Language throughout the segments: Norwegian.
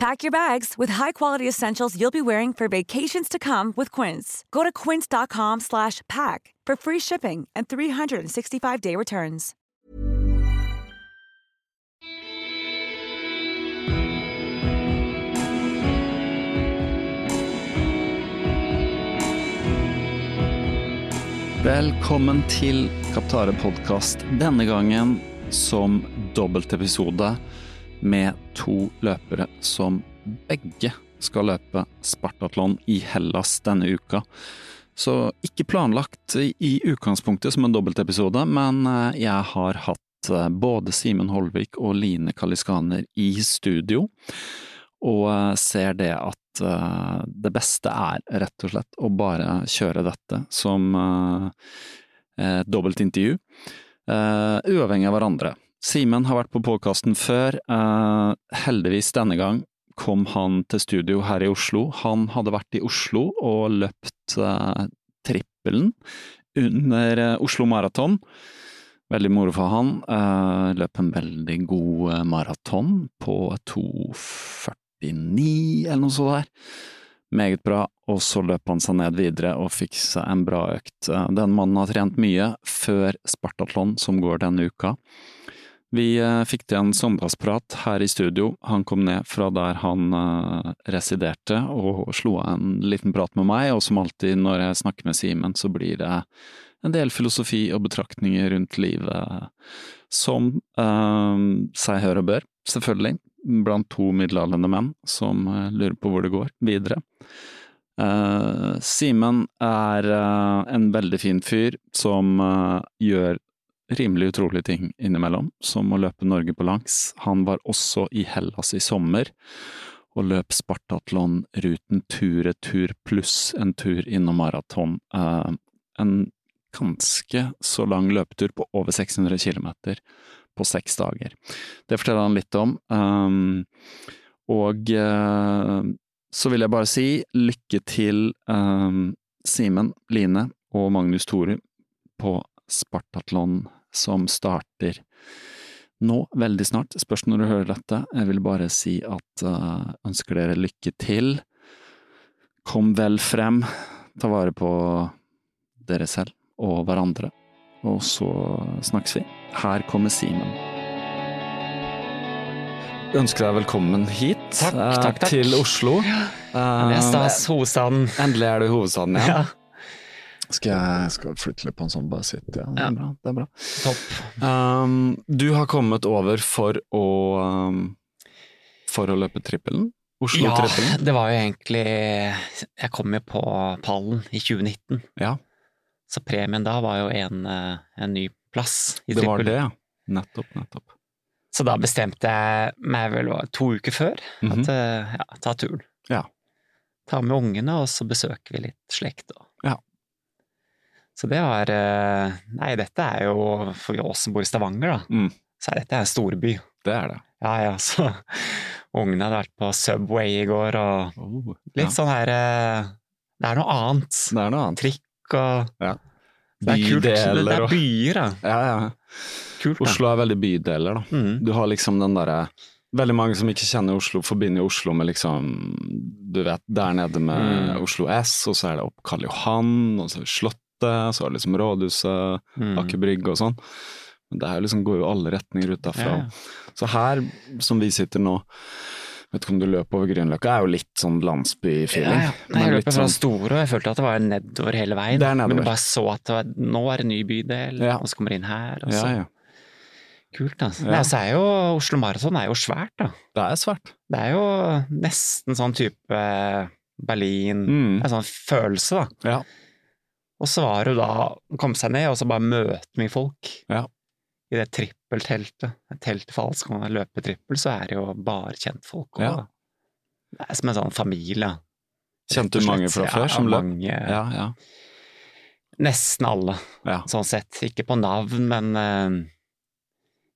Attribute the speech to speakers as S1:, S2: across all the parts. S1: Pack your bags with high-quality essentials you'll be wearing for vacations to come with Quince. Go to quince.com slash pack for free shipping and 365-day returns.
S2: Velkommen til Kaptare podkast, denne gangen som dobbeltepisode med to løpere som begge skal løpe Spartatlon i Hellas denne uka. Så ikke planlagt i utgangspunktet som en dobbeltepisode, men eh, jeg har hatt eh, både Simen Holvik og Line Kaliskaner i studio, og eh, ser det at eh, det beste er rett og slett å bare kjøre dette som eh, et dobbeltintervju, eh, uavhengig av hverandre. Simen har vært på podkasten før. eh, Heldigvis denne gang kom han til studio her i Oslo. Han hadde vært i Oslo og løpt eh, trippelen under eh, Oslo Maraton. Veldig moro for han. eh, Løp en veldig god eh, maraton på 2,40 eller noe sånt der. Meget bra, og så løp han seg ned videre og fikk seg en bra økt. Eh, Den mannen har trent mye før Spartatlon, som går denne uka. Vi eh, fikk til en søndagsprat her i studio. Han kom ned fra der han eh, residerte og slo av en liten prat med meg, og som alltid når jeg snakker med Simen, så blir det en del filosofi og betraktninger rundt livet som eh, seg hør og bør, selvfølgelig blant to middelaldrende menn som eh, lurer på hvor det går videre. Uh, Simen er uh, en veldig fin fyr som uh, gjør rimelig utrolige ting innimellom, som å løpe Norge på langs. Han var også i Hellas i sommer og løp Spartatlon-ruten tur-retur pluss en tur innom maraton. Eh, en ganske så lang løpetur på over 600 km på seks dager. Det forteller han litt om. Um, og uh, så vil jeg bare si lykke til um, Simen, Line og Magnus Toru på Spartatlon som starter nå, veldig snart. Spørs når du hører dette. Jeg vil bare si at uh, ønsker dere lykke til. Kom vel frem. Ta vare på dere selv og hverandre og så snakkes vi. Her kommer Simen. Ønsker deg velkommen hit, eh,
S3: takk, takk, takk.
S2: til Oslo. Ja.
S3: Det er stas, hovedstaden.
S2: Endelig er du i hovedstaden igjen. Um, Ja.
S4: Skal jeg skal flytte litt på en sånn, bare sitte. Ja,
S2: det er bra. Det er bra.
S3: Topp.
S2: Um, du har kommet over for å um, For å løpe trippelen? Oslo-trippelen?
S3: Ja, det var jo egentlig Jeg kom jo på pallen i 2019.
S2: Ja.
S3: Så premien da var jo en, eh, en ny plass i
S2: trippel. Det var det, ja. Nettopp, nettopp.
S3: Så da bestemte jeg meg vel to uker før mm
S2: Mhm,
S3: -hmm. at ja, ta turen.
S2: Ja.
S3: Ta med ungene, og så besøker vi litt slekt og
S2: ja.
S3: Så det var eh, Nei, dette er jo For oss som bor i Stavanger, da,
S2: mm.
S3: så er dette en storby.
S2: Det er det.
S3: Ja, ja, så Ungene hadde vært på Subway i går, og oh, litt ja. sånn her eh, Det er noe annet.
S2: Det er noe annet.
S3: Trikk og
S2: ja.
S3: Det er kult. Det
S2: bydeler
S3: er
S2: og
S3: byer, da.
S2: ja, ja.
S3: Kult, da.
S2: Oslo er veldig bydeler, da.
S3: Mm.
S2: Du har liksom den derre Veldig mange som ikke kjenner Oslo, forbinder jo Oslo med liksom Du vet, der nede med
S3: Mm.
S2: Oslo S, og så er det opp Karl Johan, og så er det Slottet, så er det liksom Rådhuset,
S3: Mm.
S2: Aker Brygge og sånn. Men det her liksom går jo alle retninger ut derfra.
S3: Ja, ja.
S2: Så her, som vi sitter nå Vet ikke om du løp over Grünerløkka, er jo litt sånn landsbyfeeling.
S3: Ja, ja.
S2: Den
S3: Nei,
S2: er
S3: jeg
S2: litt
S3: løp fra
S2: sånn-
S3: Store, og jeg følte at det var nedover hele veien.
S2: Det er nedover.
S3: Men du bare så at det var, nå er det ny bydel,
S2: Ja.
S3: og så kommer du inn her. Og så.
S2: ja, ja.
S3: Kult, altså.
S2: Ja.
S3: Nei, og så er jo Oslo Maraton er jo svært, da.
S2: Det er svært.
S3: Det er jo nesten sånn type Berlin
S2: Mm.
S3: Det er en sånn følelse, da.
S2: Ja.
S3: Og så var det jo da å komme seg ned, og så bare møte mye folk.
S2: Ja.
S3: I det trippelteltet. Teltet for alt, så kan man løpe trippel, så er det jo bare kjentfolk.
S2: Ja.
S3: også, da. Det er som en sånn familie.
S2: Kjente du
S3: rett og
S2: mange fra
S3: slett. Ja,
S2: før som løp?
S3: mange,
S2: Ja, ja.
S3: Nesten alle,
S2: Ja.
S3: sånn sett. Ikke på navn, men eh,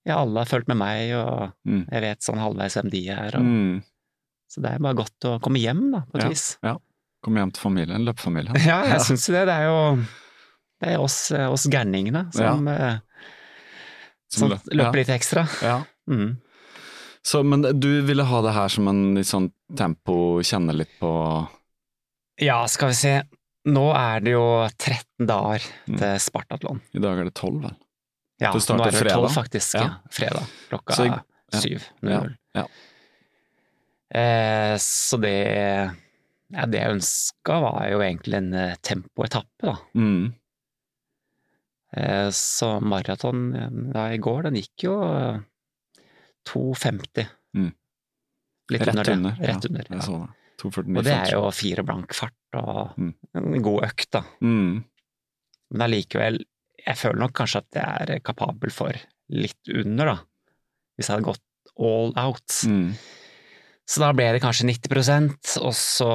S3: ja, alle har fulgt med meg, og
S2: Mm.
S3: jeg vet sånn halvveis hvem de er. Og,
S2: Mm.
S3: Så det er bare godt å komme hjem, da, på et vis.
S2: Kom hjem til familien, løpefamilien.
S3: Ja, jeg syns jo det. Det er jo det er oss, eh, oss gærningene som, eh, som,
S2: løp- ja.
S3: løper litt ekstra.
S2: Ja.
S3: Mm.
S2: Så, men du ville ha det her som en litt sånn tempo, kjenne litt på
S3: Ja, skal vi se. Nå er det jo 13 dager
S2: Mm.
S3: til Spartatlon.
S2: I dag er det tolv, vel?
S3: Ja,
S2: Det starter
S3: nå er det vel 12
S2: fredag.
S3: faktisk.
S2: Ja.
S3: Ja. Fredag klokka
S2: Så jeg- ja.
S3: syv.
S2: Ja,
S3: null.
S2: ja.
S3: Eh, så det ja, Det jeg ønska, var jo egentlig en eh, tempoetappe, da.
S2: Mm.
S3: Eh, så maraton eh, da i går, den gikk jo eh, 2,50.
S2: Mm.
S3: Litt
S2: Rett
S3: under det.
S2: under, ja.
S3: Rett under.
S2: Jeg så det. 2.49,50.
S3: Og det er jo fire blank fart og
S2: Mm.
S3: en god økt, da.
S2: mm.
S3: Men allikevel, jeg føler nok kanskje at jeg er kapabel for litt under, da. Hvis jeg hadde gått all out.
S2: Mm.
S3: Så da ble det kanskje 90 og så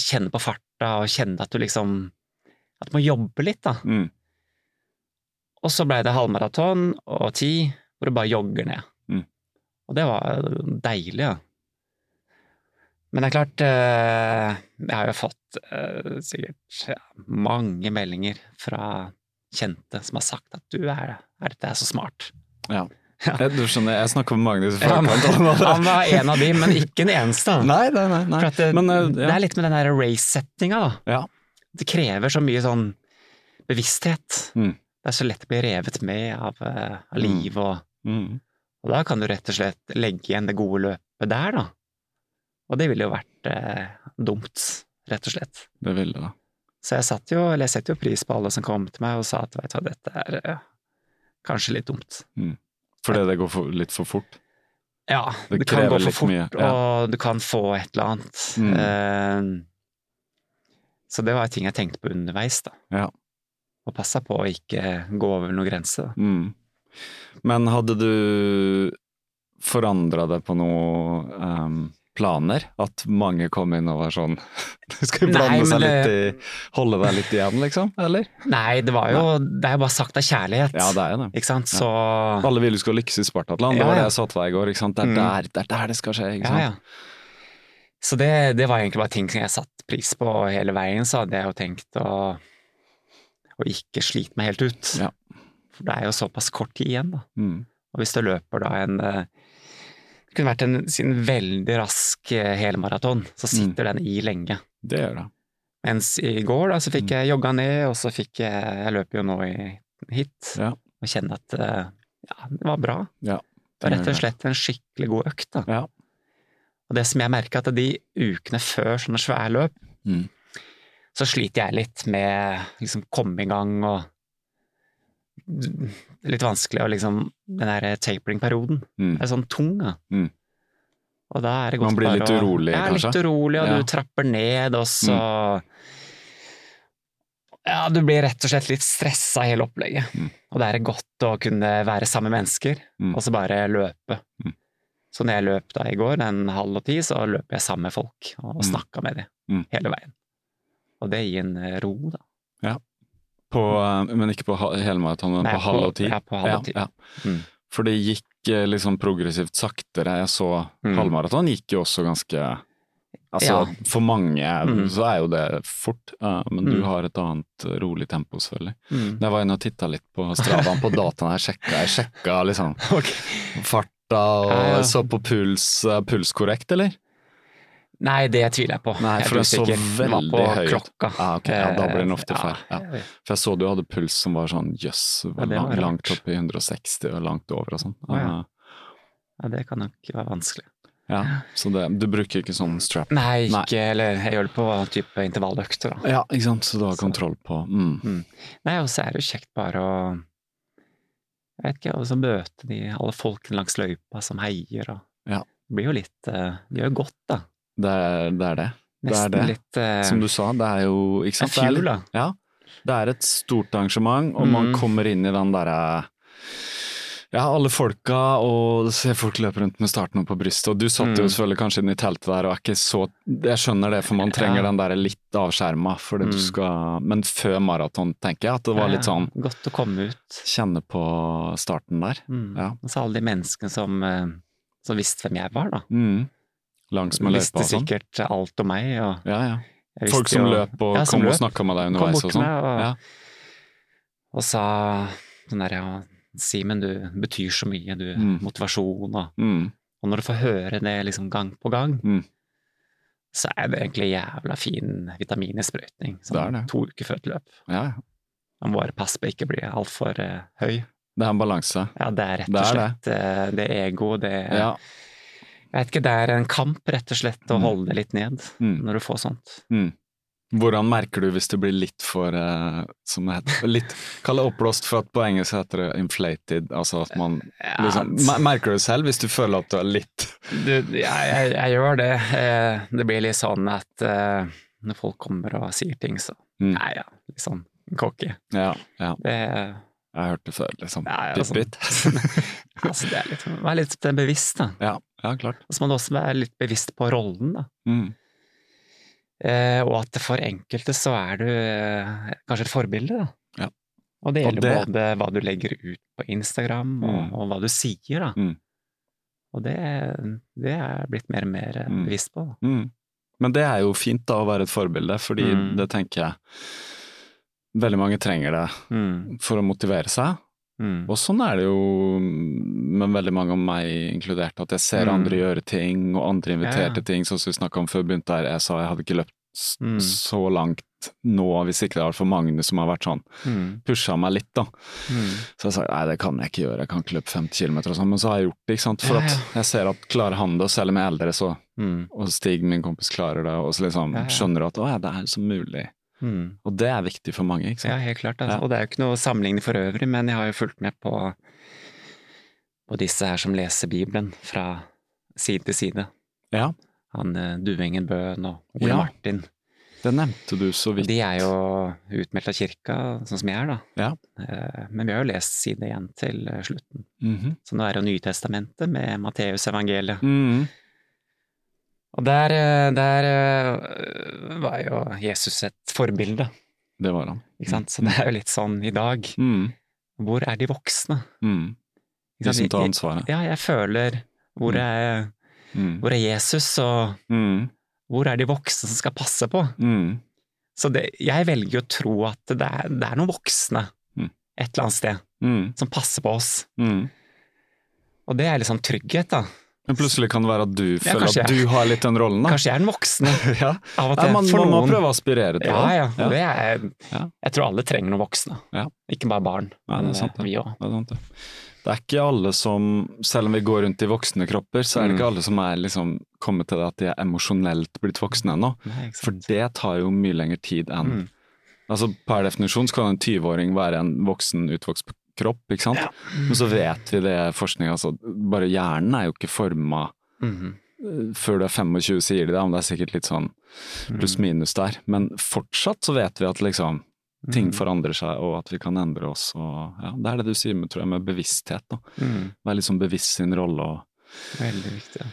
S3: kjenne på farta og kjenne at du liksom At du må jobbe litt, da.
S2: Mm.
S3: Og så blei det halvmaraton og ti, hvor du bare jogger ned.
S2: Mm.
S3: Og det var deilig, ja. Men det er klart, eh, jeg har jo fått eh, sikkert ja, mange meldinger fra kjente som har sagt at du er, er dette er så smart.
S2: Ja.
S3: Ja.
S2: Jeg, du skjønner, jeg snakker med Magnus i
S3: Han,
S2: forkant.
S3: han var en av de, men ikke den eneste. da.
S2: Nei, nei, nei. nei.
S3: For at det,
S2: Men, eh,
S3: det
S2: ja.
S3: er litt med den der race-settinga, da.
S2: Ja.
S3: Det krever så mye sånn bevissthet.
S2: Mm.
S3: Det er så lett å bli revet med av, eh, av
S2: Mm.
S3: liv og
S2: Mm.
S3: Og da kan du rett og slett legge igjen det gode løpet der, da. Og det ville jo vært eh, dumt, rett og slett.
S2: Det ville det.
S3: Så jeg satt jo, eller jeg setter jo pris på alle som kom til meg og sa at veit du hva, dette er eh, kanskje litt dumt.
S2: Fordi det går for, litt for fort.
S3: Ja,
S2: Det
S3: det, kan
S2: krever
S3: gå
S2: litt
S3: for fort,
S2: mye, ja.
S3: og du kan få et eller annet.
S2: Mm.
S3: Eh, så det var ting jeg tenkte på underveis, da.
S2: Ja.
S3: Og passa på å ikke gå over noen grense. da.
S2: Mm. Men hadde du forandra det på noe ehm, planer? At mange kom inn og var sånn Du skal
S3: Nei,
S2: blande
S3: men eh,
S2: seg litt i
S3: det-
S2: Holde deg litt igjen, liksom? Eller?
S3: Nei, det var jo Det er jo bare sagt av kjærlighet,
S2: Ja, det er jo det.
S3: ikke sant? Så
S2: Alle ville du skulle lykkes i Spartatland, det
S3: Ja,
S2: var det
S3: ja.
S2: jeg sa til deg i går. Ikke sant? Det, er
S3: Mm.
S2: der, det er der det skal skje, ikke sant?
S3: Ja, ja. Så det, det var egentlig bare ting som jeg satte pris på og hele veien, så hadde jeg jo tenkt å, å ikke slite meg helt ut.
S2: Ja.
S3: For det er jo såpass kort tid igjen, da.
S2: Mm.
S3: Og hvis du løper da en eh, Det kunne vært en, en veldig rask eh, helmaraton, så sitter den i lenge.
S2: Det gjør det.
S3: Mens i går da, så fikk jeg jogga ned, og så fikk jeg Jeg løper jo nå i hit,
S2: Ja.
S3: og kjenner at eh, ja, det var bra.
S2: Ja.
S3: Det var rett og slett en skikkelig god økt, da.
S2: Ja.
S3: Og det som jeg merker, at de ukene før sånne svære løp,
S2: Mm.
S3: så sliter jeg litt med liksom komme i gang og Det er Litt vanskelig å liksom Den der tapering-perioden
S2: Mm.
S3: er sånn tung, da.
S2: Mm.
S3: Og da er det godt
S2: Man blir
S3: bare
S2: litt
S3: å-
S2: urolig,
S3: ja,
S2: kanskje?
S3: litt urolig, og
S2: Ja. Mm.
S3: du trapper ned, og så Ja, du blir rett og slett litt stressa i hele opplegget.
S2: Mm.
S3: Og det er godt å kunne være sammen med mennesker,
S2: Mm.
S3: og så bare løpe.
S2: Mm.
S3: Så når jeg løp da i går, den halv og ti, så løp jeg sammen med folk og
S2: Mm.
S3: snakka med dem
S2: Mm.
S3: hele veien. Og det gir en eh, ro, da.
S2: På, eh, men ikke på ha- helmaraton, men
S3: Nei,
S2: på halv og ti.
S3: Ja, på halv og ti.
S2: Ja, ja.
S3: Mm.
S2: For det gikk eh, liksom progressivt saktere. Jeg så
S3: Mm.
S2: halvmaraton gikk jo også ganske Altså,
S3: Ja.
S2: For mange
S3: Mm.
S2: så er jo det fort, eh, men du
S3: Mm.
S2: har et annet eh, rolig tempo, selvfølgelig. Jeg var inne og titta litt på Stravaen på dataen her, sjekka, jeg sjekka liksom
S3: Ok.
S2: farta og
S3: Ja, ja.
S2: så på puls. eh, Puls korrekt, eller?
S3: Nei, det tviler jeg på.
S2: Nei,
S3: jeg
S2: for den så
S3: Det var på
S2: veldig høy ut.
S3: klokka.
S2: Ja, ok, ja, da blir den ofte
S3: Eh,
S2: feil, ja.
S3: jeg vet.
S2: For jeg så du hadde puls som var sånn jøss,
S3: Ja,
S2: yes,
S3: det var
S2: langt
S3: rart.
S2: opp i 160 og langt over og sånn.
S3: Å, ja.
S2: Eh,
S3: Ja, det kan nok være vanskelig.
S2: ja. Så det, du bruker ikke sånn strap?
S3: Nei,
S2: Nei.
S3: ikke Eller jeg gjør det på type intervalløkter, da.
S2: Ja, ikke sant, så du har kontroll på mm.
S3: Nei, og så er det jo kjekt bare å Jeg vet ikke, og så møte de alle folkene langs løypa som heier og
S2: Ja.
S3: Det blir jo litt eh, Det gjør godt, da.
S2: Det er det. Er det. det, er
S3: Nesten
S2: det.
S3: litt eh,
S2: Som du sa, det er jo ikke
S3: en
S2: sant? Det er
S3: fjul,
S2: litt-
S3: da.
S2: Ja, det er et stort arrangement, og man
S3: Mm.
S2: kommer inn i den derre ja, alle folka, og ser folk løpe rundt med starten opp på brystet. Og du satt jo
S3: Mm.
S2: selvfølgelig kanskje inne i teltet der og er ikke så Jeg skjønner det, for man trenger
S3: Ja.
S2: den derre litt avskjerma, fordi
S3: Mm.
S2: du skal Men før maraton, tenker jeg, at det var litt
S3: Ja,
S2: sånn
S3: Godt å komme ut.
S2: Kjenne på starten der.
S3: Mm.
S2: Ja.
S3: Og så alle de menneskene som, eh, som visste hvem jeg var, da.
S2: Mm. Langs med løypa
S3: visste
S2: og sånn.
S3: sikkert alt om meg. Og
S2: Ja, ja.
S3: jeg
S2: Folk
S3: visste
S2: som
S3: jo-
S2: løp og
S3: Ja, som
S2: kom og
S3: løp.
S2: snakka med deg
S3: Kom
S2: underveis
S3: bort
S2: og
S3: til
S2: sånn.
S3: meg og-
S2: Ja.
S3: Og sa sånn der, ja, Simen, du betyr så mye, du.
S2: Mm.
S3: Motivasjon og
S2: Mm.
S3: Og når du får høre det liksom gang på gang,
S2: Mm.
S3: så er det egentlig jævla fin vitamininnsprøytning.
S2: Det
S3: Sånn
S2: er det.
S3: to uker før et løp.
S2: ja, ja.
S3: Man må bare passe på å ikke bli altfor uh, høy.
S2: Det er en balanse.
S3: Ja, det er rett
S2: Det
S3: og
S2: er
S3: slett eh, det ego, det
S2: Ja.
S3: Jeg vet ikke, det er en kamp, rett og slett, å
S2: Mm.
S3: holde det litt ned
S2: Mm.
S3: når du får sånt.
S2: Mm. Hvordan merker du hvis du blir litt for eh, som det heter, litt, Kall det oppblåst, for at på engelsk heter det 'inflated'. Altså at man liksom, mer- Merker du det selv hvis du føler at du er litt
S3: Du, jeg, jeg, jeg gjør det. Eh, Det blir litt sånn at eh, når folk kommer og sier ting, så
S2: Mm.
S3: Nei, ja, litt sånn cocky.
S2: Ja, ja
S3: Det,
S2: jeg har hørt det før, liksom.
S3: Ja, ja,
S2: Bitt,
S3: sånn.
S2: bitt.
S3: altså, det er litt Vær litt eh, bevisst, da.
S2: ja, ja, klart.
S3: Og så må du også være litt bevisst på rollen, da.
S2: Mm.
S3: Eh, Og at for enkelte så er du eh, kanskje et forbilde, da.
S2: Ja.
S3: Og det
S2: Og
S3: gjelder
S2: det-
S3: både hva du legger ut på Instagram, og,
S2: Mm.
S3: og hva du sier, da.
S2: Mm.
S3: Og det, det er jeg blitt mer og mer eh,
S2: Mm.
S3: bevisst på. da.
S2: Mm. Men det er jo fint da å være et forbilde, fordi
S3: Mm.
S2: det tenker jeg Veldig mange trenger det
S3: Mm.
S2: for å motivere seg.
S3: Mm.
S2: Og sånn er det jo med veldig mange av meg inkludert, at jeg ser
S3: Mm.
S2: andre gjøre ting, og andre inviterer
S3: Ja, ja.
S2: til ting, sånn som vi snakka om før vi begynte her. Jeg sa jeg hadde ikke løpt s-
S3: Mm.
S2: så langt nå, hvis ikke det var for Magnus som har vært sånn,
S3: Mm.
S2: pusha meg litt, da.
S3: Mm.
S2: Så jeg sa nei, det kan jeg ikke gjøre, jeg kan ikke løpe 50 km og sånn, men så har jeg gjort det, ikke sant. For
S3: Ja, ja.
S2: at jeg ser at klarer han det, og selv om jeg er eldre, så
S3: Mm.
S2: og Stig, min kompis, klarer det, og så liksom
S3: Ja, ja.
S2: skjønner du at å ja, det er så mulig.
S3: Mm.
S2: Og det er viktig for mange, ikke
S3: Ja,
S2: sant.
S3: helt klart. Altså.
S2: Ja.
S3: Og det er jo ikke noe sammenligning for øvrig, men jeg har jo fulgt med på, på disse her som leser Bibelen fra side til side.
S2: Ja.
S3: Han eh, Duengen Bøhn og Ole
S2: Ja.
S3: Martin.
S2: Det nevnte du så
S3: Og
S2: vidt.
S3: de er jo utmeldt av kirka, sånn som jeg er, da.
S2: Ja.
S3: Eh, Men vi har jo lest side igjen til eh, slutten.
S2: Mhm.
S3: Så nå er det jo Nytestamentet med Matteusevangeliet.
S2: Mhm.
S3: Og der, eh, der eh, var jo Jesus et forbilde,
S2: Det var han.
S3: ikke sant. Så det er jo litt sånn i dag.
S2: Mhm.
S3: Hvor er de voksne?
S2: Mm.
S3: Ikke
S2: De
S3: sant?
S2: som tar
S3: I-
S2: ansvaret.
S3: Ja, jeg føler hvor
S2: Mm.
S3: er,
S2: Mm.
S3: hvor er Jesus, og
S2: Mm.
S3: hvor er de voksne som skal passe på?
S2: Mm.
S3: Så det, jeg velger å tro at det er, det er noen voksne
S2: Mm.
S3: et eller annet sted
S2: Mm.
S3: som passer på oss.
S2: Mm.
S3: Og det er litt sånn trygghet, da.
S2: Men plutselig kan det være at du føler
S3: kanskje
S2: at
S3: jeg-
S2: du har litt den rollen, da.
S3: Kanskje jeg er den voksne
S2: ja.
S3: av og
S2: Nei,
S3: til.
S2: man,
S3: for
S2: man må
S3: noen.
S2: prøve å aspirere til
S3: Ja, ja. og
S2: det.
S3: Det er,
S2: Ja.
S3: jeg tror alle trenger noen voksne.
S2: Ja.
S3: Ikke bare barn.
S2: Nei, det er
S3: men,
S2: sant,
S3: eh,
S2: det.
S3: Vi òg.
S2: Det er sant, det. Det er ikke alle som, selv om vi går rundt i voksne kropper, så er det
S3: Mm.
S2: ikke alle som er liksom kommet til det at de er emosjonelt blitt voksne ennå. For det tar jo mye lengre tid enn
S3: Mm.
S2: Altså Per definisjon så kan en 20-åring være en voksen, utvokst kropp, ikke sant? Men så vet vi det forskning, altså bare hjernen er jo ikke forma
S3: Mhm.
S2: før du er 25 sier de det, men det er sikkert litt sånn
S3: Mm.
S2: pluss-minus der. Men fortsatt så vet vi at liksom ting forandrer seg, og at vi kan endre oss. Og ja, det er det du sier med, tror jeg, med bevissthet. da.
S3: Mm.
S2: Være litt sånn bevisst sin rolle. og
S3: Veldig viktig.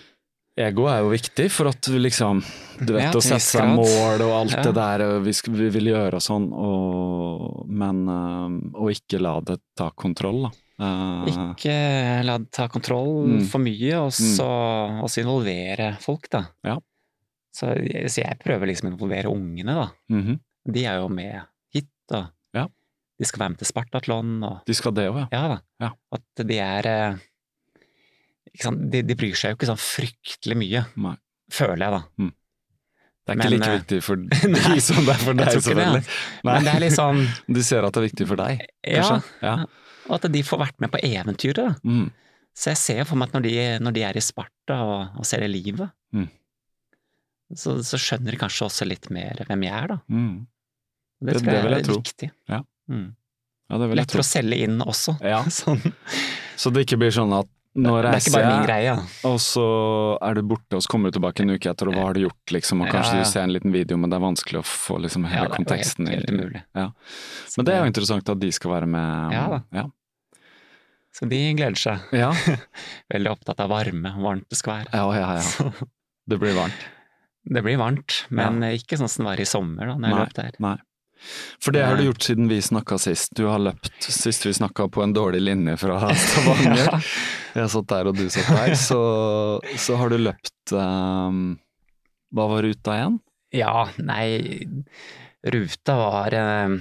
S2: Ego er jo viktig for at du liksom Du vet
S3: Ja,
S2: å
S3: til en
S2: sette
S3: viss
S2: seg
S3: grad.
S2: mål og alt
S3: Ja.
S2: det der og vi, skal, vi vil gjøre og sånn, og, men eh, Og ikke la det ta kontroll, da. Eh,
S3: Ikke la det ta kontroll
S2: Mm.
S3: for mye, og så også involvere folk, da.
S2: Ja.
S3: Så, jeg- så jeg prøver liksom å involvere ungene, da.
S2: Mhm.
S3: De er jo med hit, og
S2: Ja.
S3: de skal være med til Spartatlon. Og,
S2: De skal det òg, ja.
S3: ja da.
S2: Ja.
S3: At de er eh, ikke sant? De, de bryr seg jo ikke sånn fryktelig mye,
S2: Nei.
S3: føler jeg, da.
S2: Det er
S3: Men,
S2: ikke like
S3: eh,
S2: viktig for
S3: nei,
S2: de som det er for
S3: jeg
S2: deg,
S3: tror ikke det,
S2: selvfølgelig. Nei.
S3: Men det er litt sånn
S2: De ser at det er viktig for deg,
S3: Ja,
S2: kanskje. Ja.
S3: og at de får vært med på eventyret. da.
S2: Mm.
S3: Så jeg ser jo for meg at når de, når de er i Sparta og, og ser det livet,
S2: Mm.
S3: så, så skjønner de kanskje også litt mer hvem jeg er, da.
S2: Mm.
S3: Det,
S2: Det-
S3: tror
S2: det
S3: jeg
S2: vil jeg
S3: er
S2: tro.
S3: viktig.
S2: Ja.
S3: Mm.
S2: Ja, det vil jeg
S3: Lettere
S2: tro.
S3: å selge inn også.
S2: Ja.
S3: Sånn.
S2: Så det ikke blir sånn at nå
S3: Det er ikke
S2: reiser
S3: bare min
S2: jeg,
S3: greie. da.
S2: og så er du borte, og så kommer du tilbake en uke etter, og hva har du gjort, liksom, og kanskje
S3: Ja, ja.
S2: du ser en liten video, men det er vanskelig å få liksom hele
S3: Ja, det er jo
S2: konteksten
S3: helt- helt
S2: i
S3: umulig.
S2: Ja.
S3: Så
S2: Men det er jo
S3: det-
S2: interessant at de skal være med.
S3: Ja da.
S2: Ja.
S3: Så de gleder seg.
S2: Ja.
S3: Veldig opptatt av varme, hvor varmt det skal være.
S2: Ja, ja, ja.
S3: Så
S2: Det blir varmt.
S3: det blir varmt, men ikke sånn som det var i sommer da når jeg
S2: Nei.
S3: løp der.
S2: Nei. For det har du gjort siden vi snakka sist. Du har løpt sist vi snakka på en dårlig linje fra Stavanger.
S3: Ja.
S2: Jeg satt der og du satt der. Så, så har du løpt ehm, Hva var ruta igjen?
S3: Ja, nei Ruta var eh,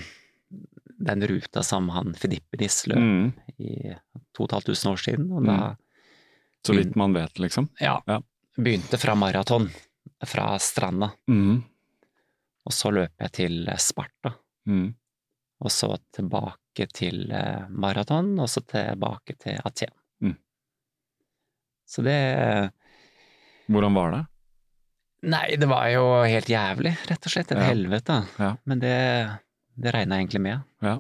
S3: den ruta som han Fidippenis løp
S2: Mm.
S3: i 2500 år siden. Og da
S2: Så vidt man vet, liksom.
S3: ja,
S2: Ja.
S3: begynte fra maraton, fra stranda.
S2: Mm.
S3: Og så løp jeg til Sparta.
S2: Mm.
S3: Og så tilbake til eh, maraton, og så tilbake til Aten.
S2: Mm.
S3: Så det
S2: Hvordan var det?
S3: Nei, det var jo helt jævlig, rett og slett. Et
S2: Ja.
S3: helvete.
S2: Ja.
S3: Men det, det regna jeg egentlig med.
S2: Ja.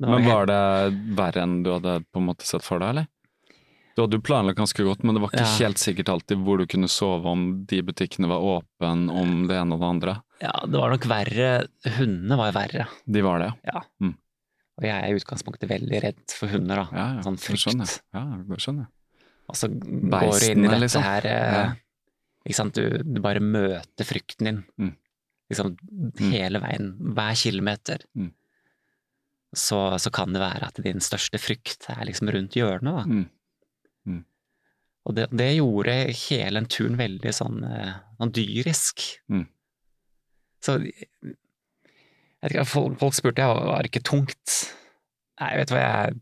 S3: Det
S2: Men
S3: jo
S2: var det verre enn du hadde på en måte sett for deg, eller? Du hadde jo planlagt ganske godt, men det var ikke
S3: Ja.
S2: helt sikkert alltid hvor du kunne sove, om de butikkene var åpne, om det ene og det andre.
S3: Ja, det var nok verre. Hundene var verre.
S2: De var det, ja.
S3: Og jeg er i utgangspunktet veldig redd for hunder, da.
S2: ja, ja.
S3: Sånn
S2: Det skjønner
S3: frykt.
S2: jeg. Ja, det skjønner jeg.
S3: Og så Altså, går du inn i
S2: Beistene,
S3: dette
S2: liksom.
S3: her eh,
S2: Ja.
S3: Ikke sant, du, du bare møter frykten din.
S2: Mm.
S3: Liksom hele veien, hver kilometer.
S2: Mm.
S3: Så, så kan det være at din største frykt er liksom rundt hjørnet, da.
S2: Mm. Mm.
S3: Og det, det gjorde hele den turen veldig sånn, eh, sånn dyrisk.
S2: Mm.
S3: Så jeg vet ikke, folk, folk spurte jeg, var det ikke tungt? Nei, vet du hva, jeg,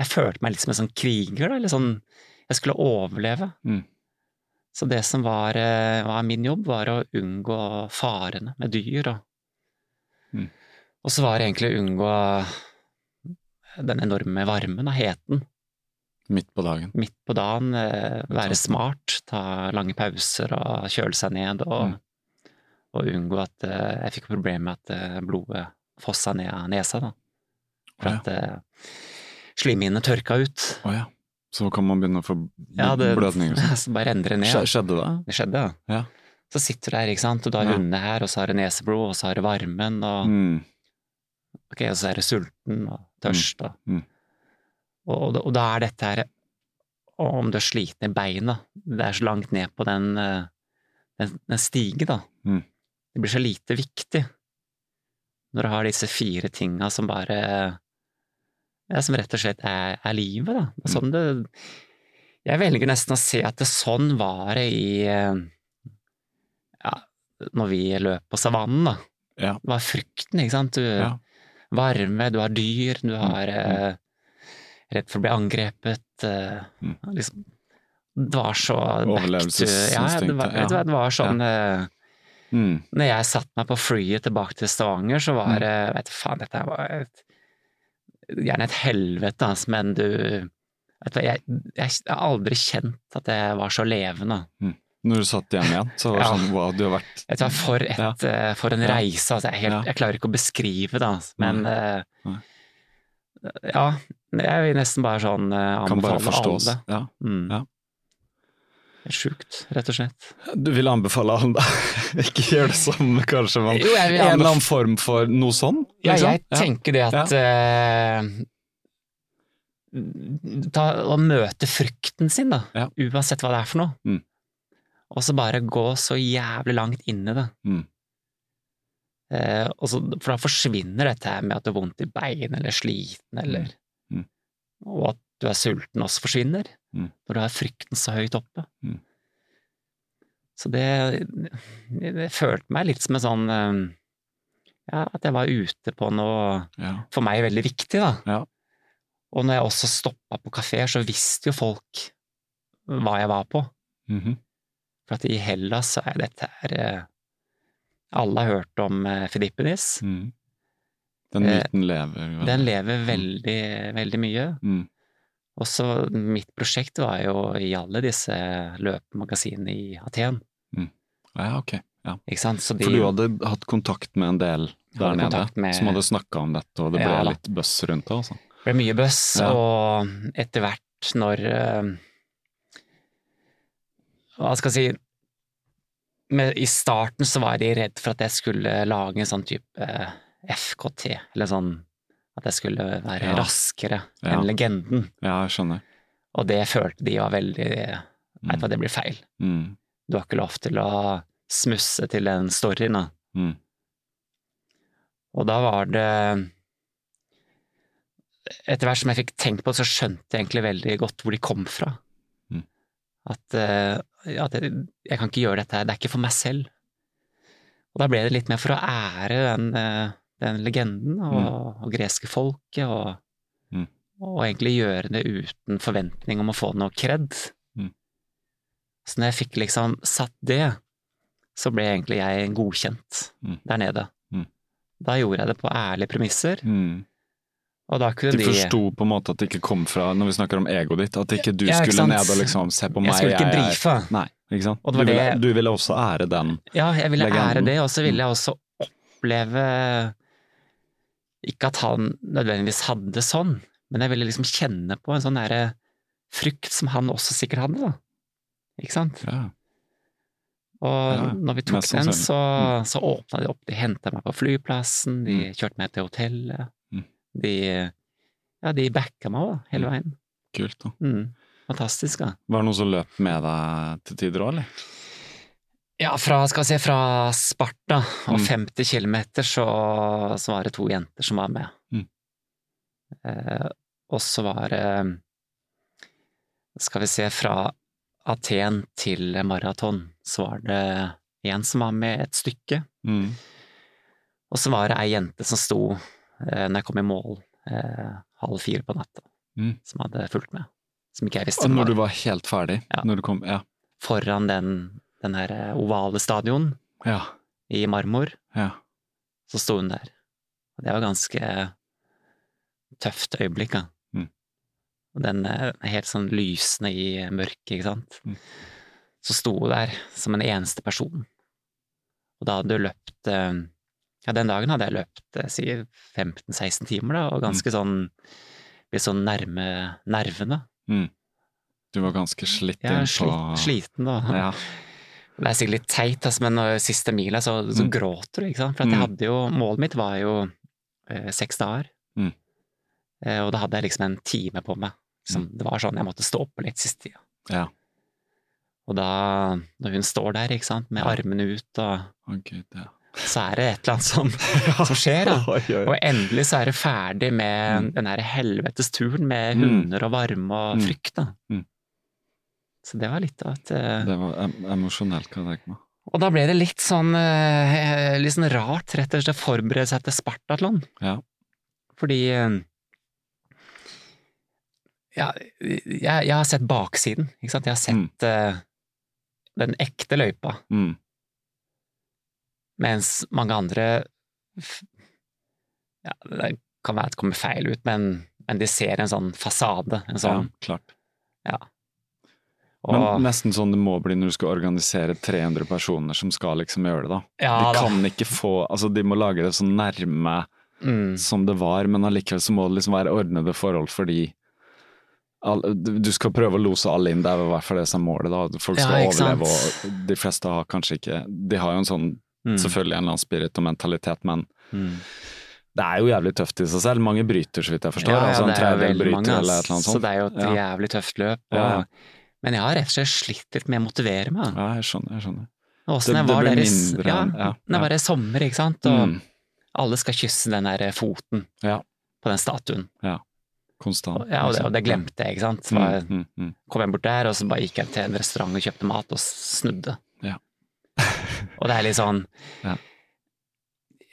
S3: jeg følte meg litt som en sånn kriger, da, eller sånn Jeg skulle overleve.
S2: Mm.
S3: Så det som var, eh, var min jobb, var å unngå farene med dyr. Og,
S2: Mm.
S3: og så var det egentlig å unngå den enorme varmen og heten
S2: Midt på dagen.
S3: midt på dagen. eh, Være smart, ta lange pauser og kjøle seg ned. Og,
S2: Mm.
S3: og unngå at eh, jeg fikk problemer med at eh, blodet fossa ned av nesa. Da. For
S2: Ja.
S3: at eh, slimhinnene tørka ut.
S2: Å ja. Så kan man begynne å få
S3: Ja, det
S2: blødninger og sånn.
S3: så bare endre ned.
S2: Skje- Skjedde det?
S3: Det skjedde, da.
S2: Ja.
S3: Så sitter du der, ikke sant, og du har
S2: Ja.
S3: hundene her, og så har du neseblod, og så har du varmen, og,
S2: Mm.
S3: ok, og så er du sulten og tørst. Og,
S2: Mm.
S3: Og, og, da- og da er dette her Om du er sliten i beina Det er så langt ned på den, eh, den, den stigen, da.
S2: Mm.
S3: Det blir så lite viktig når du har disse fire tinga som bare ja, Som rett og slett er, er livet, da. Det er
S2: Mm.
S3: Sånn det Jeg velger nesten å se at det sånn var det i eh, Ja, når vi løp på savannen, da.
S2: Ja.
S3: Det var frykten, ikke sant. Du,
S2: Ja.
S3: varme, du har dyr, du har eh, redd for å bli angrepet. Eh,
S2: Mm.
S3: liksom, det var så back to-
S2: Overlevelsesinstinktet,
S3: Ja, det var, vet du hva, det var sånn eh,
S2: Mm.
S3: Når jeg satte meg på flyet tilbake til Stavanger, så var det Vet du faen, dette her var et, gjerne et helvete, altså, men du Vet du hva, jeg, jeg har aldri kjent at jeg var så levende.
S2: Når du satt hjemme igjen, så var det
S3: Ja.
S2: sånn wow, du har vært
S3: Vet du hva, for, et,
S2: Ja.
S3: eh, for en
S2: Ja.
S3: reise. Altså, jeg, er helt,
S2: Ja.
S3: jeg klarer ikke å beskrive det, altså, men eh,
S2: Nei.
S3: Ja. Jeg vil nesten bare sånn eh,
S2: Kan bare
S3: anbefale
S2: forstås.
S3: alle.
S2: Ja.
S3: Mm.
S2: Ja.
S3: Det er Sjukt, rett og slett.
S2: Du vil anbefale alle Ikke gjør det samme, kanskje, men
S3: Jo, jeg vil
S2: en
S3: anbef-
S2: eller annen form for noe sånn?
S3: Ja,
S2: liksom?
S3: jeg tenker det at eh, ta, Å møte frykten sin, da.
S2: Ja.
S3: Uansett hva det er for noe.
S2: Mm.
S3: Og så bare gå så jævlig langt inn i det.
S2: Mm.
S3: Eh, og så, for da forsvinner dette her med at du har vondt i bein eller sliten eller
S2: Mm.
S3: Og at du er sulten også forsvinner.
S2: Mm.
S3: Når du har frykten så høyt oppe.
S2: Mm.
S3: Så det, det følte meg litt som en sånn eh, Ja, at jeg var ute på noe
S2: Ja.
S3: for meg veldig viktig, da.
S2: Ja.
S3: Og når jeg også stoppa på kafeer, så visste jo folk hva jeg var på.
S2: Mhm.
S3: For at i Hellas så er dette her eh, Alle har hørt om eh, Fidippenis.
S2: Mhm. Den
S3: Eh,
S2: myten lever. jo.
S3: Den lever veldig, veldig mye.
S2: Mhm.
S3: Og så mitt prosjekt var jo i alle disse løpemagasinene i Aten.
S2: Ja, ok.
S3: Ikke sant? Så de,
S2: For du hadde hatt kontakt med en del der
S3: hadde
S2: nede
S3: kontakt med-
S2: som hadde snakka om dette, og det ble
S3: Ja da.
S2: litt bøss rundt det, altså.
S3: Det ble mye bøss,
S2: Ja.
S3: og etter hvert når eh, Hva skal jeg si med, I starten så var de redd for at jeg skulle lage en sånn type eh, FKT, eller sånn At jeg skulle være
S2: Ja.
S3: raskere
S2: Ja.
S3: enn legenden.
S2: Ja, jeg skjønner.
S3: Og det følte de var veldig eh, Nei,
S2: Mm.
S3: det blir feil.
S2: Mm.
S3: Du har ikke lov til å smusse til den storyen, da.
S2: Mm.
S3: Og da var det Etter hvert som jeg fikk tenkt på det, så skjønte jeg egentlig veldig godt hvor de kom fra.
S2: Mm.
S3: At, eh, at jeg, jeg kan ikke gjøre dette her, det er ikke for meg selv. Og da ble det litt mer for å ære den, eh, den legenden og, og greske folket, og,
S2: Mm.
S3: og egentlig gjøre det uten forventning om å få noe kred.
S2: Mm.
S3: Så når jeg fikk liksom satt det, så ble egentlig jeg godkjent
S2: Mm.
S3: der nede.
S2: Mm.
S3: Da gjorde jeg det på ærlige premisser,
S2: Mm.
S3: og da kunne
S2: De
S3: de,
S2: forsto på en måte at det ikke kom fra, når vi snakker om egoet ditt, at ikke du
S3: Ja, ikke
S2: skulle
S3: sant?
S2: ned og liksom se på meg.
S3: Jeg skulle ikke
S2: er-
S3: brife.
S2: Nei, ikke sant?
S3: Og
S2: Du
S3: det var
S2: ville,
S3: det-
S2: du ville også ære den.
S3: Ja, jeg ville ære
S2: Legenden. Mm.
S3: det, og så ville jeg også oppleve Ikke at han nødvendigvis hadde det sånn, men jeg ville liksom kjenne på en sånn derre frykt som han også sikkert hadde, da. Ikke sant?
S2: Ja.
S3: Og
S2: Ja,
S3: når vi tok
S2: mest
S3: den,
S2: sannsynlig. Mm.
S3: så, så åpna de opp. De henta meg på flyplassen, de kjørte meg til hotellet.
S2: Mm.
S3: De, ja, de backa meg da, hele veien.
S2: Kult. da.
S3: Mm. Fantastisk, da.
S2: Var det noen som løp med deg til tider òg, eller?
S3: Ja, fra, skal vi se, fra Sparta og
S2: Mm.
S3: 50 km så, så var det to jenter som var med.
S2: Mm.
S3: Eh, og så var det Skal vi se, fra Aten til maraton så var det en som var med et stykke.
S2: Mm.
S3: Og så var det ei jente som sto eh, når jeg kom i mål eh, halv fire på natta,
S2: Mm.
S3: som hadde fulgt med. Som ikke jeg visste
S2: Og
S3: hvem
S2: når
S3: var
S2: du var helt ferdig?
S3: Ja.
S2: Når du kom, ja.
S3: foran den, den her ovale stadion
S2: Ja.
S3: i marmor.
S2: ja.
S3: så sto hun der. Og det var ganske tøft øyeblikk, da.
S2: Mm.
S3: Og den er helt sånn lysende i mørket, ikke sant.
S2: Mm.
S3: Så sto hun der som en eneste person. Og da hadde hun løpt eh, Ja, den dagen hadde jeg løpt eh, si 15-16 timer, da, og
S2: Mm.
S3: ganske sånn Litt sånn nærme nervene.
S2: Du var ganske slitt
S3: Jeg er
S2: inn på
S3: sli- sliten, da.
S2: Ja.
S3: Det er sikkert litt teit, altså, men når siste mila så, så
S2: Mm.
S3: gråter du, ikke sant. For at jeg
S2: Mm.
S3: hadde jo, målet mitt var jo eh, seks dager.
S2: Mm.
S3: Eh, og da hadde jeg liksom en time på meg. Liksom, Det var sånn jeg måtte stå oppe litt siste tida.
S2: Mm. ja.
S3: Og da, når hun står der, ikke sant, med
S2: Ja.
S3: armene ut, og
S2: Å, gud, ja.
S3: så er det et eller annet som, som skjer, da.
S2: Oi, oi,
S3: Og
S2: oi.
S3: endelig så er det ferdig med den her helvetes turen med
S2: Mm.
S3: hunder og varme og
S2: Mm.
S3: frykt, da.
S2: Mm.
S3: Så det var litt av et eh,
S2: Det var em emosjonelt, kan jeg tenke meg.
S3: Og da ble det litt sånn, eh, litt sånn rart, rett og slett, å forberede seg til Spartatlon.
S2: Ja.
S3: Fordi eh, ja, jeg, jeg har sett baksiden, ikke sant? Jeg har sett eh, den ekte løypa,
S2: Mm.
S3: mens mange andre f- ja, Det kan være at det kommer feil ut, men, men de ser en sånn fasade. En
S2: Ja,
S3: sånn,
S2: klart.
S3: og,
S2: Men nesten sånn det må bli når du skal organisere 300 personer som skal liksom gjøre det, da.
S3: ja,
S2: de
S3: da.
S2: kan ikke få Altså, de må lage det så nærme
S3: Mm.
S2: som det var, men allikevel så må det liksom være ordnede forhold fordi all, du skal prøve å lose alle inn, det er i hvert fall det som er målet. da, Folk
S3: Ja,
S2: skal
S3: ikke sant?
S2: overleve, og de fleste har kanskje ikke De har jo en sånn,
S3: Mm.
S2: selvfølgelig en eller annen spirit og mentalitet, men
S3: Mm.
S2: det er jo jævlig tøft i seg selv. Mange bryter, så vidt jeg forstår.
S3: Ja, ja,
S2: altså en
S3: det er jo
S2: tredjedel
S3: veldig
S2: bryter
S3: mange, ass.
S2: eller et eller annet sånt.
S3: Så det er jo et
S2: ja.
S3: jævlig tøft løp. Og,
S2: Ja, ja.
S3: Men jeg har rett og slett slitt litt med å motivere meg.
S2: ja, jeg skjønner. jeg skjønner.
S3: Og Åssen
S2: det-
S3: jeg
S2: det
S3: var
S2: blir
S3: der i s-
S2: mindre
S3: ja,
S2: enn- ja,
S3: når jeg
S2: ja.
S3: var der i sommer, ikke sant. Og
S2: Mm,
S3: alle skal kysse den der foten
S2: Ja.
S3: på den statuen.
S2: konstant. liksom.
S3: Og, ja, og, det, og det glemte jeg, ikke sant. Så bare
S2: Mm, mm, mm.
S3: kom jeg bort der, og så bare gikk jeg til en restaurant og kjøpte mat og snudde.
S2: Ja.
S3: Og det er litt sånn
S2: Ja.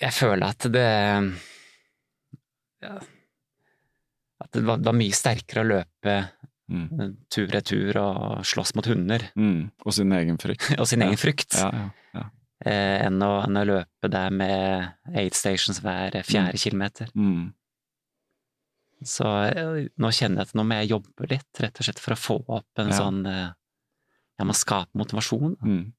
S3: Jeg føler at det ja, At det var, det var mye sterkere å løpe
S2: Mm.
S3: tur-retur og slåss mot hunder
S2: Mm. Og sin egen frykt.
S3: og sin
S2: Ja.
S3: egen frykt,
S2: Ja, ja, ja.
S3: eh, enn, å, enn å løpe der med aid stations hver fjerde kilometer.
S2: Mm.
S3: Så eh, nå kjenner jeg at nå må jeg jobbe litt, rett og slett for å få opp en
S2: Ja.
S3: sånn eh, Jeg må skape motivasjon.
S2: Mm.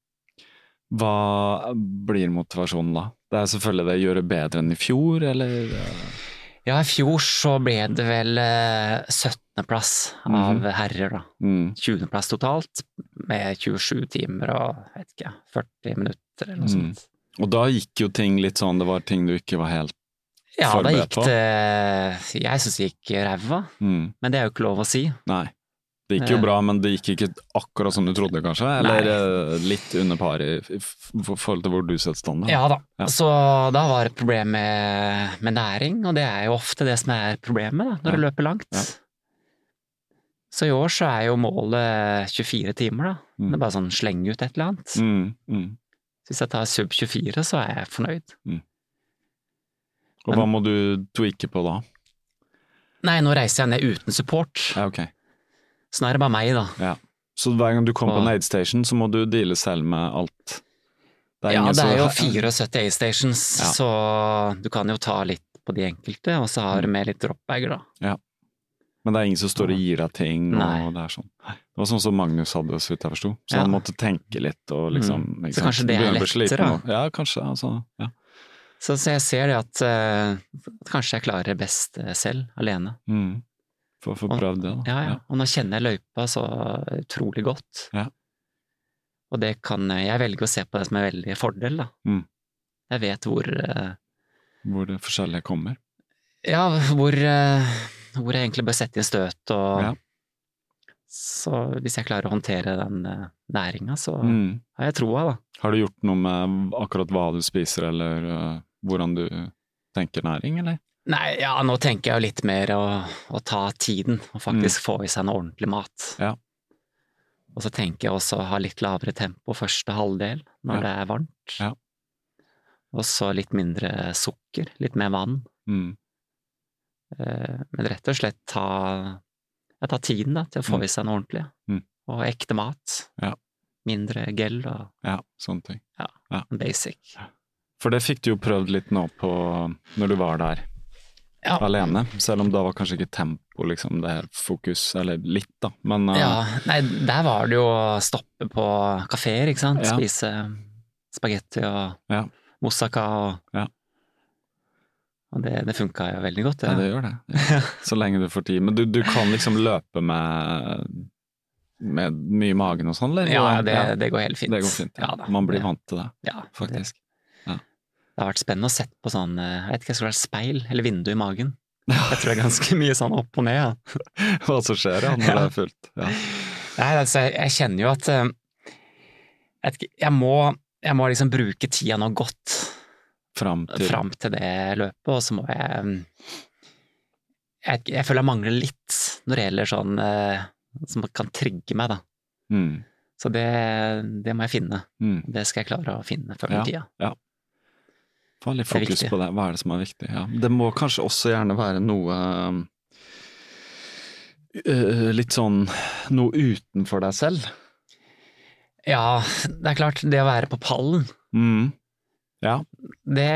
S2: Hva blir motivasjonen da? Det er selvfølgelig det å gjøre bedre enn i fjor, eller
S3: Ja, i fjor så ble det vel eh, 17. plass av
S2: Mhm.
S3: herrer, da.
S2: mm.
S3: 20. plass totalt, med 27 timer og jeg vet ikke, 40 minutter eller noe
S2: Mm.
S3: sånt.
S2: Og da gikk jo ting litt sånn, det var ting du ikke var helt
S3: Ja, da
S2: Forberedt
S3: gikk det Jeg syns det gikk ræva,
S2: mm.
S3: men det er jo ikke lov å si.
S2: Nei. Det gikk jo
S3: Eh.
S2: bra, men det gikk ikke akkurat som du trodde, kanskje? Eller eh, litt under par i i f- f- forhold til hvor du setter standard?
S3: Ja da.
S2: Ja.
S3: Så da var det et problem med, med næring, og det er jo ofte det som er problemet da,
S2: Ja.
S3: når du løper langt.
S2: Ja.
S3: Så i år så er jo målet 24 timer, da.
S2: Mm.
S3: Det er bare sånn slenge ut et eller annet.
S2: Mm, mm.
S3: Så hvis jeg tar sub 24, så er jeg fornøyd.
S2: Og hva må du tweake på da?
S3: Nei, nå reiser jeg ned uten support,
S2: Ja, ok.
S3: så nå er det bare meg, da.
S2: Ja. Så hver gang du kommer på
S3: Og-
S2: en aid station, så må du deale selv med alt? Det
S3: ja,
S2: ingen
S3: det
S2: som-
S3: er jo 74 A-stations,
S2: Ja.
S3: så du kan jo ta litt på de enkelte, og så
S2: Mm.
S3: har du med litt dropbager, da.
S2: Men det er ingen som står og gir deg ting.
S3: Nei.
S2: Og det, er sånn. det var sånn som Magnus hadde, så vidt jeg forsto. Så
S3: Ja.
S2: han måtte tenke litt og liksom
S3: Mm.
S2: ikke
S3: Så
S2: sant?
S3: kanskje det er
S2: Begynner å bli sliten
S3: lettere,
S2: nå. Ja, kanskje. Altså, ja.
S3: Så, så jeg ser det at eh, kanskje jeg klarer det best eh, selv, alene.
S2: Mm. Få få
S3: Og-
S2: prøvd det, da.
S3: Ja, ja. Og nå kjenner jeg løypa så utrolig godt.
S2: Ja.
S3: Og det kan Jeg velger å se på det som en veldig fordel, da.
S2: Mm.
S3: Jeg vet hvor eh,
S2: Hvor det forskjellige kommer.
S3: Ja, hvor, eh, hvor jeg egentlig bør sette inn støt og
S2: Ja.
S3: Så hvis jeg klarer å håndtere den næringa, så
S2: Mm.
S3: har jeg troa, da.
S2: Har du gjort noe med akkurat hva du spiser, eller øh, hvordan du tenker næring, eller?
S3: Nei, ja, nå tenker jeg jo litt mer å, å ta tiden og faktisk få i seg noe ordentlig mat.
S2: Mm. Ja.
S3: Og så tenker jeg også å ha litt lavere tempo første halvdel når
S2: Ja.
S3: det er varmt.
S2: Ja.
S3: Og så litt mindre sukker, litt mer vann.
S2: Mm.
S3: Eh, Men rett og slett ta, ja, ta tiden da, til å få
S2: Mm.
S3: i seg noe ordentlig.
S2: Mm.
S3: Og ekte mat.
S2: Ja.
S3: Mindre gel og
S2: Ja, sånne ting.
S3: basic.
S2: For det fikk du jo prøvd litt nå på øh, når du var der
S3: Ja.
S2: alene, selv om da var kanskje ikke tempo liksom det her fokus, eller litt da, men øh,
S3: Ja, nei, der var det jo å stoppe på kafeer, ikke sant?
S2: Ja.
S3: Spise spagetti og
S2: Ja.
S3: moussaka og
S2: Ja.
S3: Og det, det funka jo veldig godt,
S2: Ja, det
S3: det.
S2: gjør det. Så lenge du får tid. Men du, du kan liksom løpe med, med mye i magen og sånn, eller?
S3: Ja, det, det går helt fint.
S2: Det går fint.
S3: Ja, da.
S2: Man blir
S3: Det-
S2: vant til det,
S3: ja, Det,
S2: faktisk.
S3: det har vært spennende å sette på sånn eh, Jeg vet ikke, jeg skulle vært speil eller vindu i magen. Jeg tror det er ganske mye sånn opp og ned. Ja.
S2: Hva som skjer ja, når
S3: Ja.
S2: det er fullt. Ja.
S3: Nei, altså, jeg, jeg kjenner jo at eh, jeg, vet ikke, jeg, må, jeg må liksom bruke tida nå godt
S2: Fram til
S3: fram til det løpet, og så må jeg mm, Jeg, vet ikke, jeg føler jeg mangler litt når det gjelder sånn eh, som kan trigge meg, da.
S2: Mm.
S3: Så det, det må jeg finne.
S2: Mm.
S3: Det skal jeg klare å finne før den tida.
S2: Få litt
S3: Det er
S2: fokus
S3: viktig.
S2: på det. Hva er det som er viktig? Ja. Det må kanskje også gjerne være noe øh, litt sånn noe utenfor deg selv.
S3: Ja, det er klart, det å være på pallen,
S2: Mm.
S3: det,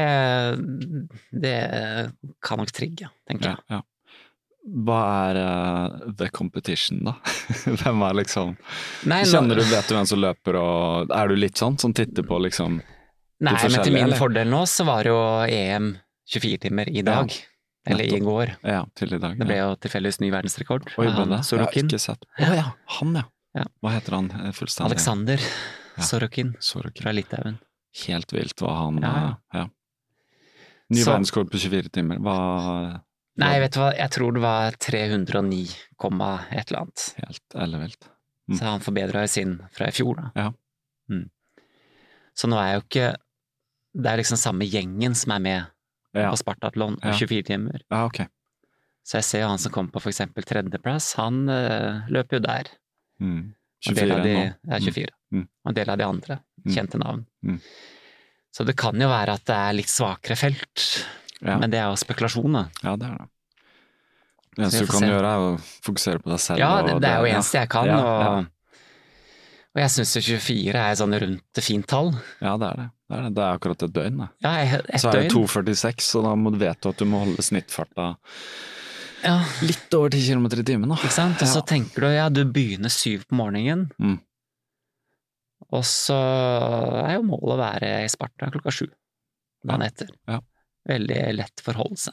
S3: det kan nok trigge,
S2: Ja,
S3: tenker jeg.
S2: ja. Hva er eh, the competition, da? Hvem er liksom
S3: Nei, nå-
S2: Kjenner du, vet du hvem som løper og Er du litt sånn som titter på, liksom?
S3: Nei,
S2: Til
S3: men til
S2: forskjellige,
S3: min
S2: eller?
S3: fordel nå så var det jo EM 24 timer i dag. eller i
S2: nettopp.
S3: går.
S2: Ja, til i dag.
S3: Det ble
S2: ja.
S3: jo tilfeldigvis ny verdensrekord.
S2: Oi, ble
S3: av
S2: det? Jeg har
S3: Sorokin.
S2: ikke sett. Å ja, han ja.
S3: Ja.
S2: Hva heter han eh, fullstendig?
S3: Aleksander
S2: Ja.
S3: Sorokin
S2: Sorokin.
S3: fra Litauen.
S2: Helt vilt hva han
S3: Ja, ja.
S2: eh, ja. Ny
S3: Så-
S2: verdenskår på 24 timer. Hva
S3: Nei, vet du hva, jeg tror det var 309, komma et eller annet.
S2: Helt ellevilt. Mm.
S3: Så han forbedra jo sin fra i fjor, da.
S2: Ja.
S3: Mm. Så nå er jo ikke Det er liksom samme gjengen som er med
S2: Ja.
S3: på Spartatlon
S2: Ja.
S3: og 24 timer.
S2: ja, ok.
S3: Så jeg ser jo han som kom på for eksempel tredjeplass, han eh, løper løp jo der.
S2: Mm.
S3: Og en del
S2: 24
S3: av de,
S2: nå.
S3: Ja, 24.
S2: Mm.
S3: Og en del av de andre
S2: Mm.
S3: kjente navn.
S2: Mm.
S3: Så det kan jo være at det er litt svakere felt,
S2: Ja,
S3: men det er jo spekulasjon, da.
S2: ja det er det. Det
S3: Så vi
S2: eneste du
S3: får
S2: kan
S3: se.
S2: gjøre, er å fokusere på deg selv.
S3: Ja,
S2: og
S3: det, det er jo
S2: ja.
S3: eneste jeg kan,
S2: Ja, ja.
S3: og, og jeg syns jo 24 er sånn rundt et fint tall.
S2: Ja, det er det. Det er, det. det er akkurat et døgn, det.
S3: Ja, et et
S2: Så er det
S3: døgn.
S2: 2,46, så da må du vet du at du må holde snittfarta
S3: Ja,
S2: litt over 10 km i timen. Da.
S3: ikke sant? Og så tenker du ja, du begynner syv på morgenen,
S2: Mm.
S3: og så er jo målet å være i Sparta klokka sju dagen etter.
S2: Ja.
S3: Veldig lett forholdelse.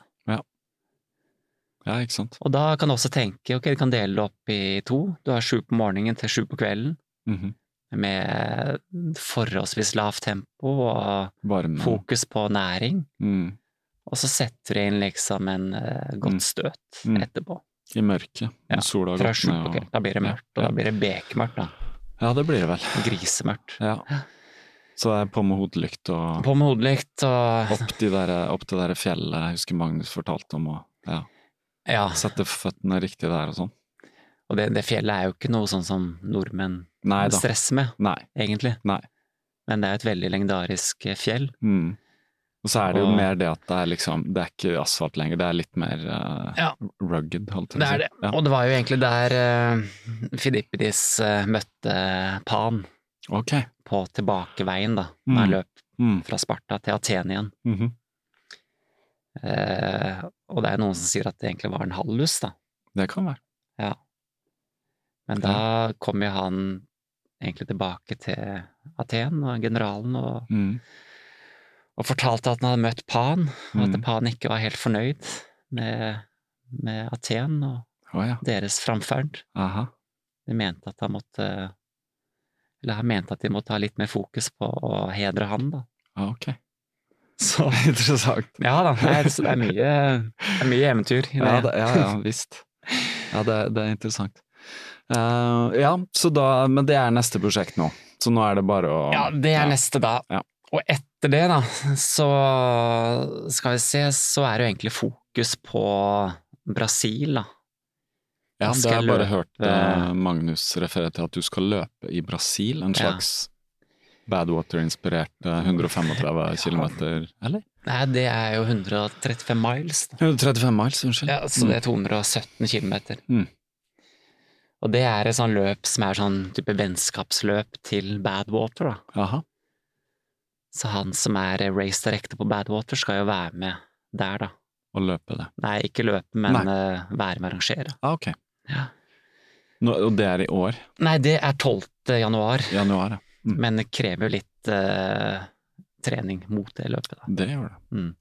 S2: Ja, ikke sant.
S3: Og da kan du også tenke ok, du kan dele det opp i to. Du har sju på morgenen til sju på kvelden,
S2: Mhm.
S3: med forholdsvis lavt tempo og
S2: Varme.
S3: fokus på næring.
S2: Mm.
S3: Og så setter du inn liksom en eh,
S2: Mm.
S3: godt støt
S2: Mm.
S3: etterpå.
S2: I mørket.
S3: Ja,
S2: når Sola har
S3: Fra
S2: gått
S3: sju
S2: ned.
S3: på
S2: Og...
S3: kvelden. Da blir det
S2: Ja,
S3: mørkt,
S2: ja.
S3: og da blir det bekmørkt, da.
S2: Ja, det blir det vel.
S3: Grisemørkt.
S2: Ja. Så det er på med hodelykt og
S3: På med hodelykt og
S2: opp, de der, opp det der fjellet jeg husker Magnus fortalte om. Og, ja.
S3: Ja.
S2: Sette føttene riktig der og sånn.
S3: Og det, det fjellet er jo ikke noe sånn som nordmenn
S2: Nei da.
S3: stresser med,
S2: Nei.
S3: egentlig.
S2: Nei.
S3: Men det er jo et veldig legendarisk eh, fjell.
S2: Mm. Og så er det jo
S3: Og-
S2: mer det at det er liksom Det er ikke asfalt lenger, det er litt mer eh,
S3: Ja.
S2: rugged, holdt jeg på å
S3: Det
S2: si.
S3: er det.
S2: Ja.
S3: Og det var jo egentlig der eh, Fidippides eh, møtte Pan
S2: Ok.
S3: på tilbakeveien, da. Når han
S2: Mm.
S3: løp
S2: Mm.
S3: fra Sparta til Aten igjen.
S2: Mhm.
S3: Eh, og det er noen som sier at det egentlig var en hallus, da.
S2: Det kan være.
S3: Men da kom jo han egentlig tilbake til Aten og generalen og,
S2: Mm.
S3: og fortalte at han hadde møtt Pan, og at
S2: Mm.
S3: Pan ikke var helt fornøyd med, med Aten og
S2: Å ja.
S3: deres framferd.
S2: Aha.
S3: De mente at han måtte Eller han mente at de måtte ha litt mer fokus på å hedre han, da.
S2: Ja, ok.
S3: Så
S2: Interessant.
S3: ja da, nei, så det er mye, det er mye eventyr i det.
S2: Ja, det, ja, ja visst. Ja, det, det er interessant. Eh, ja, så da, men det er neste prosjekt nå. Så nå er det bare å
S3: Ja, det er
S2: ja.
S3: neste da.
S2: Ja.
S3: Og etter det, da, så skal vi se, så er det jo egentlig fokus på Brasil, da.
S2: Ja,
S3: Da
S2: det
S3: skal
S2: har jeg
S3: jeg
S2: bare hørt
S3: løpe-
S2: eh, Magnus referere til at du skal løpe i Brasil, en
S3: Ja.
S2: slags Badwater-inspirert eh, 135 km, eller?
S3: Nei, det er jo 135 miles, Mm. da.
S2: 135 miles, unnskyld.
S3: Ja, så det er 217 kilometer.
S2: Mm.
S3: Og det er et sånn løp som er sånn type vennskapsløp til Badwater, da.
S2: Aha.
S3: Så han som er race-direkte på Badwater skal jo være med der, da.
S2: Å løpe det.
S3: Nei, ikke løpe, men
S2: Nei.
S3: eh, være med å arrangere.
S2: Ah, ok.
S3: Ja.
S2: Nå, og det er i år?
S3: Nei, det er 12. januar.
S2: Januar, ja.
S3: Men det krever jo litt eh, trening mot det løpet, da.
S2: Det gjør det.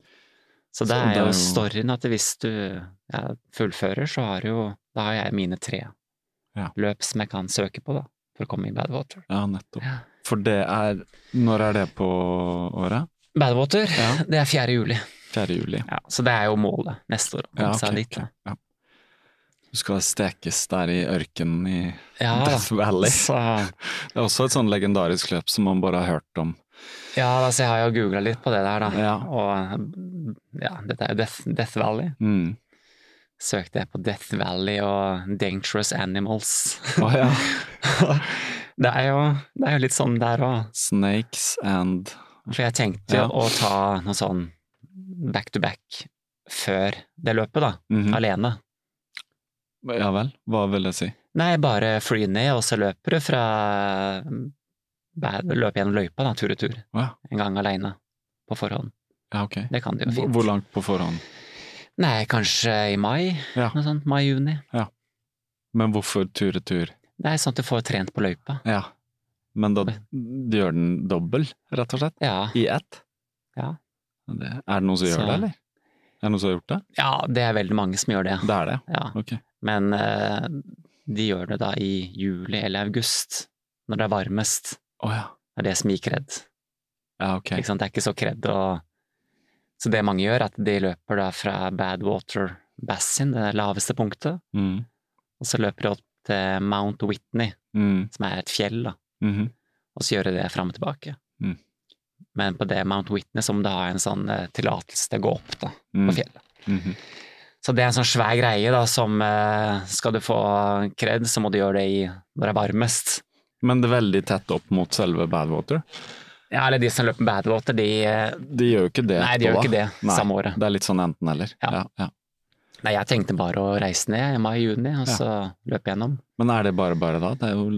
S3: Så det er jo storyen at hvis du ja, fullfører, så har jo Da har jeg mine tre
S2: Ja.
S3: løp som jeg kan søke på, da, for å komme i Badwater.
S2: Ja, nettopp.
S3: Ja.
S2: For det er Når er det på året?
S3: Badwater,
S2: Ja.
S3: det er 4. juli.
S2: 4. juli.
S3: Ja, så det er jo målet neste år, å komme
S2: Ja, ok,
S3: seg
S2: ok,
S3: dit. Da.
S2: ja. Du skal stekes der i ørkenen i
S3: Ja, da.
S2: Death Valley.
S3: Så,
S2: Det er også et sånn legendarisk løp som man bare har hørt om.
S3: ja, da, så jeg har jo googla litt på det der, da.
S2: Ja.
S3: Og ja, dette er jo Death, Death Valley.
S2: Mm.
S3: Søkte jeg på Death Valley og Dangerous Animals.
S2: Å ja.
S3: det, er jo, det er jo litt sånn der òg.
S2: Snakes and
S3: For jeg tenkte jo
S2: Ja.
S3: å ta noe sånn back to back før det løpet, da.
S2: Mhm.
S3: Alene.
S2: Ja vel, hva vil det si?
S3: Nei, bare fly ned, og så løper du fra bæ- Løper gjennom løypa, da, tur og tur.
S2: Å ja.
S3: En gang aleine. På forhånd.
S2: ja, ok.
S3: Det kan du jo
S2: Hvor,
S3: fint.
S2: hvor langt på forhånd?
S3: Nei, kanskje i mai.
S2: Ja.
S3: Noe sånt. Mai-juni.
S2: Men hvorfor tur-retur?
S3: Det er sånn at du får trent på løypa.
S2: Ja. Men da du gjør den dobbel, rett og slett?
S3: Ja.
S2: I ett?
S3: Ja.
S2: Det, er det noen som gjør
S3: Så-
S2: det, eller? Er det noen som har gjort det?
S3: ja, det er veldig mange som gjør det.
S2: Det er det,
S3: Ja.
S2: ok.
S3: Men eh, de gjør det da i juli eller august, når det er varmest.
S2: Å ja.
S3: Det er det som gir kred.
S2: Ja, ok.
S3: Ikke sant? Det er ikke så kred å Så det mange gjør, er at de løper da fra Badwater Bassin, det laveste punktet,
S2: Mm.
S3: og så løper de opp til Mount Whitney,
S2: Mm.
S3: som er et fjell, da,
S2: Mhm.
S3: og så gjør de det fram og tilbake.
S2: Mm.
S3: Men på det Mount Whitney så må du ha en sånn eh, tillatelse til å gå opp da,
S2: Mm.
S3: på fjellet.
S2: Mhm.
S3: Så det er en sånn svær greie da, som eh, skal du få kred, så må du gjøre det i når det er varmest.
S2: Men det er veldig tett opp mot selve Badwater.
S3: Ja, eller de som løper badwater, de eh,
S2: De gjør jo ikke det.
S3: Nei, de gjør
S2: da.
S3: ikke det
S2: Nei,
S3: samme året.
S2: Det er litt sånn enten-eller.
S3: Ja.
S2: Ja, ja.
S3: Nei, jeg tenkte bare å reise ned i mai-juni, og så løpe gjennom.
S2: Men er det bare bare da? Det er jo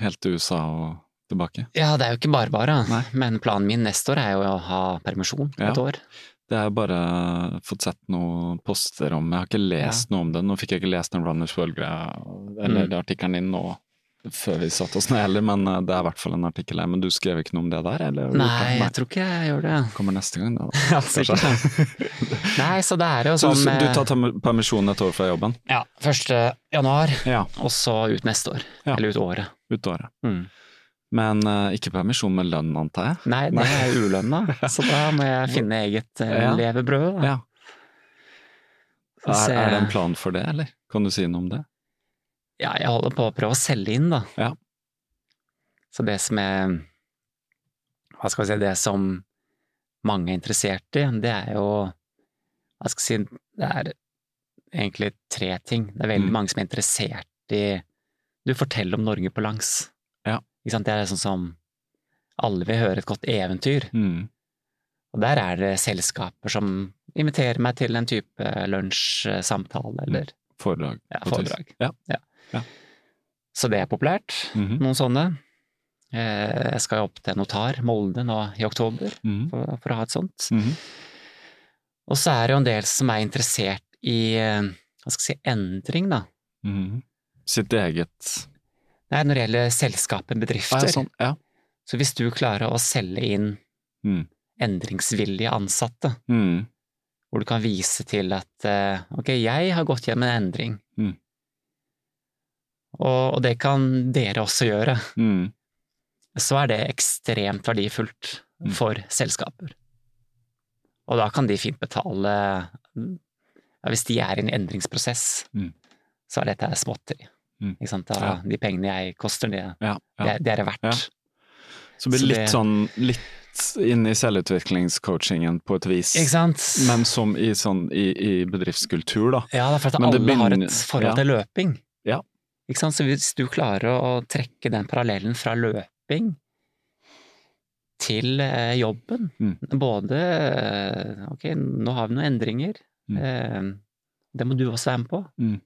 S2: helt til USA og tilbake.
S3: Ja, det er jo ikke bare bare,
S2: Nei.
S3: men planen min neste år er jo å ha permisjon
S2: Ja.
S3: et år.
S2: Det er jo bare fått sett noen poster om Jeg har ikke lest noe om det. Nå fikk jeg ikke lest den Runners World-greia, eller
S3: Mm.
S2: artikkelen din nå før vi satte oss ned heller, men eh, det er i hvert fall en artikkel her. Men du skrev ikke noe om det der, eller? har du gjort
S3: Nei,
S2: det?
S3: jeg tror ikke jeg gjør det.
S2: Kommer neste gang, det da.
S3: Ja, sikkert. Nei, så det er jo
S2: Så
S3: sånn
S2: du, du
S3: eh,
S2: tar tam- permisjon et år fra jobben?
S3: Ja, 1. januar,
S2: Ja.
S3: og så ut neste år.
S2: Ja.
S3: Eller ut året.
S2: Ut året. Men eh, ikke permisjon med lønn, antar jeg?
S3: Nei, det er ulønna, så da må jeg finne eget eh,
S2: Ja.
S3: levebrød. Da.
S2: Ja.
S3: Så
S2: Er, er det en
S3: jeg-
S2: plan for det, eller? Kan du si noe om det?
S3: Ja, jeg holder på å prøve å selge inn, da.
S2: Ja.
S3: Så det som er Hva skal vi si Det som mange er interessert i, det er jo Hva skal jeg si Det er egentlig tre ting. Det er veldig
S2: Mm.
S3: mange som er interessert i Du forteller om Norge på langs.
S2: Ja.
S3: Ikke sant? Det er sånn som Alle vil høre et godt eventyr.
S2: Mm.
S3: Og der er det selskaper som inviterer meg til en type
S2: Mm.
S3: lunsjsamtale eller
S2: Foredrag.
S3: Ja,
S2: på tysk.
S3: foredrag.
S2: Ja.
S3: Så det er populært.
S2: Mhm.
S3: Noen sånne. Eh, Jeg skal jo opp til notar, Molde, nå i oktober,
S2: Mhm.
S3: for, for å ha et sånt.
S2: Mhm.
S3: Og så er det jo en del som er interessert i eh, hva skal jeg si, endring, da.
S2: Mhm. Sitt eget
S3: Nei, når det gjelder selskaper,
S2: Ah,
S3: bedrifter.
S2: ja, sånn. ja.
S3: Så hvis du klarer å selge inn
S2: Mhm.
S3: endringsvillige ansatte,
S2: Mhm.
S3: hvor du kan vise til at eh, ok, jeg har gått gjennom en endring,
S2: Mhm.
S3: og, og det kan dere også gjøre.
S2: Mhm.
S3: så er det ekstremt verdifullt
S2: Mm.
S3: for selskaper. Og da kan de fint betale ja, Hvis de er i en endringsprosess,
S2: Mm.
S3: så er dette småtteri.
S2: Mm.
S3: Ikke sant? Da,
S2: Ja.
S3: De pengene jeg koster, det,
S2: Ja, ja.
S3: det, det er det verdt.
S2: Ja. Så det
S3: Så
S2: blir litt
S3: det-
S2: sånn litt inn i selvutviklingscoachingen på et vis,
S3: Ikke sant?
S2: men som i, sånn, i, i bedriftskultur, da.
S3: ja, det er for at
S2: men
S3: alle
S2: det
S3: har
S2: begynner-
S3: et forhold til løping.
S2: Ja.
S3: Ikke sant? Så hvis du klarer å trekke den parallellen fra løping til eh, jobben,
S2: Mm.
S3: både eh, Ok, nå har vi noen endringer.
S2: Mm.
S3: Eh, det må du også være med på.
S2: Mm.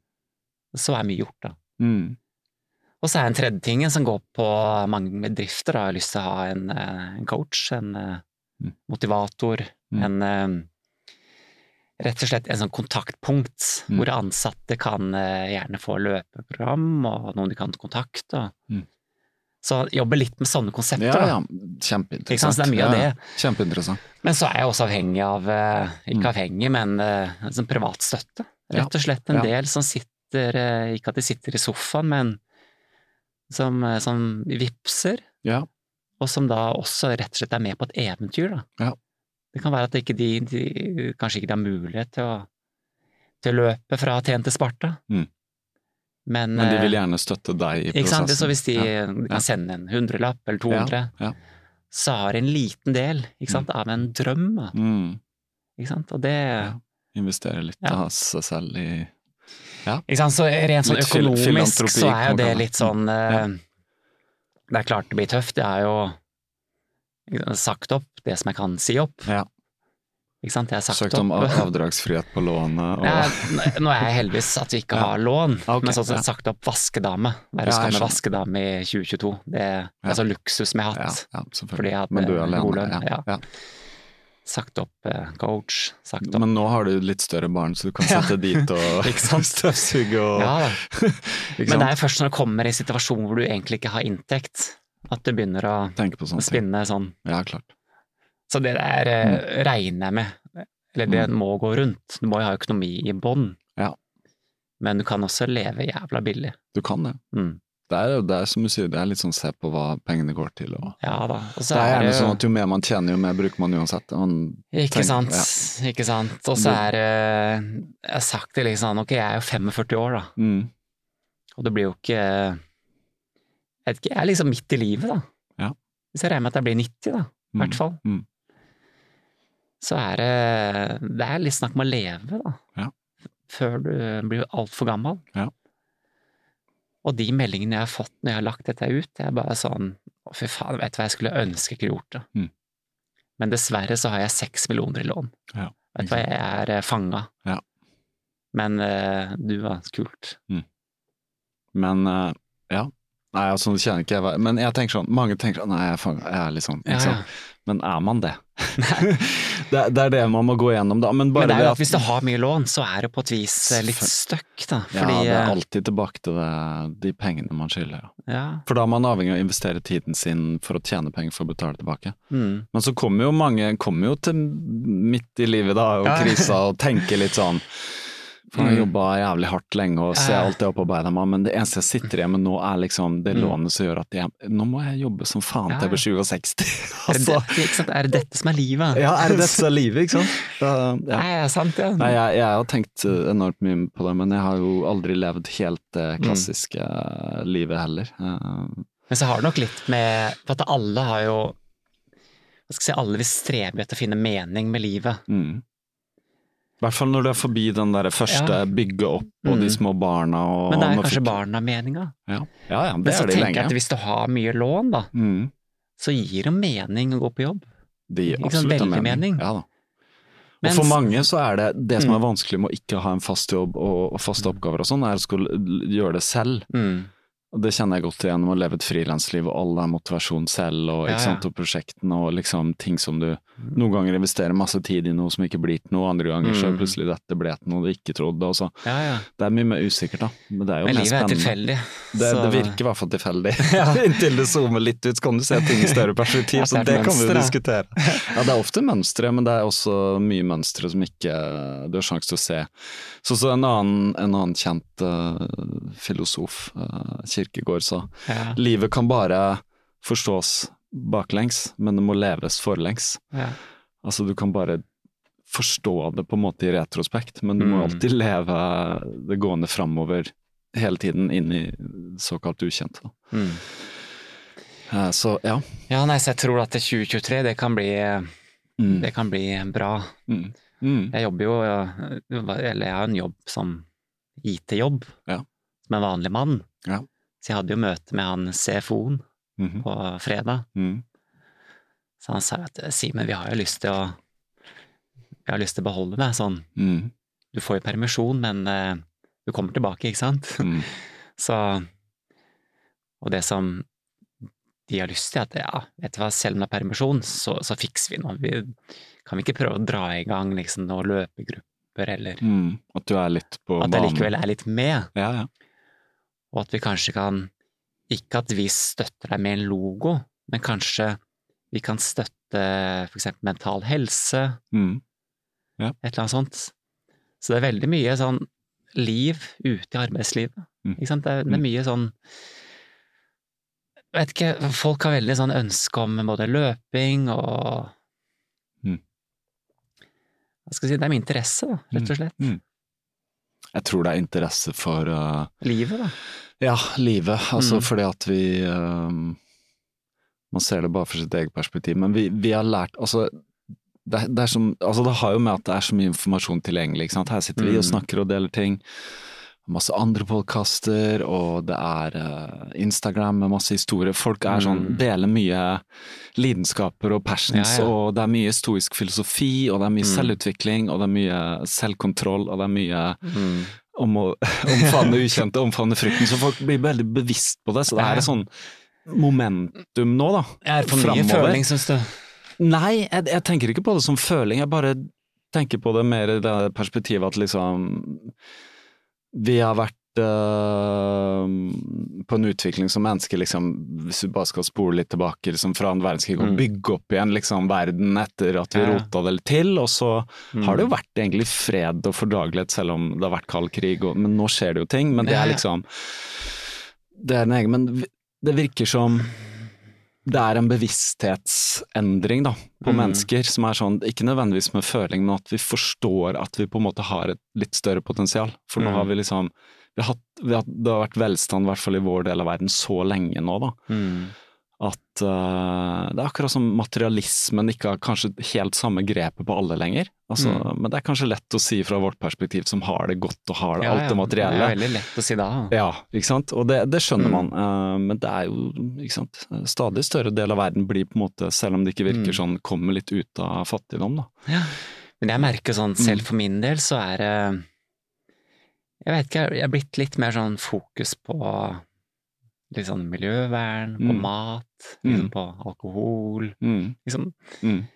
S3: Så er mye gjort, da.
S2: Mhm.
S3: Og så er den tredje tingen som går på mange bedrifter, har lyst til å ha en, eh, en coach, en eh,
S2: Mm.
S3: motivator,
S2: Mm.
S3: en eh, Rett og slett en sånn kontaktpunkt
S2: Mm.
S3: hvor ansatte kan eh, gjerne få løpeprogram og noen de kan kontakte. og-
S2: Mm.
S3: Så jobbe litt med sånne konsepter.
S2: Ja,
S3: da.
S2: ja.
S3: Ikke sant,
S2: Kjempeinteressant.
S3: så det er mye av
S2: Ja, ja.
S3: det.
S2: Kjempeinteressant.
S3: Men så er jeg også avhengig av, eh,
S2: Mm.
S3: ikke avhengig, men eh, en sånn privat støtte. Rett og slett en
S2: Ja.
S3: del som sitter, eh, ikke at de sitter i sofaen, men som, eh, som vipser,
S2: Ja.
S3: og som da også rett og slett er med på et eventyr, da.
S2: Ja.
S3: Det kan være at ikke de, de kanskje ikke de har mulighet til å, til å løpe fra Aten til Sparta,
S2: Mm.
S3: men,
S2: Men de vil
S3: eh,
S2: gjerne støtte deg i prosessen.
S3: ikke sant? Så hvis de,
S2: Ja.
S3: de
S2: Ja.
S3: kan sende en hundrelapp eller 200,
S2: Ja.
S3: så har en liten del ikke sant, av en drøm. da.
S2: Mm.
S3: Ikke sant? Og det,
S2: Investere litt
S3: Ja.
S2: av seg selv i
S3: Ikke sant? Så rent sånn
S2: Litt fil-
S3: økonomisk
S2: filantropi,
S3: så er jo
S2: kan man
S3: det
S2: kalle det.
S3: litt sånn eh, Det er klart det blir tøft. Det er jo ikke sant, sagt opp det som jeg kan si opp.
S2: Ja.
S3: Ikke sant? Jeg har sagt
S2: Søkt
S3: opp.
S2: om av- avdragsfrihet på lånet og
S3: Nei, n- nå er jeg heldigvis at vi ikke
S2: Ja.
S3: har lån,
S2: Ah, ok,
S3: men sånn sett
S2: ja.
S3: sagt opp vaskedame.
S2: Ja,
S3: Være
S2: jeg
S3: skamme
S2: skjønner.
S3: vaskedame i 2022. Det er
S2: Ja.
S3: altså luksus som jeg har
S2: ja,
S3: hatt.
S2: ja,
S3: Fordi
S2: selvfølgelig.
S3: jeg hadde
S2: Men du er alene.
S3: god lønn,
S2: ja. Ja.
S3: Sagt opp eh, coach, sagt opp
S2: Men nå har du litt større barn, så du kan
S3: Ja.
S2: sette dit og
S3: Ikke sant?
S2: støvsuge og
S3: Ja da.
S2: Ikke
S3: Men
S2: sant?
S3: det er først når du kommer i en situasjon hvor du egentlig ikke har inntekt, at du begynner å
S2: Tenke på sånne ting.
S3: spinne sånn.
S2: Ja, klart.
S3: Så det der
S2: Mm.
S3: eh, regner jeg med. Eller det må gå rundt. Du må jo ha økonomi i bånn.
S2: Ja.
S3: Men du kan også leve jævla billig.
S2: Du kan det.
S3: Mm.
S2: Det er, det er som du sier, det er litt sånn se på hva pengene går til og
S3: Ja da. Og så
S2: Det er gjerne
S3: jo-
S2: sånn at jo mer man tjener, jo mer bruker man uansett. Man
S3: Ikke
S2: tenker-
S3: sant.
S2: Ja.
S3: Ikke sant. Og så er det Jeg har sagt det liksom sånn, ok, jeg er jo 45 år, da.
S2: Mm.
S3: Og det blir jo ikke Jeg vet ikke, jeg er liksom midt i livet, da.
S2: Ja.
S3: Hvis jeg regner med at jeg blir 90, da, i
S2: Mm.
S3: hvert fall,
S2: Mm.
S3: så er det Det er litt snakk om å leve, da.
S2: Ja.
S3: Før du blir altfor gammel.
S2: Ja.
S3: Og de meldingene jeg har fått når jeg har lagt dette ut, det er bare sånn Å, fy faen, vet du hva, jeg skulle ønske jeg kunne gjort det.
S2: Mm.
S3: Men dessverre så har jeg seks millioner i lån.
S2: Ja,
S3: vet du hva, jeg er eh, fanga.
S2: Ja.
S3: Men eh, du, var kult.
S2: Men eh, ja. Nei, altså, nå kjenner ikke jeg hva- Men jeg tenker sånn, mange tenker sånn Nei, jeg er, fang- jeg er litt sånn. Ikke sant? Men er man det? det, er- det er det man må gå gjennom, da. Men bare
S3: Men det er jo
S2: det
S3: at hvis du har mye lån, så er det på et vis eh, litt støkk, da.
S2: Ja,
S3: Fordi,
S2: det er
S3: eh,
S2: alltid tilbake til det, de pengene man skylder. Ja.
S3: ja.
S2: For da er man avhengig av å investere tiden sin for å tjene penger for å betale tilbake.
S3: Mm.
S2: Men så kommer jo mange kommer jo til midt i livet da, og
S3: Ja.
S2: krisa, og tenker litt sånn Faen, jeg
S3: Mm.
S2: jobba jævlig hardt lenge og ser
S3: Ja. Mm.
S2: alt det opparbeida meg, men det eneste jeg sitter igjen med nå, er liksom det lånet som gjør at jeg Nå må jeg jobbe som faen til jeg blir 67.
S3: Er, det,
S2: altså,
S3: ikke sant? er det dette som er livet?
S2: ja, er det dette som er livet, ikke sant? Da- ja.
S3: Nei, er det sant, ja.
S2: Nei, jeg, jeg har tenkt eh, enormt mye på det, men jeg har jo aldri levd helt det
S3: Mm.
S2: klassiske eh, livet heller. Eh,
S3: Men så har det nok litt med For at alle har jo hva skal jeg si, Alle vil strebe etter å finne mening med livet.
S2: Mm. I hvert fall når du er forbi den der første
S3: Ja.
S2: bygge opp og de
S3: Mm.
S2: små barna og
S3: Men det er
S2: nå
S3: jo kanskje
S2: fikk-
S3: barna meninga.
S2: Ja, ja, ja
S3: Men
S2: det
S3: så
S2: er de
S3: tenker jeg
S2: lenge.
S3: at hvis du har mye lån, da,
S2: Mm.
S3: så gir det mening å gå på jobb.
S2: Det gir
S3: Ikke sant,
S2: absolutt en
S3: veldig
S2: mening.
S3: mening.
S2: Ja, da. Og
S3: Mens- Mm.
S2: for mange så er det det som er vanskelig med å ikke ha en fast jobb og, og faste oppgaver og sånn, er å skulle l- gjøre det selv.
S3: Mm.
S2: Og det kjenner jeg godt igjen med å leve et frilansliv, og all den motivasjonen selv, og,
S3: Ja, Mm. ja.
S2: ikke sant, og prosjektene og liksom ting som du Noen ganger investerer masse tid i noe som ikke blir til noe, andre ganger så
S3: Mm.
S2: plutselig dette ble til noe du ikke trodde, og så
S3: Ja, ja.
S2: Det er mye mer usikkert, da. Men det er jo
S3: Men
S2: mer
S3: livet er
S2: spennende.
S3: tilfeldig.
S2: Det,
S3: så-
S2: det virker i hvert fall tilfeldig. Inntil det zoomer litt ut, så kan du se ting i større perspektiv.
S3: At det
S2: så
S3: er et
S2: det kan vi jo
S3: mønster, da.
S2: diskutere. Ja, det er ofte mønstre, men det er også mye mønstre som ikke du har sjanse til å se. Så, så en, annen, en annen kjent eh, filosof, uh, Kirkegård, sa
S3: Ja,
S2: livet kan bare forstås baklengs, men det må leves forlengs.
S3: ja.
S2: Altså, du kan bare forstå det på en måte i retrospekt, men du må
S3: Mm.
S2: alltid leve det gående framover hele tiden inn i såkalt ukjent. Da.
S3: Mm.
S2: Eh, Så ja.
S3: ja, nei, så jeg tror at 2023, det kan bli, det kan bli bra.
S2: Mm. Mm.
S3: Jeg jobber jo eh, Eller jeg har en jobb som IT-jobb,
S2: Ja.
S3: som en vanlig mann.
S2: Ja.
S3: Så jeg hadde jo møte med han CFO-en
S2: Mhm.
S3: på fredag.
S2: Mm.
S3: Så han sa at Simen, vi har jo lyst til å Vi har lyst til å beholde deg sånn.
S2: Mm.
S3: Du får jo permisjon, men eh, du kommer tilbake, ikke sant?
S2: Mm.
S3: Så Og det som de har lyst til, er at ja, vet du hva, selv om det er permisjon, så, så fikser vi noe. Vi, kan vi ikke prøve å dra i gang liksom, noen løpegrupper, eller
S2: Mm. At du er litt på
S3: at jeg likevel er litt med?
S2: Ja, ja.
S3: Og at vi kanskje kan Ikke at vi støtter deg med en logo, men kanskje vi kan støtte for eksempel Mental Helse,
S2: Mm.
S3: et eller annet sånt. Så det er veldig mye sånn liv ute i arbeidslivet.
S2: Mm.
S3: Ikke sant? Det, er, det er mye sånn jeg vet ikke, Folk har veldig sånn ønske om både løping og
S2: Mm.
S3: Hva skal jeg si, Det er min interesse, da, rett og slett.
S2: Mm. Jeg tror det er interesse for eh,
S3: Livet, da.
S2: Ja, livet. Altså
S3: Mm.
S2: fordi at vi ehm, Man ser det bare fra sitt eget perspektiv, men vi, vi har lært Altså det, er- det, er som, altså det har jo med at det er så mye informasjon tilgjengelig. Ikke sant? Her sitter vi og
S3: Mm.
S2: snakker og deler ting. Masse andre podkaster, og det er eh, Instagram med masse historier. Folk er sånn,
S3: Mm.
S2: deler mye lidenskaper og passions,
S3: Ja, ja.
S2: og det er mye stoisk filosofi, og det er mye
S3: Mm.
S2: selvutvikling, og det er mye selvkontroll, og det er mye
S3: Mm.
S2: om å omfavne ukjente, omfavne frykten. Så folk blir veldig bevisst på det. Så det
S3: Ja,
S2: er
S3: ja.
S2: et sånn momentum nå, da.
S3: Er det for mye
S2: Fremover.
S3: føling, syns du?
S2: Nei, jeg, jeg tenker ikke på det som føling. Jeg bare tenker på det mer i det perspektivet at liksom Vi har vært øh, på en utvikling som mennesker, liksom, hvis vi bare skal spole litt tilbake liksom, fra en verdenskrig og
S3: Mm.
S2: bygge opp igjen liksom, verden etter at vi
S3: Ja, ja.
S2: rota det til, og så
S3: Mm.
S2: har det jo vært egentlig fred og fordragelighet, selv om det har vært kald krig, og, men nå skjer det jo ting. Men det
S3: Ja,
S2: er
S3: ja.
S2: liksom Det er en egen Men vi- det virker som det er en bevissthetsendring da, på
S3: Mm.
S2: mennesker som er sånn, ikke nødvendigvis med føling, men at vi forstår at vi på en måte har et litt større potensial. For nå
S3: Mm.
S2: har vi liksom vi har hatt, vi har, Det har vært velstand, i hvert fall i vår del av verden, så lenge nå, da.
S3: Mm.
S2: at eh, det er akkurat som materialismen ikke har kanskje helt samme grepet på alle lenger. Altså, Men det er kanskje lett å si fra vårt perspektiv, som har det godt og har det, alt det materielle.
S3: Det er veldig lett å si da.
S2: Ja, ikke sant? og det, det skjønner
S3: Mm.
S2: man, eh, men det er jo ikke sant? stadig større del av verden blir på en måte, selv om det ikke virker
S3: Mm.
S2: sånn, kommer litt ut av fattigdom. da.
S3: Ja. Men jeg merker sånn,
S2: Mm.
S3: selv for min del, så er det Jeg vet ikke, jeg er blitt litt mer sånn fokus på litt sånn miljøvern, på
S2: Mm.
S3: mat,
S2: Mm.
S3: liksom på alkohol,
S2: Mm.
S3: liksom.
S2: Mm.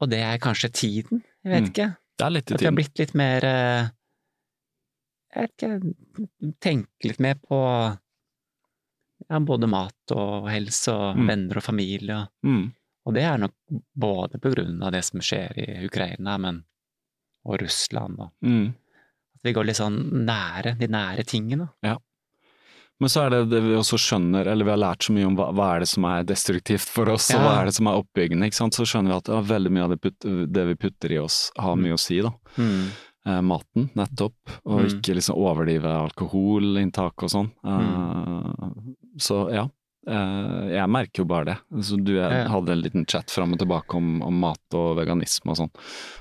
S3: Og det er kanskje tiden, jeg vet
S2: Mm.
S3: ikke.
S2: Det er litt i
S3: At jeg har
S2: tiden.
S3: blitt litt mer eh, Jeg vet ikke, tenke litt mer på ja, både mat og helse og
S2: Mm.
S3: venner og familie. og-
S2: Mm.
S3: Og det er nok både på grunn av det som skjer i Ukraina men, og Russland. Og,
S2: Mm.
S3: at vi går litt sånn nære de nære tingene.
S2: Men så er det det vi også skjønner, eller vi har lært så mye om hva, hva er det som er destruktivt for oss, og
S3: Ja.
S2: hva er det som er oppbyggende, ikke sant? så skjønner vi at ja, veldig mye av det, putt, det vi putter i oss har mye å si, da. Eh, maten, nettopp, og
S3: Mm.
S2: ikke liksom overdrive alkoholinntak og sånn. Eh,
S3: Mm.
S2: Så ja, eh, jeg merker jo bare det. Så du jeg
S3: Ja.
S2: hadde en liten chat fram og tilbake om, om mat og veganisme og sånn.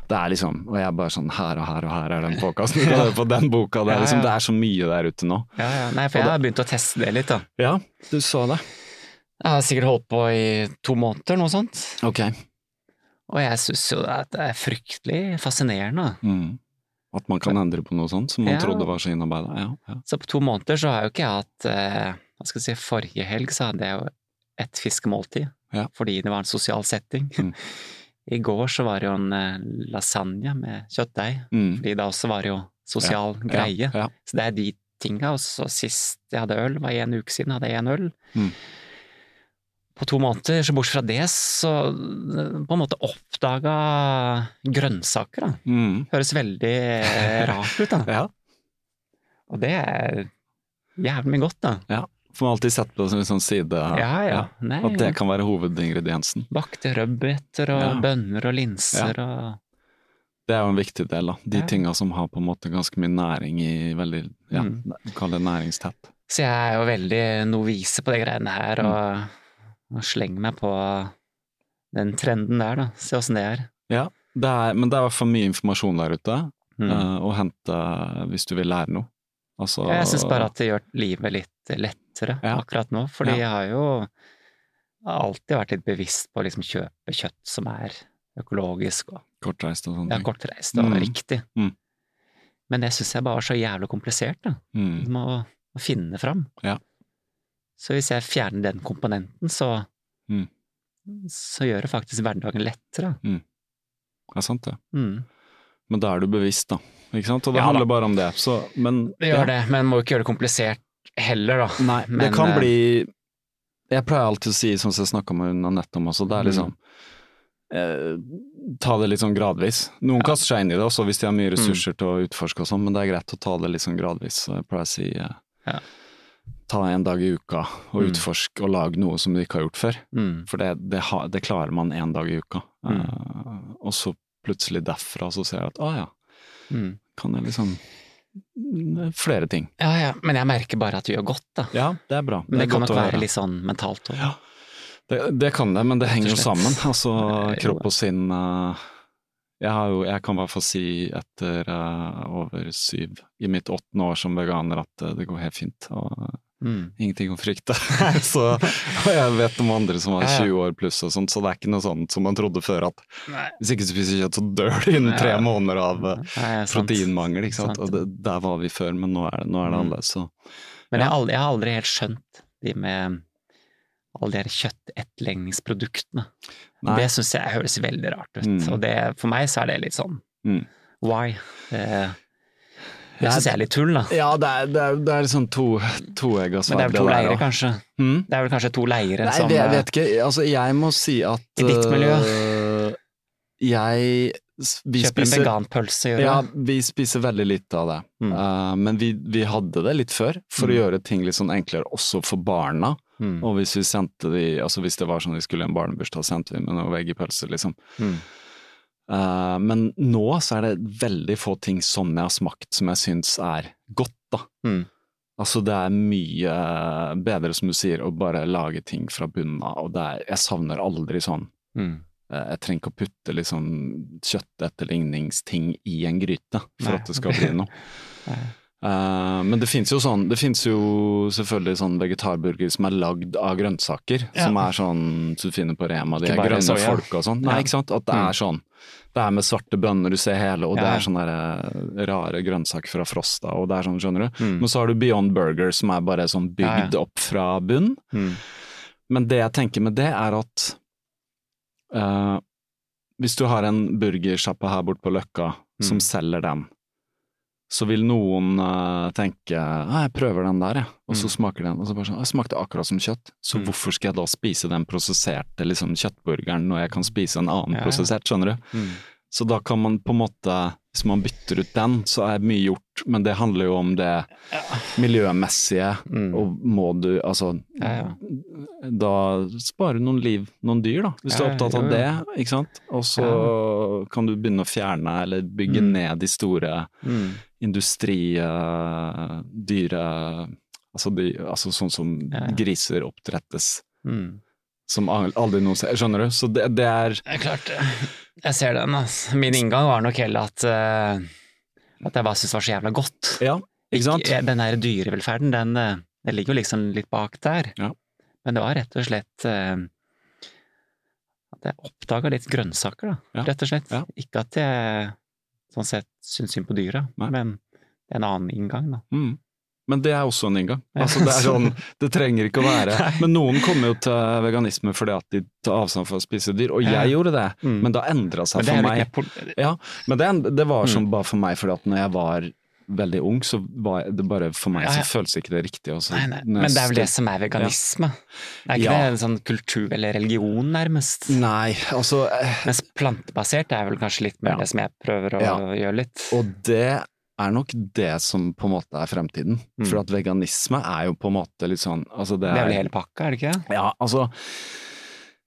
S2: Det er liksom, og jeg er bare sånn her og her og her er den podkasten, du kan høre på den boka, det
S3: Ja,
S2: er liksom,
S3: ja.
S2: det er så mye der ute nå.
S3: Ja, ja. Nei, for
S2: Og
S3: jeg har begynt å teste det litt, da.
S2: Ja, du så det.
S3: Jeg har sikkert holdt på i to måneder, noe sånt.
S2: Ok.
S3: Og jeg syns jo at det er fryktelig fascinerende.
S2: Mm. At man kan endre på noe sånt som man
S3: Ja.
S2: trodde var så innarbeida. Ja, ja.
S3: Så på to måneder så har jo ikke jeg hatt eh, Hva skal jeg si, forrige helg så hadde jeg jo ett fiskemåltid.
S2: Ja.
S3: Fordi det var en sosial setting.
S2: Mm.
S3: I går så var det jo en eh, lasagne med kjøttdeig.
S2: Mm.
S3: Fordi da også var det jo sosial greie.
S2: Ja, ja.
S3: Så det er de tinga. Og så sist jeg hadde øl, var en uke siden, hadde jeg en øl.
S2: Mm.
S3: På to måneder, så bortsett fra det, så eh, på en måte oppdaga grønnsaker, da.
S2: Mm.
S3: Høres veldig eh, rart ut, da.
S2: ja.
S3: Og det er jævlig mye godt, da.
S2: ja. Får man alltid sett på det som en sånn side
S3: Ja, ja. Nei,
S2: At det kan være hovedingrediensen.
S3: Bakte rødbeter og
S2: Ja.
S3: bønner og linser og
S2: Det er jo en viktig del, da. De
S3: Ja.
S2: tinga som har på en måte ganske mye næring i veldig ja,
S3: Mm.
S2: Kall det næringstett.
S3: Så jeg er jo veldig novise på de greiene her,
S2: Mm.
S3: og, og slenger meg på den trenden der, da. Se åssen det er.
S2: Ja, det er, men det er i hvert fall mye informasjon der ute
S3: Mm.
S2: eh, å hente hvis du vil lære noe. Altså,
S3: Jeg syns bare at det gjør livet litt lettere
S2: Ja.
S3: akkurat nå,
S2: Ja.
S3: fordi jeg har jo alltid vært litt bevisst på å liksom kjøpe kjøtt som er økologisk og
S2: Kortreist og sånne
S3: ja,
S2: ting.
S3: kortreist og
S2: Mm.
S3: riktig.
S2: Mm.
S3: Men det syns jeg bare er så jævlig komplisert, da.
S2: Mm.
S3: Du må, må finne fram.
S2: Ja.
S3: Så hvis jeg fjerner den komponenten, så,
S2: Mm.
S3: så gjør det faktisk hverdagen lettere.
S2: Det er sant, det.
S3: Mm.
S2: Men da er du bevisst, da. Ikke sant? Og det
S3: Ja, da.
S2: handler bare om det. Så, men,
S3: Det gjør det, men må ikke gjøre det komplisert heller, da.
S2: Nei, det
S3: Men,
S2: kan
S3: eh,
S2: bli Jeg pleier alltid å si, sånn som jeg snakka med hun Anette om også, det er
S3: Mm.
S2: liksom eh, Ta det litt sånn gradvis. Noen kaster seg inn i det også hvis de har mye
S3: Mm.
S2: ressurser til å utforske og sånn, men det er greit å ta det litt sånn gradvis. Så jeg pleier å si eh,
S3: Ja.
S2: ta en dag i uka og
S3: Mm.
S2: utforsk og lag noe som du ikke har gjort før.
S3: Mm.
S2: For det, det, har- det klarer man én dag i uka.
S3: Mm.
S2: Eh, og så plutselig derfra så ser jeg at å ja,
S3: Mm.
S2: kan jeg liksom mm, Flere ting.
S3: Ja, ja, men jeg merker bare at det gjør godt, da.
S2: Ja, det er bra.
S3: Men det,
S2: er
S3: kan
S2: godt
S3: nok
S2: å
S3: være
S2: høre.
S3: litt sånn mentalt òg.
S2: Ja. Det, det kan det, men det
S3: Rett og
S2: henger jo
S3: slett.
S2: sammen. Altså,
S3: Nei, jo.
S2: kropp og sinn eh, jeg, har jo, jeg kan i hvert fall si etter eh, over syv i mitt åttende år som veganer at eh, det går helt fint. Og
S3: Mm.
S2: ingenting å frykte. så, og jeg vet om andre som
S3: Ja,
S2: er
S3: ja.
S2: 20 år pluss og sånt, så det er ikke noe sånt som man trodde før at
S3: Nei.
S2: hvis ikke du spiser kjøtt, så dør du innen tre
S3: Ja.
S2: måneder av eh,
S3: Nei, sant.
S2: proteinmangel. Ikke sant?
S3: Sant.
S2: Og det, der var vi før, men nå er det, nå er det
S3: Mm.
S2: annerledes. Så.
S3: Men jeg, har aldri, jeg har aldri helt skjønt de med alle de her kjøttetterlegningsproduktene.
S2: Nei.
S3: Det syns jeg høres veldig rart ut.
S2: Mm.
S3: Og det, for meg så er det litt sånn
S2: Mm.
S3: why? Det,
S2: Ja,
S3: det syns jeg er litt tull, da.
S2: Ja, det er, det er, det er sånn to, toegga
S3: Men det er vel to leirer,
S2: kanskje?
S3: kanskje?
S2: Mm?
S3: Det er vel kanskje to leirer
S2: Nei,
S3: som
S2: jeg
S3: eh,
S2: vet ikke. Altså, jeg må si at
S3: I ditt miljø?
S2: øh, jeg s- vi
S3: eh, kjøper en
S2: spiser,
S3: veganpølse, gjør
S2: Ja,
S3: det?
S2: vi spiser veldig lite av det.
S3: Mm.
S2: Uh, men vi, vi hadde det litt før, for å
S3: Mm.
S2: gjøre ting litt sånn enklere også for barna.
S3: Mm.
S2: Og hvis vi sendte de Altså hvis det var sånn de skulle i en barnebursdag, sendte vi med noe veggepølse, liksom.
S3: Mm.
S2: Uh, men nå så er det veldig få ting som jeg har smakt som jeg syns er godt, da.
S3: Mm.
S2: Altså, det er mye eh, bedre, som du sier, å bare lage ting fra bunnen av. Og det er, jeg savner aldri sånn
S3: Mm.
S2: eh, Jeg trenger ikke å putte liksom kjøttetterligningsting i en gryte for
S3: Nei.
S2: at det skal bli noe.
S3: Nei.
S2: Eh, men det fins jo sånn Det finnes jo selvfølgelig sånn vegetarburger som er lagd av grønnsaker.
S3: Ja.
S2: Som er sånn som du finner på Rema, de
S3: Ikke
S2: er
S3: bare
S2: grønne
S3: soya.
S2: folk og sånn. Nei,
S3: Ja.
S2: ikke sant? At det
S3: Mm.
S2: er sånn. Det er med svarte bønner, du ser hele, og det
S3: Ja.
S2: er sånne der, eh, rare grønnsaker fra Frosta, og det er sånn, skjønner du.
S3: Mm.
S2: Men så har du Beyond Burger, som er bare sånn
S3: Ja,
S2: bygd
S3: ja.
S2: opp fra bunn.
S3: Mm.
S2: Men det jeg tenker med det, er at eh, hvis du har en burgersjappe her borte på Løkka som
S3: Mm.
S2: selger den, så vil noen eh, tenke «Ah, jeg prøver den der, jeg, og så
S3: Mm.
S2: smaker den, og så bare sånn «Ah, det smakte akkurat som kjøtt, så
S3: Mm.
S2: hvorfor skal jeg da spise den prosesserte liksom, kjøttburgeren når jeg kan spise en annen
S3: Ja, ja.
S2: prosessert, skjønner du?
S3: Mm.
S2: Så da kan man på en måte, hvis man bytter ut den, så er mye gjort, men det handler jo om det miljømessige,
S3: Mm.
S2: og må du, altså
S3: Ja, ja.
S2: da sparer du noen liv, noen dyr, da, hvis du
S3: Ja,
S2: er opptatt av
S3: jo, ja.
S2: det. ikke sant? Og så kan du begynne å fjerne eller bygge
S3: Mm.
S2: ned de store
S3: Mm.
S2: industri, eh, dyre altså, de, altså sånn som
S3: Ja, ja.
S2: griser oppdrettes,
S3: Mm.
S2: som al- aldri noen ser. Skjønner du? Så det, det er
S3: Det er klart, jeg ser den. Altså. Min inngang var nok heller at, eh, at jeg bare syntes det var så jævla godt.
S2: Ja, ikke sant?
S3: Ikke- eh, Den her dyrevelferden, den, eh, den ligger jo liksom litt bak der.
S2: Ja.
S3: Men det var rett og slett eh, at jeg oppdaga litt grønnsaker, da.
S2: Ja.
S3: Rett og slett.
S2: Ja.
S3: Ikke at jeg sånn sett syns synd på dyra,
S2: Nei.
S3: men det er en annen inngang, da.
S2: Mm. Men det er også en inngang.
S3: Ja.
S2: Altså, det, er sånn, det trenger ikke å være
S3: Nei.
S2: Men noen kommer jo til veganisme fordi at de tar avstand fra å spise dyr, og jeg
S3: Ja.
S2: gjorde det,
S3: Mm.
S2: men da endra seg
S3: Men det er
S2: for
S3: jo
S2: meg.
S3: ikke pol-
S2: Ja, men det, det var
S3: Mm.
S2: sånn bare for meg, fordi at når jeg var veldig ung, så var jeg- det bare for meg
S3: Ja, ja.
S2: så føltes ikke det riktig. og så-
S3: Nei, nei.
S2: når
S3: Men
S2: jeg
S3: det er vel det
S2: stod-
S3: som er veganisme. Det er ikke
S2: Ja.
S3: det en sånn kultur eller religion, nærmest.
S2: Nei, altså eh,
S3: Mens plantebasert er vel kanskje litt mer
S2: Ja.
S3: det som jeg prøver å
S2: Ja.
S3: gjøre litt.
S2: Og det er nok det som på en måte er fremtiden.
S3: Mm.
S2: For at veganisme er jo på en måte litt sånn altså det,
S3: det er vel hele pakka, er det ikke det?
S2: Ja, altså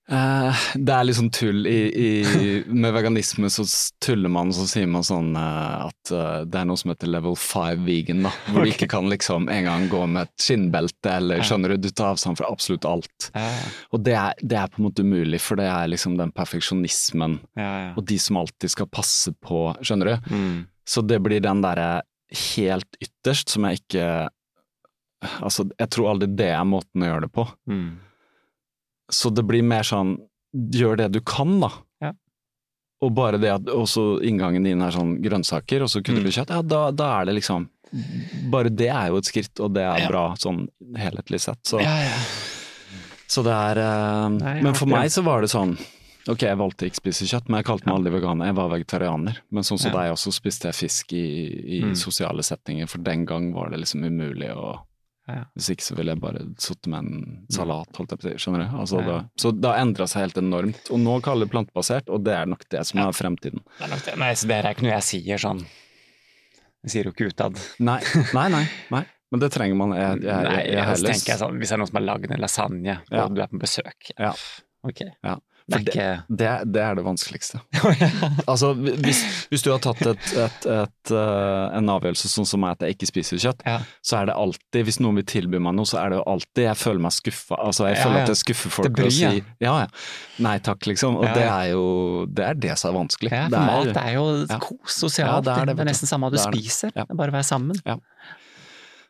S2: eh, det er litt sånn tull i, i Med veganisme så s- tuller man, så sier man sånn eh, at eh, det er noe som heter level five vegan, da. Hvor du ikke kan liksom engang gå med et skinnbelte, eller skjønner du, du tar avstand fra absolutt alt.
S3: Ja,
S2: Og det er, det er på en måte umulig, for det er liksom den perfeksjonismen,
S3: ja, ja.
S2: og de som alltid skal passe på, skjønner du.
S3: Mm.
S2: Så det blir den derre helt ytterst som jeg ikke Altså, jeg tror aldri det er måten å gjøre det på.
S3: Mm.
S2: Så det blir mer sånn gjør det du kan, da.
S3: Ja.
S2: Og bare det at også inngangen din er sånn grønnsaker, og så kunne det bli kjøtt, ja, da, da er det liksom Bare det er jo et skritt, og det er
S3: Ja.
S2: bra sånn helhetlig sett. Så,
S3: ja, ja.
S2: så det er eh,
S3: Nei, jeg
S2: Men
S3: har
S2: for
S3: ikke-
S2: meg så var det sånn Ok, jeg valgte ikke å spise kjøtt, men jeg kalte meg aldri veganer. Jeg var vegetarianer. Men sånn som
S3: Ja.
S2: deg også, spiste jeg fisk i, i
S3: Mm.
S2: sosiale settinger, for den gang var det liksom umulig å
S3: Ja. Mm.
S2: Hvis ikke så ville jeg bare sittet med en salat, holdt jeg på å si. Skjønner du? Altså,
S3: Ja.
S2: da, så det har endra seg helt enormt. Og nå kaller det plantebasert, og det er nok det som er fremtiden.
S3: Det er nok det. Nei, så det her er ikke noe jeg sier sånn. Jeg sier jo ikke utad.
S2: Nei, nei, nei. nei. Men det trenger man. Jeg, jeg, jeg,
S3: Nei,
S2: jeg,
S3: og
S2: har
S3: så
S2: lyst.
S3: tenker jeg sånn, Hvis det er noen som har lagd en lasagne,
S2: Ja.
S3: og du er på besøk
S2: Ja.
S3: Ok.
S2: Ja.
S3: Det
S2: For
S3: er
S2: det,
S3: ikke
S2: det, det er det vanskeligste. Altså, hvis, hvis du har tatt et, et, et, eh, en avgjørelse sånn som meg at jeg ikke spiser kjøtt,
S3: ja.
S2: så er det alltid, hvis noen vil tilby meg noe, så er det jo alltid jeg føler meg skuffa. Altså, jeg
S3: Ja,
S2: føler
S3: ja.
S2: at jeg skuffer folk
S3: Det bryr
S2: og sier
S3: jeg.
S2: ja, ja. Nei takk, liksom. Og
S3: Ja,
S2: det
S3: ja.
S2: er jo det er det som er vanskelig.
S3: Ja,
S2: Det
S3: for
S2: er-
S3: mat er jo
S2: ja.
S3: kos
S2: Ja,
S3: sosialt.
S2: det er det,
S3: det,
S2: vet
S3: er
S2: du.
S3: nesten samme hva du
S2: Det er det.
S3: spiser.
S2: Ja.
S3: Det er bare å være sammen.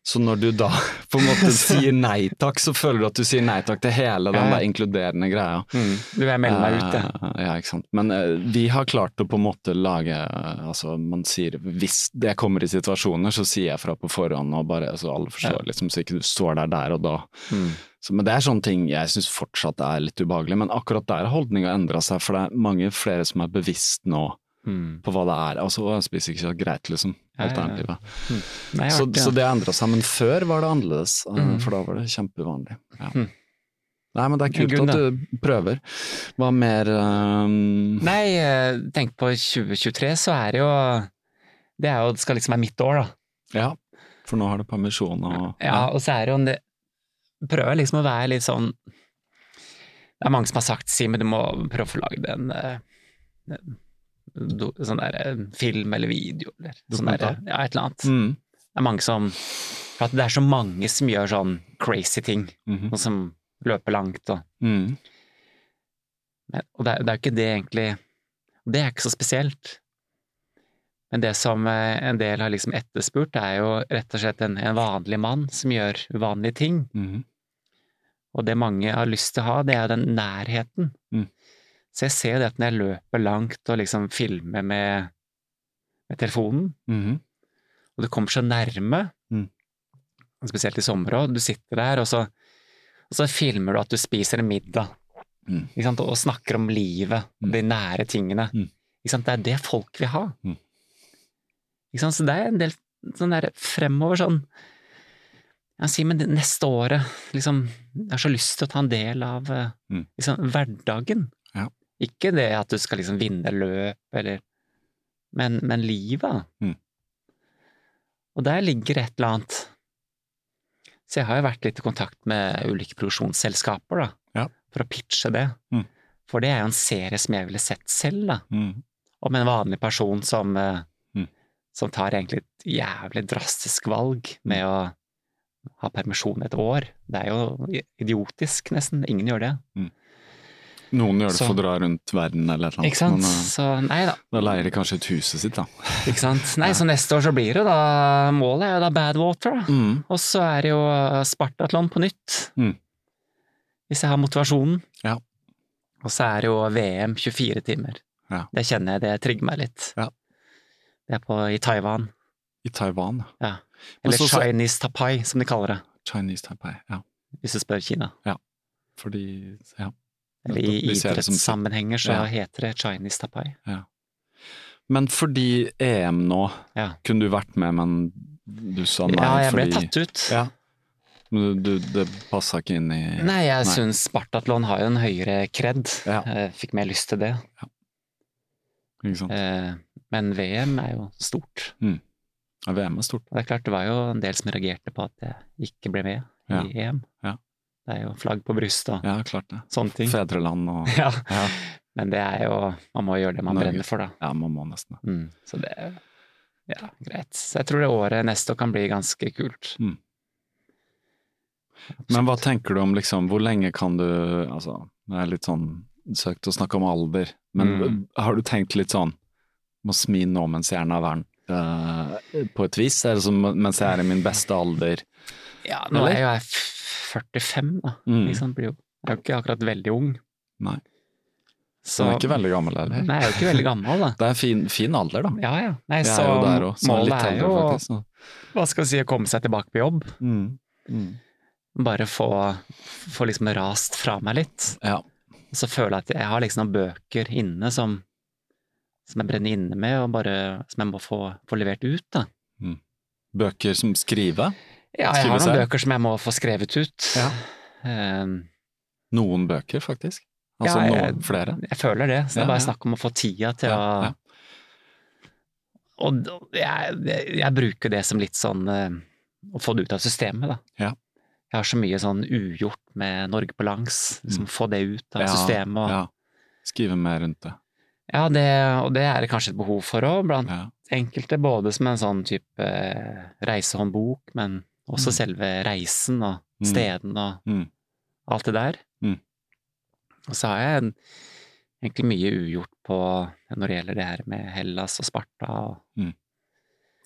S2: Så når du da på en måte sier nei takk, så føler du at du sier nei takk til hele den
S3: Ja, Mm. ja.
S2: der inkluderende greia.
S3: Du, jeg melder meg ut, jeg.
S2: Eh, ja, ikke sant. Men eh, vi har klart å på en måte lage eh, Altså, man sier hvis det kommer i situasjoner, så sier jeg fra på forhånd, og bare så alle forstår, liksom, så ikke du står der der og da.
S3: Mm.
S2: Så, men det er sånne ting jeg syns fortsatt er litt ubehagelig, men akkurat der har holdninga endra seg, for det er mange flere som er bevisst nå
S3: Mm.
S2: på hva det er. Altså, å, jeg spiser ikke kjøtt, greit, liksom.
S3: Ja, ja, ja.
S2: Alternativet.
S3: Nei,
S2: Så,
S3: artig, ja.
S2: så det endra seg, men før var det annerledes, eh, for da var det kjempevanlig. Ja.
S3: Mm.
S2: Nei, men det er
S3: Men
S2: kult
S3: Gunn,
S2: at du prøver. Hva mer eh,
S3: Nei, eh, tenk på 2023, så er det jo Det er jo, det skal liksom være mitt år, da.
S2: Ja, for nå har du permisjon og
S3: Ja, og så er det jo en del- Prøver jeg liksom å være litt sånn Det er mange som har sagt 'Simen, du må prøve å få lagd en eh, do, sånn der eh, film eller video', eller sånn der,
S2: Dokumentar.
S3: ja, et eller annet.
S2: Mm.
S3: Det er mange som For at det er så mange som gjør sånn crazy ting,
S2: Mhm.
S3: og som løper langt og
S2: Mm.
S3: Men- Og det, er- det er jo ikke det egentlig Det er ikke så spesielt. Men det som eh, en del har liksom etterspurt, det er jo rett og slett en, en vanlig mann som gjør uvanlige ting.
S2: Mhm.
S3: Og det mange har lyst til å ha, det er den nærheten.
S2: Mm.
S3: Så jeg ser det at når jeg løper langt og liksom filmer med, med telefonen,
S2: Mhm.
S3: og du kommer så nærme,
S2: Mm.
S3: spesielt i sommer òg, du sitter der, og så, og så filmer du at du spiser en middag,
S2: Mm.
S3: ikke sant? og og snakker om livet,
S2: Mm.
S3: de nære tingene.
S2: Mm.
S3: Ikke sant? Det er det folk vil ha.
S2: Mm.
S3: Ikke sant? Så det er en del sånn der fremover sånn jeg sier, men det neste året, liksom, jeg har så lyst til å ta en del av eh,
S2: Mm.
S3: liksom, hverdagen.
S2: Ja.
S3: Ikke det at du skal liksom vinne løp, eller Men, men livet.
S2: Mm.
S3: Og der ligger et eller annet. Så jeg har jo vært litt i kontakt med ulike produksjonsselskaper, da.
S2: Ja.
S3: For å pitche det.
S2: Mm.
S3: For det er jo en serie som jeg ville sett selv, da.
S2: Mhm.
S3: Om en vanlig person som eh,
S2: Mm.
S3: Som tar egentlig et jævlig drastisk valg med å ha permisjon et år. Det er jo i- idiotisk, nesten. Ingen gjør det.
S2: Noen gjør det
S3: Så-
S2: for å dra rundt verden eller et eller annet.
S3: Ikke sant?
S2: men, eh,
S3: Så nei da.
S2: Da leier de kanskje ut huset sitt, da.
S3: Ikke sant? Nei, så neste år så blir det da Målet er jo da Badwater, da.
S2: Mm.
S3: Og så er det jo eh, Spartatlon på nytt.
S2: Mm.
S3: Hvis jeg har motivasjonen.
S2: Ja.
S3: Og så er det jo VM 24 timer.
S2: Ja.
S3: Det kjenner jeg, det trigger meg litt.
S2: Ja.
S3: Det er på, i Taiwan.
S2: I Taiwan. ja.
S3: Ja.
S2: Men
S3: Eller
S2: så- så-
S3: Chinese Tapai, som de kaller det,
S2: Chinese Taipei. Ja.
S3: hvis du spør Kina.
S2: Fordi ja.
S3: Eller i
S2: Nettopp, de ser det som sitt.
S3: idrettssammenhenger
S2: liksom-
S3: så
S2: Ja.
S3: heter det Chinese Tapai.
S2: Men fordi EM nå
S3: Ja.
S2: kunne du vært med, men du sa nei
S3: ja, jeg ble
S2: fordi
S3: tatt ut.
S2: Ja. Men du, du, det passa ikke inn i
S3: Nei, jeg
S2: Nei.
S3: syns Spartatlon har jo en høyere kred. Eh,
S2: Ja.
S3: Fikk mer lyst til det.
S2: Ikke sant?
S3: Eh, Men VM er jo stort.
S2: Ja, VM er stort.
S3: Og det er klart, det var jo en del som reagerte på at jeg ikke ble med i EM.
S2: Ja.
S3: Det er jo flagg på brystet og
S2: Ja, klart det.
S3: sånne ting.
S2: Fedreland og
S3: Ja.
S2: Ja.
S3: Men det er jo Man må jo gjøre det man
S2: Norge.
S3: brenner for, da.
S2: Ja, man må nesten det.
S3: Mm. Så det er ja, greit. Så jeg tror det året neste år kan bli ganske kult.
S2: Mm. Men hva tenker du om liksom, hvor lenge kan du Altså, det er litt sånn søkt å snakke om alder, men
S3: Mm.
S2: har du tenkt litt sånn Må smi nå mens jeg er nærværende, eh, på et vis? Er det som mens jeg er i min beste alder?
S3: Ja, nå
S2: Eller?
S3: er jo jeg f- 45, da.
S2: Mm.
S3: Liksom, blir jo, jeg er jo ikke akkurat veldig ung.
S2: Nei.
S3: Så,
S2: Den er ikke veldig gammel heller.
S3: Nei, jeg er jo ikke veldig gammel, da.
S2: Det er fin, fin alder, da.
S3: Ja, ja. Nei,
S2: Jeg
S3: så
S2: er jo der òg, så jeg er
S3: målet
S2: litt
S3: er jo
S2: eldre, faktisk. Så.
S3: hva skal jeg si, å komme seg tilbake på jobb.
S2: Mm. Mm.
S3: Bare få, få liksom rast fra meg litt.
S2: Ja.
S3: Og så føler jeg at jeg har liksom noen bøker inne som, som jeg brenner inne med, og bare, som jeg må få, få levert ut. da.
S2: Bøker som skrive.
S3: Ja, jeg har
S2: Skrives
S3: noen
S2: her.
S3: bøker som jeg må få skrevet ut.
S2: Ja.
S3: Ehm,
S2: Noen bøker, faktisk. Altså
S3: Ja, jeg-
S2: noen flere.
S3: jeg føler det, så det
S2: Ja,
S3: er bare
S2: ja.
S3: snakk om å få tida til
S2: Ja,
S3: å
S2: ja.
S3: Og d- jeg, jeg bruker det som litt sånn eh, å få det ut av systemet, da.
S2: Ja.
S3: Jeg har så mye sånn ugjort med Norge på langs. Liksom,
S2: Mm.
S3: Få det ut av
S2: Ja,
S3: systemet. Og, ja.
S2: Ja. Skrive mer rundt det.
S3: det, og det er det kanskje et behov for òg, blant
S2: Ja.
S3: enkelte. Både som en sånn type eh, reisehåndbok, men også selve reisen og
S2: Mm.
S3: stedene og
S2: Mm.
S3: alt det der.
S2: Mm.
S3: Og så har jeg en, egentlig mye ugjort på når det gjelder det her med Hellas og Sparta. Og,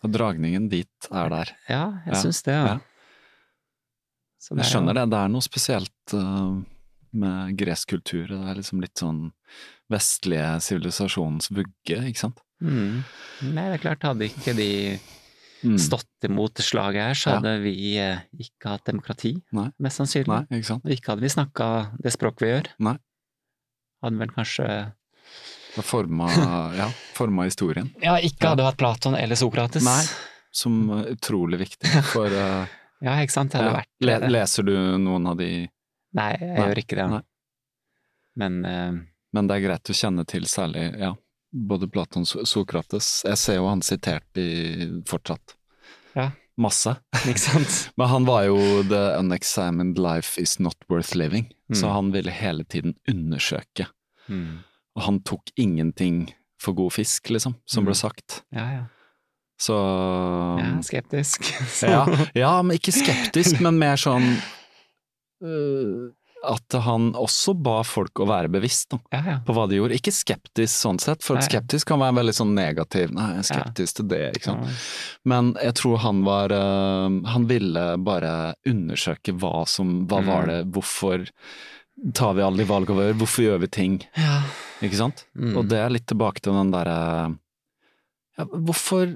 S2: Og dragningen dit er der.
S3: ja,
S2: Ja,
S3: jeg syns det. Ja.
S2: ja.
S3: Så
S2: Jeg
S3: er
S2: skjønner
S3: jo-
S2: det. Det er noe spesielt eh, med gresk kultur. Det er liksom litt sånn vestlige sivilisasjonens vugge, ikke sant?
S3: Mm. Nei, det er klart, hadde ikke de
S2: Mm.
S3: stått imot det slaget her, så
S2: Ja.
S3: hadde vi eh, ikke hatt demokrati,
S2: Nei.
S3: mest sannsynlig.
S2: Nei, ikke sant?
S3: Og ikke hadde vi snakka det språket vi gjør.
S2: Nei.
S3: Hadde vel kanskje
S2: Det forma, ja, forma historien,
S3: Ja, ikke
S2: Ja.
S3: hadde vi hatt Platon eller Sokrates.
S2: Nei. som er utrolig viktig for eh,
S3: Ja, ikke sant. Det hadde
S2: ja.
S3: vært
S2: Le, Leser du noen av de
S3: Nei, jeg
S2: Nei.
S3: gjør ikke det.
S2: Nei.
S3: Men eh,
S2: Men det er greit å kjenne til særlig ja, både Platon og Sokrates. Jeg ser jo han sitert i fortsatt.
S3: Ja.
S2: Masse.
S3: Ikke sant?
S2: Men han var jo the unexamined life is not worth living. Så
S3: Mm.
S2: han ville hele tiden undersøke. Og han tok ingenting for god fisk, liksom, som
S3: Mm.
S2: ble sagt.
S3: Ja, ja.
S2: Så
S3: Jeg er skeptisk. Så-
S2: Um. ja, ja, men ikke skeptisk, men mer sånn øh, At han også ba folk å være bevisst da,
S3: ja, ja.
S2: på hva de gjorde. Ikke skeptisk sånn sett, for
S3: Nei.
S2: at skeptisk kan være veldig sånn negativ. Nei, jeg er skeptisk til det, ikke sant. Men jeg tror han var øh, Han ville bare undersøke hva som Hva var det? Hvorfor tar vi alle de valgene vi gjør? Hvorfor gjør vi ting?
S3: Ja.
S2: Ikke sant?
S3: Mm.
S2: Og det er litt tilbake til den derre ja, Hvorfor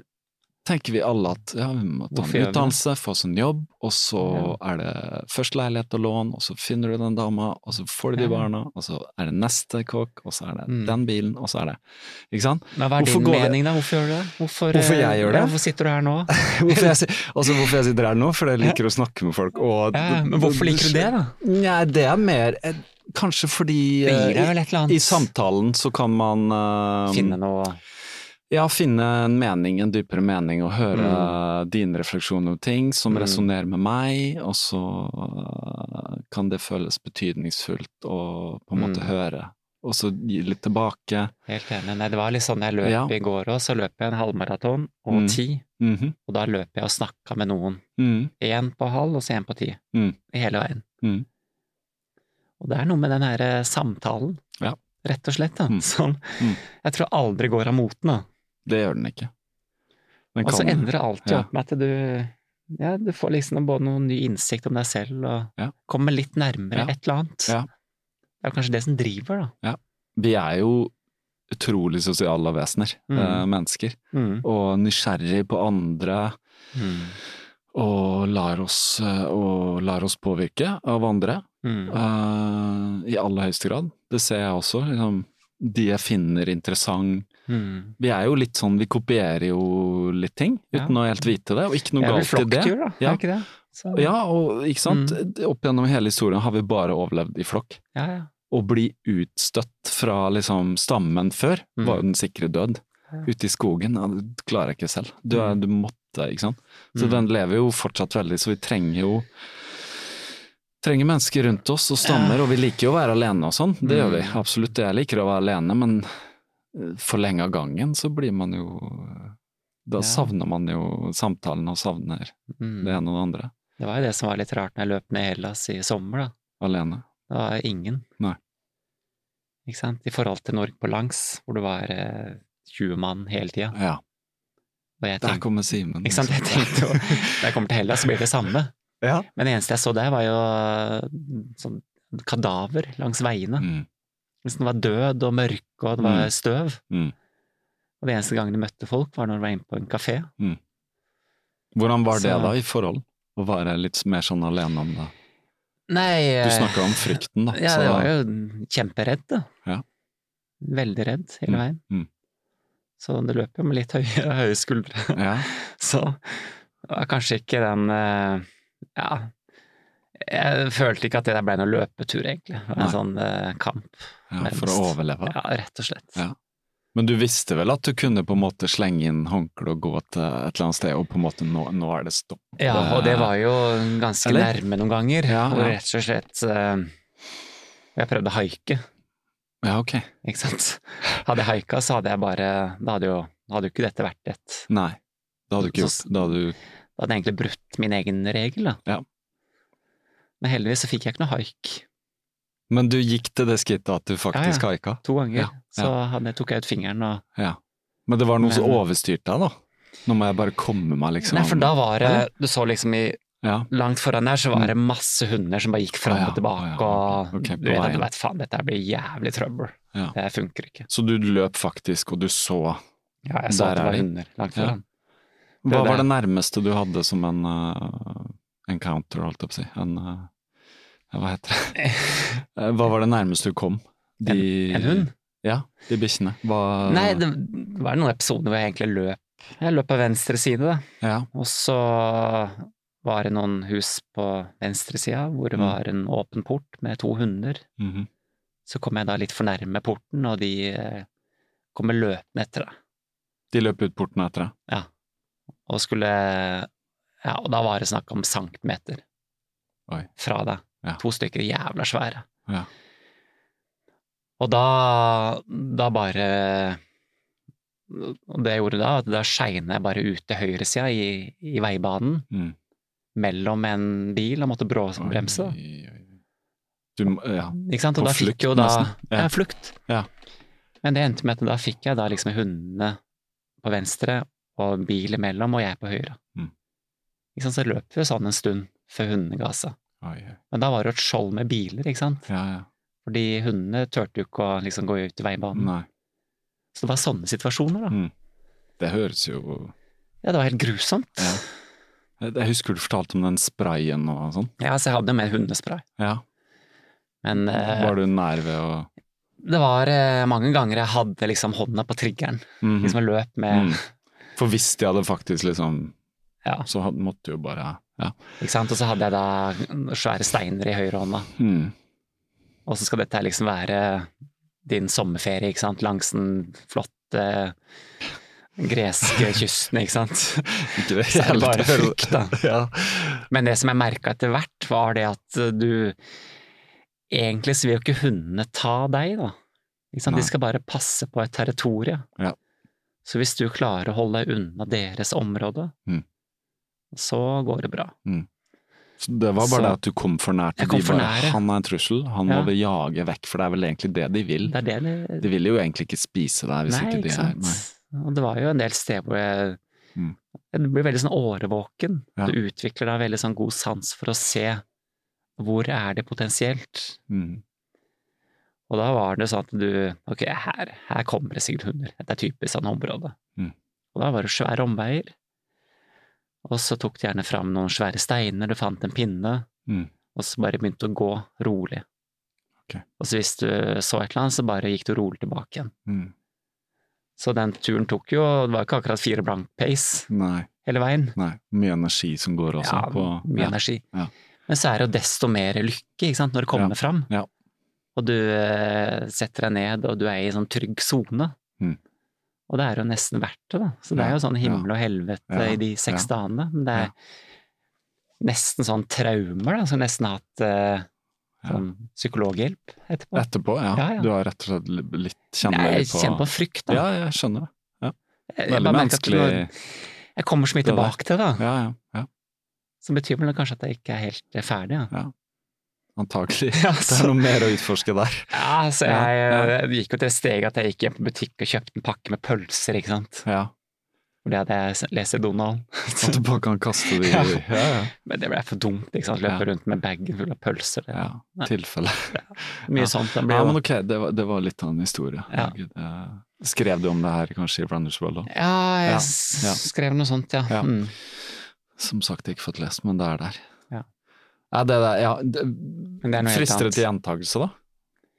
S2: tenker vi alle at ja, vi må ta
S3: Hvorfor gjør vi
S2: en
S3: det?
S2: utdannelse, få oss en jobb, og så er det først leilighet og lån, og så finner du den dama, og så får du de
S3: Ja.
S2: barna, og så er det neste kokk, og så er det
S3: Mm.
S2: den bilen, og så er det Ikke sant?
S3: Men hva er
S2: Hvorfor
S3: din
S2: går det-
S3: mening, da? Hvorfor gjør du det?
S2: Hvorfor
S3: eh,
S2: jeg gjør det?
S3: Ja, hvorfor sitter du her nå?
S2: Hvorfor jeg, si- altså hvorfor jeg sitter her nå? Fordi jeg liker å snakke med folk, og
S3: Ja, men hvorfor liker du det, da?
S2: Nei, det er mer eh, Kanskje fordi
S3: Det
S2: eh,
S3: gir deg vel et eller annet.
S2: i samtalen så kan man eh,
S3: Finne noe
S2: Ja, finne en mening, en dypere mening, og høre dine refleksjoner om ting som
S3: Mm.
S2: resonnerer med meg, og så øh, kan det føles betydningsfullt å på en måte
S3: Mm.
S2: høre, og så gi litt tilbake.
S3: Helt enig. Nei, det var litt sånn jeg løp
S2: Ja.
S3: i går òg. Så løp jeg en halvmaraton og
S2: Mm.
S3: ti.
S2: Mhm.
S3: Og da løp jeg og snakka med noen.
S2: Mm.
S3: Én på halv, og så én på ti.
S2: Mm.
S3: Hele veien.
S2: Mm.
S3: Og det er noe med den her eh, samtalen,
S2: Ja.
S3: rett og slett, da,
S2: Mm.
S3: som
S2: Mm.
S3: jeg tror aldri går av moten. da.
S2: Det gjør den ikke. Den
S3: Og så
S2: kan-
S3: endrer det alltid
S2: Ja.
S3: opp med at du ja, du får liksom både noen ny innsikt om deg selv, og
S2: Ja.
S3: kommer litt nærmere
S2: Ja.
S3: et eller annet.
S2: Ja.
S3: Det er jo kanskje det som driver, da.
S2: Vi er jo utrolig sosiale vesener,
S3: Mm.
S2: eh, mennesker, og nysgjerrig på andre,
S3: Mm.
S2: og lar oss, eh, og lar oss påvirke av andre.
S3: Mm.
S2: Eh, I aller høyeste grad. Det ser jeg også. Liksom, de jeg finner interessant
S3: Mm.
S2: Vi er jo litt sånn, vi kopierer jo litt ting
S3: Ja.
S2: uten å helt vite det, og ikke noe
S3: Det er vel
S2: galt i det.
S3: flokkdyr, da,
S2: Ja.
S3: er ikke det? Så,
S2: Ja, og ikke sant? Opp gjennom hele historien har vi bare overlevd i flokk.
S3: ja, ja.
S2: Å bli utstøtt fra liksom stammen før
S3: Mm.
S2: var jo den sikre død.
S3: Ja.
S2: Ute i skogen, ja, det klarer jeg ikke selv. Du, er,
S3: Mm.
S2: du måtte, ikke sant. Så
S3: Mm.
S2: den lever jo fortsatt veldig, så vi trenger jo Trenger mennesker rundt oss og stammer, og vi liker jo å være alene og sånn. Det gjør vi,
S3: Mm.
S2: absolutt. Jeg liker å være alene, men eh, for lenge av gangen så blir man jo eh, Da
S3: Ja.
S2: savner man jo samtalen og savner
S3: Mm.
S2: det ene og det andre.
S3: Det var jo det som var litt rart når jeg løp ned Hellas i sommer, da.
S2: Alene.
S3: Det var ingen.
S2: Nei.
S3: Ikke sant? I forhold til Norge på langs, hvor det var eh, 20 mann hele tida.
S2: Ja.
S3: Og jeg
S2: Der
S3: tenkte,
S2: kommer Simen.
S3: ikke sant? Jeg tenkte jo, når jeg kommer til Hellas, så blir det det samme.
S2: Ja.
S3: Men det eneste jeg så der, var jo eh, sånn kadaver langs veiene.
S2: Mm.
S3: Hvis den var død og mørk, og det var
S2: Mm.
S3: støv.
S2: Mm.
S3: Og det eneste gangen de møtte folk, var når de var inne på en kafé.
S2: Hvordan var det
S3: Så-
S2: da, i forhold? Å være litt mer sånn alene om det?
S3: Nei
S2: Du snakka om frykten, da.
S3: Eh, Ja,
S2: så-
S3: jeg var jo kjemperedd, da.
S2: Ja.
S3: Veldig redd hele veien.
S2: mm.
S3: Så det løp jo med litt høye, høye skuldre.
S2: Ja.
S3: Så det var kanskje ikke den eh, Ja. Jeg følte ikke at det der ble noen løpetur, egentlig. Det var
S2: Nei.
S3: En sånn eh, kamp.
S2: ja, for å
S3: nærmest.
S2: overleve.
S3: Ja, rett og slett.
S2: Ja. Men du visste vel at du kunne på en måte slenge inn håndkle og gå til et eller annet sted, og på en måte nå, nå er det stopp.
S3: Ja, og det var jo ganske
S2: Eller?
S3: nærme noen ganger.
S2: Ja,
S3: Og
S2: ja.
S3: rett og slett eh, Jeg prøvde å haike,
S2: Ja, ok.
S3: ikke sant. Hadde jeg haika, så hadde jeg bare Da hadde jo, hadde jo ikke dette vært et
S2: Nei, det hadde du ikke gjort.
S3: Så-
S2: Det hadde du
S3: Da hadde jeg egentlig brutt min egen regel, da.
S2: Ja.
S3: Men heldigvis så fikk jeg ikke noe haik.
S2: Men du gikk til det skrittet at du faktisk
S3: Ja,
S2: haika?
S3: To ganger.
S2: Ja,
S3: Så hadde, tok jeg ut fingeren og
S2: Ja. Men det var noe som
S3: Men-
S2: overstyrte deg, da? Nå må jeg bare komme meg, liksom.
S3: Nei, for da var det
S2: Eller?
S3: Du så liksom i
S2: Ja.
S3: Langt foran der så var det masse hunder som bare gikk fram
S2: Mm. Å ja,
S3: og
S2: å
S3: tilbake,
S2: ja, ok, ok,
S3: og
S2: på
S3: du vet
S2: veien.
S3: at du vet, faen, dette her blir jævlig trøbbel.
S2: Ja.
S3: Det funker ikke.
S2: Så du løp faktisk, og du så
S3: Ja, jeg så
S2: Der
S3: at det
S2: er
S3: var
S2: de.
S3: hunder langt
S2: Ja.
S3: foran.
S2: Hva
S3: det.
S2: var det nærmeste du hadde som en eh, encounter, holdt jeg på å si? En eh, Hva heter det? Eh, Hva var det nærmeste du kom? De-
S3: En hund?
S2: Ja, de bikkjene. Hva
S3: Nei, det det var noen episoder hvor jeg egentlig løp. Jeg løp på venstre side, da.
S2: Ja.
S3: Og så var det noen hus på venstre sida hvor det
S2: Mm.
S3: var en åpen port med to hunder.
S2: mhm.
S3: Så kom jeg da litt for nærme porten, og de eh, kommer løpende etter deg.
S2: De løp ut porten etter deg.
S3: Og skulle Ja, og da var det snakk om centimeter
S2: Oi.
S3: fra deg.
S2: Ja.
S3: To stykker jævla svære.
S2: Ja.
S3: Og da, da bare Og det jeg gjorde da, at da skeina jeg bare ut til høyresida i, i veibanen,
S2: Mm.
S3: mellom en bil, og måtte bråbremse. da.
S2: Oi, oi, oi. Du, må- ja.
S3: Ikke sant? Og
S2: På
S3: da fikk
S2: flukt,
S3: jo da
S2: nesten. Ja.
S3: Ja, flukt.
S2: Ja.
S3: Men det endte med at da fikk jeg da liksom hundene på venstre og bil imellom, og jeg på høyre.
S2: Mm.
S3: Ikke sant? Så løp vi sånn en stund før hundene ga seg.
S2: Oi, oi.
S3: Men da var det jo et skjold med biler, ikke sant?
S2: Ja, ja.
S3: Fordi hundene turte jo ikke å liksom gå ut i veibanen.
S2: Nei.
S3: Så det var sånne situasjoner, da.
S2: Mm. Det høres jo
S3: Ja, det var helt grusomt.
S2: Ja. Jeg jeg husker du fortalte om den sprayen og sånn.
S3: Ja, så jeg hadde jo mer hundespray.
S2: Ja.
S3: Men eh,
S2: Var du nær ved å
S3: det var eh, mange ganger jeg hadde liksom hånda på triggeren.
S2: Mhm.
S3: Liksom jeg løp med
S2: Mm. For hvis de hadde faktisk liksom
S3: Ja,
S2: Så hadde, måtte jo bare Ja.
S3: ikke sant. Og så hadde jeg da svære steiner i høyrehånda.
S2: Mm.
S3: Og så skal dette her liksom være din sommerferie, ikke sant. Langs den flotte greske kysten, ikke sant.
S2: Ikke det
S3: Så er det bare frykt, da.
S2: Ja.
S3: Men det som jeg merka etter hvert, var det at du Egentlig så vil jo ikke hundene ta deg, da. Ikke sant?
S2: Nei.
S3: De skal bare passe på et territorium.
S2: Ja.
S3: Så hvis du klarer å holde deg unna deres område,
S2: Mm.
S3: så går det bra.
S2: Så det var bare
S3: Så-
S2: det at du kom for nært.
S3: Jeg
S2: og
S3: kom
S2: de
S3: for
S2: bare,
S3: nære.
S2: Han er en trussel, han
S3: Ja.
S2: må vi jage vekk, for det er vel egentlig det de vil.
S3: Det er det det
S2: De vil jo egentlig ikke spise deg hvis ikke de er nei.
S3: Og det var jo en del steder hvor jeg
S2: Mm.
S3: Du blir veldig sånn årvåken.
S2: Ja.
S3: Du utvikler da veldig sånn god sans for å se hvor er det potensielt.
S2: Mm.
S3: Og da var det sånn at du Ok, her, her kommer det sikkert hunder. Dette er typisk sånn område.
S2: Mm.
S3: Og da var det svære omveier. Og så tok de gjerne fram noen svære steiner, du fant en pinne,
S2: Mm.
S3: og så bare begynte å gå rolig.
S2: Ok.
S3: Og så hvis du så et eller annet, så bare gikk du rolig tilbake igjen.
S2: Mm.
S3: Så den turen tok jo Det var ikke akkurat fire blank pace
S2: Nei,
S3: hele veien.
S2: nei. Mye energi som går også
S3: Ja,
S2: på
S3: mye
S2: ja.
S3: energi.
S2: ja.
S3: Men så er det jo desto mer lykke ikke sant, når det kommer
S2: Ja,
S3: fram.
S2: ja.
S3: Og du eh, setter deg ned, og du er i en sånn trygg sone.
S2: Mm.
S3: Og det er jo nesten verdt det, da. Så det
S2: Ja,
S3: er jo sånn himmel
S2: ja.
S3: og helvete
S2: Ja,
S3: i de seks
S2: ja.
S3: dagene. Men det er nesten sånn traumer, da. Så nesten har hatt eh,
S2: Ja.
S3: sånn psykologhjelp etterpå.
S2: Etterpå, ja.
S3: Ja, ja.
S2: Du har rett og slett li- litt
S3: Nei,
S2: kjenner
S3: jeg kjenner på frykt, da.
S2: Ja, jeg skjønner det.
S3: Jeg- jeg
S2: Veldig
S3: bare merker at
S2: menneskelig.
S3: det- Jeg kommer så mye
S2: Det der.
S3: tilbake til det, da.
S2: Ja, ja. ja.
S3: Som betyr vel kanskje at jeg ikke er helt eh, ferdig, da.
S2: Antakelig.
S3: Ja,
S2: Det
S3: så-
S2: er noe mer å utforske der.
S3: Ja, så
S2: Ja,
S3: jeg,
S2: ja.
S3: jeg gikk jo til det steget at jeg gikk hjem på butikk og kjøpte en pakke med pølser, ikke sant.
S2: Ja.
S3: For det hadde jeg s- lest i Donald.
S2: At du bare kan kaste det i
S3: Ja.
S2: ja, ja.
S3: Men det ble for dumt, ikke sant. Løpe
S2: Ja.
S3: rundt med bagen full av pølser. Det.
S2: ja.
S3: Nei.
S2: Tilfelle.
S3: Mye sånt. Det ble
S2: Ja, men
S3: jo
S2: ok, det var, det var litt av en historie.
S3: Ja.
S2: Gud, eh, Skrev du om det her kanskje i Branders World òg?
S3: Ja, jeg
S2: Ja,
S3: s-
S2: ja.
S3: skrev noe sånt, ja.
S2: Ja.
S3: Mm.
S2: Som sagt, ikke fått lest, men det er der.
S3: Ja.
S2: Ja, det der, ja, det,
S3: Men det er noe helt
S2: Frister det
S3: annet.
S2: til gjentakelse, da?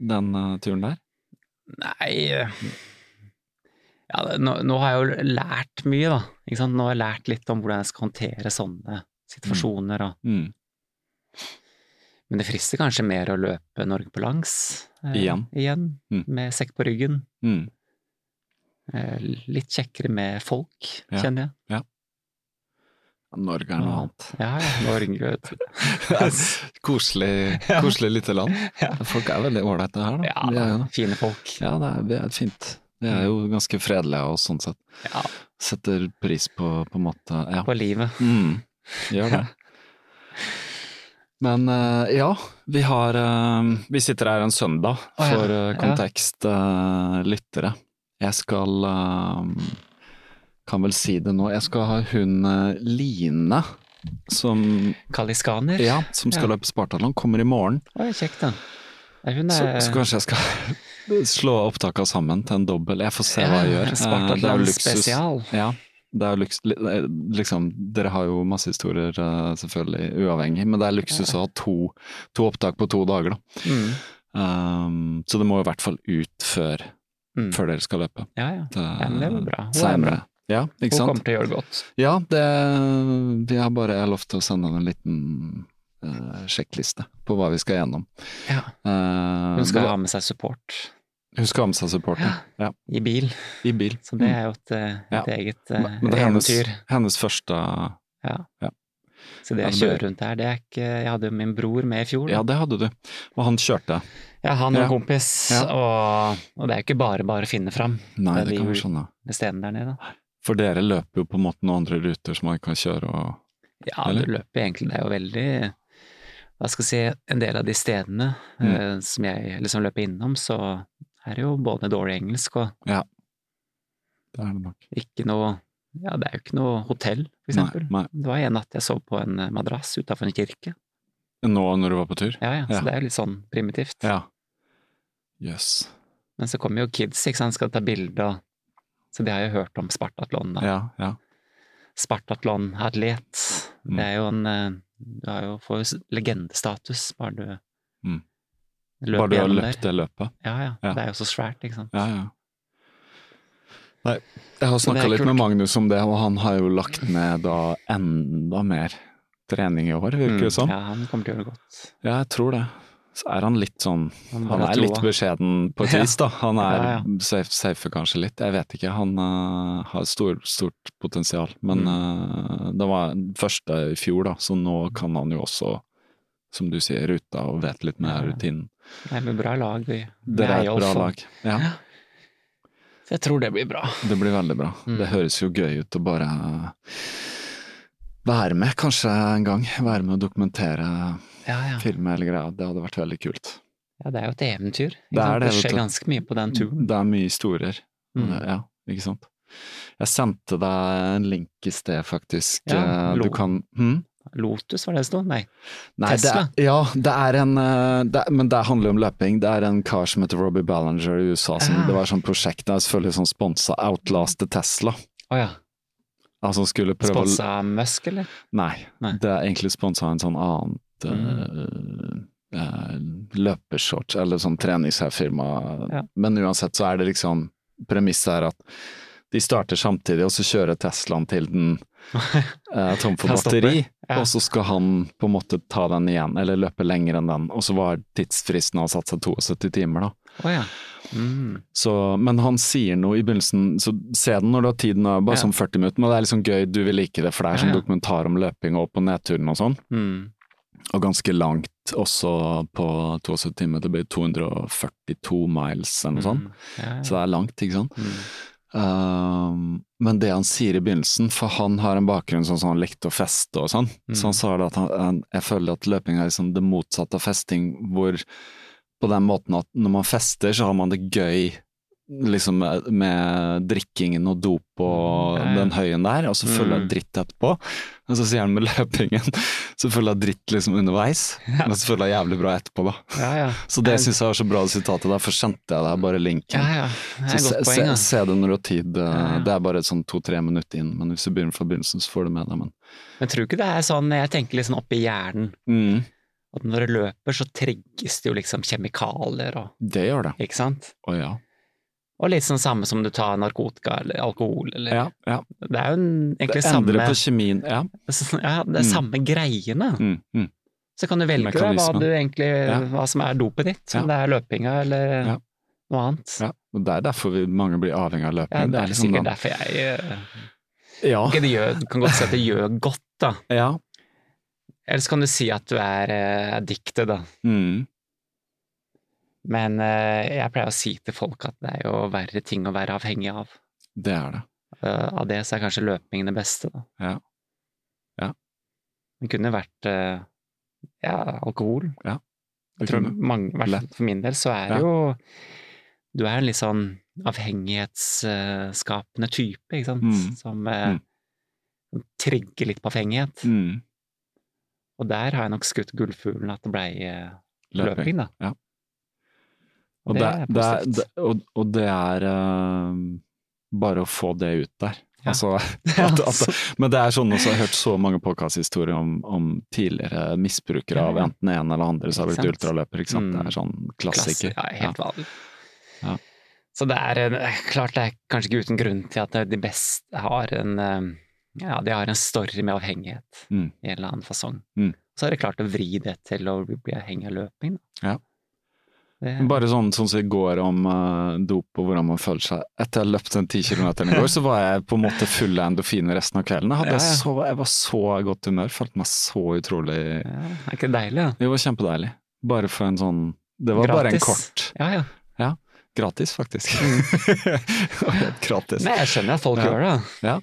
S2: Den eh, turen der?
S3: Nei eh, ja, det- nå, nå har jeg jo lært mye, da. Ikke sant? Nå har jeg lært litt om hvordan jeg skal håndtere sånne situasjoner. Og.
S2: Mm.
S3: Men det frister kanskje mer å løpe Norge på langs eh,
S2: Igjen.
S3: igjen
S2: Mm.
S3: med sekk på ryggen.
S2: Mm.
S3: Eh, Litt kjekkere med folk,
S2: Ja.
S3: kjenner jeg.
S2: Norge er noe annet.
S3: Ja, ja, Norge, vet du.
S2: koselig, koselig lite land. Folk er veldig ålreite her, da.
S3: Ja,
S2: Vi er jo det.
S3: fine folk.
S2: ja det, er, det er fint. Vi er jo ganske fredelige av oss sånn sett.
S3: Mm. Ja,
S2: Setter pris på, på en måte ja.
S3: på livet.
S2: Mm, gjør det. Men eh, ja, vi har eh, Vi sitter her en søndag
S3: Å, ja.
S2: for eh,
S3: Ja.
S2: kontekst eh, lyttere. Jeg skal eh, Kan vel si det nå. Jeg skal ha hun eh, Line som,
S3: Kaliskaner.
S2: ja, som skal
S3: Ja.
S2: løpe Spartatlon, kommer i morgen.
S3: Å, kjekt, da. Ja, Hun
S2: Så,
S3: er
S2: så kanskje jeg skal slå opptaka sammen til en dobbel. Jeg får se hva jeg
S3: Ja,
S2: gjør. Eh,
S3: Spartatlan
S2: det er jo luksus.
S3: spesial.
S2: Ja, det er jo luks, li- eh, liksom, dere har jo masse historier, eh, selvfølgelig, uavhengig, men det er luksus å ha to, to opptak på to dager, da.
S3: mm,
S2: Um, så det må i hvert fall ut før,
S3: mm.
S2: før dere skal løpe.
S3: Ja, ja.
S2: Det,
S3: Ja, men det er jo bra. Hun er
S2: Senere.
S3: bra.
S2: Ja, ikke
S3: Hun
S2: sant?
S3: kommer til å gjøre det godt.
S2: Ja, det, vi har bare lov til å sende en liten eh, sjekkliste på hva vi skal gjennom.
S3: Ja.
S2: Eh,
S3: Hun
S2: det-
S3: skal ha med seg support
S2: hun skal ha med seg supporten. Ja.
S3: i bil,
S2: I bil.
S3: så det er jo et, eh,
S2: Mm. Ja.
S3: et eget eh,
S2: Men men det er hennes,
S3: eventyr.
S2: hennes første
S3: Så det
S2: Ja, det
S3: å
S2: blir-
S3: kjøre rundt der, det er ikke Jeg hadde jo min bror med i fjor.
S2: Ja, det hadde du. Og han kjørte.
S3: Ja, han og
S2: Ja.
S3: kompis,
S2: Ja.
S3: og, og det er jo ikke bare bare å finne fram
S2: Nei,
S3: Det
S2: det
S3: blir
S2: kan vi
S3: jo-
S2: skjønne.
S3: ved stedene der nede. da.
S2: For dere løper jo på en måte noen andre ruter som man kan kjøre og
S3: Ja,
S2: Eller?
S3: du løper egentlig, det er jo veldig Hva skal jeg si, en del av de stedene
S2: Mm.
S3: eh, som jeg liksom løper innom, så er det jo både dårlig engelsk og
S2: Det er det nok.
S3: ikke noe Ja, det er jo ikke noe hotell, for eksempel.
S2: Nei,
S3: Det var en natt jeg sov på en eh, madrass utafor en kirke.
S2: nei. Nå når du var på tur?
S3: Ja, ja, så
S2: Ja.
S3: det er jo litt sånn primitivt.
S2: Ja. Jøss.
S3: Men så kommer jo kids, ikke sant, skal ta bilde og Så de har jo hørt om Spartatlon, da.
S2: Ja, ja.
S3: Spartatlon-atlet.
S2: Mm.
S3: Det er jo en eh, Du har jo, får jo s- legendestatus bare du
S2: Mm.
S3: løper
S2: Bare du har
S3: gjennom
S2: løpt
S3: der.
S2: det løpet?
S3: Ja, ja,
S2: Ja.
S3: Det er jo så svært, ikke sant.
S2: Ja, ja. Nei, jeg har
S3: Det
S2: snakka
S3: er
S2: litt
S3: kult.
S2: med Magnus om det, og han har jo lagt
S3: Mm.
S2: ned da enda mer trening i år, virker det som.
S3: Ja, han kommer til å gjøre det godt.
S2: Mm. Ja, jeg tror det. Så er han litt sånn
S3: Han
S2: Han
S3: har
S2: er litt
S3: troa.
S2: beskjeden på et
S3: Ja.
S2: vis, da. Han er
S3: Ja, ja.
S2: safe- safer kanskje litt, jeg vet ikke. Han eh, har stor, stort potensial. Men
S3: Mm.
S2: eh, det var den første i fjor, da, så nå kan han jo også, som du sier, ruta og vet litt
S3: Ja,
S2: mer
S3: ja.
S2: rutinen.
S3: Nei, men bra lag. vi- med
S2: Dere er et
S3: Eyolf
S2: bra
S3: og-
S2: lag. Ja,
S3: Så Jeg tror det blir bra.
S2: det blir veldig bra.
S3: Mm.
S2: Det høres jo gøy ut å bare være med, kanskje en gang. Være med og dokumentere,
S3: Ja, ja.
S2: filme eller greia. Det hadde vært veldig kult.
S3: ja det er jo et eventyr. ikke
S2: Det er det,
S3: sant?
S2: vet
S3: det skjer
S2: du.
S3: ganske mye på den turen.
S2: Det er mye historier.
S3: Mm.
S2: Det- Ja, ikke sant. Jeg sendte deg en link i sted, faktisk.
S3: Ja,
S2: Eh, du
S3: lo-
S2: kan hm?
S3: Lotus, var det det sto? Nei.
S2: Nei,
S3: Tesla?
S2: Det er, ja, det er en eh, det, er- Men det handler om løping. Det er en kar som heter Robbie Ballinger i USA. Som,
S3: Ah.
S2: Det var et sånt prosjekt. Det er selvfølgelig sånn sponsa Outlast til Tesla.
S3: Å ja.
S2: Altså skulle prøve å
S3: Sponsa Musk, eller?
S2: Nei,
S3: Nei.
S2: det er egentlig sponsa en sånn annet
S3: Mm.
S2: eh, eh, løpeshorts, eller sånn treningsfirma.
S3: Ja.
S2: Men uansett så er det liksom premisset er at de starter samtidig, og så kjører Teslaen til den eh, er tom for
S3: Han stopper.
S2: batteri.
S3: Ja.
S2: Og så skal han på en måte ta den igjen, eller løpe lenger enn den. Og så var tidsfristen han satt seg 72 timer, da.
S3: Å ja. Mm.
S2: Så, men han sier noe i begynnelsen, så se den når du har tiden, og bare
S3: Ja.
S2: sånn 40 minutter. Men det er liksom gøy, du vil like det, for det er
S3: Ja,
S2: sånn
S3: ja.
S2: dokumentar om løping og opp- og nedturen og sånn.
S3: Mm.
S2: Og ganske langt også på 72 timer. Det blir 242 miles eller noe sånt.
S3: Mm. Ja, ja.
S2: Så det er langt, ikke sant.
S3: Mm.
S2: Um, men det han sier i begynnelsen, for han har en bakgrunn sånn som han likte å feste og sånn,
S3: Mm.
S2: så han sa det at han, han, jeg føler at løping er liksom det motsatte av festing, hvor på den måten at når man fester, så har man det gøy liksom med, med drikkingen og dop og
S3: Mm, Ja, ja.
S2: den høyen der, og så føler jeg
S3: Mm.
S2: dritt etterpå. Men så sier han med løpingen, så føler jeg dritt liksom underveis, men så føler jeg jævlig bra etterpå, da.
S3: ja, ja.
S2: Så det syns jeg var så bra det sitatet, derfor sendte jeg deg bare linken.
S3: Ja, ja. Det
S2: Så
S3: er et
S2: se,
S3: godt poeng,
S2: se,
S3: da.
S2: se det når du har tid. eh,
S3: Ja, ja.
S2: Det er bare sånn to-tre minutter inn, men hvis du begynner fra begynnelsen, så får du med deg, men
S3: Men tror du ikke det er sånn, jeg tenker litt sånn oppi hjernen,
S2: mm,
S3: at når du løper, så trigges det jo liksom kjemikalier og
S2: Det gjør det.
S3: Ikke sant?
S2: Å ja.
S3: Og litt sånn samme som du tar narkotika eller alkohol eller
S2: Ja, ja.
S3: Det er jo en- egentlig
S2: Det
S3: samme
S2: endrer på kjemien. Ja.
S3: Ja, det er
S2: Mm.
S3: samme greiene.
S2: Mm, mm.
S3: Så kan du velge da, hva
S2: Mekanismen.
S3: du egentlig
S2: Ja.
S3: Hva som er dopet ditt. Om det er løpinga eller
S2: Ja.
S3: noe annet.
S2: ja. Og det er derfor vi, mange blir avhengig av løping.
S3: Ja, det er
S2: liksom
S3: sikkert
S2: den-
S3: derfor jeg eh,
S2: Ja,
S3: ikke det gjør, Kan godt si at det gjør godt, da.
S2: ja.
S3: Ellers kan du si at du er eh, addicted, da.
S2: Mm.
S3: Men eh, jeg pleier å si til folk at det er jo verre ting å være avhengig av.
S2: Det er det.
S3: Eh, av det så er kanskje løping det beste, da.
S2: Ja. Ja.
S3: Det kunne vært eh, ja, alkohol.
S2: Det
S3: Jeg tror
S2: kunne-
S3: mange, i hvert fall for min del så er
S2: Ja.
S3: det jo Du er en litt sånn avhengighetsskapende type, ikke sant,
S2: Mm.
S3: som eh,
S2: Mm.
S3: som trigger litt på avhengighet.
S2: Mm.
S3: Og der har jeg nok skutt gullfuglen at det blei eh,
S2: Løping.
S3: løping, da.
S2: Og
S3: Det
S2: det,
S3: er
S2: det er,
S3: positivt.
S2: det, og, og det er eh, bare å få det ut der.
S3: Ja.
S2: Altså,
S3: Ja,
S2: at, at, men det er sånn også, jeg har hørt så mange podkasthistorier om, om tidligere misbrukere av
S3: Ja, ja.
S2: enten en eller andre som har
S3: Ikke
S2: blitt
S3: sant?
S2: ultraløper. Ikke sant?
S3: Mm.
S2: Det er sånn
S3: klassiker.
S2: klassiker.
S3: Ja, helt vanlig.
S2: Ja.
S3: Så det er eh, klart det er kanskje ikke uten grunn til at de beste har en eh, ja, de har en story med avhengighet
S2: Mm.
S3: i en eller annen fasong.
S2: Mm.
S3: Så er det klart å vri det til å bli avhengig av løping. da.
S2: Ja.
S3: Det,
S2: Bare sånn sånn som i går om eh, dop og hvordan man føler seg. Etter jeg løpte en 10 km i går, så var jeg på en måte full av endorfiner resten av kvelden. Jeg, hadde
S3: Ja, ja.
S2: Så, jeg var så i godt humør, følte meg så utrolig
S3: ja, er ikke det deilig? da?
S2: Det var kjempedeilig. Bare for en sånn Det var bare en
S3: Gratis. Mm.
S2: kort.
S3: Ja, ja.
S2: Gratis, faktisk. Gratis.
S3: Nei, jeg skjønner at folk
S2: Ja.
S3: gjør det.
S2: Ja.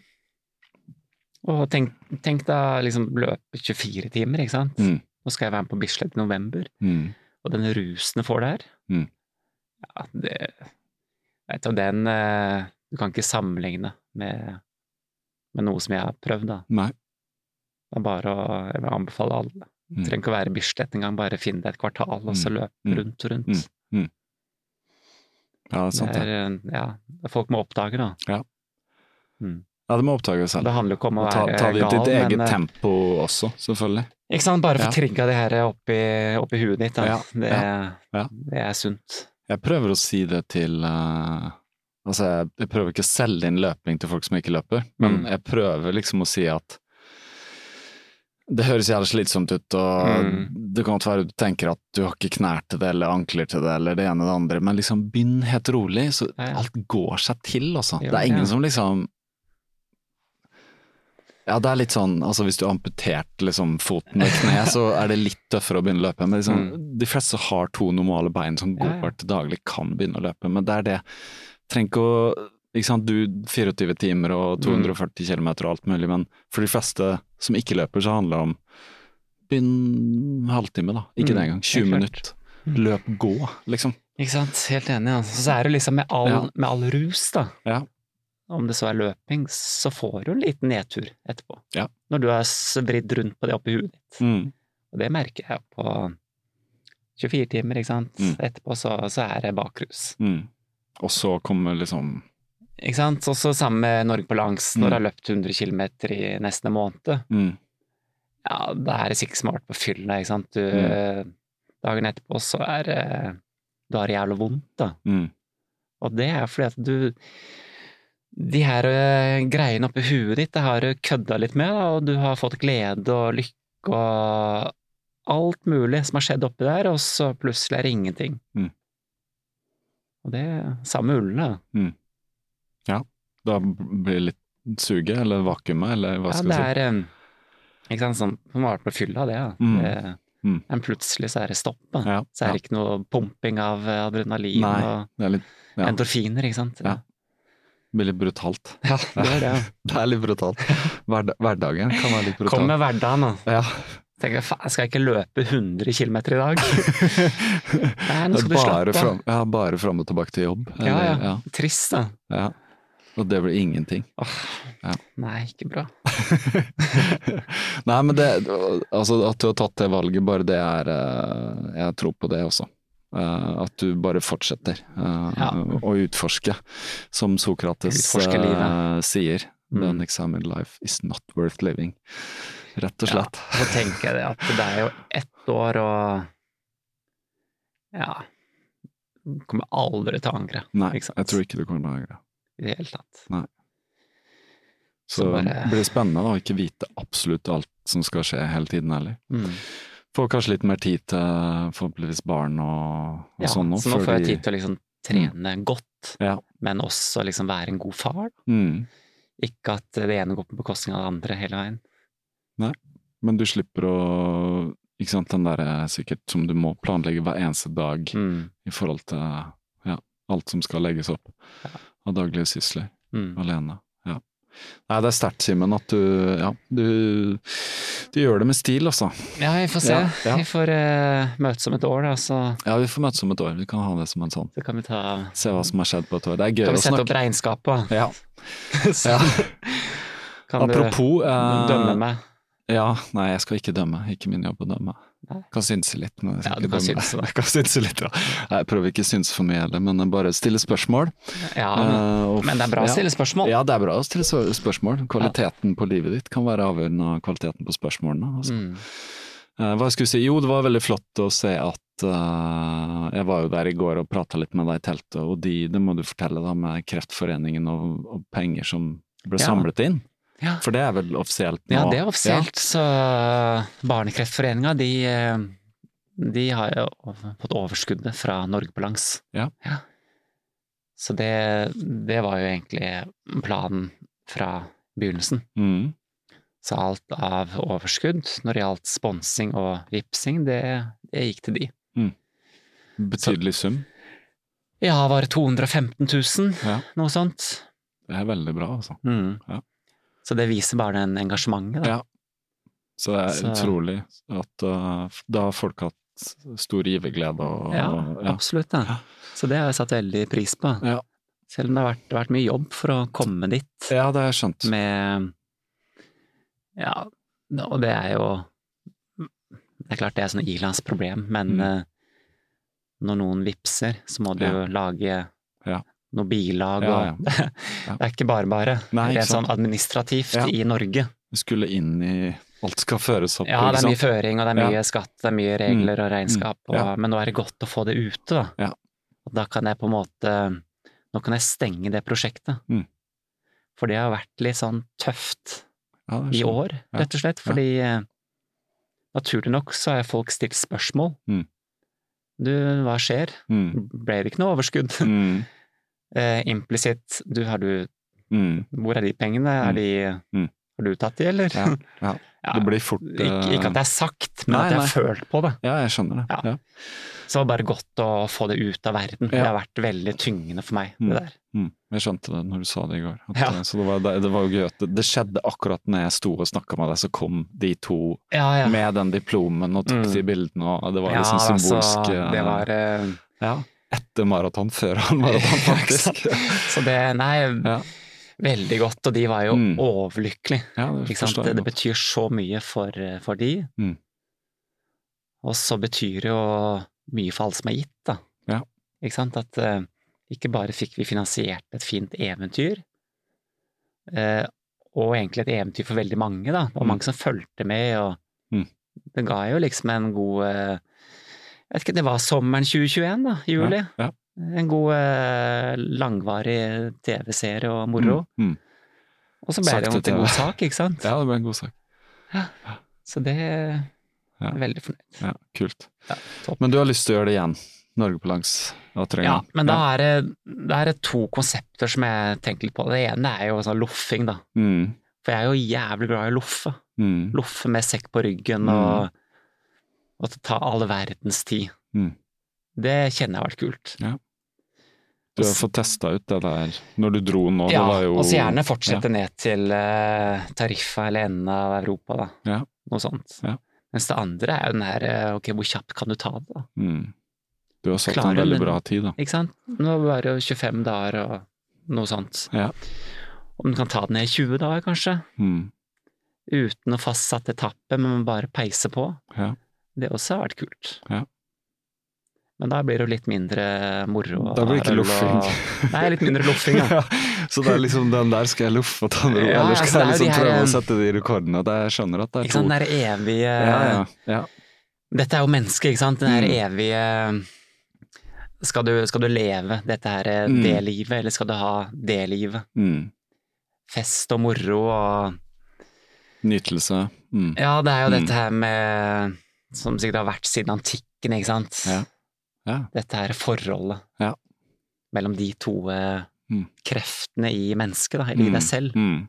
S3: Og tenk, tenk da liksom løpe 24 timer, ikke sant.
S2: Mm.
S3: Nå skal jeg være med på Bislett i november,
S2: Mm.
S3: og den rusen jeg får der
S2: Mm.
S3: Ja, det Vet du, den eh, Du kan ikke sammenligne med, med noe som jeg har prøvd, da.
S2: Nei.
S3: Det er bare å Jeg vil anbefale alle.
S2: Mm.
S3: Trenger ikke å være Bislett engang, bare finn deg et kvartal, og så
S2: Mm.
S3: løp
S2: Mm.
S3: rundt og rundt.
S2: Mm. Sånn Ja, det er sant,
S3: det
S2: det.
S3: er, eh, ja, det er folk må oppdage, da.
S2: Ja, det må oppdage oss selv.
S3: Det handler ikke om å
S2: Og ta,
S3: være
S2: ta det i
S3: gal,
S2: ditt eget
S3: men eh,
S2: tempo også, selvfølgelig.
S3: Ikke sant? Bare
S2: Ja.
S3: få trigga det her oppi, oppi huet ditt. Da.
S2: Ja,
S3: Det,
S2: ja.
S3: det er sunt.
S2: Jeg prøver å si det til eh, Altså, jeg, jeg prøver ikke å selge inn løping til folk som ikke løper, men
S3: Mm.
S2: jeg prøver liksom å si at det høres jævlig slitsomt ut, og
S3: Mm.
S2: det kan godt være du tenker at du har ikke knær til det, eller ankler til det, eller det ene og det andre, men liksom begynn helt rolig, så
S3: Ja, ja.
S2: alt går seg til, altså.
S3: Ja,
S2: Det er
S3: ja.
S2: ingen som liksom Ja, det er litt sånn, altså hvis du har amputert liksom foten og kneet, så er det litt tøffere å begynne å løpe. Men liksom,
S3: Mm.
S2: de fleste har to normale bein som
S3: Ja, ja.
S2: går til daglig kan begynne å løpe, men det er det. Trenger ikke å ikke sant, Du 24 timer og
S3: Mm.
S2: 240 km og alt mulig, men for de fleste som ikke løper, så handler det om begynn halvtime, da. Ikke det
S3: Mm,
S2: engang. 20
S3: helt klart. Mm.
S2: minutter. Løp, gå, liksom.
S3: Ikke sant? Helt enig. Altså. Så er det liksom med all,
S2: Ja.
S3: med all rus, da.
S2: Ja.
S3: Om det så er løping, så får du en liten nedtur etterpå.
S2: Ja.
S3: Når du er s- vridd rundt på det oppi huet ditt.
S2: Mm.
S3: Og det merker jeg på 24 timer, ikke sant.
S2: Mm.
S3: Etterpå så, så er det bakrus.
S2: Mm. Og så kommer liksom
S3: Ikke sant? Også sammen med Norge på langs, når
S2: Mm.
S3: du har løpt 100 km i nesten en måned.
S2: mm.
S3: Ja, da er det sikkert smart på fylla, ikke sant. Du,
S2: Mm.
S3: Dagen etterpå så er det Du har det jævlig vondt, da.
S2: Mm.
S3: Og det er fordi at du De her eh, greiene oppi huet ditt, det har du kødda litt med, da, og du har fått glede og lykke og alt mulig som har skjedd oppi der, og så plutselig er det ingenting.
S2: Mm.
S3: Og det samme med ullene.
S2: Da blir det litt suget, eller vakuumet, eller hva
S3: Ja,
S2: skal
S3: det
S2: jeg si.
S3: er em, Ikke sant, sånn man har vært på fylla, det. da.
S2: Mm.
S3: Det-
S2: Mm.
S3: Men plutselig så er det stopp. da.
S2: Ja,
S3: Så er
S2: ja.
S3: det ikke noe pumping av eh, adrenalin
S2: Nei,
S3: og
S2: Det er litt, ja, det
S3: endorfiner, ikke sant.
S2: Ja. blir litt brutalt.
S3: Ja, det er det.
S2: Det er litt brutalt. Hverda- hverdagen kan være litt brutal.
S3: Kom med hverdagen, da.
S2: Ja.
S3: Tenker jeg, faen, skal jeg ikke løpe 100 km i dag? Nei,
S2: Det
S3: nå
S2: er
S3: skal du slappe
S2: bare
S3: av.
S2: fram, ja, bare fram og tilbake til jobb.
S3: Ja, ja.
S2: Eller-
S3: Trist, da.
S2: ja, ja. Og det blir ingenting.
S3: Åh,
S2: Ja.
S3: Nei, ikke bra.
S2: Nei, men det, altså at du har tatt det valget, bare det er eh, Jeg tror på det også. Eh, At du bare fortsetter eh,
S3: Ja.
S2: å utforske, som Sokrates
S3: Utforske livet.
S2: eh, sier.
S3: Mm.
S2: Then examine life is not worth living. Rett og
S3: Ja,
S2: slett.
S3: Så tenker jeg det at det er jo ett år og Ja. Kommer aldri til å angre.
S2: Nei,
S3: ikke sant?
S2: jeg tror ikke du kommer til å angre.
S3: i det hele tatt.
S2: Så
S3: Så bare-
S2: det blir spennende da, å ikke vite absolutt alt som skal skje hele tiden heller. Får kanskje litt mer tid til eh, forhåpentligvis barn og, og
S3: Ja,
S2: sånn nå.
S3: så nå får jeg
S2: fordi-
S3: tid til å liksom trene godt,
S2: Ja.
S3: men også liksom være en god far.
S2: Mm.
S3: Ikke at det ene går på bekostning av det andre hele veien.
S2: Men du slipper å Ikke sant, den derre sikkert som du må planlegge hver eneste dag
S3: Mm.
S2: i forhold til ja, alt som skal legges opp av daglige sysler.
S3: Mm.
S2: Alene. Ja. Nei, det er sterkt, Simen, at du Ja, du, du gjør det med stil, altså.
S3: Ja, vi får se.
S2: Ja, ja.
S3: Vi får eh, møtes om et år, da, så,
S2: Ja, vi får møtes om et år. Vi kan ha det som en sånn.
S3: så kan vi ta
S2: Se hva som har skjedd på et år. Det er gøy
S3: Kan
S2: å
S3: vi sette
S2: snakke
S3: opp regnskapet? da?
S2: Ja.
S3: Så
S2: ja.
S3: kan
S2: Apropos
S3: du
S2: eh,
S3: dømme meg.
S2: Ja, nei, jeg skal ikke dømme. Ikke min jobb å dømme.
S3: Nei.
S2: Kan synse litt. Men jeg skal
S3: Ja, du
S2: ikke
S3: kan
S2: dømme.
S3: synse, da.
S2: Jeg kan synse litt, ja. Nei, Jeg prøver ikke å synse for mye heller, men jeg bare stille spørsmål.
S3: Ja, men,
S2: Eh, og-
S3: men det er bra å
S2: ja.
S3: stille spørsmål.
S2: Ja, det er bra å stille så- spørsmål. Kvaliteten på livet ditt kan være avgjørende av kvaliteten på spørsmålene. Altså.
S3: Mm.
S2: Eh, Hva skulle jeg si? Jo, det var veldig flott å se at eh, Jeg var jo der i går og prata litt med deg i teltet, og de, det må du fortelle, da, med Kreftforeningen og, og penger som ble
S3: Ja.
S2: samlet inn.
S3: Ja.
S2: For det er vel offisielt nå?
S3: Ja, det er offisielt. Så eh, Barnekreftforeninga, de, eh, de har jo fått overskuddet fra Norge på langs.
S2: Ja.
S3: Så det, det var jo egentlig planen fra begynnelsen.
S2: Ja. Mm.
S3: Så alt av overskudd når det gjaldt sponsing og vipsing, det, det gikk til de.
S2: Mm. Betydelig sum.
S3: Ja, var det 215 000?
S2: Ja,
S3: Noe sånt.
S2: det er veldig bra, altså. Ja.
S3: Så det viser bare den engasjementet, da.
S2: Ja. Så det er
S3: Så-
S2: utrolig at uh, da har folk hatt stor giverglede og
S3: Ja,
S2: ja.
S3: absolutt. Da.
S2: Ja.
S3: Så det har jeg satt veldig pris på.
S2: Ja.
S3: Selv om det har vært, det har vært mye jobb for å komme dit
S2: ja, det har jeg skjønt.
S3: med Ja, og det er jo Det er klart det er sånn Ilans problem, men
S2: Mm.
S3: eh, når noen vipser, så må du
S2: Ja.
S3: jo lage
S2: Ja.
S3: noe bilag
S2: Ja, ja.
S3: og Det er ikke bare bare.
S2: Nei, ikke
S3: Rent sånn
S2: sant.
S3: administrativt
S2: Ja.
S3: i Norge.
S2: Vi skulle inn i Alt skal føres opp,
S3: Ja, det er
S2: ikke
S3: mye
S2: sant?
S3: føring, og det er mye skatt, det er mye regler og regnskap,
S2: Mm. Ja.
S3: og, men nå er det godt å få det ute, da.
S2: Ja.
S3: Og da kan jeg på en måte Nå kan jeg stenge det prosjektet.
S2: Mm.
S3: For det har vært litt sånn tøft
S2: Ja, det er
S3: i
S2: skjønt.
S3: år,
S2: Ja.
S3: rett og slett, fordi eh, naturlig nok så har folk stilt spørsmål.
S2: Mm.
S3: Du, hva skjer?
S2: Mm.
S3: Ble det ikke noe overskudd?
S2: Mm.
S3: Eh, Implisitt, du, har du
S2: Mm.
S3: Hvor er de pengene?
S2: Mm.
S3: Er de
S2: Mm.
S3: Har du tatt de, eller?
S2: Ja. Ja.
S3: Ja,
S2: Det blir fort
S3: ikke, ikke at det er sagt, men
S2: Nei,
S3: at jeg
S2: nei.
S3: har følt på det.
S2: Ja, jeg skjønner det.
S3: Ja.
S2: Ja.
S3: Så det var bare godt å få det ut av verden. Det
S2: Ja.
S3: har vært veldig tyngende for meg,
S2: Mm.
S3: det der.
S2: Mm. Jeg skjønte det når du sa det i går. At,
S3: Ja.
S2: eh, Så det var, det, det var jo gøy at det, det skjedde akkurat når jeg sto og snakka med deg, så kom de to
S3: Ja, ja.
S2: med den diplomen og tok
S3: Mm.
S2: de bildene, og det var
S3: Ja,
S2: liksom
S3: altså,
S2: symbolsk eh,
S3: det var eh,
S2: ja. Etter maraton, før han maraton,
S3: Ja, ikke
S2: faktisk.
S3: Så det Nei,
S2: Ja.
S3: veldig godt. Og de var jo
S2: Mm.
S3: overlykkelige.
S2: Ja, det
S3: Ikke sant?
S2: forstår
S3: Det,
S2: jeg
S3: det
S2: godt.
S3: betyr så mye for, eh, for de.
S2: Mm.
S3: Og så betyr det jo mye for alle som er gitt, da.
S2: Ja.
S3: Ikke sant? At eh, ikke bare fikk vi finansiert et fint eventyr, eh, og egentlig et eventyr for veldig mange, da. Det var mange som fulgte med, og
S2: Mm.
S3: det ga jo liksom en god eh, Jeg vet ikke, det var sommeren 2021, da. Juli.
S2: Ja, Mm, ja.
S3: En god eh, langvarig TV-serie og moro.
S2: Mm. Mm.
S3: Og så ble
S2: Sakte
S3: det jo til
S2: TV.
S3: god sak, ikke sant?
S2: Ja, det ble en god sak.
S3: Så det jeg er veldig fornøyd.
S2: Ja, kult.
S3: Ja, topp.
S2: Men du har lyst til å gjøre det igjen. Norge på langs. Da trenger
S3: Ja,
S2: jeg.
S3: men da er det, det er det to konsepter som jeg tenker litt på. Det ene er jo sånn loffing, da.
S2: Mm.
S3: For jeg er jo jævlig glad i å loffe.
S2: Mm.
S3: Loffe med sekk på ryggen og, og ta all verdens tid.
S2: Mm.
S3: Det kjenner jeg har vært kult.
S2: Du har fått testa ut det der når du dro nå.
S3: Ja,
S2: det var jo
S3: og så gjerne fortsette ned til eh, Tariffa eller enden av Europa, da.
S2: Ja.
S3: Noe sånt.
S2: Ja.
S3: Mens det andre er jo den her eh, ok, hvor kjapt kan du ta det, da?
S2: Mm. Du har satt
S3: Klarer
S2: en veldig
S3: den-
S2: bra tid, da.
S3: Ikke sant? Nå var det jo 25 dager og noe sånt.
S2: Ja.
S3: Om du kan ta det ned i 20 dager, kanskje?
S2: Mm.
S3: Uten noe fastsatt etappe, men bare peise på.
S2: Ja.
S3: Det også har vært kult.
S2: Ja.
S3: Men da blir det jo litt mindre moro. og
S2: Da blir det ikke
S3: øl og-
S2: loffing.
S3: Nei, litt mindre loffing, ja.
S2: Så det er liksom den der skal jeg loffe, og den,
S3: Ja,
S2: ellers
S3: altså,
S2: skal jeg
S3: det er jo
S2: liksom
S3: de her,
S2: prøve
S3: eh,
S2: å sette de rekordene. Det, jeg skjønner at det er
S3: Ikke
S2: to
S3: sant, den der evige
S2: ja, ja, ja.
S3: Dette er jo mennesket, ikke sant? Den her
S2: Mm.
S3: evige skal du, skal du leve dette her, eh,
S2: Mm.
S3: det livet, eller skal du ha det livet?
S2: Mm.
S3: Fest og moro og
S2: Nytelse. Mm.
S3: Ja, det er jo
S2: Mm.
S3: dette her med Som sikkert har vært siden antikken, ikke sant?
S2: Ja. Ja.
S3: Dette her forholdet
S2: Ja.
S3: mellom de to eh,
S2: Mm.
S3: kreftene i mennesket, da, eller i
S2: Mm.
S3: deg selv.
S2: Mm.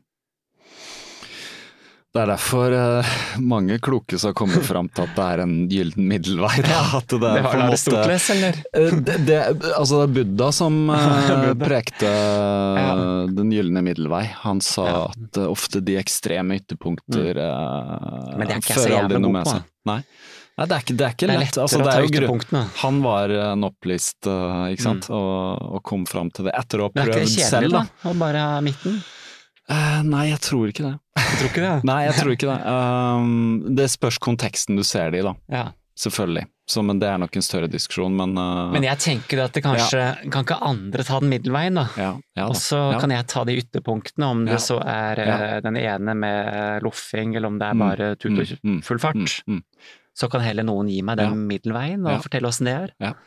S2: Det er derfor eh, mange kloke som har kommet fram til at det er en gyllen middelvei. Da. At det er
S3: Det
S2: på
S3: var
S2: en
S3: Lars
S2: måte
S3: Stortles, eller?
S2: Eh, det, det, altså det er Buddha som eh, prekte eh, den gylne middelvei. Han sa
S3: Ja. Mm.
S2: at eh, ofte de ekstreme ytterpunkter eh,
S3: Men det er ikke jeg så
S2: fører aldri
S3: jævlig
S2: noe
S3: god
S2: med
S3: på,
S2: seg. Nei. Nei, det er ikke, det er ikke
S3: Det er
S2: lett.
S3: lettere
S2: Altså,
S3: å
S2: det
S3: ta
S2: er jo grunn-
S3: ytterpunktene.
S2: Han var eh, en opplist, eh, ikke sant, og, og kom fram til det etter å ha
S3: Mm. Men er ikke det
S2: prøvd
S3: kjedelig,
S2: selv,
S3: da?
S2: da.
S3: Å bare ha midten?
S2: Eh, nei, jeg tror ikke det.
S3: Jeg tror ikke det.
S2: Nei, jeg tror ikke det. Um, det spørs konteksten du ser det i, da.
S3: Ja.
S2: Selvfølgelig. Så, men det er nok en større diskusjon, men uh,
S3: Men jeg tenker at det kanskje Kan ikke andre ta den middelveien, da?
S2: ja, ja, da.
S3: Og så
S2: ja.
S3: kan jeg ta de ytterpunktene, om
S2: Ja.
S3: det så er eh, den ene med loffing, eller om det er bare tut og
S2: Mm, mm,
S3: full fart.
S2: mm, mm.
S3: Så kan heller noen gi meg den middelveien og
S2: Ja.
S3: fortelle åssen det er.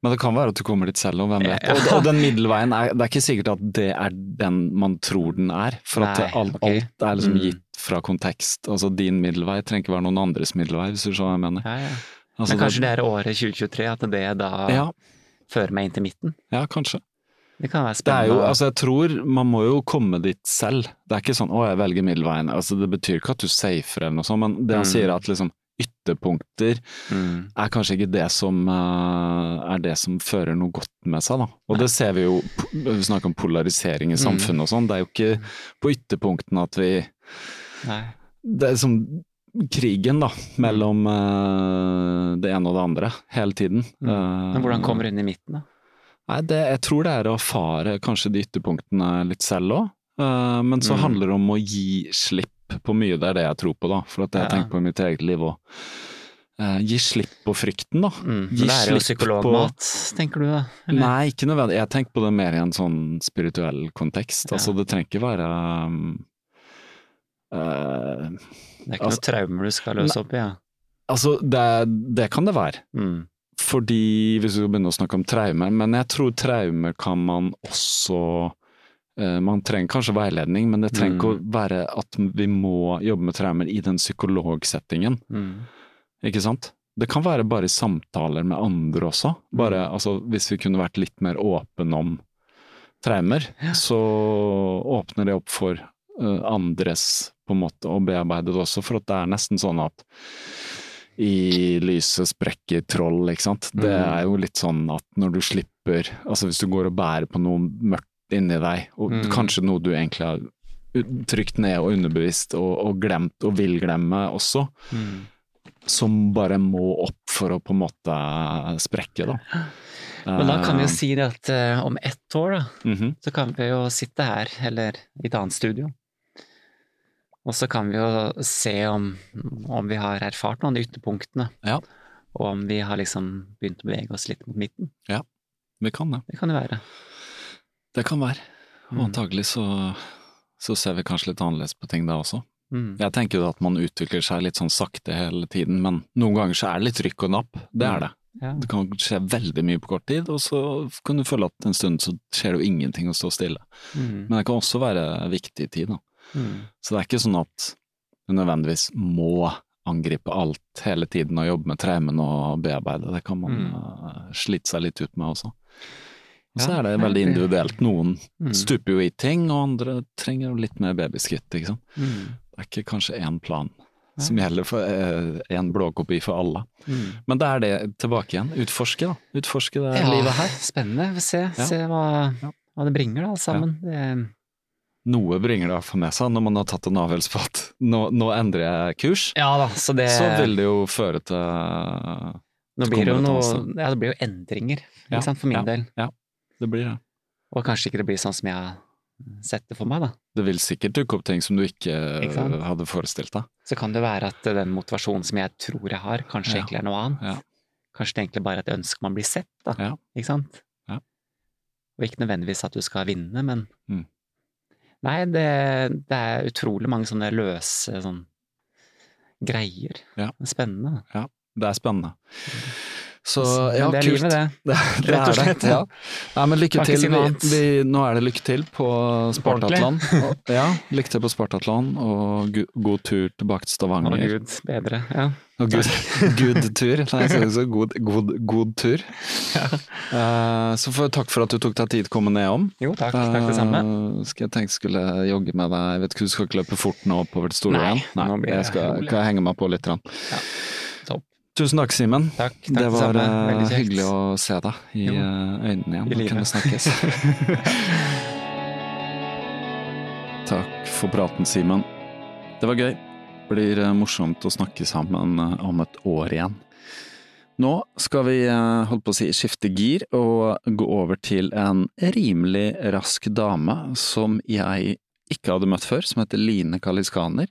S2: Men det kan være at du kommer dit selv, og hvem vet. Og, og den middelveien, er, det er ikke sikkert at det er den man tror den er. For at
S3: Nei,
S2: det- alt,
S3: ok.
S2: alt er liksom
S3: Mm.
S2: gitt fra kontekst. Altså din middelvei trenger ikke være noen andres middelvei, hvis du skjønner hva jeg mener.
S3: Ja, ja.
S2: Altså,
S3: Men kanskje det er året 2023 at det da
S2: ja,
S3: fører meg inn til midten?
S2: ja, kanskje.
S3: Det kan være
S2: Det er jo,
S3: spennende.
S2: altså jeg tror man må jo komme dit selv. Det er ikke sånn 'å, jeg velger middelveien'. Altså Det betyr ikke at du safer eller noe sånt, men det han
S3: Mm.
S2: sier er at liksom ytterpunkter
S3: Mm.
S2: er kanskje ikke det som eh, er det som fører noe godt med seg. Da. Og det ser vi jo, p- vi snakker om polarisering i
S3: Mm.
S2: samfunnet og sånn, det er jo ikke på ytterpunktene at vi
S3: Nei.
S2: Det er som krigen, da, mellom eh, det ene og det andre, hele tiden.
S3: Mm.
S2: Eh,
S3: Men hvordan kommer hun inn i midten, da?
S2: Nei, det, jeg tror det er å erfare kanskje de ytterpunktene litt selv òg. men så
S3: Mm.
S2: handler det om å gi slipp på mye, det er det jeg tror på, da. For at jeg
S3: Ja.
S2: tenker på i mitt eget liv òg. gi slipp på frykten, da.
S3: Mm.
S2: Gi
S3: Det er jo
S2: slipp
S3: psykologmat, tenker du da? Eller?
S2: Nei, ikke nødvendig. Jeg tenker på det mer i en sånn spirituell kontekst.
S3: Ja.
S2: Altså, det trenger ikke være um, eh,
S3: Det er ikke
S2: altså-
S3: noe traumer du skal løse opp i, ja.
S2: Altså, det, det kan det være.
S3: Mm.
S2: Fordi, hvis vi skal begynne å snakke om traumer, men jeg tror traumer kan man også eh, Man trenger kanskje veiledning, men det trenger ikke å være at vi må jobbe med traumer i den psykologsettingen,
S3: Mm.
S2: ikke sant? Det kan være bare i samtaler med andre også. Bare,
S3: Mm.
S2: altså, hvis vi kunne vært litt mer åpne om traumer, så åpner det opp for eh, andres på en måte å bearbeide det også, for at det er nesten sånn at i lyset sprekker troll, ikke sant. Det
S3: Mm.
S2: er jo litt sånn at når du slipper Altså hvis du går og bærer på noe mørkt inni deg, og
S3: Mm.
S2: kanskje noe du egentlig har u- trykt ned og underbevisst og, og glemt og vil glemme også,
S3: Mm.
S2: som bare må opp for å på en måte sprekke, da.
S3: Men da kan vi
S2: Eh,
S3: jo si det at eh, om ett år, da,
S2: mhm.
S3: så kan vi jo sitte her, eller i et annet studio. Og så kan vi jo se om, om vi har erfart noen av de ytterpunktene.
S2: Ja.
S3: Og om vi har liksom begynt å bevege oss litt mot midten.
S2: Vi kan det.
S3: Det kan jo være.
S2: Det kan være. Og
S3: Mm.
S2: antagelig så, så ser vi kanskje litt annerledes på ting da også.
S3: Mm.
S2: Jeg tenker jo at man utvikler seg litt sånn sakte hele tiden, men noen ganger så er det litt rykk og napp. Det er det.
S3: Mm. Ja.
S2: Det kan skje veldig mye på kort tid, og så kan du føle at en stund så skjer det jo ingenting å stå stille.
S3: Mm.
S2: Men det kan også være viktig tid, da.
S3: Mm.
S2: Så det er ikke sånn at du nødvendigvis må angripe alt hele tiden og jobbe med traumene og bearbeide. Det kan man
S3: Mm.
S2: eh, slite seg litt ut med også. Og så
S3: Ja,
S2: er det
S3: nei,
S2: veldig
S3: det-
S2: individuelt. Noen
S3: Mm.
S2: stuper jo i ting, og andre trenger jo litt mer babyskritt, ikke sant.
S3: Mm.
S2: Det er ikke kanskje én plan
S3: Nei.
S2: som gjelder for én blåkopi for alle.
S3: Mm.
S2: Men da er det tilbake igjen. Utforske, da. Utforske det
S3: Ja,
S2: livet her.
S3: Spennende. Vi får se, se hva,
S2: Ja.
S3: hva det bringer, da, alt sammen.
S2: Noe bringer det i hvert fall med seg når man har tatt en avgjørelse på at nå, nå endrer jeg kurs.
S3: Det, ja da, så det
S2: Så vil det jo føre til
S3: Nå
S2: Så
S3: blir det jo
S2: kommer det
S3: noe
S2: til
S3: Ja, det blir jo endringer, ikke
S2: Ja,
S3: sant, for min
S2: ja.
S3: del.
S2: Det blir det.
S3: Og kanskje ikke det blir sånn som jeg har sett det for meg, da.
S2: Det vil sikkert dukke opp ting som du ikke,
S3: Ikke sant?
S2: eh, hadde forestilt deg.
S3: Så kan det være at den motivasjonen som jeg tror jeg har, kanskje
S2: Ja.
S3: egentlig er noe annet.
S2: Ja.
S3: Kanskje det egentlig bare er et ønske man blir sett, da.
S2: Ja.
S3: Ikke sant?
S2: Ja.
S3: Og ikke nødvendigvis at du skal vinne, men
S2: Mm.
S3: Nei, det, det er utrolig mange sånne løse sånn greier.
S2: Ja.
S3: Det er Spennende.
S2: Det er spennende. Så
S3: Mm. Men
S2: ja,
S3: det er
S2: kult.
S3: livet, det.
S2: Det, det
S3: Rett og
S2: er det.
S3: slett, ja.
S2: Ja. Nei, men lykke
S3: Kan ikke
S2: til.
S3: si noe
S2: Vi,
S3: annet.
S2: vi, nå er det lykke til på Spartatland. Og- Ja, lykke til på Spartatland, og gu- god tur tilbake til
S3: Å,
S2: Stavanger.
S3: gud bedre. Ja.
S2: Og Good, good tur. Nei, så, så god, god, god tur. Eh, så får jeg takk for at du tok deg tid til å komme ned om.
S3: Jo, takk. Takk, det samme.
S2: Eh, skal jeg tenke skulle jogge med deg Jeg vet ikke, du skal ikke løpe fort nå oppover til
S3: Nei,
S2: Storveien? Nei,
S3: nå blir
S2: jeg
S3: det
S2: skal,
S3: rolig.
S2: kan jeg henge meg på litt. grann.
S3: Topp.
S2: Tusen takk, Simen.
S3: Takk, takk
S2: Eh, Det var
S3: det
S2: eh,
S3: samme. Veldig kjekt.
S2: hyggelig å se deg i
S3: Jo.
S2: eh, øynene igjen.
S3: I
S2: Nå kan
S3: livet.
S2: vi snakkes. takk for praten, Simen. Det var gøy. Blir eh, morsomt å snakke sammen eh, om et år igjen. Nå skal vi eh, holdt på å si, skifte gir og gå over til en rimelig rask dame som jeg ikke hadde møtt før, som heter Line Kaliskaner.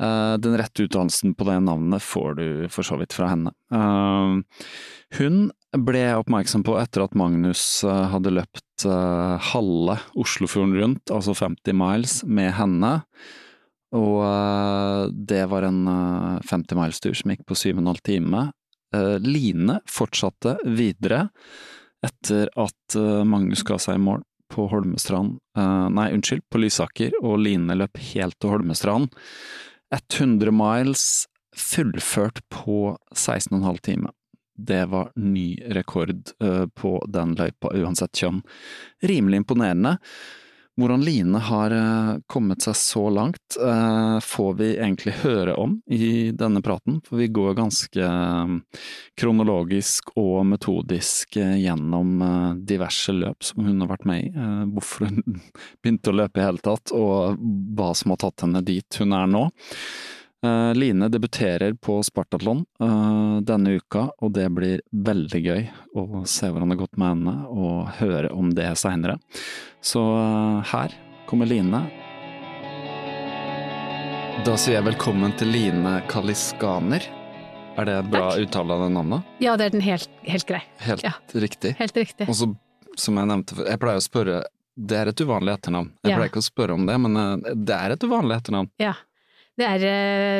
S2: Eh, Den rette utdannelsen på det navnet får du for så vidt fra henne. Eh, Hun ble jeg oppmerksom på etter at Magnus eh, hadde løpt eh, halve Oslofjorden rundt, altså 50 miles, med henne. Og eh, det var en eh, 50 miles-tur som gikk på 7,5 time. Eh, Line fortsatte videre etter at eh, Magnus ga seg i mål på Holmestrand eh, Nei, unnskyld, på Lysaker, og Line løp helt til Holmestrand. 100 miles fullført på 16,5 time. Det var ny rekord eh, på den løypa, uansett kjønn. Rimelig imponerende. Hvordan Line har eh, kommet seg så langt, eh, får vi egentlig høre om i denne praten, for vi går ganske eh, kronologisk og metodisk eh, gjennom eh, diverse løp som hun har vært med i, eh, hvorfor hun begynte å løpe i hele tatt, og hva som har tatt henne dit hun er nå. Eh, Line debuterer på Spartatlon eh, denne uka, og det blir veldig gøy å se hvordan det har gått med henne, og høre om det seinere. Så eh, her kommer Line. Da sier jeg velkommen til Line Kaliskaner. Er det bra
S5: Takk.
S2: uttale av det navnet?
S5: Ja, det er den helt, helt grei.
S2: Helt
S5: Ja.
S2: riktig.
S5: Helt riktig.
S2: Og så, som jeg nevnte, jeg pleier å spørre Det er et uvanlig etternavn. Jeg
S5: Ja.
S2: pleier ikke å spørre om det, men eh, det er et uvanlig etternavn.
S5: Ja. Det er,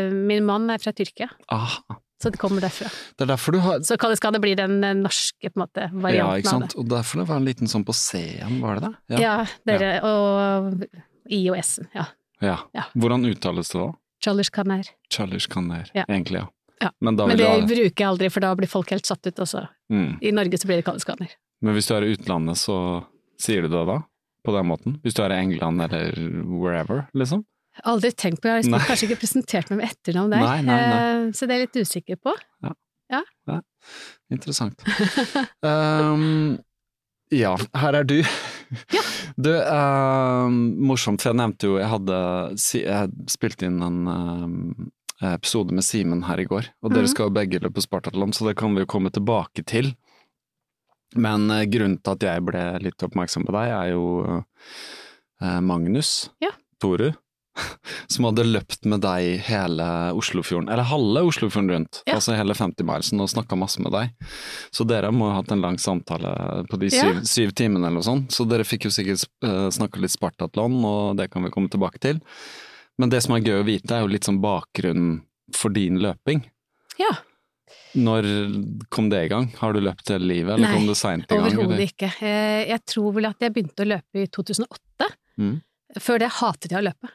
S5: eh, min mann er fra Tyrkia,
S2: Ah,
S5: så det kommer derfra.
S2: det er derfor du har
S5: Så Kaliskane blir den eh, norske på en måte, varianten
S2: Ja, ikke sant?
S5: av det.
S2: Og derfor det var en liten sånn på C-en, var det det?
S5: Ja, dere, og I og S-en. Ja.
S2: Ja.
S5: Ja.
S2: Hvordan uttales det da?
S5: Chalishkaner.
S2: Charlish Kaner,
S5: Ja.
S2: egentlig, ja.
S5: Ja.
S2: Men, da
S5: Men
S2: vil
S5: det
S2: du ha det.
S5: bruker jeg aldri, for da blir folk helt satt ut også.
S2: Mm.
S5: I Norge så blir det Kaliskaner.
S2: Men hvis du er i utlandet, så sier du det da? På den måten? Hvis du er i England eller wherever, liksom?
S5: Aldri tenkt på, jeg har liksom
S2: Nei.
S5: kanskje ikke presentert meg med etternavn der,
S2: Nei, nei, nei.
S5: eh, så det er jeg litt usikker på.
S2: Interessant. Ehm, ja, her er du.
S5: Ja.
S2: Du, ehm, morsomt, for jeg nevnte jo Jeg hadde si- jeg spilte inn en ehm, episode med Simen her i går, og dere
S5: Mhm.
S2: skal jo begge løpe Spartatlon, så det kan vi jo komme tilbake til. Men eh, grunnen til at jeg ble litt oppmerksom på deg, er jo eh, Magnus
S5: Ja.
S2: Toru. Som hadde løpt med deg hele Oslofjorden, eller halve Oslofjorden rundt.
S5: Ja.
S2: Altså hele 50-milesen, og snakka masse med deg. Så dere må ha hatt en lang samtale på de syv,
S5: Ja.
S2: syv timene eller noe sånt. Så dere fikk jo sikkert uh, snakka litt Spartatlon, og det kan vi komme tilbake til. Men det som er gøy å vite, er jo litt sånn bakgrunnen for din løping.
S5: Ja,
S2: Når kom det i gang? Har du løpt hele livet, eller
S5: Nei,
S2: kom det seint i gang? eller?
S5: overhodet ikke. Eh, Jeg tror vel at jeg begynte å løpe i 2008.
S2: Mm.
S5: Før det hatet jeg å løpe.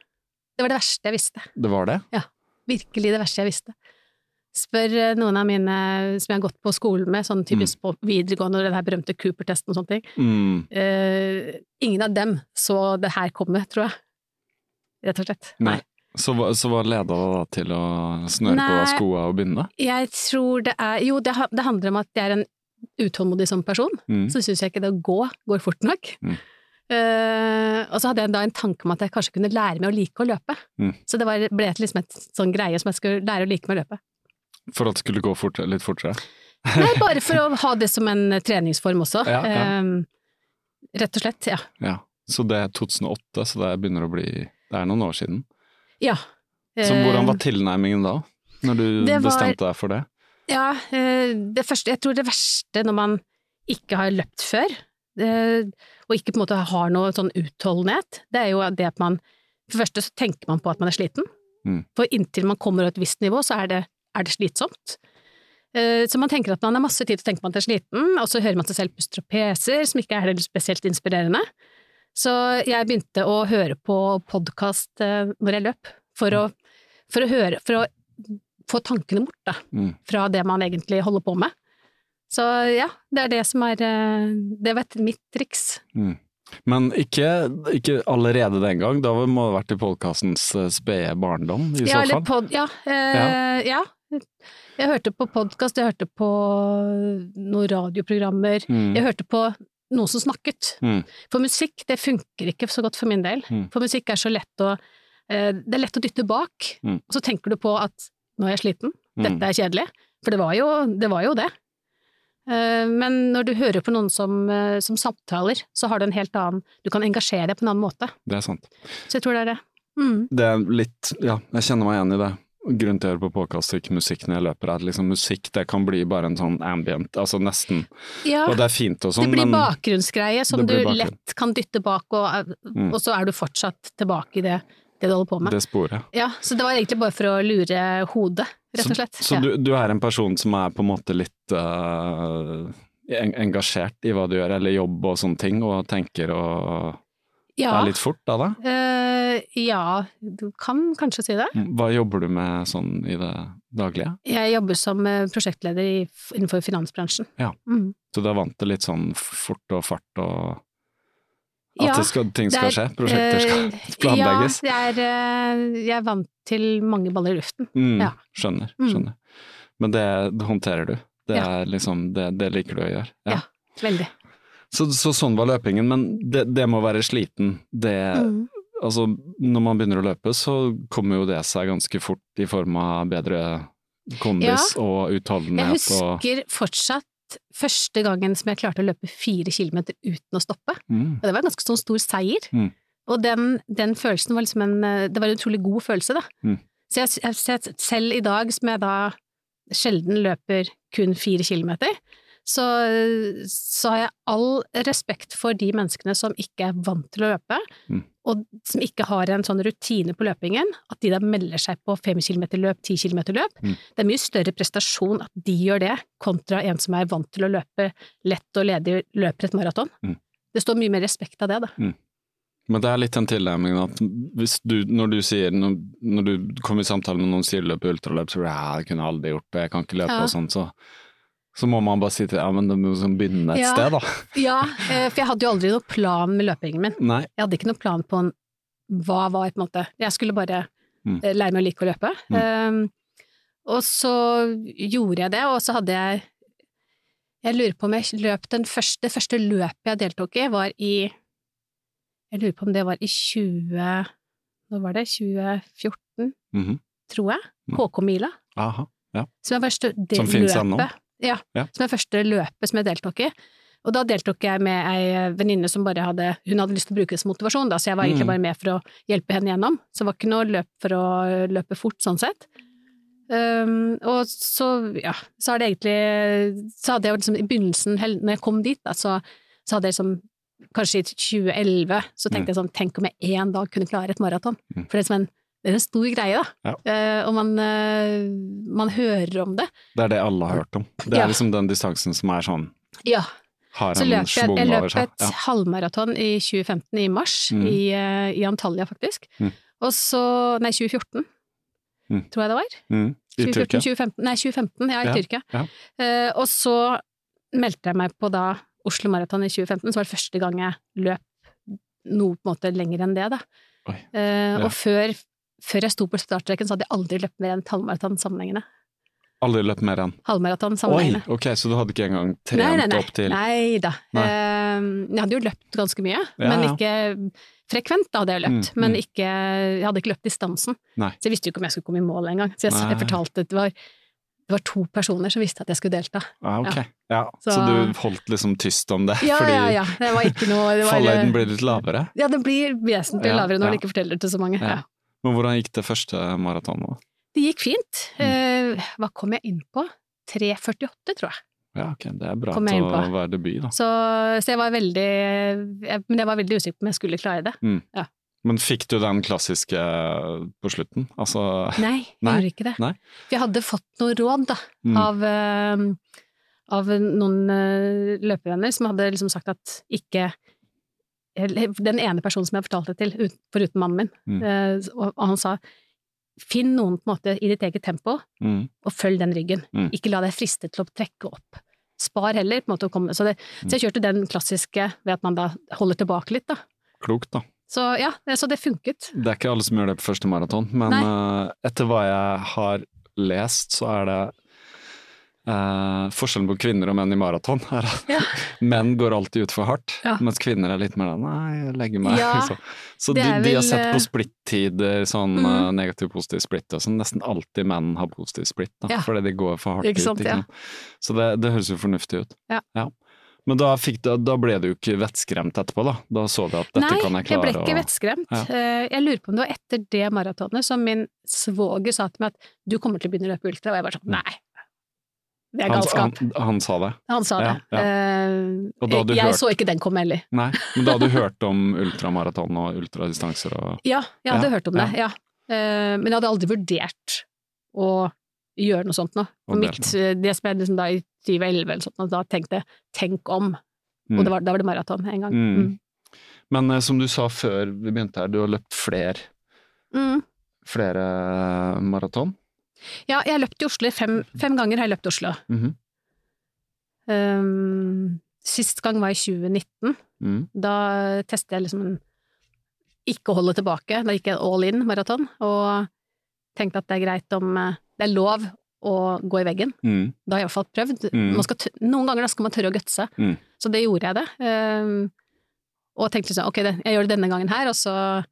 S5: Det var det verste jeg visste.
S2: Det var det?
S5: Virkelig det verste jeg visste. Spør eh, noen av mine som jeg har gått på skolen med, sånn typisk på videregående og den her berømte Cooper-testen og sånne ting.
S2: Mm.
S5: Eh, ingen av dem så det her komme, tror jeg. Rett og slett.
S2: Nei. Så, hva- så hva leda deg da til å snøre på
S5: Nei.
S2: skoa og begynne?
S5: Jeg tror det er Jo, det, ha- det handler om at jeg er en utålmodig som person.
S2: Mm.
S5: Så syns jeg ikke det å gå går fort nok.
S2: Mm.
S5: Eh, og så hadde jeg da en tanke om at jeg kanskje kunne lære meg å like å løpe.
S2: Mm.
S5: Så det var, ble til liksom et sånn greie som jeg skulle lære å like meg å løpe.
S2: For at det skulle gå fort, litt fortere?
S5: Nei, bare for å ha det som en eh, treningsform også.
S2: Ja, ja.
S5: Eh, rett og slett, ja.
S2: Ja. Så det er 2008, så det begynner å bli Det er noen år siden.
S5: ja.
S2: Så hvordan var
S5: Eh,
S2: tilnærmingen da? Når du
S5: Det var-
S2: bestemte deg for det?
S5: Ja, eh, det første Jeg tror det verste når man ikke har løpt før, eh, og ikke på en måte har noe sånn utholdenhet, det er jo det at man For det første så tenker man på at man er sliten.
S2: Mm.
S5: For inntil man kommer over et visst nivå, så er det, er det slitsomt. Eh, Så man tenker at man har masse tid til å tenke på at man er sliten, og så hører man seg selv puste og peser, som ikke er heller spesielt inspirerende. Så jeg begynte å høre på podkast når jeg løp, for å, for å høre For å få tankene bort, da
S2: Mm.
S5: fra det man egentlig holder på med. Så ja, det er det som er eh, Det var et- mitt triks.
S2: Mm. Men ikke, ikke allerede den gang, da må det ha vært i podkastens eh, spede barndom i så
S5: ja, eller
S2: fall.
S5: pod, ja, eh, ja. Jeg hørte på podkast, jeg hørte på noen radioprogrammer.
S2: Mm.
S5: Jeg hørte på noen som snakket.
S2: Mm.
S5: For musikk, det funker ikke så godt for min del.
S2: Mm.
S5: For musikk er så lett å eh, Det er lett å dytte bak,
S2: Mm.
S5: og så tenker du på at nå er jeg sliten.
S2: Mm.
S5: dette er kjedelig. For det var jo det. Var jo det. Eh, Men når du hører på noen som, eh, som samtaler, så har du en helt annen Du kan engasjere deg på en annen måte.
S2: Det er sant.
S5: Så jeg tror det er det. Mm.
S2: Det er litt Ja, jeg kjenner meg igjen i det. Grunnen til å høre på podkast og ikke musikk når jeg løper, er at liksom musikk det kan bli bare en sånn ambient, altså nesten.
S5: Ja,
S2: Og det er fint og
S5: Ah, det
S2: sånn,
S5: blir
S2: men
S5: bakgrunnsgreie som
S2: Det
S5: du
S2: blir bakgrunn.
S5: lett kan dytte bak, og, eh,
S2: Mm.
S5: og så er du fortsatt tilbake i det, det du holder på med.
S2: det sporet.
S5: Ja, så det var egentlig bare for å lure hodet, rett og slett.
S2: Så, så
S5: Ja.
S2: du, du er en person som er på en måte litt eh, en- engasjert i hva du gjør, eller jobb og sånne ting, og tenker og
S5: ja.
S2: er litt fort da, da?
S5: Eh, ja, du kan kanskje si det.
S2: Hva jobber du med sånn i det daglige?
S5: Jeg jobber som eh, prosjektleder i, innenfor finansbransjen.
S2: Ja.
S5: Mm.
S2: Så du er vant til litt sånn fort og fart og At
S5: Ja,
S2: det skal, ting skal
S5: det er- eh,
S2: skje? Prosjekter skal planlegges?
S5: Ja, det er, eh, jeg er vant til mange baller i luften.
S2: Mm,
S5: ja.
S2: Skjønner.
S5: Mm.
S2: skjønner. Men det håndterer du? Det,
S5: Ja.
S2: er liksom, det, det liker du å gjøre?
S5: Ja. Veldig.
S2: Så, så sånn var løpingen, men det, det med å være sliten, det
S5: Mm.
S2: Altså, når man begynner å løpe, så kommer jo det seg ganske fort i form av bedre kondis og
S5: Jeg
S2: utholdenhet og
S5: husker fortsatt første gangen som jeg klarte å løpe fire kilometer uten å stoppe.
S2: mm.
S5: Og det var en ganske sånn stor seier.
S2: Mm.
S5: Og den, den følelsen var liksom en eh, Det var en utrolig god følelse, da.
S2: Mm.
S5: Så jeg, jeg, så jeg, selv i dag, som jeg da sjelden løper kun fire kilometer, så, så har jeg all respekt for de menneskene som ikke er vant til å løpe,
S2: Mm.
S5: og som ikke har en sånn rutine på løpingen, at de da melder seg på fem kilometer løp, ti kilometer løp.
S2: Mm.
S5: Det er mye større prestasjon at de gjør det, kontra en som er vant til å løpe lett og ledig, løper et maraton.
S2: Mm.
S5: Det står mye mer respekt av det, da.
S2: Men det er litt den tilnærmingen at hvis du, når du sier når, når du kommer i samtale med noen sier du løper ultraløp, så er det, ja, jeg kunne aldri gjort det, jeg kan ikke løpe
S5: Ja.
S2: og sånn, så, så må man bare si til ja, men det må liksom begynne et
S5: Ja.
S2: sted, da.
S5: Ja, eh, for jeg hadde jo aldri noen plan med løpingen min.
S2: Nei.
S5: Jeg hadde ikke noen plan på en, hva var, på en måte. Jeg skulle bare
S2: Mm.
S5: eh, lære meg å like å løpe. Um, og så gjorde jeg det, og så hadde jeg Jeg lurer på om jeg løp den første, det første løpet jeg deltok i, var i Jeg lurer på om det var i 20... Hva var det? 2014,
S2: Mhm.
S5: tror jeg.
S2: Mm.
S5: HK-mila.
S2: Aha.
S5: Som er første det
S2: Som finnes ennå?
S5: løpet- Ja,
S2: Ja.
S5: Som er første løpet som jeg deltok i. Og da deltok jeg med ei eh, venninne som bare hadde Hun hadde lyst til å bruke det som motivasjon, da, så jeg var egentlig
S2: Mm.
S5: bare med for å hjelpe henne gjennom. Så det var ikke noe løp for å løpe fort, sånn sett. Um, og så, ja, så har det egentlig Så hadde jeg jo liksom i begynnelsen, hel- når jeg kom dit, da, så, så hadde jeg liksom Kanskje i 2011 så tenkte jeg sånn Tenk om jeg en dag kunne klare et maraton.
S2: Mm.
S5: For det er, som en, det er en stor greie, da.
S2: Ja.
S5: Eh, og man, eh, man hører om det.
S2: Det er det alle har hørt om. Det er
S5: Ja.
S2: liksom den distansen som er sånn,
S5: Ja,
S2: har
S5: så
S2: en
S5: løp jeg, jeg
S2: schwung over
S5: løp
S2: seg.
S5: et halvmaraton i 2015 i mars,
S2: Mm.
S5: i, eh, i Antalya faktisk.
S2: Mm.
S5: Og så, nei 2014,
S2: Mm.
S5: tror jeg det var.
S2: Mm. I
S5: 2014,
S2: Tyrkia.
S5: 2015, nei 2015, ja, i
S2: Ja,
S5: Tyrkia.
S2: ja.
S5: Eh, og så meldte jeg meg på da Oslo Maraton i 2015, som var det første gang jeg løp noe på en måte lenger enn det da.
S2: Oi.
S5: Eh,
S2: Ja.
S5: Og før, før jeg sto på startstreken så hadde jeg aldri løpt mer enn et halvmaraton sammenhengende.
S2: Aldri løpt mer enn.
S5: Halvmaraton
S2: Oi,
S5: sammenhengende.
S2: ok, så du hadde ikke engang trent
S5: Nei, nei, nei.
S2: opp til
S5: Nei da.
S2: Nei.
S5: Eh, Jeg hadde jo løpt ganske mye,
S2: Ja,
S5: men
S2: ja.
S5: ikke frekvent da hadde jeg løpt.
S2: Mm,
S5: Men
S2: mm.
S5: ikke, jeg hadde ikke løpt distansen.
S2: Nei.
S5: Så jeg visste jo ikke om jeg skulle komme i mål engang. Så jeg,
S2: Nei.
S5: jeg fortalte at det var, det var to personer som visste at jeg skulle delta.
S2: Ja, ok. Ja. Så,
S5: Så-
S2: du holdt liksom tyst om det,
S5: Ja,
S2: fordi
S5: ja, ja. Det var ikke noe det var,
S2: fallhøyden blir litt lavere?
S5: Ja, den blir vesentlig
S2: Ja,
S5: lavere
S2: ja.
S5: når du ikke forteller det til så mange.
S2: Ja.
S5: Ja.
S2: Men hvordan gikk det første maratonet? da?
S5: Det gikk fint.
S2: Mm.
S5: Eh, Hva kom jeg inn på? 3.48, tror jeg.
S2: Ja, ok, det er bra
S5: Kom jeg
S2: til
S5: inn
S2: å
S5: på.
S2: være debut, da.
S5: Så, så jeg var veldig jeg, Men jeg var veldig usikker på om jeg skulle klare det.
S2: Men fikk du den klassiske på slutten? Altså
S5: Nei, jeg
S2: Nei,
S5: gjorde ikke det.
S2: nei.
S5: For jeg hadde fått noen råd da,
S2: Mm.
S5: av, eh, av noen eh, løpevenner som hadde liksom sagt at ikke eller Den ene personen som jeg fortalte det til, ut- foruten mannen min,
S2: Mm.
S5: eh, og, og han sa Finn noen på en måte i ditt eget tempo,
S2: mm,
S5: og følg den ryggen.
S2: Mm.
S5: Ikke la deg friste til å trekke opp. Spar heller, på en måte. Å komme. Så, det, så
S2: Mm.
S5: jeg kjørte den klassiske ved at man da holder tilbake litt, da.
S2: Klokt, da.
S5: Så ja, det- så det funket.
S2: Det er ikke alle som gjør det på første maraton, men eh, etter hva jeg har lest, så er det eh, Forskjellen på kvinner og menn i maraton er at
S5: Ja.
S2: menn går alltid ut for hardt,
S5: Ja.
S2: mens kvinner er litt mer sånn nei, jeg legger meg.
S5: Ja,
S2: så så de,
S5: det er
S2: de
S5: vel,
S2: har sett
S5: eh,
S2: på splittider, sånn
S5: Mm.
S2: eh, negativ positiv splitt og sånn. Nesten alltid menn har positiv splitt, da,
S5: Ja.
S2: fordi de går for hardt
S5: Ikke sant,
S2: ut.
S5: ja.
S2: sant? Så det, det høres jo fornuftig ut.
S5: Ja.
S2: Men da, fikk, da, da ble du jo ikke vettskremt etterpå, da? Da så du at dette
S5: Nei,
S2: kan jeg
S5: jeg
S2: klare?
S5: ble ikke vettskremt.
S2: Ja.
S5: Eh, Jeg lurer på om det var etter det maratonet som min svoger sa til meg at du kommer til å begynne å løpe ultra, og jeg bare sånn nei. Det er
S2: Mm. Han-
S5: galskap. Han,
S2: Han, han sa det.
S5: sa det.
S2: ja, ja.
S5: Eh,
S2: Og da hadde du
S5: jeg
S2: hørt-
S5: så ikke den komme heller.
S2: Nei, men da hadde du hørt om ultramaraton og ultradistanser og
S5: Ja, jeg hadde
S2: Ja,
S5: hørt om det, ja. Eh, Men jeg hadde aldri vurdert å gjøre noe sånt nå.
S2: Og
S5: Og mitt, det som jeg liksom da i 2011 eller sånt, da tenkte jeg tenk om.
S2: Mm.
S5: Og det var, da var det maraton en gang.
S2: Mm.
S5: Mm.
S2: Men eh, som du sa før vi begynte her, du har løpt flere,
S5: Mm.
S2: flere eh, maraton.
S5: Ja, jeg har løpt i Oslo. Fem, fem ganger har jeg løpt i Oslo.
S2: Mhm.
S5: Ehm, Um, sist gang var i 2019,
S2: Mm.
S5: Da testet jeg liksom en ikke holde tilbake. Da gikk jeg all in maraton, og tenkte at det er greit om eh, Det er lov å gå i veggen.
S2: Mm.
S5: Da har jeg i hvert fall prøvd.
S2: Mm.
S5: Man skal tø- noen ganger da skal man tørre å gutse.
S2: Mm.
S5: Så det gjorde jeg det. Ehm, og tenkte liksom ok, det, jeg gjør det denne gangen her, og så,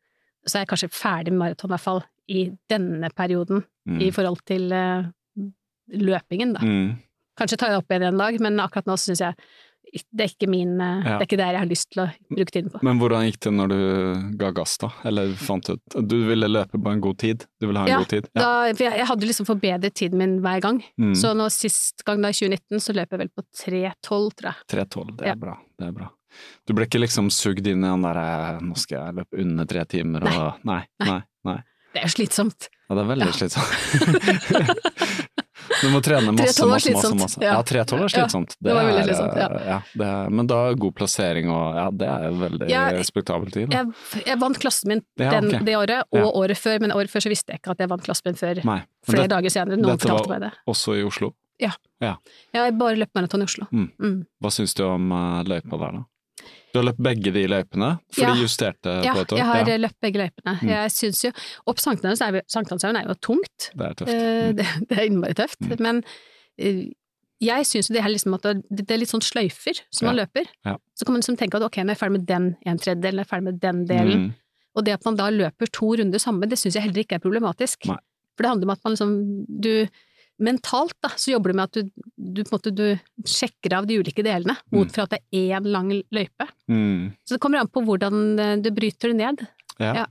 S5: så er jeg kanskje ferdig med maraton i hvert fall i denne perioden
S2: Mm.
S5: i forhold til eh, løpingen, da.
S2: Mm.
S5: Kanskje tar jeg det opp igjen en dag, men akkurat nå syns jeg det er ikke min eh,
S2: Ja.
S5: Det er ikke der jeg har lyst til å bruke tiden på.
S2: Men hvordan gikk det når du ga gass, da? Eller fant ut Du ville løpe på en god tid? Du ville ha en
S5: Ja,
S2: god tid?
S5: Da, for jeg, jeg hadde liksom forbedret tiden min hver gang.
S2: Mm.
S5: Så nå sist gang, da i 2019, så løp jeg vel på 3.12, tror jeg.
S2: 3.12, det er
S5: Ja.
S2: bra. Det er bra. Du ble ikke liksom sugd inn i den derre 'nå skal jeg løpe under tre timer' og Nei. Nei. nei.
S5: Det er jo slitsomt.
S2: Ja, det er veldig
S5: Ja.
S2: slitsomt. du må trene masse,
S5: 3.12 er
S2: masse, masse.
S5: slitsomt.
S2: masse.
S5: Ja.
S2: Ja, 3.12 er
S5: Ja,
S2: slitsomt.
S5: det var veldig slitsomt, ja.
S2: eh, det er, men da er god plassering og Ja, det er veldig
S5: Ja,
S2: respektabel tid. Da.
S5: Jeg, jeg vant klassen min
S2: Ja,
S5: den,
S2: ok.
S5: det året, og
S2: Ja.
S5: året før, men året før så visste jeg ikke at jeg vant klassen min før
S2: Nei. men
S5: flere
S2: det-
S5: dager senere. Noen
S2: dette var
S5: fortalte meg det.
S2: også i Oslo.
S5: Jeg har bare løpt maraton i Oslo.
S2: Mm.
S5: Mm.
S2: Hva syns du om eh, løypa der, da? Du har løpt begge de løypene, for
S5: Ja.
S2: de justerte
S5: Ja,
S2: på et år.
S5: jeg har
S2: ja,
S5: eh, løpt begge løypene.
S2: Mm.
S5: Jeg syns jo Opp Sankthanshaugen er, jo- Sankthanshaugen er jo tungt.
S2: det er tøft.
S5: Eh,
S2: Mm.
S5: Det, det er innmari tøft.
S2: Mm.
S5: Men eh, jeg syns jo det er liksom at det det er litt sånn sløyfer som man løper.
S2: Ja.
S5: Så kan man liksom tenke at ok, nå er jeg ferdig med den en tredjedel, nå er jeg ferdig med den delen.
S2: Mm.
S5: Og det at man da løper to runder sammen, det syns jeg heller ikke er problematisk.
S2: Nei.
S5: For det handler om at man liksom du Mentalt da, så jobber du med at du, du, på en måte, du sjekker av de ulike delene, mot
S2: Mm.
S5: fra at det er én lang løype.
S2: Mm.
S5: Så det kommer an på hvordan eh, du bryter det ned.
S2: Ja.
S5: Ja.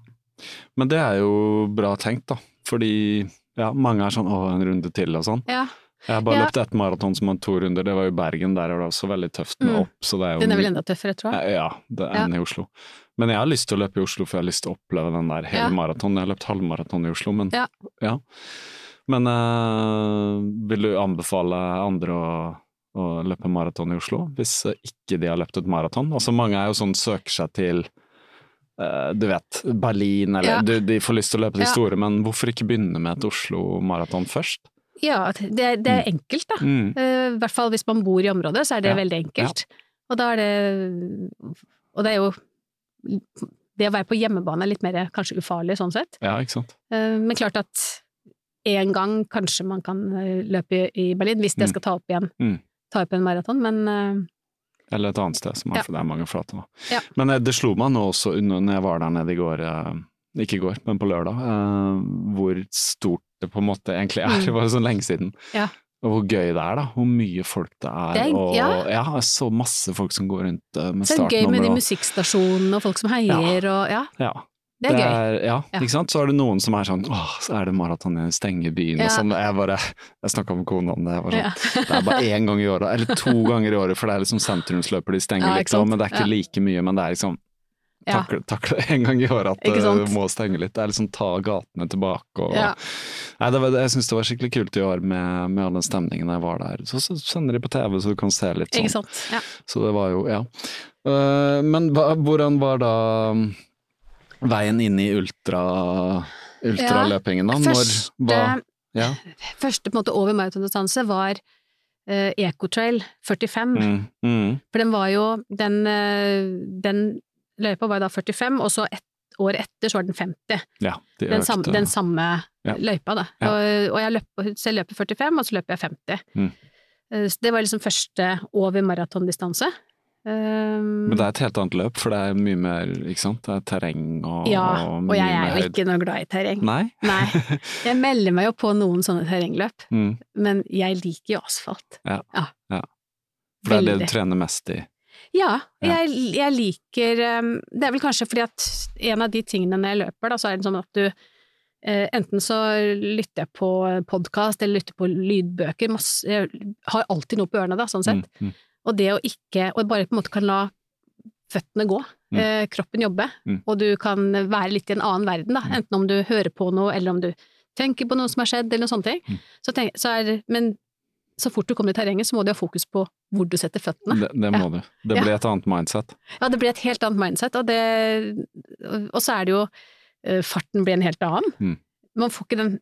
S2: Men det er jo bra tenkt, da. Fordi ja, mange er sånn 'å, en runde til' og sånn.
S5: Ja,
S2: Jeg har bare
S5: Ja.
S2: løpt ett maraton som hadde to runder, det var jo Bergen. Der er det også veldig tøft med
S5: Mm.
S2: opp, så det er jo
S5: Den er vel enda tøffere, tror jeg.
S2: Ja, det er
S5: Ja.
S2: enn i Oslo. Men jeg har lyst til å løpe i Oslo, for jeg har lyst til å oppleve den der hele
S5: Ja.
S2: maraton. Jeg har løpt halvmaraton i Oslo, men
S5: Ja.
S2: ja. Men eh, vil du anbefale andre å, å løpe maraton i Oslo, hvis eh, ikke de har løpt et maraton? Altså, mange er jo sånn søker seg til eh, du vet, Berlin, eller
S5: Ja.
S2: du, De får lyst til å løpe de
S5: Ja.
S2: store, men hvorfor ikke begynne med et Oslo-maraton først?
S5: Ja, det, er- det er enkelt, da.
S2: Mm.
S5: Eh, I hvert fall hvis man bor i området, så er det
S2: Ja.
S5: veldig enkelt. Og da er det Og det er jo Det å være på hjemmebane er litt mer kanskje ufarlig sånn sett.
S2: Ja, ikke sant?
S5: Eh, Men klart at en gang kanskje man kan eh, løpe i- i Berlin, hvis
S2: Mm.
S5: jeg skal ta opp igjen
S2: Mm.
S5: ta opp en maraton, men eh,
S2: Eller et annet sted, som er,
S5: Ja.
S2: for det er mange flate nå.
S5: Ja.
S2: Men eh, det slo meg nå også under- når jeg var der nede i går, eh, ikke i går, men på lørdag, eh, hvor stort det på en måte egentlig er.
S5: Mm.
S2: Det var jo sånn lenge siden.
S5: Ja.
S2: Og hvor gøy det er, da. Hvor mye folk det er.
S5: Det er-
S2: og ja.
S5: ja.
S2: jeg så masse folk som går rundt eh, med
S5: så er det gøy med
S2: startnummer.
S5: de
S2: og-
S5: musikkstasjonene og folk som heier og Ja,
S2: Ja,
S5: det er gøy.
S2: ja,
S5: Ja.
S2: ikke sant. Så er det noen som er sånn åh, så er det maraton i stenger byen
S5: Ja.
S2: og sånn. Jeg bare Jeg snakka med kona om det. Jeg var sånn,
S5: Ja.
S2: det er bare én gang i året, eller to ganger i året, for det er liksom sentrumsløper de stenger
S5: Ja,
S2: litt
S5: ikke sant?
S2: òg, men det er ikke
S5: Ja.
S2: like mye. Men det er liksom
S5: Ja.
S2: takle, takle en gang i året at
S5: Ikke
S2: eh,
S5: sant?
S2: du må stenge litt. Det er liksom ta gatene tilbake og
S5: Ja.
S2: Nei, det var, jeg syns det var skikkelig kult i år med, med all den stemningen jeg var der. Så, så sender de på TV, så du kan se litt sånn.
S5: Ikke sant. Ja.
S2: Så det var jo Ja. Eh, men hva, hvordan var da mm, veien inn i ultra, ultraløpingen, da? Når hva
S5: Første,
S2: Ja.
S5: første på en måte over maratondistanse var eh, Ecotrail 45.
S2: Mm, mm,
S5: For den var jo Den, eh, den løypa var jo da 45, og så et år etter så var den 50.
S2: ja de
S5: Den, sam,
S2: økte.
S5: den samme
S2: Ja.
S5: løypa, da.
S2: Ja.
S5: Og, og jeg løp, så jeg løper 45, og så løper jeg 50.
S2: Mm.
S5: Eh, Så det var liksom første over maratondistanse. Um,
S2: Men det er et helt annet løp, for det er mye mer, ikke sant? Det er terreng og
S5: ja, og
S2: mye
S5: jeg
S2: mer
S5: er jo
S2: høyde.
S5: ikke noe glad i terreng.
S2: Nei?
S5: Nei. Jeg melder meg jo på noen sånne terrengløp,
S2: Mm.
S5: men jeg liker jo asfalt.
S2: Ja,
S5: ja.
S2: ja. For det er det
S5: Veldig.
S2: du trener mest i.
S5: Ja,
S2: Ja.
S5: jeg, jeg liker um, Det er vel kanskje fordi at en av de tingene når jeg løper, da, så er det sånn at du eh, Enten så lytter jeg på podkast eller lytter på lydbøker, masse, jeg har alltid noe på ørene, da, sånn sett.
S2: Mm, mm.
S5: Og det å ikke Og bare på en måte kan la føttene gå,
S2: Mm.
S5: eh, kroppen jobbe,
S2: Mm.
S5: og du kan være litt i en annen verden, da.
S2: Mm.
S5: Enten om du hører på noe, eller om du tenker på noe som har skjedd, eller noen sånne ting.
S2: Mm.
S5: Så tenk, så er, men så fort du kommer i terrenget, så må du ha fokus på hvor du setter føttene.
S2: Det, det må du. Det
S5: Ja.
S2: blir et annet mindset.
S5: Ja, det blir et helt annet mindset, og, det, og så er det jo eh, Farten blir en helt annen.
S2: Mm.
S5: Man får ikke den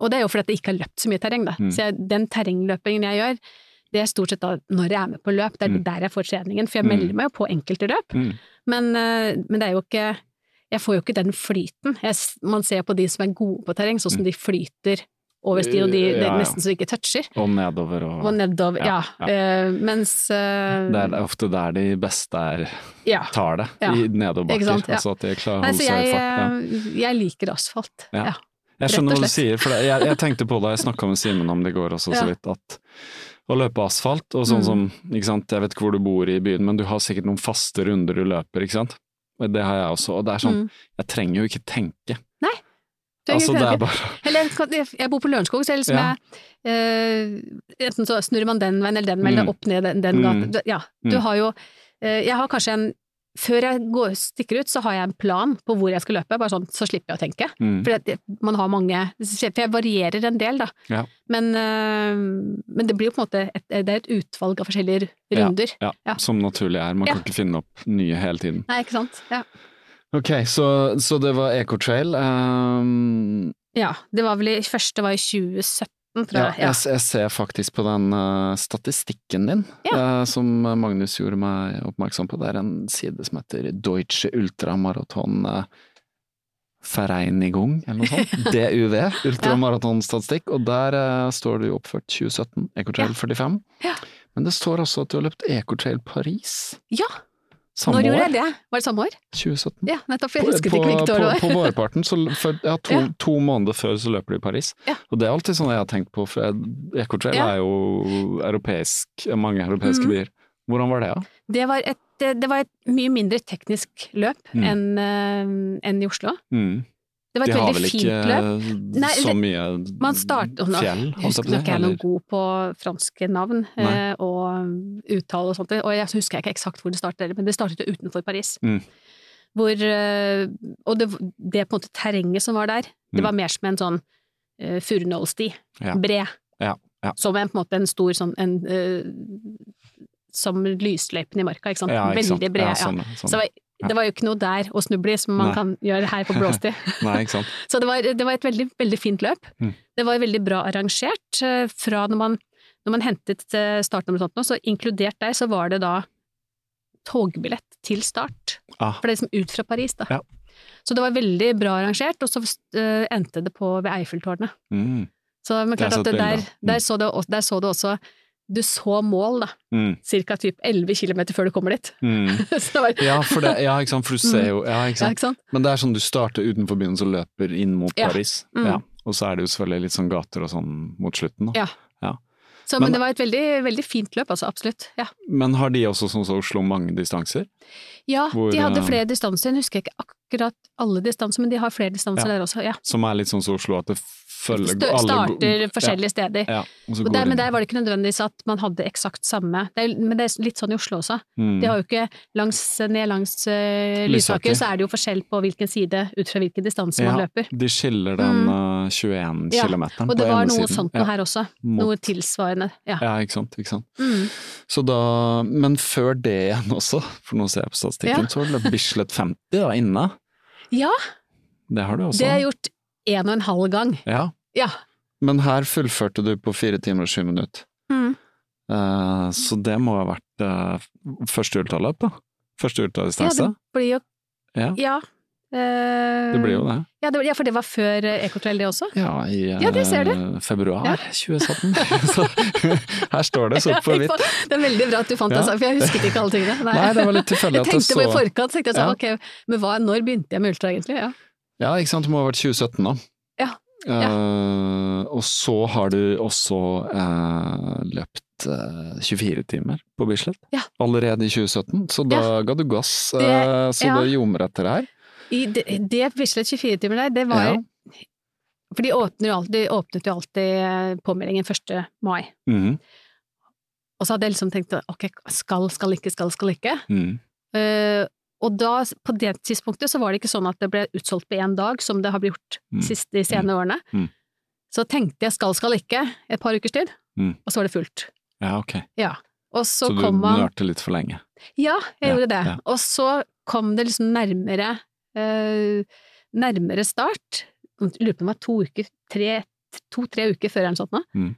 S5: Og det er jo fordi at jeg ikke har løpt så mye terreng, da.
S2: Mm.
S5: Så jeg, den terrengløpingen jeg gjør, Det er stort sett da når jeg er med på løp, det er
S2: Mm.
S5: der jeg får treningen. For jeg
S2: Mm.
S5: melder meg jo på enkelte løp,
S2: Mm.
S5: men, eh, men det er jo ikke Jeg får jo ikke den flyten. Jeg, s- man ser på de som er gode på terreng, sånn som de flyter over sti, og de, det
S2: Mm. Ja, ja.
S5: er nesten så de ikke toucher.
S2: Og nedover og
S5: Og nedover, ja.
S2: Ja, ja.
S5: eh, mens eh,
S2: Det er ofte der de beste er,
S5: Ja.
S2: tar det,
S5: Ja.
S2: i
S5: Ikke
S2: nedoverbakker.
S5: sant, ja.
S2: Altså at de klarer å
S5: Nei,
S2: holde seg
S5: så jeg,
S2: i farten.
S5: eh, jeg liker asfalt.
S2: Ja.
S5: Ja.
S2: Jeg
S5: Rett
S2: skjønner
S5: og
S2: hva du sier,
S5: slett.
S2: for det, jeg, jeg tenkte på det, jeg snakka med Simen om det i går også,
S5: Ja.
S2: så vidt, at å løpe asfalt og sånn
S5: Mm.
S2: som ikke sant, Jeg vet ikke hvor du bor i byen, men du har sikkert noen faste runder du løper, ikke sant? Og Det har jeg også, og det er sånn
S5: Mm.
S2: Jeg trenger jo ikke tenke.
S5: Trenger
S2: altså,
S5: ikke
S2: det
S5: tenke.
S2: er bare
S5: Eller jeg kan- jeg, jeg bor på Lørenskog, så jeg liksom
S2: Ja.
S5: jeg, eh, Enten så snurrer man den veien eller den veien,
S2: Mm.
S5: eller opp ned den, den
S2: Mm.
S5: gaten. Du- Ja, du
S2: Mm.
S5: har jo eh, Jeg har kanskje en Før jeg går, stikker ut, så har jeg en plan på hvor jeg skal løpe, bare sånn, så slipper jeg å tenke.
S2: mm.
S5: For det- man har mange For jeg varierer en del, da.
S2: Ja.
S5: Men, eh, men det blir jo på en måte et, Det er et utvalg av forskjellige runder.
S2: ja,
S5: Ja.
S2: Som naturlig er. Man
S5: Ja.
S2: kan ikke finne opp nye hele tiden.
S5: Nei, ikke sant? Ja.
S2: Ok, så, så det var Ecotrail. ehm,
S5: ja. Det var vel i Første var i 2017, tror
S2: ja,
S5: jeg. Ja.
S2: jeg, jeg ser faktisk på den eh, statistikken din, eh, som Magnus gjorde meg oppmerksom på. Det er en side som heter Deutsche Ultramarathon eh, Vereinigung, eller noe sånt. DUV, ultramaratonstatistikk. Og der eh, står du jo oppført 2017, Ecotrail 45.
S5: Ja.
S2: Men det står også at du har løpt Ecotrail Paris
S5: ja.
S2: samme
S5: Når gjorde jeg
S2: år.
S5: det? Var det samme år?
S2: 2017.
S5: Ja, nettopp. Jeg
S2: På-
S5: husket
S2: på,
S5: ikke hvilket år det var.
S2: På, på vårparten, så l- for, ja, to,
S5: Ja.
S2: to måneder før så løper du i Paris.
S5: Ja.
S2: Og det er alltid sånn jeg har tenkt på, for jeg- Ecotrail
S5: Ja.
S2: er jo europeisk, mange europeiske
S5: Mhm.
S2: byer. Hvordan var det, da?
S5: Det var et, eh, det var et mye mindre teknisk løp
S2: Mm.
S5: enn eh, enn i Oslo.
S2: Mm.
S5: Det var
S2: De
S5: et
S2: har vel
S5: veldig fint
S2: ikke
S5: løp. Nei,
S2: så mye
S5: Man startet Nå
S2: fjell, holdt jeg
S5: husker
S2: på å
S5: nok
S2: si?
S5: jeg er noe
S2: eller-
S5: god på franske navn
S2: Nei.
S5: eh, og uttale og sånt, og jeg så husker jeg ikke eksakt hvor det startet, men det startet jo utenfor Paris.
S2: Mm.
S5: Hvor, eh, og det, det på en måte terrenget som var der,
S2: Mm.
S5: det var mer som en sånn uh, furunålsti,
S2: Ja.
S5: bred.
S2: Ja, ja.
S5: Som en, på en måte en stor sånn en, eh, Som lysløypen i marka, ikke sant.
S2: Ja, ikke sant?
S5: Veldig bred.
S2: Ja,
S5: Ja,
S2: sånn, sånn.
S5: Så det var, det var jo ikke noe der å snuble i som man
S2: Nei.
S5: kan gjøre her på blåsti.
S2: Nei, ikke sant.
S5: Så det var, det var et veldig, veldig fint løp.
S2: Mm.
S5: Det var veldig bra arrangert. eh, Fra når man, når man hentet eh, startnummer og sånt nå, så inkludert der, så var det da togbillett til start.
S2: Ah,
S5: For det er liksom ut fra Paris, da.
S2: Ja.
S5: Så det var veldig bra arrangert, og så eh, endte det på ved Eiffeltårnet.
S2: mm,
S5: Så men
S2: Det er
S5: klart
S2: så
S5: at det
S2: et
S5: der,
S2: bilde, ja. Mm.
S5: der, så det, o- der så det også Du så mål, da.
S2: mm,
S5: Cirka typ 11 kilometer før du kommer dit.
S2: mm.
S5: så det var,
S2: Ja, for det, ja, ikke sant, for du ser jo ja, ikke
S5: Mm. ja,
S2: sant?
S5: ikke sant?
S2: Men det er sånn du starter utenfor byen og så løper inn mot
S5: Ja.
S2: Paris.
S5: Mm.
S2: Ja. Og så er det jo selvfølgelig litt sånn gater og sånn mot slutten. Da.
S5: Ja.
S2: Ja.
S5: Så, men,
S2: Men-
S5: det var et veldig, veldig fint løp, altså. Absolutt. Ja.
S2: Men har de også sånn som Oslo mange distanser?
S5: Ja,
S2: Hvor,
S5: de hadde
S2: eh,
S5: flere distanser. Jeg husker ikke akkurat alle distanser, men de har flere distanser
S2: Ja.
S5: der også. Ja.
S2: Som er litt sånn som Oslo, at det følger
S5: Stø
S2: alle går-
S5: starter forskjellige steder.
S2: Ja, ja, og så
S5: Og
S2: går
S5: der, men
S2: de-
S5: der var det ikke nødvendigvis at man hadde eksakt samme det er, Men det er litt sånn i Oslo også.
S2: Mm.
S5: De har jo ikke langs, Ned langs eh,
S2: Lysaker.
S5: Lysaker så er det jo forskjell på hvilken side ut fra hvilken distanse man
S2: Ja,
S5: løper. Mm.
S2: De skiller den eh, 21
S5: Ja,
S2: kilometeren på
S5: Og det var
S2: ene
S5: noe
S2: siden.
S5: sånt
S2: Ja.
S5: noe her også.
S2: Mot-
S5: Noe tilsvarende. Ja.
S2: Ja, ikke sant. Ikke sant?
S5: Mm.
S2: Så da, men før det igjen også, for nå ser jeg på statistikken,
S5: Ja.
S2: så har du løpt Bislett 50 da, inne.
S5: ja,
S2: Det har du også.
S5: det har jeg gjort én og en halv gang.
S2: Ja.
S5: Ja.
S2: Men her fullførte du på fire timer og sju minutter.
S5: Mm.
S2: Eh, så det må ha vært eh, første ultraløp, da. Første ultradistanse.
S5: Ja, det blir jo
S2: Ja.
S5: Ja. Eh,
S2: det, blir jo det.
S5: Ja, det, ja, for det var før eh, Ecotrail, det også.
S2: Ja, i eh,
S5: Ja, det ser
S2: februar
S5: Ja.
S2: 2017. så, her står det sort på hvitt.
S5: Det er veldig bra at du fant
S2: Ja.
S5: det, for jeg husket ikke alle tingene.
S2: Nei, det var litt tilfeldig
S5: jeg
S2: at det
S5: tenkte på i
S2: så-
S5: forkant, tenkte jeg sånn, ok, men hva, når begynte jeg med ultra egentlig? Ja.
S2: Ja, ikke sant. Det må ha vært 2017 da.
S5: Ja.
S2: Eh, og så har du også eh, løpt eh, 24 timer på Bislett.
S5: Ja.
S2: Allerede i 2017, så da ga du gass.
S5: Det-
S2: eh, så
S5: ja.
S2: det ljomer etter her.
S5: I det, det Bislett 24-timer der, det var
S2: Ja.
S5: For de, åpner jo alltid, de åpnet jo alltid eh, påmeldingen 1. mai.
S2: Mhm,
S5: Og så hadde jeg liksom tenkt ok, skal, skal ikke, skal, skal ikke.
S2: mhm.
S5: Eh, og da, på det tidspunktet, så var det ikke sånn at det ble utsolgt på én dag, som det har blitt gjort
S2: Mm.
S5: siste, de senere årene.
S2: Mm.
S5: Så tenkte jeg skal, skal ikke, et par ukers tid,
S2: Mm.
S5: og så var det fullt.
S2: Ja, ok.
S5: Og så,
S2: Så, du
S5: kom man
S2: nørte litt for lenge.
S5: Ja, jeg
S2: Ja,
S5: gjorde det.
S2: ja.
S5: Og så kom det liksom nærmere eh, nærmere start. Jeg lurer på om det var to uker, tre, to-tre uker før eller noe sånt nå.
S2: Mm.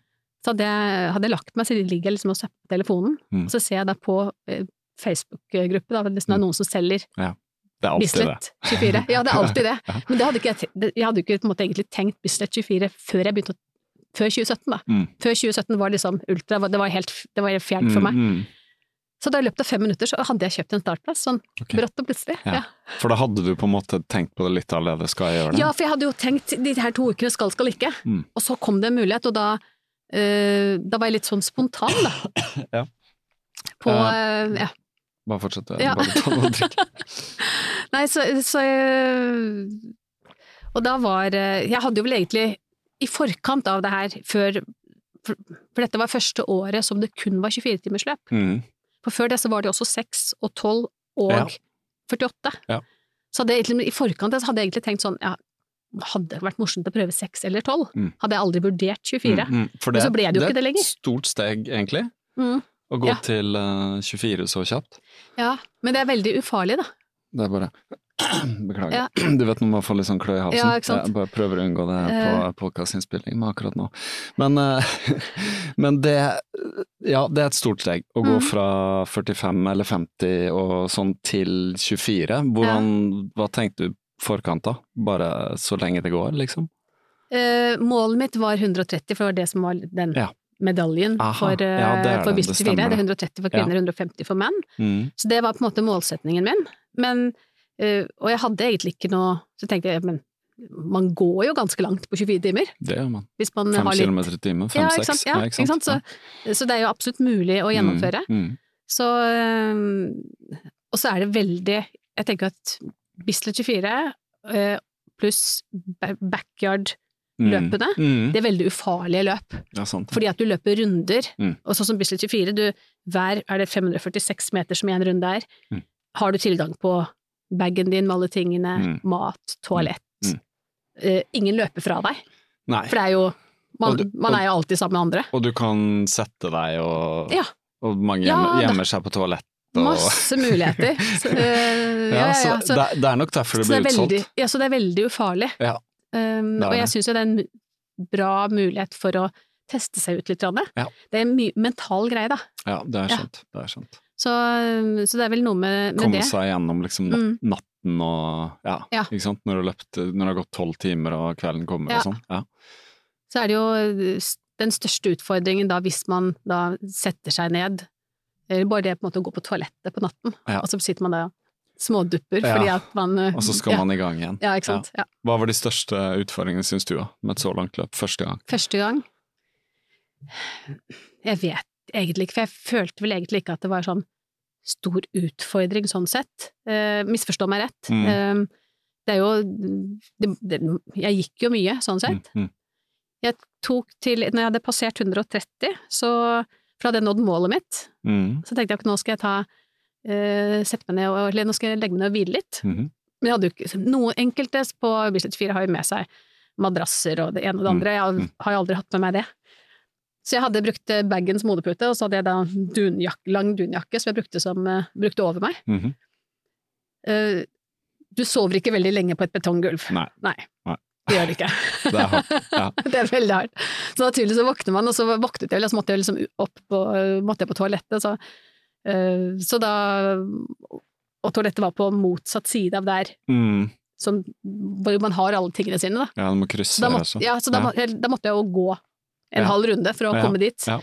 S5: Så hadde jeg, hadde jeg lagt meg, så ligger jeg liksom og søpper på telefonen,
S2: Mm.
S5: og så ser jeg da på eh, Facebook-gruppe, da, hvis det er liksom noen som selger
S2: Det er alltid det.
S5: Bislett 24. Ja, det er alltid det.
S2: Ja.
S5: Men det hadde ikke jeg, te- det- jeg hadde jo ikke på en måte egentlig tenkt Bislett 24 før jeg begynte å før 2017, da.
S2: Mm.
S5: Før 2017 var liksom ultra, det var helt det var helt fjernt for meg.
S2: Mm, mm.
S5: Så da i løpet av fem minutter så hadde jeg kjøpt en startplass, sånn
S2: Ok.
S5: brått og plutselig.
S2: Ja.
S5: Ja.
S2: For da hadde du på en måte tenkt på det litt allerede, skal jeg gjøre det?
S5: ja, for jeg hadde jo tenkt de her to ukene skal, skal ikke.
S2: Mm.
S5: Og så kom det en mulighet, og da, eh, da var jeg litt sånn spontan, da.
S2: Ja.
S5: På,
S2: Eh,
S5: eh, ja.
S2: Bare fortsett.
S5: Ja.
S2: Bare ta noe å drikke.
S5: Nei, så, så jeg- Og da var eh, Jeg hadde jo vel egentlig i forkant av det her, før For for dette var første året som det kun var 24-timersløp.
S2: Mm.
S5: For før det så var det også 6 og 12 og
S2: Ja.
S5: 48.
S2: Ja.
S5: Så hadde jeg egentlig, i forkant så hadde jeg egentlig tenkt sånn, ja, hadde det vært morsomt å prøve 6 eller 12?
S2: Mm.
S5: Hadde jeg aldri vurdert 24?
S2: Mm, mm. For
S5: Men så ble det jo ikke
S2: er
S5: det lenger.
S2: et stort steg, egentlig,
S5: Mm.
S2: å gå
S5: Ja.
S2: til eh, 24 så kjapt.
S5: Ja, men det er veldig ufarlig da.
S2: Det er bare Beklager.
S5: Ja.
S2: Du vet når man får litt sånn klø i halsen?
S5: Ja, ikke sant? Eh.
S2: Jeg bare prøver å unngå det på podkastinnspilling med akkurat nå. Men, eh, men det Ja, det er et stort steg å gå
S5: Mm.
S2: fra 45 eller 50 og sånn til 24. Hvordan, Hva tenkte du i forkant da? Bare så lenge det går, liksom?
S5: Eh, målet mitt var 130, for det var det som var den
S2: Ja.
S5: medaljen
S2: Aha.
S5: for, eh,
S2: Ja, det er
S5: for
S2: den, det
S5: Business 4. Det
S2: stemmer
S5: er
S2: det.
S5: 130 for
S2: Ja.
S5: kvinner, 150 for menn.
S2: Mm.
S5: Så det var på en måte målsetningen min. Men, eh, og jeg hadde egentlig ikke noe Så tenkte jeg, men man går jo ganske langt på 24 timer.
S2: Det gjør man.
S5: Hvis man
S2: Fem
S5: har litt
S2: kilometer i timen,
S5: ja,
S2: fem-seks.
S5: ikke sant? Ja, ikke sant? Så, så det er jo absolutt mulig å gjennomføre.
S2: Mm. Mm.
S5: Så, øhm, og så er det veldig Jeg tenker at Bislett 24 øh, pluss ba- backyard-løpene,
S2: Mm. Mm.
S5: det er veldig ufarlige løp.
S2: Ja, sant. det.
S5: Fordi at du løper runder,
S2: Mm.
S5: og sånn som Bislett 24, du, hver er det 546 meter som en runde er,
S2: Mm.
S5: har du tilgang på bagen din med alle tingene,
S2: Mm.
S5: mat, toalett.
S2: Mm.
S5: Eh, ingen løper fra deg,
S2: Nei.
S5: for det er jo man,
S2: Og du-
S5: man er jo alltid sammen med andre.
S2: Og du kan sette deg, og,
S5: Ja.
S2: og mange
S5: Ja,
S2: gjemmer,
S5: da-
S2: gjemmer seg på toalett. Og,
S5: Masse muligheter. Så, eh,
S2: ja,
S5: ja, ja,
S2: så
S5: ja. Så,
S2: det, det er nok derfor det
S5: så det
S2: blir
S5: er veldig,
S2: utsolgt.
S5: ja, så det er veldig ufarlig.
S2: Ja,
S5: Um,
S2: det er
S5: og
S2: det.
S5: jeg syns jo det er en bra mulighet for å teste seg ut litt. Janne.
S2: Ja.
S5: Det er en my- mental greie, da.
S2: Ja, det er
S5: Ja.
S2: skjønt. Det er skjønt.
S5: Så, um, så det er vel noe med, med
S2: Komme
S5: det.
S2: seg gjennom liksom nat
S5: Mm.
S2: natten og ja,
S5: Ja.
S2: ikke sant. Når du har løpt, når det har gått tolv timer og kvelden kommer
S5: Ja.
S2: og sånn. Ja.
S5: Så er det jo uh, s- den største utfordringen da hvis man da setter seg ned, eller bare det på en måte å gå på toalettet på natten,
S2: Ja.
S5: og så sitter man da og smådupper
S2: Ja.
S5: fordi at man uh,
S2: Og så skal
S5: ja.
S2: man i gang igjen.
S5: Ja, ikke sant. Ja.
S2: Hva var de største utfordringene, syns du, da, med et så langt løp første gang?
S5: Første gang Jeg vet egentlig ikke, for jeg følte vel egentlig ikke at det var sånn stor utfordring sånn sett. Eh, misforstå meg rett.
S2: Mm.
S5: Eh, det er jo det, det, Jeg gikk jo mye, sånn sett.
S2: Mm, mm.
S5: Jeg tok til Når jeg hadde passert 130, så For da hadde jeg nådd målet mitt.
S2: Mm.
S5: Så tenkte jeg at nå skal jeg ta eh, Sette meg ned og Eller nå skal jeg legge meg ned og hvile litt.
S2: Mhm.
S5: Men jeg hadde jo ikke Noen enkelte på Bislett 4 har jo med seg madrasser og det ene og det
S2: Mm.
S5: andre. Jeg har-
S2: Mm.
S5: har jo aldri hatt med meg det. Så jeg hadde brukt eh, bagens modepute, og så hadde jeg da dunjak, lang dunjakke som jeg brukte, som, eh, brukte over meg.
S2: Mhm.
S5: Eh, du sover ikke veldig lenge på et betonggulv.
S2: Nei. Nei.
S5: Det gjør du ikke.
S2: Det er hardt. Ja.
S5: det er veldig hardt. Så naturlig så våkner man, og så våknet jeg vel, og så måtte jeg liksom opp på, måtte jeg på toalettet. Så, eh, så da Og toalettet var på motsatt side av der
S2: Mm.
S5: som, hvor man har alle tingene sine, da.
S2: ja, du må krysse
S5: Så da,
S2: her
S5: måtte,
S2: også.
S5: ja, så da,
S2: Ja.
S5: må- jeg- da måtte jeg jo gå en
S2: Ja.
S5: halv runde for å
S2: Ja.
S5: komme dit.
S2: Ja.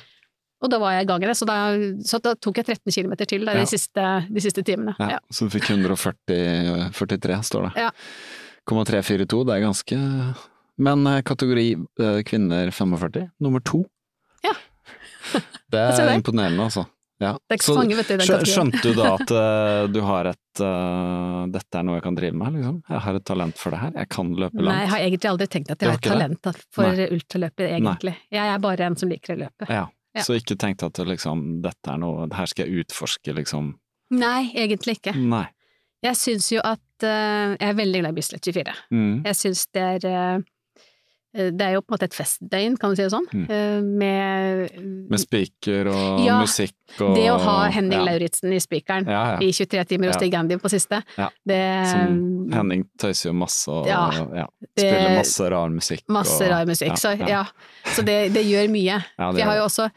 S5: Og da var jeg i gang i det, så da, så da tok jeg 13 km til da,
S2: Ja.
S5: de, siste, de siste timene.
S2: Ja,
S5: Ja.
S2: Så du fikk 140, 43, står det.
S5: Ja.
S2: 0,342, det er ganske Men eh, kategori eh, kvinner 45, nummer to.
S5: Ja.
S2: det
S5: Jeg ser
S2: er
S5: det.
S2: imponerende, altså. Ja.
S5: Det er ikke
S2: Så
S5: så mange, vet du, i den
S2: skjø-
S5: kategorien.
S2: skjønte du da at eh, du har et eh, Dette er noe jeg kan drive med, liksom? Jeg har et talent for det her, jeg kan løpe
S5: Nei, jeg
S2: langt.
S5: har egentlig aldri tenkt at
S2: Du
S5: jeg
S2: har
S5: har et
S2: ikke
S5: talent for
S2: Nei.
S5: ultraløpet, egentlig. Jeg er bare en som liker å løpe.
S2: Ja.
S5: Ja.
S2: Så ikke tenkte at det liksom, dette er noe, her skal jeg utforske, liksom.
S5: Nei, egentlig ikke.
S2: Nei.
S5: Jeg syns jo at eh, Jeg er veldig glad i Bislett 24.
S2: Mm.
S5: Jeg syns det er eh, eh, Det er jo på en måte et festdøgn, kan du si det sånn,
S2: Mm.
S5: eh, med,
S2: Med spiker og
S5: Ja,
S2: musikk og
S5: det å ha Henning
S2: ja.
S5: Lauritzen i spikeren
S2: Ja, ja.
S5: i 23 timer og
S2: Ja.
S5: Stig Andy på siste,
S2: Ja.
S5: det eh,
S2: Som Henning tøyser jo masse og ja,
S5: um, Ja,
S2: spiller
S5: det-
S2: masse rar musikk.
S5: Masse
S2: og-
S5: rar musikk.
S2: ja,
S5: så,
S2: ja.
S5: ja. så det, det gjør mye.
S2: Ja, det
S5: For jeg
S2: gjør
S5: har jo også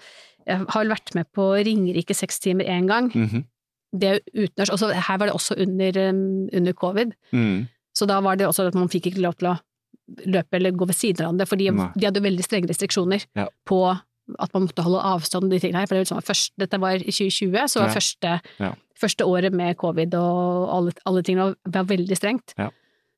S5: jeg har vel vært med på Ringerike seks timer én gang.
S2: Mhm.
S5: Det er jo utendørs. Også, her var det også under, um, under covid,
S2: Mm.
S5: så da var det også at man fikk ikke lov til å løpe eller gå ved siden av hverandre, for de,
S2: Nei.
S5: de hadde jo veldig strenge restriksjoner
S2: Ja.
S5: på at man måtte holde avstand og de tingene her. For det var liksom først, dette var i 2020, så var
S2: Ja.
S5: første,
S2: Ja.
S5: første året med covid og alle, alle tingene var, var veldig strengt.
S2: Ja.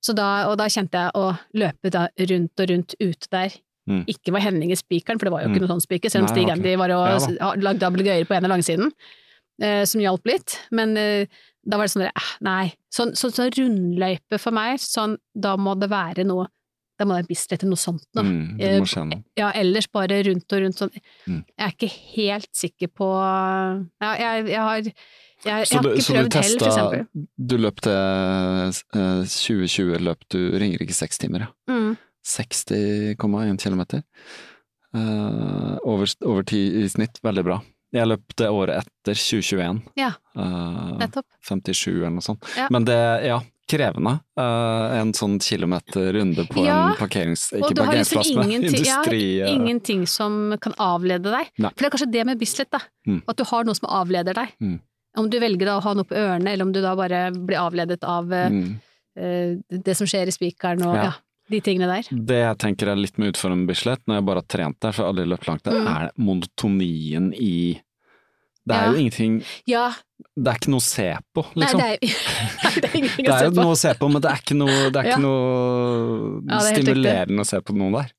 S5: Så da, og da kjente jeg å løpe da rundt og rundt ute der.
S2: Mm.
S5: Ikke var Henning i spikeren, for det var jo
S2: Mm.
S5: ikke noen sånn spiker, selv
S2: Nei,
S5: om Stig
S2: det var
S5: Andy var og
S2: Ja
S5: s- lagde ablegøyer på ene langsiden, eh, som hjalp litt. Men eh, da var det sånn der, eh, nei. Sånn, sånn, sånn rundløype for meg, sånn, da må det være noe Da må det være Bislett eller noe sånt noe.
S2: Mm, du
S5: Eh,
S2: må skjønne.
S5: Ja, ellers bare rundt og rundt sånn.
S2: Mm.
S5: Jeg er ikke helt sikker på Ja, jeg, jeg har jeg, jeg
S2: Så
S5: har
S2: du,
S5: ikke
S2: så du
S5: prøvd hell, for
S2: testa
S5: eksempel.
S2: Du løp til eh, 2020 løp du Ringerike seks timer, ja.
S5: Mm.
S2: 60,1 km. Eh, over, over ti i snitt, veldig bra. Jeg løp det året etter, 2021.
S5: Ja.
S2: Eh,
S5: Nettopp.
S2: 57 eller noe sånt.
S5: Ja.
S2: Men det, ja, krevende. Eh, en sånn kilometerrunde på
S5: Ja,
S2: en parkerings...
S5: og
S2: Ikke
S5: du har liksom
S2: parkeringsplass, men
S5: ingenting- ja,
S2: industri... eh,
S5: Ingenting som kan avlede deg.
S2: Nei.
S5: For det er kanskje det med Bislett, da.
S2: Mm.
S5: At du har noe som avleder deg.
S2: Mm.
S5: Om du velger da å ha noe på ørene, eller om du da bare blir avledet av eh,
S2: Mm.
S5: eh, det som skjer i spikeren og
S2: Ja.
S5: ja, de tingene der.
S2: Det jeg tenker er litt med utfordringen med Bislett, når jeg bare har trent der, for jeg har aldri løpt langt, det
S5: Mm.
S2: er monotonien i Det er
S5: Ja.
S2: jo ingenting
S5: Ja,
S2: Det er ikke noe å se på,
S5: nei,
S2: liksom.
S5: det er, nei, det er ingenting
S2: Det
S5: å
S2: er
S5: se
S2: jo
S5: på.
S2: noe å se på, men det er ikke noe, det er
S5: Ja.
S2: ikke noe
S5: Ja, det er helt
S2: stimulerende å se på noen der.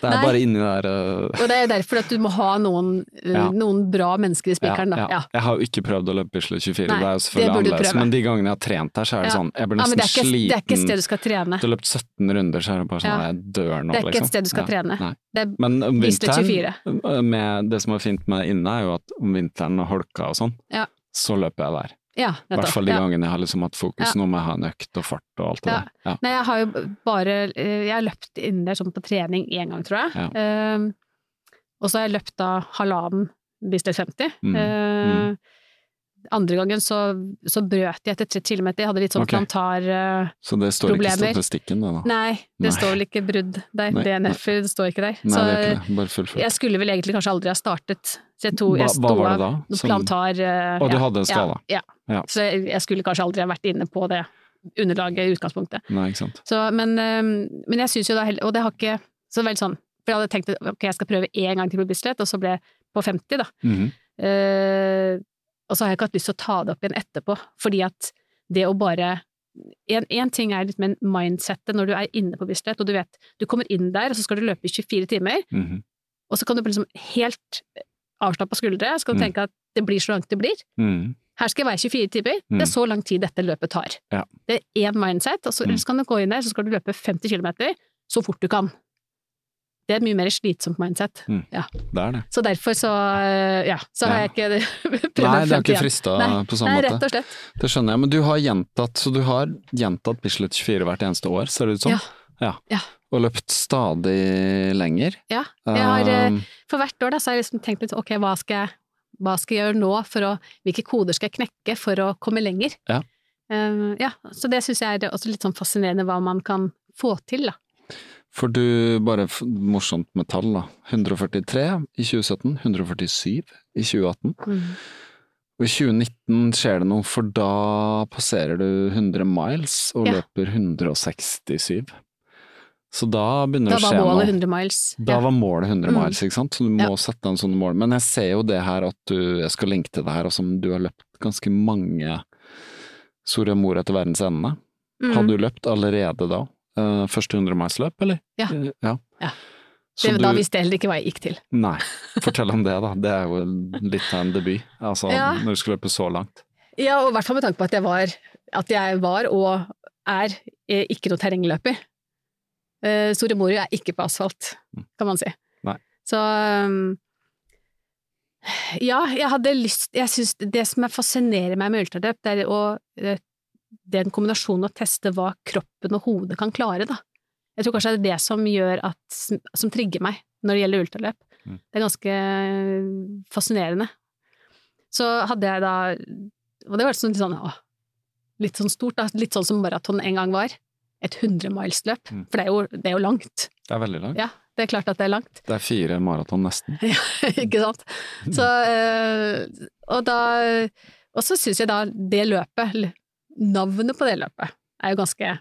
S2: Det er
S5: Nei.
S2: bare inni der eh,
S5: Og det er jo derfor at du må ha noen, eh,
S2: Ja.
S5: noen bra mennesker i spikeren, da. Ja.
S2: Jeg har jo ikke prøvd å løpe Bislett 24,
S5: Nei,
S2: det er jo
S5: det
S2: selvfølgelig
S5: burde du
S2: annerledes,
S5: prøve.
S2: men de gangene jeg har trent der, så er det
S5: Ja.
S2: sånn Jeg blir
S5: Ja, men
S2: nesten
S5: det er, ikke,
S2: sliten.
S5: det er ikke et sted du skal trene.
S2: Du har løpt 17 runder, så er det bare sånn
S5: Ja.
S2: Jeg dør nå, liksom.
S5: Det er ikke et sted du skal trene.
S2: Nei.
S5: Det er,
S2: Men om
S5: Bislett
S2: vinteren, eh, med det som er fint med inne, er jo at om vinteren og holka og sånn,
S5: Ja.
S2: så løper jeg der.
S5: ja,
S2: I hvert
S5: nettopp.
S2: fall de
S5: Ja.
S2: gangene jeg har liksom hatt fokus,
S5: Ja.
S2: nå må jeg ha en økt og fart og alt det
S5: Ja.
S2: der. Ja.
S5: Nei, jeg har jo bare eh, Jeg har løpt inn der sånn på trening én gang, tror jeg. Eh, og så har jeg løpt da halvannen Bislett 50.
S2: Mm,
S5: Eh, Andre gangen så, så brøt jeg etter 30 km. Jeg hadde litt sånn
S2: Ok.
S5: plantar... eh,
S2: Så det står ikke
S5: Problemer.
S2: i statistikken, det da.
S5: nei, det
S2: Nei.
S5: står vel ikke brudd der.
S2: Nei,
S5: DNF-er det står ikke der.
S2: Nei,
S5: så
S2: det er ikke det. Bare fullfør.
S5: jeg skulle vel egentlig kanskje aldri ha startet. Så jeg, to,
S2: Hva,
S5: jeg
S2: hva
S5: sto
S2: var det
S5: av
S2: da?
S5: noe
S2: som-
S5: plantar... eh,
S2: Å, du
S5: ja,
S2: hadde en skala.
S5: Ja, ja.
S2: Ja.
S5: Så jeg, jeg skulle kanskje aldri ha vært inne på det underlaget i utgangspunktet.
S2: Nei, ikke sant.
S5: Så, men, øhm, men jeg syns jo da heller Og det har ikke Så det er veldig sånn For jeg hadde tenkt at ok, jeg skal prøve én gang til på Bislett, og så ble jeg på 50, da.
S2: Mhm.
S5: Eh, og så har jeg ikke hatt lyst til å ta det opp igjen etterpå, fordi at det å bare en, en ting er litt med mindsettet når du er inne på Bislett, og du vet Du kommer inn der, og så skal du løpe i 24 timer,
S2: Mhm.
S5: og så kan du bli liksom helt avslappa skuldre, så kan du
S2: Mm.
S5: tenke at det blir så langt det blir.
S2: Mhm.
S5: Her skal jeg være 24 timer,
S2: Mm.
S5: det er så lang tid dette løpet tar.
S2: Ja.
S5: Det er én mindset, og så,
S2: Mm.
S5: ellers kan du gå inn der, så skal du løpe 50 km så fort du kan. Det er et mye mer slitsomt mindset.
S2: Mm.
S5: Ja.
S2: Det er det.
S5: Så derfor så, øh, ja, så har
S2: Ja.
S5: jeg ikke prøvd
S2: Nei,
S5: å
S2: det har ikke
S5: igjen.
S2: frista
S5: Nei.
S2: på samme
S5: Nei,
S2: måte.
S5: rett og slett.
S2: Det skjønner jeg, men du har gjentatt, så du har gjentatt Bislett 24 hvert eneste år, ser det ut som?
S5: Ja. Ja.
S2: Og løpt stadig lenger.
S5: Ja. Jeg har, eh,
S2: Um,
S5: For hvert år da, så har jeg liksom tenkt litt ok, hva skal jeg, hva skal jeg gjøre nå, for å, hvilke koder skal jeg knekke for å komme lenger?
S2: Ja.
S5: Eh, ja, så det syns jeg er også litt sånn fascinerende hva man kan få til, da.
S2: For du, bare f- morsomt med tall da. 143 i 2017, 147 i 2018. Og i 2019 skjer det noe, for da passerer du 100 miles og
S5: Ja.
S2: løper 167. Så da begynner
S5: Da
S2: det å
S5: var
S2: skje noe.
S5: målet 100 miles.
S2: Da
S5: Ja.
S2: var målet 100
S5: Mm.
S2: miles, ikke sant? så du må sette deg en sånn mål. Men jeg ser jo det her at du, jeg skal linke til det her, og som du har løpt ganske mange Soria Moria til verdens ende.
S5: Mm.
S2: Hadde du løpt allerede da? Eh, første 100 miles-løp, eller?
S5: Ja.
S2: Eh,
S5: Ja.
S2: Så
S5: det,
S2: du
S5: Da visste jeg heller ikke hva jeg gikk til.
S2: Nei, fortell om det, da. Det er jo litt av en debut, altså,
S5: Ja.
S2: når du skal løpe så langt.
S5: Ja, og i hvert fall med tanke på at jeg var, at jeg var og er eh, ikke noe terrengløper. Eh, Store Moria er ikke på asfalt, kan man si.
S2: Mm. Nei.
S5: Så um, Ja, jeg hadde lyst Jeg syns det som er fascinerer meg med ultraløp, det er å eh, den kombinasjonen å teste hva kroppen og hodet kan klare, da. Jeg tror kanskje det er det som gjør at Som trigger meg når det gjelder ultraløp.
S2: Mm.
S5: Det er ganske eh, fascinerende. Så hadde jeg da Og det var sånn, litt sånn åh, litt sånn stort, da. Litt sånn som maraton en gang var. Et 100 miles-løp.
S2: Mm.
S5: For det er, jo, det er jo langt.
S2: Det er veldig langt.
S5: Ja, det er klart at det er langt.
S2: Det er fire maraton nesten.
S5: ikke sant? Så, eh, og da Og så syns jeg da det løpet, eller navnet på det løpet, er jo ganske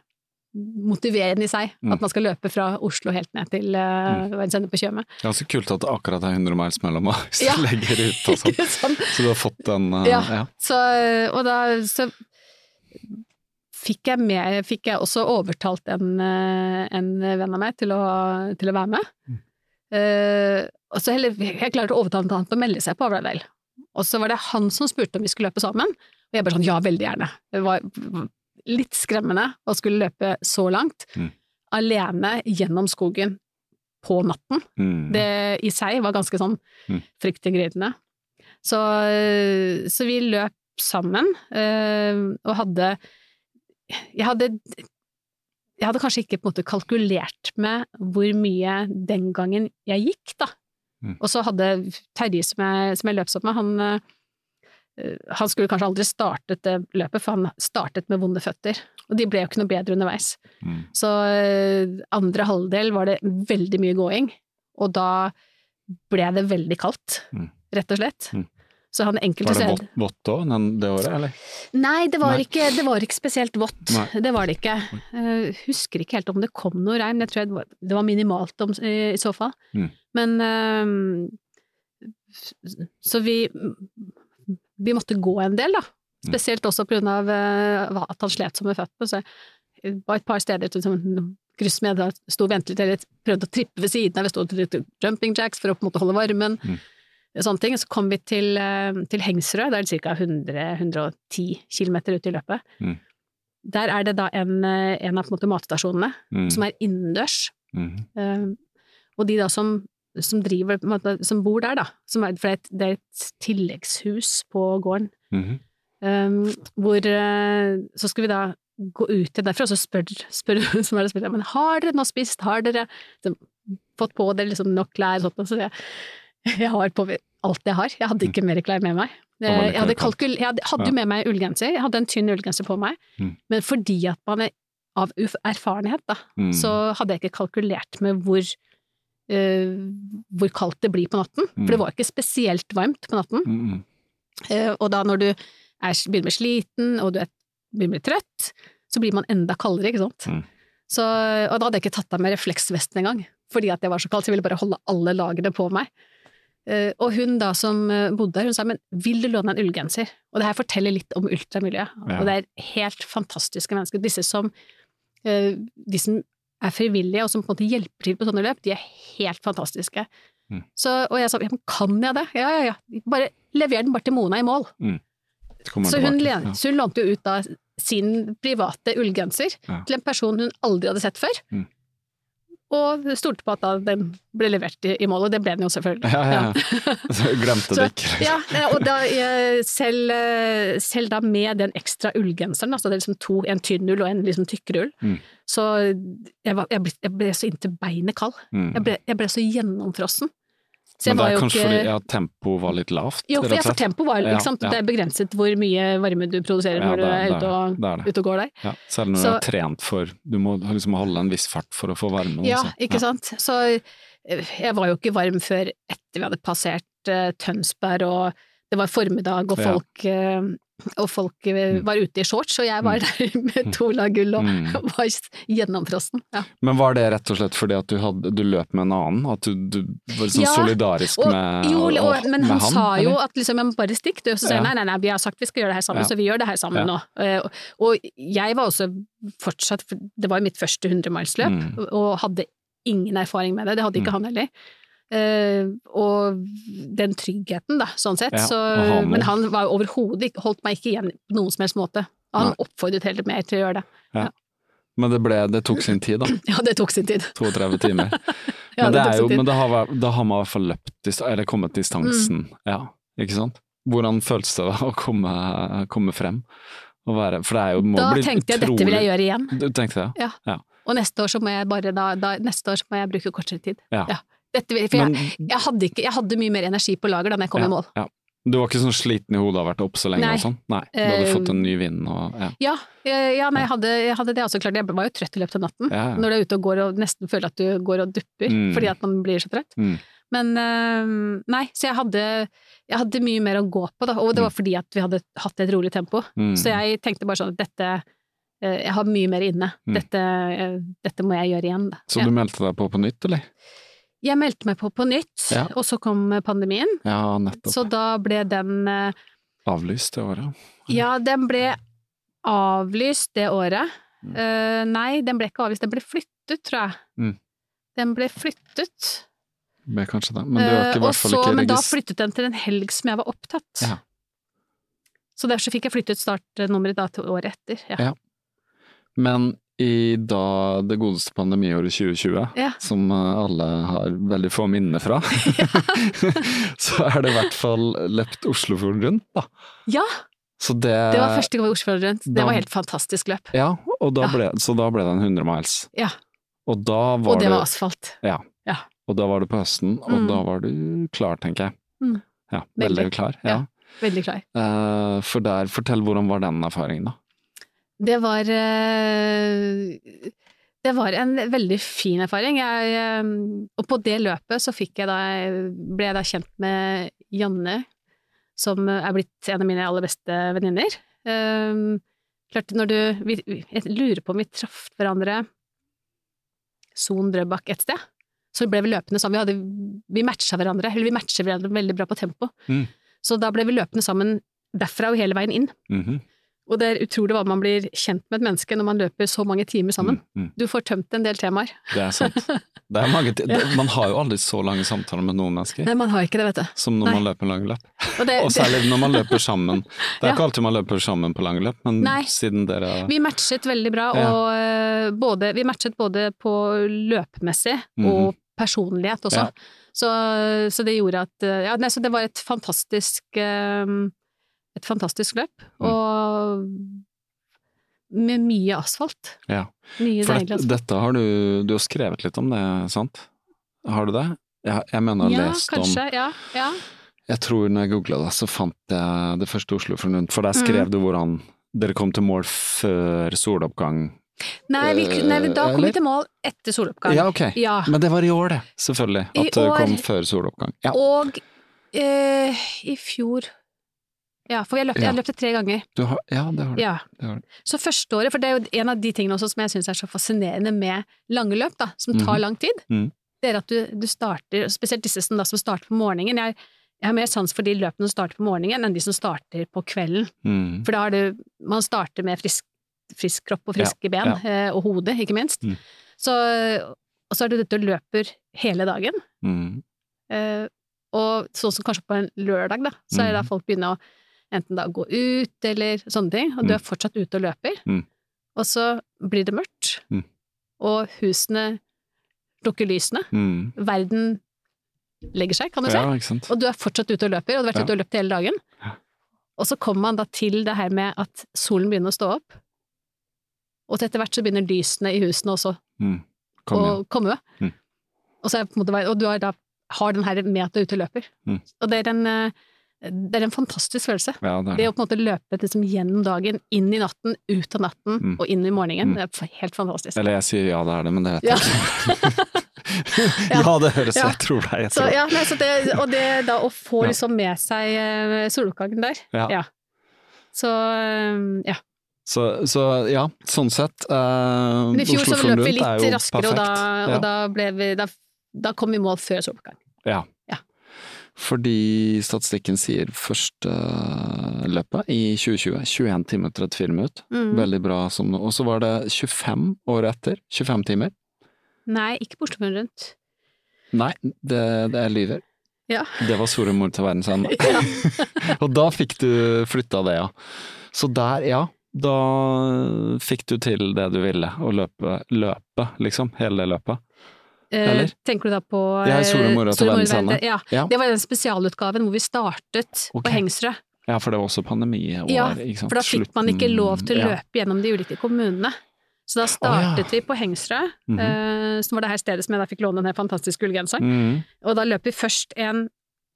S5: motiverende i seg.
S2: Mm.
S5: At man skal løpe fra Oslo helt ned til uh, verdensenden på Tjøme.
S2: Det er Ganske kult at det akkurat er 100 miles mellom oss.
S5: Ja.
S2: Legger ut og sånn.
S5: Ikke sant?
S2: Så du har fått den eh,
S5: Ja.
S2: ja.
S5: Så, og da så fikk jeg, med, fikk jeg også overtalt en, eh, en venn av meg til å, til å være med. Eh, og så heller, jeg klarte å overtale han til å melde seg på Avladel. Og så var det han som spurte om vi skulle løpe sammen, og jeg bare sånn ja, veldig gjerne. Det var litt skremmende å skulle løpe så langt,
S2: Mm.
S5: alene gjennom skogen på natten.
S2: Mm.
S5: Det i seg var ganske sånn
S2: Mm.
S5: fryktinngytende. Så, så vi løp sammen, eh, og hadde Jeg hadde jeg hadde kanskje ikke på en måte kalkulert med hvor mye den gangen jeg gikk, da.
S2: Mm.
S5: Og så hadde Terje, som jeg, som jeg løp sammen med, han, eh, han skulle kanskje aldri startet det løpet, for han startet med vonde føtter. Og de ble jo ikke noe bedre underveis.
S2: Mm.
S5: Så eh, andre halvdel var det veldig mye gåing, og da ble det veldig kaldt,
S2: Mm.
S5: rett og slett.
S2: Mm.
S5: Så han enkelte
S2: Var det
S5: steder-
S2: vått- vått òg det året, eller?
S5: Nei, det var,
S2: Nei.
S5: Ikke, det var ikke spesielt vått.
S2: Nei.
S5: Det var det ikke. Eh, husker ikke helt om det kom noe regn, jeg tror det var, det var minimalt om, i så fall.
S2: Mm.
S5: Men eh, Så vi Vi måtte gå en del, da.
S2: Mm.
S5: Spesielt også på grunn av eh, at han slet så med føttene. Så det var et par steder til- som kryss med, da sto og ventet litt, eller prøvde å trippe ved siden av, vi sto og gjorde jumping jacks for å på en måte holde varmen.
S2: Mm.
S5: Sånne ting. Så kom vi til, eh, til Hengsrød, det er ca. 100-110 km ut i løpet.
S2: Mm.
S5: Der er det da en, eh, en av på en måte matstasjonene
S2: Mm.
S5: som er innendørs.
S2: Mhm.
S5: Eh, og de da som, som driver, på en måte, som bor der, da, som er, for det er et, det er et tilleggshus på gården,
S2: Mhm.
S5: Um, hvor eh, så skal vi da gå ut igjen derfra, og så spør, spør hun som er der, spør, jeg, men har dere nå spist, har dere liksom, fått på dere liksom nok klær og sånt, og så sier jeg, jeg har på meg alt jeg har, jeg hadde ikke mer klær med meg.
S2: Det Mm. var
S5: Eh,
S2: litt
S5: Jeg hadde,
S2: kaldt.
S5: kalkul, jeg hadde, hadde
S2: Ja.
S5: jo med meg ullgenser, jeg hadde en tynn ullgenser på meg,
S2: Mm.
S5: men fordi at man er av uf- erfarenhet da,
S2: Mm.
S5: så hadde jeg ikke kalkulert med hvor, eh, hvor kaldt det blir på natten,
S2: Mm.
S5: for det var ikke spesielt varmt på natten.
S2: Mhm.
S5: Eh, Og da når du er, begynner å bli sliten, og du er, begynner å bli trøtt, så blir man enda kaldere, ikke sant?
S2: Mm.
S5: Så, og da hadde jeg ikke tatt av meg refleksvesten engang, fordi at jeg var så kald, så jeg ville bare holde alle lagene på meg. Eh, Og hun da som eh, bodde her, hun sa, men vil du låne en ullgenser? Og det her forteller litt om ultramiljøet,
S2: Ja.
S5: og det er helt fantastiske mennesker. Disse som, eh, de som er frivillige, og som på en måte hjelper til på sånne løp, de er helt fantastiske.
S2: Mm.
S5: Så, og jeg sa, ja, men kan jeg det? Ja, ja, ja. Bare lever den bare til Mona i mål.
S2: Kommer
S5: Så hun,
S2: tilbake.
S5: len- så hun lånte jo ut da sin private ullgenser
S2: Ja.
S5: til en person hun aldri hadde sett før.
S2: Mm.
S5: Og stolte på at da den ble levert i, i mål, og det ble den jo selvfølgelig.
S2: Ja, ja, ja. Så jeg Glemte det ikke. liksom.
S5: Ja, og da, eh, selv, eh, selv da med den ekstra ullgenseren, altså det er liksom to, en tynn ull og en liksom tykkere ull,
S2: Mm.
S5: så jeg, var, jeg, ble, jeg ble så inntil beinet kald.
S2: Mm.
S5: Jeg ble, jeg ble så gjennomfrossen. Så
S2: Men
S5: jeg
S2: det
S5: var
S2: er
S5: jo
S2: kanskje
S5: ikke-
S2: fordi ja, tempoet var litt lavt?
S5: Jo, for,
S2: rett
S5: ja,
S2: og
S5: for
S2: slett.
S5: tempo var
S2: Ja,
S5: ikke sant?
S2: ja.
S5: Det er begrenset hvor mye varme du produserer
S2: Ja,
S5: når du
S2: det er-
S5: er,
S2: det er
S5: ute, og,
S2: det er det.
S5: ute og går der.
S2: Ja, selv når du
S5: Så-
S2: er trent for Du må liksom holde en viss fart for å få varmen.
S5: Ja,
S2: også.
S5: ikke sant? Så eh, jeg var jo ikke varm før etter vi hadde passert eh, Tønsberg, og det var formiddag, og
S2: Ja.
S5: folk, eh, og folk eh,
S2: Mm.
S5: var ute i shorts, og jeg
S2: Mm.
S5: var der med to lag gull og
S2: Mm.
S5: var s- gjennomfrossen. Ja.
S2: Men var det rett og slett fordi at du, hadde, du løp med en annen? At du, du var liksom
S5: Ja,
S2: solidarisk
S5: Og,
S2: med
S5: jo,
S2: Eh, og-
S5: og, men
S2: med
S5: han, sa jo
S2: eller?
S5: at liksom, jeg må bare stikk, du. Så sier
S2: Ja.
S5: han nei, nei, nei, vi har sagt vi skal gjøre det her
S2: Ja.
S5: sammen, så vi gjør det her
S2: Ja.
S5: sammen nå. Eh, Og jeg var også fortsatt, for det var jo mitt første 100 miles-løp,
S2: Mm.
S5: og- og hadde ingen erfaring med det, det hadde ikke han heller. Eh, og den tryggheten, da, sånn sett.
S2: Ja,
S5: så,
S2: å ha noen.
S5: men han var jo overhodet ikke Holdt meg ikke igjen på noen som helst måte. Han
S2: Nei.
S5: oppfordret heller mer til å gjøre det.
S2: Men det, ble, det tok sin tid, da.
S5: Ja, det tok sin tid.
S2: 32 timer.
S5: Ja,
S2: men, det
S5: tok
S2: er
S5: sin
S2: jo,
S5: tid.
S2: men da har, væ- da har man i hvert fall løpt dis- eller kommet distansen.
S5: Mm.
S2: Ja, ikke sant? Hvordan føles det da å komme, komme frem? Å være, for det er jo, må
S5: da
S2: bli
S5: tenkte jeg dette vil jeg gjøre igjen.
S2: Du tenkte det?
S5: Ja. Og neste år så må jeg bare da, da Neste år så må jeg bruke kortere tid.
S2: Ja.
S5: Dette, vil- for jeg,
S2: Men-
S5: jeg, hadde ikke, jeg hadde mye mer energi på lager da når jeg kom
S2: ja,
S5: i mål.
S2: Ja. Du var ikke sånn sliten i hodet av å ha vært oppe så lenge
S5: Nei.
S2: og sånn? Nei. Du hadde
S5: Eh,
S2: fått en ny vind og ja.
S5: Ja, eh, ja nei, jeg, hadde, jeg hadde det også klart. Jeg var jo trøtt i løpet av natten.
S2: Ja, ja.
S5: Når du er ute og går og nesten føler at du går og dupper
S2: Mm.
S5: fordi at man blir så trøtt.
S2: Mm.
S5: Men eh, nei, så jeg hadde, jeg hadde mye mer å gå på, da. Og det var fordi at vi hadde hatt et rolig tempo.
S2: Mm.
S5: Så jeg tenkte bare sånn at dette eh, Jeg har mye mer inne.
S2: Mm.
S5: Dette, eh, dette må jeg gjøre igjen, da.
S2: Så
S5: Ja.
S2: du meldte deg på på nytt, eller?
S5: Jeg meldte meg på på nytt,
S2: Ja.
S5: og så kom pandemien.
S2: Ja, nettopp.
S5: Så da ble den eh,
S2: Avlyst det året.
S5: Ja, den ble avlyst det året. Eh, nei, den ble ikke avlyst, den ble flyttet, tror jeg.
S2: Mm.
S5: Den ble flyttet.
S2: Ble kanskje det. Men du har
S5: Eh,
S2: ikke, i
S5: og
S2: hvert fall
S5: så-
S2: ikke
S5: Men da
S2: regist-
S5: flyttet den til en helg som jeg var opptatt.
S2: Ja.
S5: Så derfor så fikk jeg flyttet startnummeret da til året etter. Ja.
S2: Ja. Men i da det godeste pandemiåret 2020,
S5: Ja.
S2: som eh, alle har veldig få minner fra, så er det i hvert fall løpt Oslofjorden rundt, da.
S5: Ja,
S2: Så det,
S5: det var første gang jeg var i Oslofjorden rundt. Det
S2: Eh, Da-
S5: var helt fantastisk løp.
S2: Ja, og da
S5: Ja.
S2: ble, så da ble det en 100 miles.
S5: Ja.
S2: Og da var,
S5: Og det
S2: du,
S5: var asfalt.
S2: Ja.
S5: Ja.
S2: Og da var du på høsten, og
S5: Mm.
S2: da var du klar, tenker jeg.
S5: Mm.
S2: Ja, veldig
S5: Veldig.
S2: klar. Ja.
S5: Ja. Veldig klar.
S2: Eh, for der, fortell hvordan var den erfaringen, da?
S5: Det var eh, Det var en veldig fin erfaring. Jeg, eh, og på det løpet så fikk jeg da, ble jeg da kjent med Janne, som er blitt en av mine aller beste venninner. Eh, klart, når du vi, vi- Jeg lurer på om vi traff hverandre Son Drøbak et sted. Så ble vi løpende sammen. Vi, hadde, vi matcha hverandre, eller vi matcher hverandre veldig bra på tempo.
S2: Mm.
S5: Så da ble vi løpende sammen derfra og hele veien inn.
S2: Mhm.
S5: Og det er utrolig hva man blir kjent med et menneske når man løper så mange timer sammen.
S2: Mm, mm.
S5: Du får tømt en del temaer.
S2: Det er sant. Det er mange, ti- det, man har jo aldri så lange samtaler med noen mennesker.
S5: Nei, man har ikke det, vet du.
S2: Som når
S5: Nei.
S2: man løper lange løp.
S5: Og det,
S2: Og
S5: det,
S2: særlig når man løper sammen. Det er
S5: Ja.
S2: ikke alltid man løper sammen på lange løp, men
S5: Nei.
S2: siden dere
S5: vi matchet veldig bra,
S2: Ja.
S5: og eh, både, vi matchet både på løpemessig og personlighet også.
S2: Mhm. Ja.
S5: Så, så det gjorde at eh, ja, nei, Så det var et fantastisk eh, et fantastisk løp,
S2: Mm.
S5: og med mye asfalt.
S2: Ja.
S5: Mye
S2: For
S5: deilig
S2: dette,
S5: asfalt.
S2: dette har du Du har skrevet litt om det, sant? Har du det? Jeg, jeg mener jeg har
S5: Ja,
S2: lest
S5: kanskje.
S2: om
S5: Ja, ja.
S2: Jeg tror når jeg googla det, så fant jeg det første Oslo for rundt. For der
S5: Mm.
S2: skrev du hvordan dere kom til mål før soloppgang.
S5: Nei, vi, nei, da kom
S2: Eh, Eller?
S5: vi til mål etter soloppgang.
S2: Ja, ok.
S5: Ja.
S2: Men det var i år, det. Selvfølgelig.
S5: I
S2: At det
S5: år.
S2: kom før soloppgang. Ja.
S5: Og eh, i fjor Ja, for jeg løpte,
S2: Ja.
S5: jeg løpte tre ganger.
S2: Du har, ja, det har du.
S5: Ja.
S2: Det har du.
S5: Så første året, for det er jo en av de tingene også som jeg syns er så fascinerende med lange løp, da, som tar
S2: Mhm.
S5: lang tid,
S2: Mhm.
S5: det er at du, du starter, spesielt disse som, da, som starter på morgenen jeg, jeg har mer sans for de løpene som starter på morgenen, enn de som starter på kvelden.
S2: Mm.
S5: For da har du Man starter med frisk, frisk kropp og friske ben,
S2: ja.
S5: eh, og hodet, ikke minst.
S2: Mhm.
S5: Så, og så er det dette du løper hele dagen.
S2: Mm.
S5: Eh, og sånn som kanskje på en lørdag, da, så er det da
S2: Mhm.
S5: folk begynner å enten da gå ut eller sånne ting, og du
S2: Mm.
S5: er fortsatt ute og løper.
S2: Mm.
S5: Og så blir det mørkt,
S2: Mm.
S5: og husene lukker lysene,
S2: Mm.
S5: verden legger seg, kan du
S2: Ja,
S5: si,
S2: ikke sant.
S5: og du er fortsatt ute og løper, og du har vært
S2: Ja.
S5: ute og løpt hele dagen.
S2: Ja.
S5: Og så kommer man da til det her med at solen begynner å stå opp, og til etter hvert så begynner lysene i husene også
S2: Mm. Kom
S5: og
S2: igjen.
S5: komme.
S2: Mm.
S5: Og, så er det på en måte, bare- og du har, da, har den her med at du er ute og løper.
S2: Mm.
S5: Og det er, en, eh, det er en fantastisk følelse.
S2: Ja, det er
S5: Det
S2: det.
S5: å på en måte løpe liksom, gjennom dagen, inn i natten, ut av natten
S2: Mm.
S5: og inn i morgenen.
S2: Mm.
S5: Det er helt fantastisk.
S2: Eller jeg sier ja, det er det, men det heter
S5: Ja.
S2: ikke ja. det høres
S5: Ja.
S2: Jeg tror deg, jeg
S5: Så,
S2: tror deg.
S5: ja, nei, så det, og det da å få
S2: Ja.
S5: liksom med seg eh, soloppgangen der.
S2: Ja.
S5: Ja. Så eh, ja.
S2: Så, så ja, sånn sett. eh,
S5: Men i fjor så
S2: Oslofjorden
S5: løp vi
S2: rundt er
S5: litt
S2: jo
S5: raskere, og, da,
S2: perfekt.
S5: og da, ble vi, da, da kom vi i mål før soloppgang.
S2: ja.
S5: Ja.
S2: Fordi statistikken sier første eh, løpet i 2020 21 timer og 34 minutter.
S5: Mm.
S2: Veldig bra som nå. Og så var det 25 året etter. 25 timer.
S5: Nei, ikke på Oslofjorden rundt.
S2: Nei, det, det er lyver.
S5: Ja.
S2: Det var Soria Moria til verdens ende. og da fikk du flytta det, ja. Så der, ja. Da fikk du til det du ville, å løpe, løpe liksom. Hele det løpet.
S5: Eh,
S2: Eller?
S5: Tenker du da på
S2: Ja, i Soria
S5: eh,
S2: Moria til
S5: Soria
S2: verdens ende.
S5: Ja.
S2: Ja.
S5: Det var den spesialutgaven hvor vi startet
S2: Ok.
S5: på Hengsrø.
S2: Ja, for det var også pandemi i år,
S5: Ja,
S2: ikke sant.
S5: For da fikk man
S2: Slutten-
S5: ikke lov til å
S2: ja.
S5: løpe gjennom de ulike kommunene. Så da startet
S2: Å, ja.
S5: vi på Hengsrø,
S2: Mhm.
S5: eh, som var det her stedet som jeg da fikk låne den her fantastiske ullgenseren.
S2: Mhm.
S5: Og da løp vi først en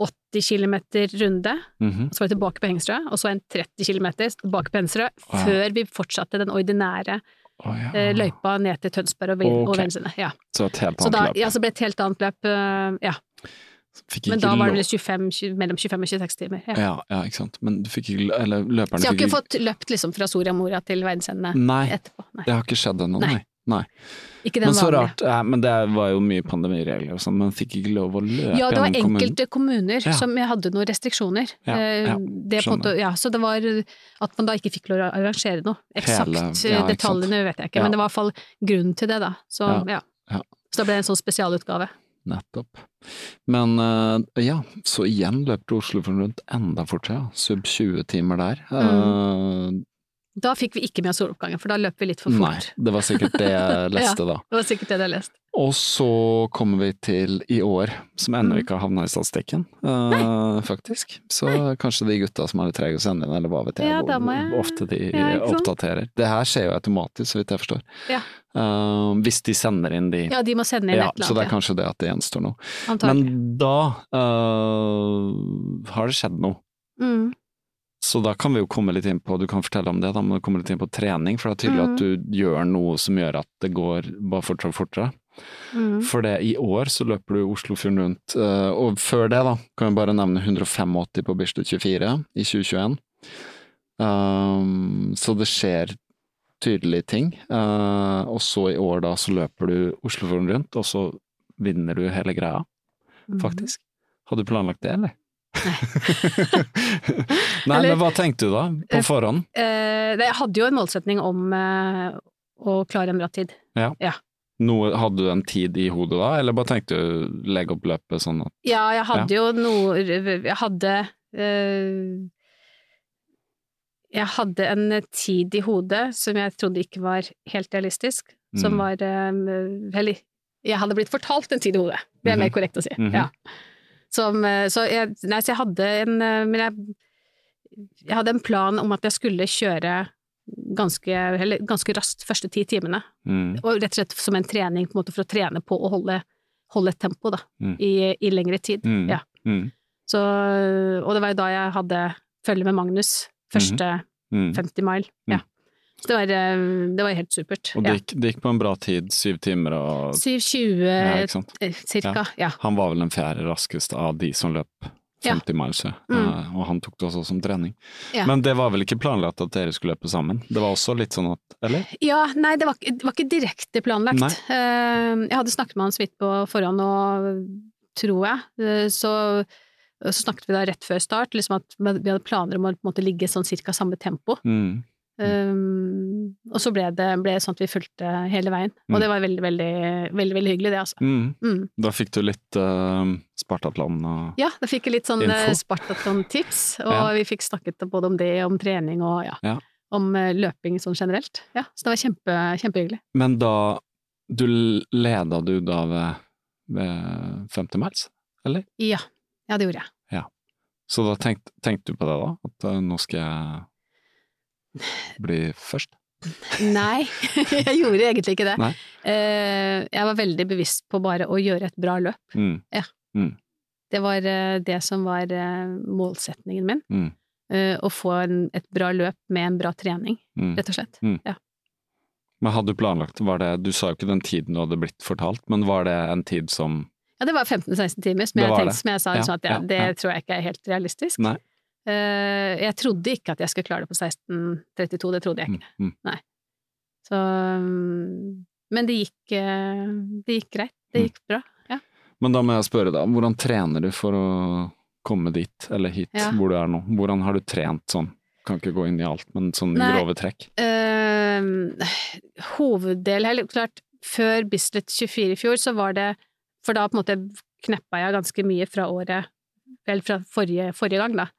S5: 80 km runde,
S2: Mhm.
S5: og så var vi tilbake på Hengsrø, og så en 30 km tilbake på Hengsrø,
S2: ja.
S5: før vi fortsatte den ordinære
S2: Å, ja.
S5: eh, løypa ned til Tønsberg og, Vin- og
S2: Ok.
S5: Vennesene. Ja.
S2: Så et helt
S5: Så
S2: annet
S5: da,
S2: løp.
S5: ja, så ble det et helt annet løp, eh, ja.
S2: Fikk
S5: Men
S2: ikke
S5: da var
S2: lov-
S5: det vel 25, tjue- mellom 25 og 26 timer. Ja.
S2: ja, ja, ikke sant. Men du fikk ikke Eller løperne
S5: Så jeg har
S2: fikk
S5: ikke fått løpt liksom fra Soria Moria til verdensendene
S2: Nei,
S5: etterpå. Nei.
S2: det har ikke skjedd ennå,
S5: Nei.
S2: nei. nei.
S5: Ikke den
S2: Men så
S5: vanlige.
S2: rart. eh, men det var jo mye pandemiregler og sånn, men fikk ikke lov å løpe
S5: Ja, det var
S2: gjennom kommunen.
S5: enkelte kommuner
S2: Ja.
S5: som hadde noen restriksjoner.
S2: Ja,
S5: Eh,
S2: ja,
S5: det på en måte, ja, så det var at man da ikke fikk lov å arrangere noe. Eksakt
S2: Hele- ja,
S5: eh,
S2: ikke sant.
S5: detaljene vet jeg ikke,
S2: Ja.
S5: men det var i hvert fall grunnen til det, da. Så, ja.
S2: ja.
S5: så da ble det en sånn spesialutgave.
S2: Nettopp. Men eh, ja, så igjen løp du Oslofjorden rundt enda fortere, ja. sub 20 timer der. Eh,
S5: Da fikk vi ikke med oss soloppgangen, for da løp vi litt for
S2: nei,
S5: Mm. fort.
S2: det var sikkert det jeg leste da.
S5: Det var sikkert det du har lest.
S2: Og så kommer vi til i år, som ennå
S5: Mm.
S2: ikke har havna i statistikken, eh, faktisk. Så kanskje de gutta som er litt trege å sende inn, eller hva vet jeg,
S5: Ja, da
S2: hvor
S5: må jeg-
S2: ofte de
S5: Ja, ikke sant?
S2: oppdaterer. Det her skjer jo automatisk, så vidt jeg forstår.
S5: Ja.
S2: Eh, hvis de sender inn de
S5: Ja, de må sende inn
S2: Ja,
S5: et
S2: så det
S5: eller
S2: er
S5: annet.
S2: kanskje det at det gjenstår noe.
S5: Ja, antagelig.
S2: Men da eh, har det skjedd noe.
S5: Mm.
S2: Så da kan vi jo komme litt inn på, du kan fortelle om det, da må du komme litt inn på trening, for det er tydelig at du gjør noe som gjør at det går bare fortere og fortere.
S5: Mm.
S2: For det, i år så løper du Oslofjorden rundt, eh, og før det da, kan vi bare nevne 185 på Bislett 24 i 2021. Um, så det skjer tydelige ting, eh, og så i år da så løper du Oslofjorden rundt, og så vinner du hele greia,
S5: Mm.
S2: faktisk. Hadde du planlagt det, eller? Nei,
S5: Eller-
S2: men hva tenkte du da, på forhånd?
S5: Eh, nei, jeg hadde jo en målsetning om eh, å klare en bra tid.
S2: Noe, hadde du en tid i hodet da, eller bare tenkte du legge opp løpet sånn at
S5: Ja, jeg hadde jo noe Jeg hadde eh, Jeg hadde en tid i hodet som jeg trodde ikke var helt realistisk, som
S2: Mm.
S5: var eh, Eller, jeg hadde blitt fortalt en tid i hodet, det er mer
S2: Mhm.
S5: korrekt å si.
S2: Mhm.
S5: ja. Som, eh, så, jeg, nei, så jeg hadde en eh, Men jeg, jeg hadde en plan om at jeg skulle kjøre ganske, eller, ganske raskt første ti timene.
S2: mm,
S5: Og rett og slett som en trening på en måte for å trene på å holde, holde et tempo da,
S2: Mm.
S5: i, i lengre tid.
S2: Mm.
S5: Ja.
S2: mm,
S5: Så, og det var jo da jeg hadde følge med Magnus, første
S2: mm.
S5: 50 mile. Ja. Så det var, eh, det var helt supert.
S2: Og det gikk, det gikk på en bra tid, syv timer
S5: ja.
S2: og
S5: 7.20
S2: ja, ikke sant?
S5: eh, cirka, ja.
S2: Han var vel den fjerde raskeste av de som løp 50 miles, ja.
S5: Mm.
S2: Eh, og han tok det også som trening.
S5: Ja.
S2: Men det var vel ikke planlagt at dere skulle løpe sammen? Det var også litt sånn at Eller?
S5: Ja, nei, det var, ikke- det var ikke direkte planlagt.
S2: Nei.
S5: Eh, Jeg hadde snakket med han så vidt på forhånd, og tror jeg, eh, så, så snakket vi da rett før start, liksom at vi hadde planer om å på en måte ligge sånn cirka samme tempo.
S2: Mm.
S5: Um, og så ble det, ble det sånn at vi fulgte hele veien. Og
S2: Mm.
S5: det var veldig, veldig, veldig, veldig hyggelig, det, altså.
S2: Mm.
S5: Mm.
S2: Da fikk du litt uh, Spartatland og
S5: Ja, da fikk jeg litt sånn
S2: Info.
S5: eh, Spartaton-tips, og
S2: Ja.
S5: vi fikk snakket både om det, om trening og ja,
S2: Ja.
S5: om eh, løping sånn generelt. Ja, så det var kjempe, kjempehyggelig.
S2: Men da Du leda du da ved, ved 50 miles?
S5: Ja, ja, det gjorde jeg.
S2: Så da tenkte, tenkte du på det da? At eh, nå skal jeg bli først?
S5: Nei, jeg gjorde egentlig ikke det.
S2: Nei.
S5: Eh, jeg var veldig bevisst på bare å gjøre et bra løp.
S2: Mm.
S5: Det var eh, det som var eh, målsetningen min.
S2: Mm.
S5: Eh, å få en, et bra løp med en bra trening,
S2: Mm.
S5: rett og slett.
S2: Men hadde du planlagt, var det, du sa jo ikke den tiden du hadde blitt fortalt, men var det en tid som
S5: Ja, det var 15-16 timer, som
S2: Det
S5: jeg,
S2: var
S5: tenkte,
S2: det.
S5: som jeg sa,
S2: Ja,
S5: liksom at jeg,
S2: ja,
S5: det
S2: ja.
S5: tror jeg ikke er helt realistisk.
S2: Nei.
S5: Eh, jeg trodde ikke at jeg skulle klare det på 16.32, det trodde jeg ikke.
S2: Mm, mm.
S5: Så, mm, men det gikk, eh, det gikk greit, det
S2: Mm.
S5: gikk bra.
S2: Men da må jeg spørre deg, hvordan trener du for å komme dit, eller hit,
S5: Ja.
S2: hvor du er nå? Hvordan har du trent sånn? Kan ikke gå inn i alt, men sånn i
S5: Nei.
S2: grove trekk.
S5: Eh, hoveddel, eller klart, før Bislett 24 i fjor, så var det For da på en måte kneppa jeg ganske mye fra året Vel, fra forrige, forrige gang, da.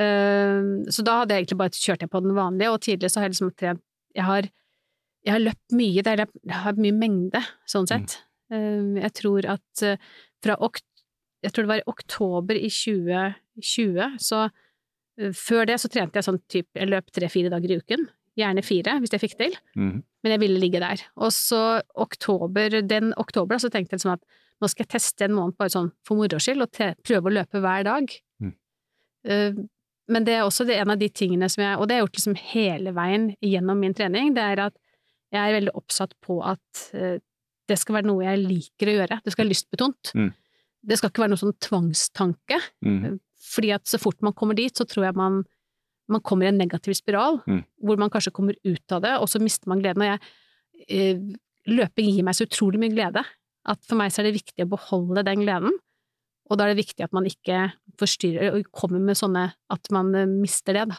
S5: Eh, så da hadde jeg egentlig bare kjørt jeg på den vanlige, og tidligere så har jeg liksom trent Jeg har, jeg har løpt mye, det er- jeg har mye mengde, sånn sett. Eh, jeg tror at eh, fra ok, Jeg tror det var i oktober i 2020, så eh, før det så trente jeg sånn type Jeg løp tre-fire dager i uken gjerne fire, hvis jeg fikk til.
S2: Mhm.
S5: Men jeg ville ligge der. Og så oktober, den oktober, da, så tenkte jeg liksom at nå skal jeg teste en måned bare sånn for moro skyld, og te prøve å løpe hver dag.
S2: Mm.
S5: Eh, men det er også det, en av de tingene som jeg, og det har jeg gjort liksom hele veien gjennom min trening, det er at jeg er veldig oppsatt på at eh, det skal være noe jeg liker å gjøre. Det skal være lystbetont.
S2: Mm.
S5: Det skal ikke være noe sånn tvangstanke.
S2: Mhm.
S5: Fordi at så fort man kommer dit, så tror jeg man, man kommer i en negativ spiral,
S2: Mm.
S5: hvor man kanskje kommer ut av det, og så mister man gleden. Og jeg, eh, løping gir meg så utrolig mye glede, at for meg så er det viktig å beholde den gleden. Og da er det viktig at man ikke forstyrrer og kommer med sånne at man eh, mister det, da.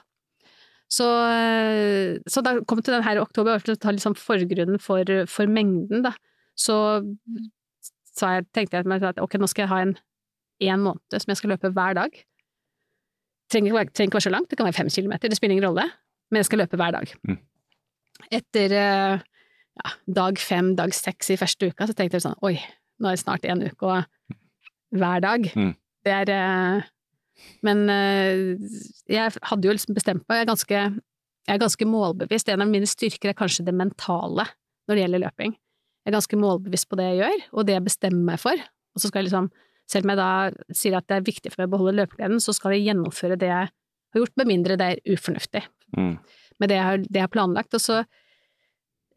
S5: Så, eh, så da kom til den her i oktober, og ta liksom forgrunnen for, for mengden, da. Så, sa jeg, tenkte jeg til meg selv at ok, nå skal jeg ha en én måned som jeg skal løpe hver dag. Trenger ikke, være- trenger ikke være så langt, det kan være fem kilometer, det spiller ingen rolle, men jeg skal løpe hver dag.
S2: Mm.
S5: Etter eh, ja, dag fem, dag seks i første uka, så tenkte jeg sånn oi, nå er det snart en uke og hver dag.
S2: Mm.
S5: Det er eh, Men eh, jeg hadde jo liksom bestemt meg, jeg er ganske, jeg er ganske målbevisst. En av mine styrker er kanskje det mentale når det gjelder løping. Jeg er ganske målbevisst på det jeg gjør, og det jeg bestemmer meg for. Og så skal jeg liksom selv om jeg da sier at det er viktig for meg å beholde løpegleden, så skal jeg gjennomføre det jeg har gjort, med mindre det er ufornuftig
S2: Mhm.
S5: med det jeg har, det jeg har planlagt. Og så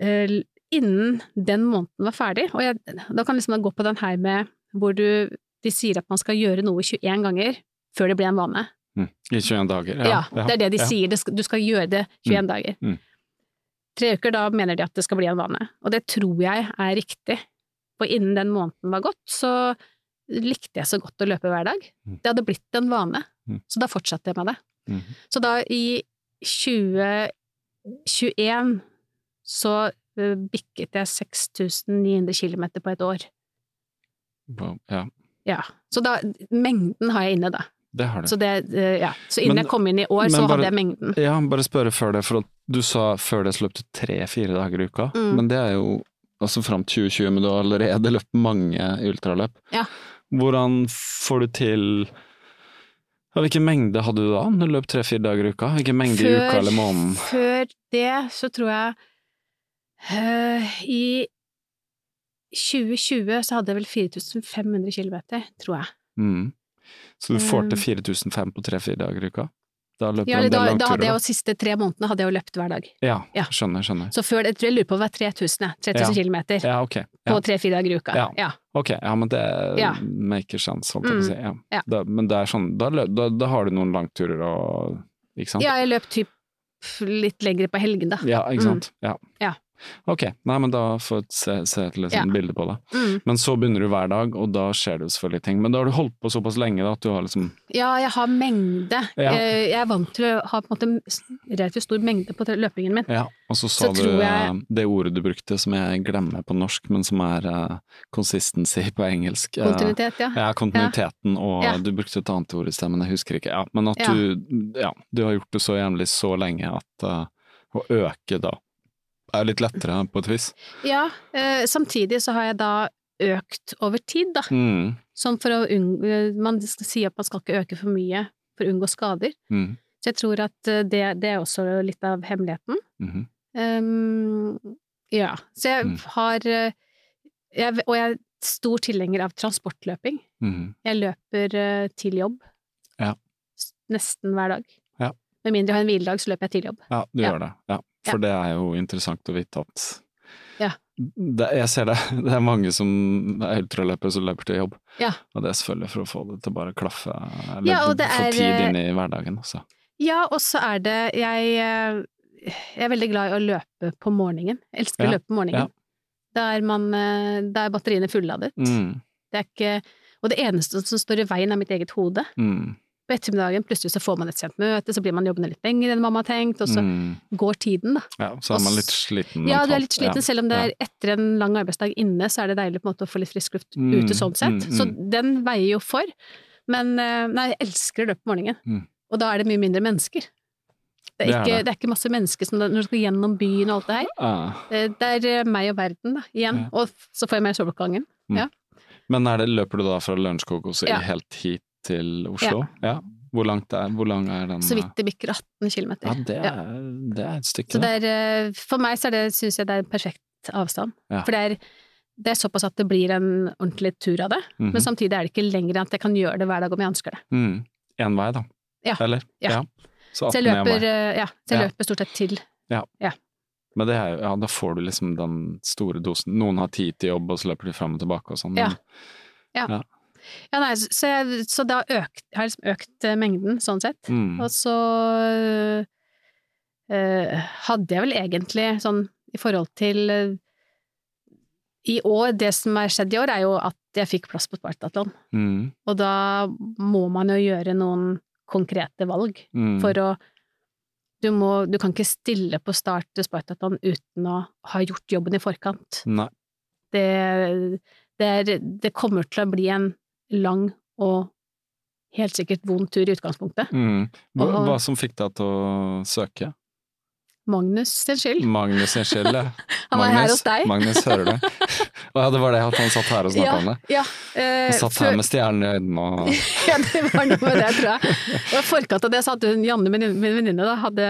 S5: eh, innen den måneden var ferdig, og jeg, da kan jeg liksom da gå på den her med hvor du, de sier at man skal gjøre noe 21 ganger før det blir en vane.
S2: Mhm. I 21 dager.
S5: Ja, det er det de
S2: ja.
S5: sier. Det skal, du skal gjøre det 21 dager.
S2: Mm.
S5: Tre uker, da mener de at det skal bli en vane. Og det tror jeg er riktig. For innen den måneden var gått, så likte jeg så godt å løpe hver dag.
S2: Mm.
S5: Det hadde blitt en vane.
S2: Mm.
S5: Så da fortsatte jeg med det.
S2: Mhm.
S5: Så da i 2021 så eh, bikket jeg 6900 km på et år.
S2: Wow, ja.
S5: Ja. Så da Mengden har jeg inne, da.
S2: Det har du.
S5: Så, det, eh, ja. så innen
S2: Men-
S5: jeg kom inn i år,
S2: men
S5: så
S2: bare-
S5: hadde jeg mengden.
S2: Ja, bare spørre før det, for at du sa før det så løp du tre-fire dager i uka.
S5: Mm.
S2: Men det er jo altså fram til 2020, men du har allerede løpt mange ultraløp.
S5: Ja.
S2: Hvordan får du til ja, Hvilken mengde hadde du da når du løp tre-fire dager i uka? Hvilken mengde i uka eller måneden?
S5: Før det så tror jeg eh, I 2020 så hadde jeg vel 4500 km, tror jeg.
S2: Mm. Så du får
S5: Um,
S2: til 4005 på tre-fire dager i uka? Da løper
S5: Ja,
S2: du en
S5: da,
S2: del
S5: da hadde
S2: langturer.
S5: jeg jo siste tre månedene hadde jeg jo løpt hver dag.
S2: Ja,
S5: Ja.
S2: skjønner, skjønner.
S5: Så før det, jeg tror jeg lurer på om det var 3000, jeg.
S2: Ja.
S5: 3000 kilometer
S2: Ja, ok.
S5: på
S2: Ja.
S5: tre-fire dager i uka.
S2: Ja.
S5: Ja.
S2: Ok, ja, men det
S5: Ja.
S2: maker sense, holdt jeg på å
S5: Mm,
S2: si. Ja.
S5: ja.
S2: Da, men det er sånn, da, lø- da, da har du noen langturer og Ikke sant?
S5: ja, jeg løp typ litt lengre på helgen, da.
S2: Ja, ikke
S5: Mm.
S2: sant. Ja.
S5: Ja.
S2: Ok, nei, men da får jeg se, se et litt
S5: Ja.
S2: sånn bilde på det.
S5: Mm.
S2: Men så begynner du hver dag, og da skjer det jo selvfølgelig ting. Men da har du holdt på såpass lenge da, at du har liksom
S5: Ja, jeg har mengde.
S2: Ja.
S5: Eh, Jeg er vant til å ha på en måte relativt stor mengde på løpingen min.
S2: Ja, og så sa
S5: Så
S2: du
S5: tror
S2: eh,
S5: jeg-
S2: det ordet du brukte som jeg glemmer på norsk, men som er eh, consistency på engelsk. Eh,
S5: Kontinuitet, ja.
S2: Ja, kontinuiteten, og
S5: Ja.
S2: du brukte et annet ord i sted, men jeg husker ikke. Ja, men at
S5: Ja.
S2: du Ja, du har gjort det så jevnlig så lenge at eh, å øke da er litt lettere på et vis.
S5: Ja, eh, samtidig så har jeg da økt over tid, da.
S2: Mm.
S5: Sånn for å unngå eh, Man skal si at man skal ikke øke for mye for å unngå skader.
S2: Mm.
S5: Så jeg tror at eh, det, det er også litt av hemmeligheten.
S2: mhm.
S5: Ehm, ja. Så jeg
S2: Mm.
S5: har eh, jeg, Og jeg er stor tilhenger av transportløping.
S2: Mhm.
S5: Jeg løper eh, til jobb
S2: Ja.
S5: S- nesten hver dag.
S2: Ja.
S5: Med mindre jeg har en hviledag, så løper jeg til jobb.
S2: Ja, du
S5: Ja.
S2: gjør det. Ja. For det er jo interessant å vite at
S5: Ja.
S2: det, Jeg ser det, det er mange som er ultraløpere som løper til jobb.
S5: Ja.
S2: Og det er selvfølgelig for å få det til bare å klaffe, eller
S5: Ja, og det
S2: få
S5: er,
S2: tid
S5: eh,
S2: inn i hverdagen også.
S5: Ja, og så er det jeg, eh, jeg er veldig glad i å løpe på morgenen. Jeg elsker å
S2: Ja,
S5: løpe på morgenen. Da er man eh, Da er batteriene fulladet.
S2: Mm,
S5: Det er ikke Og det eneste som står i veien, er mitt eget hode.
S2: mm,
S5: På ettermiddagen plutselig så får man et sent møte, så blir man jobbende litt lenger enn mamma har tenkt, og så
S2: mm.
S5: går tiden, da.
S2: Ja, så er
S5: og
S2: man
S5: s-
S2: litt sliten
S5: Ja, du er
S2: mentalt.
S5: litt sliten, selv om det er etter en lang arbeidsdag inne, så er det deilig på en måte å få litt frisk luft
S2: Mm,
S5: ute sånn
S2: mm,
S5: sett. Så
S2: mm.
S5: den veier jo for. Men eh, nei, jeg elsker å løpe på morgenen.
S2: Mm.
S5: Og da er det mye mindre mennesker. Det er,
S2: Det er
S5: ikke, det.
S2: det.
S5: er ikke masse mennesker som når du skal gjennom byen og alt det her.
S2: Ja.
S5: Det, det er eh, meg og verden, da, igjen.
S2: Ja.
S5: Og f- så får jeg mer soloppgangen.
S2: Men er det, løper du da fra Lørenskog også
S5: Ja.
S2: helt hit til Oslo? Ja. Hvor langt er, hvor lang er den? eh,
S5: Så vidt det bikker 18 km.
S2: Ja, det er, det er et stykke.
S5: Så det er, eh, for meg så er det, synes jeg det er en perfekt avstand.
S2: Ja.
S5: For det er, det er såpass at det blir en ordentlig tur av det,
S2: Mhm.
S5: men samtidig er sånn det ikke lenger enn at jeg kan gjøre det hver dag om jeg ønsker det.
S2: Mm. En vei, da.
S5: Ja.
S2: Eller?
S5: Ja.
S2: Så
S5: Så jeg
S2: 18 en
S5: løper,
S2: vei.
S5: eh, ja, så jeg
S2: Ja.
S5: løper stort sett til.
S2: Men det er, jo- ja, da får du liksom den store dosen. Noen har tid til jobb, og så løper de fram og tilbake og sånn. men-
S5: Ja. Ja, nei, så, jeg, så det har økt, jeg har liksom økt eh, mengden, sånn sett.
S2: Mm.
S5: Og så eh, hadde jeg vel egentlig sånn i forhold til eh, I år, det som har skjedd i år, er jo at jeg fikk plass på Spartatlon.
S2: Mm.
S5: Og da må man jo gjøre noen konkrete valg
S2: Mm.
S5: for å du, må, du kan ikke stille på start til Spartatlon uten å ha gjort jobben i forkant.
S2: Nei.
S5: Det, det, er, det kommer til å bli en lang og helt sikkert vond tur i utgangspunktet.
S2: Mm. Hva,
S5: Og-
S2: hva som fikk deg til å søke?
S5: Magnus sin skyld.
S2: Magnus sin skyld, ja.
S5: Han var her
S2: Magnus-
S5: hos deg.
S2: Magnus, hører du? Å ja, det var det at han satt her og snakka om det.
S5: Ja, eh,
S2: Han satt
S5: før-
S2: her med stjernen i øynene og
S5: ja, det var noe med det, tror jeg. Og i forkant av det så hadde hun, Janne, min min venninne, da, hadde,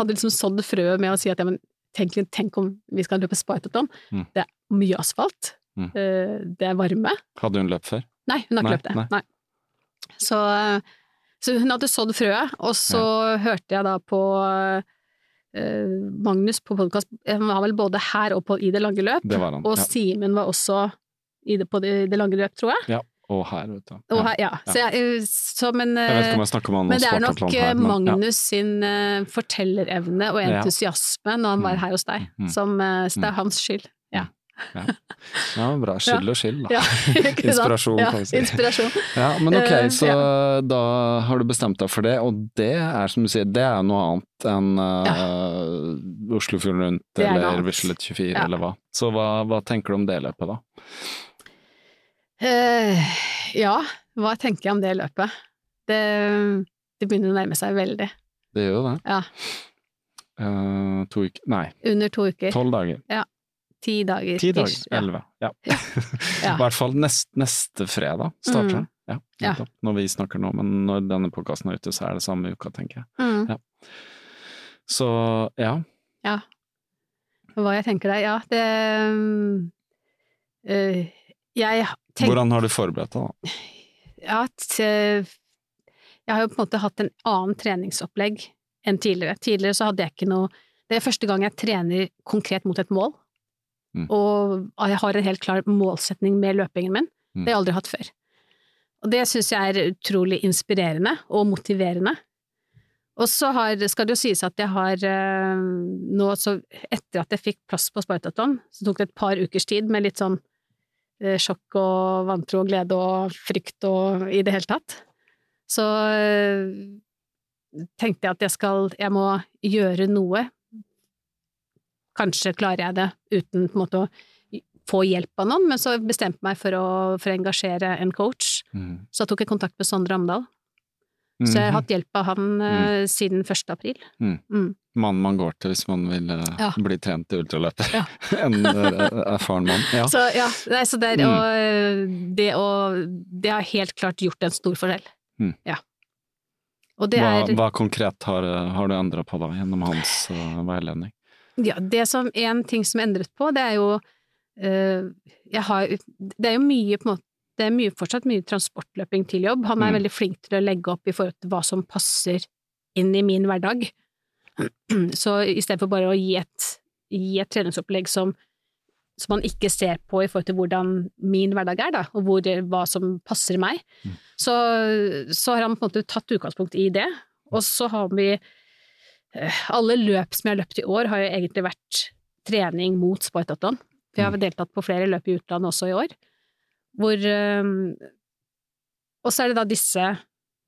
S5: hadde liksom sådd frøet med å si at ja, men tenk, tenk om vi skal løpe Spartaton.
S2: Mm.
S5: Det er mye asfalt,
S2: Mm.
S5: eh, det er varme.
S2: Hadde hun løpt før?
S5: Nei, hun har ikke
S2: Nei,
S5: løpt det.
S2: nei.
S5: Nei. Så, så hun hadde sådd frøet, og så hørte jeg da på eh, Magnus på podkast, han var vel både her og på I det lange løp,
S2: Det var han.
S5: og
S2: Ja.
S5: Simen var også i det, på det, I det lange løp, tror jeg.
S2: Og her, vet du.
S5: Og
S2: Ja.
S5: her, ja. Så jeg, eh, så, men,
S2: Jeg vet
S5: eh,
S2: ikke om jeg snakker om han
S5: men det
S2: og
S5: er nok
S2: Spartatland
S5: eh,
S2: her, men- ja.
S5: Magnus sin eh, fortellerevne og
S2: Ja.
S5: entusiasme når han
S2: Mm.
S5: var her hos deg,
S2: Mm.
S5: som eh, så det
S2: Mm.
S5: er hans skyld.
S2: Ja, bra. Skyld og skyld, da.
S5: Ja, ikke sant?
S2: Inspirasjon,
S5: ja,
S2: kan vi si.
S5: Inspirasjon.
S2: Ja, men ok,
S5: Eh,
S2: så da har du bestemt deg for det, og det er som du sier, det er jo noe annet enn eh, Oslofjorden Rundt
S5: Det er noe
S2: eller
S5: annet.
S2: Bislett 24
S5: Ja.
S2: eller hva. Så hva, hva tenker du om det løpet da?
S5: Eh, ja, hva tenker jeg om det løpet? Det, det begynner å nærme seg veldig.
S2: Det gjør jo det.
S5: Ja.
S2: Eh, to uker, nei,
S5: Under to uker.
S2: tolv dager.
S5: Ti dager.
S2: Ti dager,
S5: ish. Ja.
S2: elleve. Ja.
S5: Ja.
S2: I hvert fall nest, neste fredag starter det.
S5: Mm.
S2: Ja,
S5: Ja.
S2: nettopp. Når vi snakker nå, men når denne podkasten er ute, så er det samme uka, tenker jeg.
S5: Mm.
S2: Så ja,
S5: Hva jeg tenker der, ja. Det eh, Jeg tenker
S2: hvordan har du forberedt deg da?
S5: ja, t- jeg har jo på en måte hatt en annen treningsopplegg enn tidligere. Tidligere så hadde jeg ikke noe Det er første gang jeg trener konkret mot et mål.
S2: Mm.
S5: Og jeg har en helt klar målsetning med løpingen min.
S2: Mm.
S5: Det har jeg aldri hatt før. Og det syns jeg er utrolig inspirerende og motiverende. Og så har, skal det jo sies at jeg har eh, nå, så etter at jeg fikk plass på Spartaton, så tok det et par ukers tid med litt sånn eh, sjokk og vantro og glede og frykt og i det hele tatt. Så eh, tenkte jeg at jeg skal, jeg må gjøre noe. Kanskje klarer jeg det uten på en måte å få hjelp av noen, men så bestemte jeg meg for å, for å engasjere en coach.
S2: Mm.
S5: Så tok jeg kontakt med Sondre Amdal.
S2: Mhm.
S5: Så jeg har hatt hjelp av han
S2: Mm.
S5: eh, siden 1. april.
S2: mann man går til hvis man vil eh,
S5: Ja.
S2: bli trent til ultraløper.
S5: Ja.
S2: en eh, erfaren mann. Ja.
S5: Så ja, nei, så der,
S2: Mm.
S5: og, eh, det, å- det har helt klart gjort en stor forskjell.
S2: Mm.
S5: Ja. Og det
S2: hva,
S5: er
S2: hva konkret har, eh, har du endra på da, gjennom hans eh, veiledning?
S5: ja, det som en ting som er endret på, det er jo eh, jeg har, Det er jo mye på en måte det er mye, fortsatt mye transportløping til jobb. Han er
S2: Mm.
S5: veldig flink til å legge opp i forhold til hva som passer inn i min hverdag. Så i stedet for bare å gi et, gi et treningsopplegg som, som man ikke ser på i forhold til hvordan min hverdag er, da, og hvor, hva som passer meg,
S2: Mm.
S5: så, så har han på en måte tatt utgangspunkt i det. Og så har vi eh, Alle løp som jeg har løpt i år, har jo egentlig vært trening mot Spartaton. For
S2: Mm.
S5: jeg har deltatt på flere løp i utlandet også i år. Hvor eh, Og så er det da disse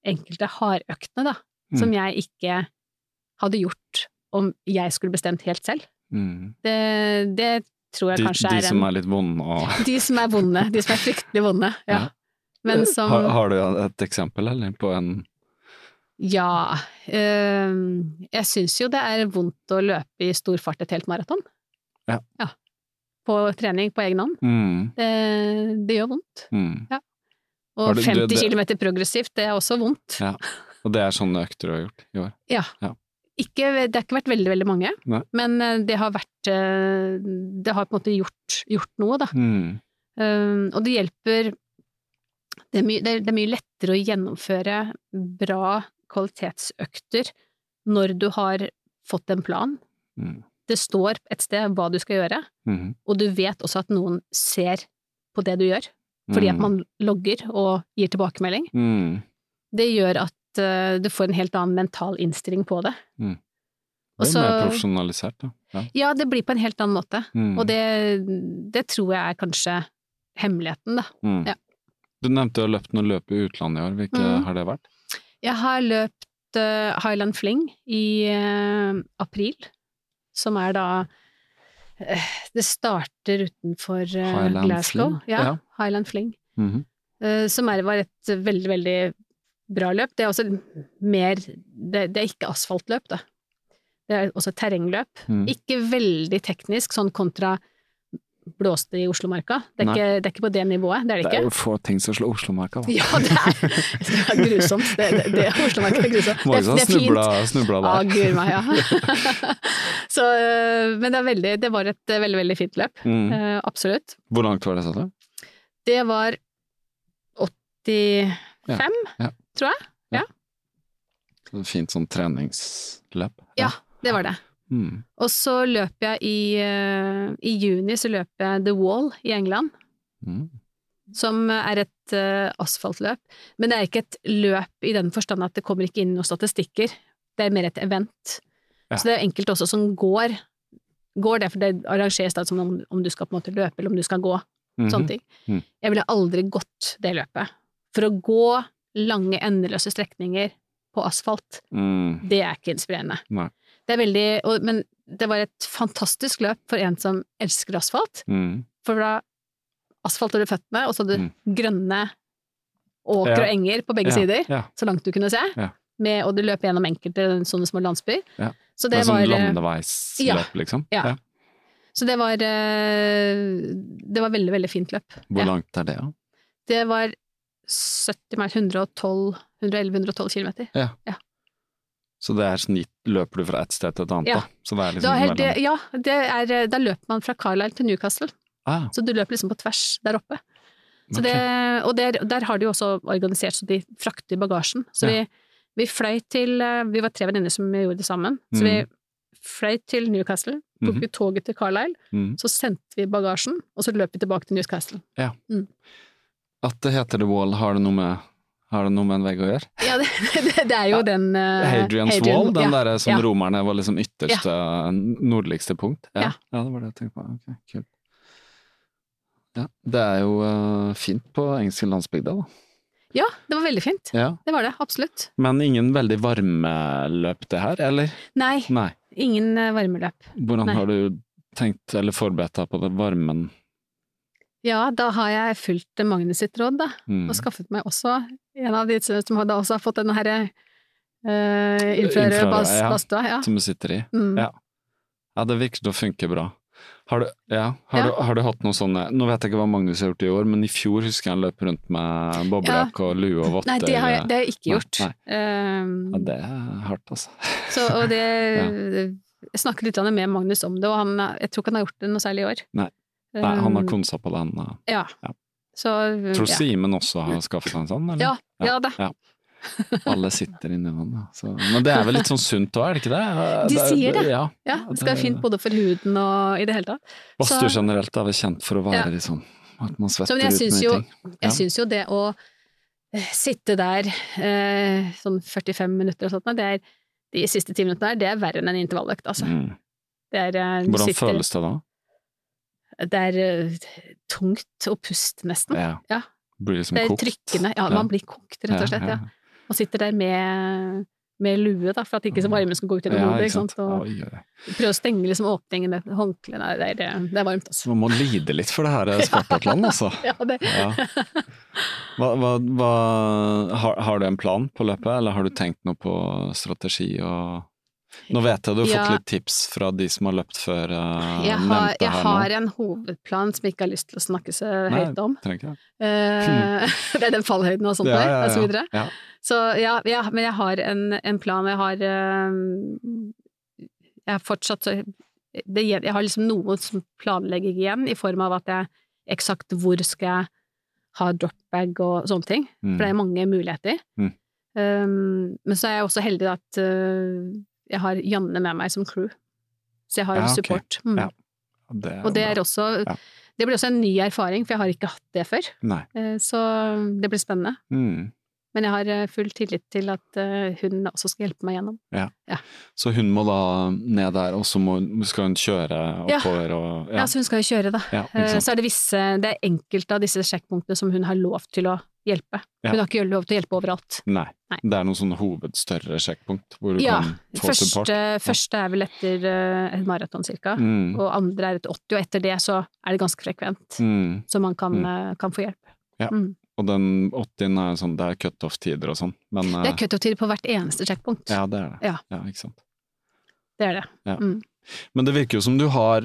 S5: enkelte hardøktene, da,
S2: Mm.
S5: som jeg ikke hadde gjort om jeg skulle bestemt helt selv.
S2: Mm.
S5: Det, det tror jeg
S2: De,
S5: kanskje
S2: de
S5: er en
S2: som er litt vonde og
S5: De som er vonde. De som er fryktelig vonde. Ja.
S2: Ja. Eh,
S5: Men som
S2: har, har du et eksempel, eller? På en
S5: Ja. øhm, jeg syns jo det er vondt å løpe i stor fart et helt maraton.
S2: Ja.
S5: På trening på egen hånd.
S2: mm.
S5: Det, det gjør vondt.
S2: Mm.
S5: Ja.
S2: Har
S5: Og
S2: du- du-
S5: 50
S2: det-
S5: km progressivt, det er også vondt.
S2: Ja. Og det er sånne økter du har gjort i år?
S5: Ja.
S2: Ja.
S5: Ikke, det har ikke vært veldig, veldig mange,
S2: Nei.
S5: men eh, det har vært eh, Det har på en måte gjort, gjort noe, da.
S2: Mm.
S5: Um, og det hjelper det er, mye, det, er, det er mye lettere å gjennomføre bra kvalitetsøkter når du har fått en plan.
S2: Mm.
S5: Det står et sted hva du skal gjøre,
S2: Mhm.
S5: og du vet også at noen ser på det du gjør, fordi at man logger og gir tilbakemelding.
S2: mm.
S5: Det gjør at eh, du får en helt annen mental innstilling på det.
S2: Mm. Det er
S5: Også-
S2: mer profesjonalisert, da. Ja.
S5: Ja, det blir på en helt annen måte,
S2: Mm.
S5: og det, det tror jeg er kanskje hemmeligheten, da.
S2: Mm.
S5: ja.
S2: Du nevnte du har løpt noen løp i utlandet i år. Hvilke
S5: Mm.
S2: har det vært?
S5: Jeg har løpt eh, Highland Fling i eh, april, som er da eh, Det starter utenfor eh,
S2: Highland
S5: Glasgow.
S2: Fling?
S5: Ja,
S2: Ja.
S5: Highland Fling.
S2: Mhm.
S5: eh, som er, var et veldig, veldig bra løp. Det er også mer Det, det er ikke asfaltløp, da. Det er også terrengløp.
S2: Mm.
S5: Ikke veldig teknisk, sånn kontra blåste i Oslomarka. Det er,
S2: Nei.
S5: ikke, det er ikke på det nivået, det er det
S2: Det
S5: ikke.
S2: er jo få ting som slår Oslomarka, da.
S5: Ja, det er, det er grusomt. Det, det, det, Oslomarka er grusomt. Det,
S2: Marius
S5: er-
S2: har
S5: det er fint.
S2: sånn snubla, snubla
S5: Ja,
S2: der.
S5: gud meg, ja. Så, øh, men det, er veldig, det var et øh, veldig, veldig fint løp.
S2: Mm.
S5: Eh, Absolutt.
S2: Hvor langt var det, sa du?
S5: Det var 85,
S2: ja.
S5: tror jeg.
S2: Sånn Fint sånn treningsløp?
S5: Ja, det var det.
S2: Mm.
S5: Og så løp jeg i øh, I juni så løp jeg The Wall i England,
S2: Mm.
S5: som er et øh, asfaltløp. Men det er ikke et løp i den forstand at det kommer ikke inn noen statistikker. Det er mer et event.
S2: Ja.
S5: Så det er enkelte også som går. Går det, for det arrangeres da som om, om du skal på en måte løpe, eller om du skal gå.
S2: Mhm.
S5: sånne ting.
S2: Mhm.
S5: Jeg ville aldri gått det løpet. For å gå lange, endeløse strekninger på asfalt,
S2: Mm.
S5: det er ikke inspirerende.
S2: Nei.
S5: Det er veldig, og, men det var et fantastisk løp for en som elsker asfalt.
S2: Mm.
S5: For da asfalt over føttene, og så hadde du grønne åker
S2: Ja.
S5: og enger på begge
S2: ja.
S5: sider,
S2: Ja.
S5: så langt du kunne se.
S2: Ja.
S5: Med, og du løp gjennom enkelte sånne små landsbyer.
S2: Ja.
S5: Så
S2: Det
S5: det,
S2: er sånn
S5: var,
S2: landeveisløp,
S5: Ja.
S2: liksom?
S5: Ja. så det var eh, Det var veldig, veldig fint løp.
S2: Hvor
S5: Ja.
S2: langt er det, da?
S5: Det var 70 mer, 112, 111, 112 kilometer.
S2: Så det er sånn gitt, løper du fra et sted til et annet,
S5: Ja.
S2: da? Så det er liksom
S5: Da, er
S2: mellom-
S5: det, ja, det er, eh, da løper man fra Carlisle til Newcastle,
S2: ah,
S5: så du løper liksom på tvers der oppe. Så
S2: ok.
S5: det, og der, der har de jo også organisert så de frakter bagasjen. Så
S2: Ja.
S5: vi, vi fløy til eh, Vi var tre venninner som gjorde det sammen. Så vi
S2: Mhm.
S5: fløy til Newcastle, tok
S2: Mhm.
S5: toget til Carlisle,
S2: mm.
S5: så sendte vi bagasjen, og så løp vi tilbake til Newcastle.
S2: At det heter The Wall, har det noe med, har det noe med en vegg å gjøre?
S5: Ja, det, det, det er jo
S2: Ja.
S5: den eh,
S2: Hadrian's Wall, den
S5: ja,
S2: derre som
S5: ja.
S2: romerne var liksom ytterste, nordligste punkt?
S5: Ja.
S2: det var det jeg tenkte på. Ok, kult. Ja, det er jo eh, fint på engelske landsbygda, da.
S5: Ja, det var veldig fint.
S2: Ja.
S5: Det var det, absolutt.
S2: Men ingen veldig varmeløp det her, eller?
S5: Nei,
S2: Nei.
S5: ingen eh, varmeløp.
S2: Hvordan
S5: Nei.
S2: har du tenkt, eller forberedt deg på det, varmen?
S5: Ja, da har jeg fulgt Magnus sitt råd, da,
S2: Mm.
S5: og skaffet meg også en av de som har da også har fått denne herre uh, infrarød
S2: Infrarød,
S5: bas-
S2: Eh, ja.
S5: badstua. Ja.
S2: Som du sitter i?
S5: Mm.
S2: Ja. Ja, det virker å funke bra. Har du, ja, har,
S5: Ja.
S2: Du, har du hatt noen sånne Nå vet jeg ikke hva Magnus har gjort i år, men i fjor husker jeg han løp rundt med boblejakke og lue og votter.
S5: Nei, det har jeg, det har jeg ikke
S2: Nei,
S5: gjort.
S2: nei.
S5: Ehm,
S2: Ja, det er hardt, altså.
S5: så, og det Jeg snakket litt med Magnus om det, og han, jeg tror ikke han har gjort det noe særlig i år.
S2: Nei. Nei, han har
S5: Ehm,
S2: konsa på den. da.
S5: Ja.
S2: Ja.
S5: Så
S2: Tror
S5: ja.
S2: Simen også har skaffet seg en sånn, eller?
S5: Ja, ja da.
S2: Alle sitter inni den, da. Så. Men det er vel litt sånn sunt òg, er det ikke det?
S5: De sier det.
S2: Ja.
S5: ja, det skal være
S2: det-
S5: fint både for huden og i det hele tatt.
S2: Badstue
S5: Så-
S2: generelt er vel kjent for å være
S5: Ja.
S2: litt sånn at man
S5: Så,
S2: svetter
S5: men jeg
S2: ut mye
S5: syns jo,
S2: ting. Ja.
S5: jeg syns jo det å eh, sitte der eh, sånn 45 minutter og sånt, nei, det er, de siste ti minuttene der, det er verre enn en intervalløkt, altså.
S2: Mm.
S5: Det er, eh, du
S2: Hvordan
S5: sitter-
S2: føles det da?
S5: Det er eh, tungt å puste, nesten.
S2: Ja.
S5: Ja.
S2: Blir liksom
S5: det er
S2: kokt?
S5: trykkende. Ja, man blir kokt, rett og slett. Ja. Og sitter der med, med lue, da, for at ikke så varmen skal gå ut gjennom
S2: Mm. Ja,
S5: hodet. ikke sant? Og
S2: Oi, oi, oi.
S5: prøve å stenge liksom åpningen med håndkle. Nei, det er, det er varmt, altså.
S2: Så man må lide litt for det her Spartatland, altså.
S5: Ja, det,
S2: Mm. Ja. Hva, hva, hva, har, har du en plan på løpet, eller har du tenkt noe på strategi og Nå vet jeg du har fått
S5: Ja.
S2: litt tips fra de som har løpt før eh,
S5: Jeg har,
S2: nevnte
S5: jeg
S2: her
S5: har
S2: nå.
S5: en hovedplan som jeg ikke har lyst til å snakke så
S2: Nei,
S5: høyt om.
S2: trenger ikke det.
S5: Eh, det er den fallhøyden og sånt
S2: Ja,
S5: der,
S2: ja,
S5: og så
S2: ja.
S5: videre.
S2: Ja.
S5: Så ja, ja, men jeg har en, en plan, og jeg har eh, Jeg er fortsatt så det, gjel- Jeg har liksom noe som planlegging igjen, i form av at jeg eksakt hvor skal jeg ha dropbag og sånne ting.
S2: Mm.
S5: For det er mange muligheter.
S2: Mm.
S5: Um, men så er jeg også heldig at uh, jeg har Janne med meg som crew. Så jeg har
S2: Ja, ok.
S5: support. Mm.
S2: Ja, Det
S5: Og det
S2: bra.
S5: er også
S2: Ja.
S5: Det blir også en ny erfaring, for jeg har ikke hatt det før.
S2: Nei.
S5: Eh, Så det blir spennende.
S2: Mm.
S5: Men jeg har eh, full tillit til at eh, hun også skal hjelpe meg gjennom.
S2: Så hun må da ned der, og så må, skal hun kjøre
S5: Ja.
S2: oppover og
S5: Ja, så hun skal jo kjøre, da.
S2: Ja, ikke
S5: Eh,
S2: sant.
S5: Så er det visse Det er enkelte av disse sjekkpunktene som hun har lov til å hjelpe.
S2: Ja.
S5: Hun har ikke lov til å hjelpe overalt.
S2: Nei.
S5: Nei.
S2: Det er noen sånne hovedstørre sjekkpunkt hvor du
S5: Ja,
S2: kan få support.
S5: Første, første er vel etter eh, en maraton, cirka.
S2: Mm.
S5: Og andre er etter 80, og etter det så er det ganske frekvent.
S2: Mm.
S5: Så man kan,
S2: Mm.
S5: eh, kan få hjelp.
S2: Og den 80-en er sånn, det er cutoff-tider og sånn, men
S5: Det
S2: eh,
S5: er cutoff-tid på hvert eneste sjekkpunkt.
S2: Ja, det er det.
S5: Ja.
S2: ikke sant.
S5: Det er det.
S2: Men det virker jo som du har,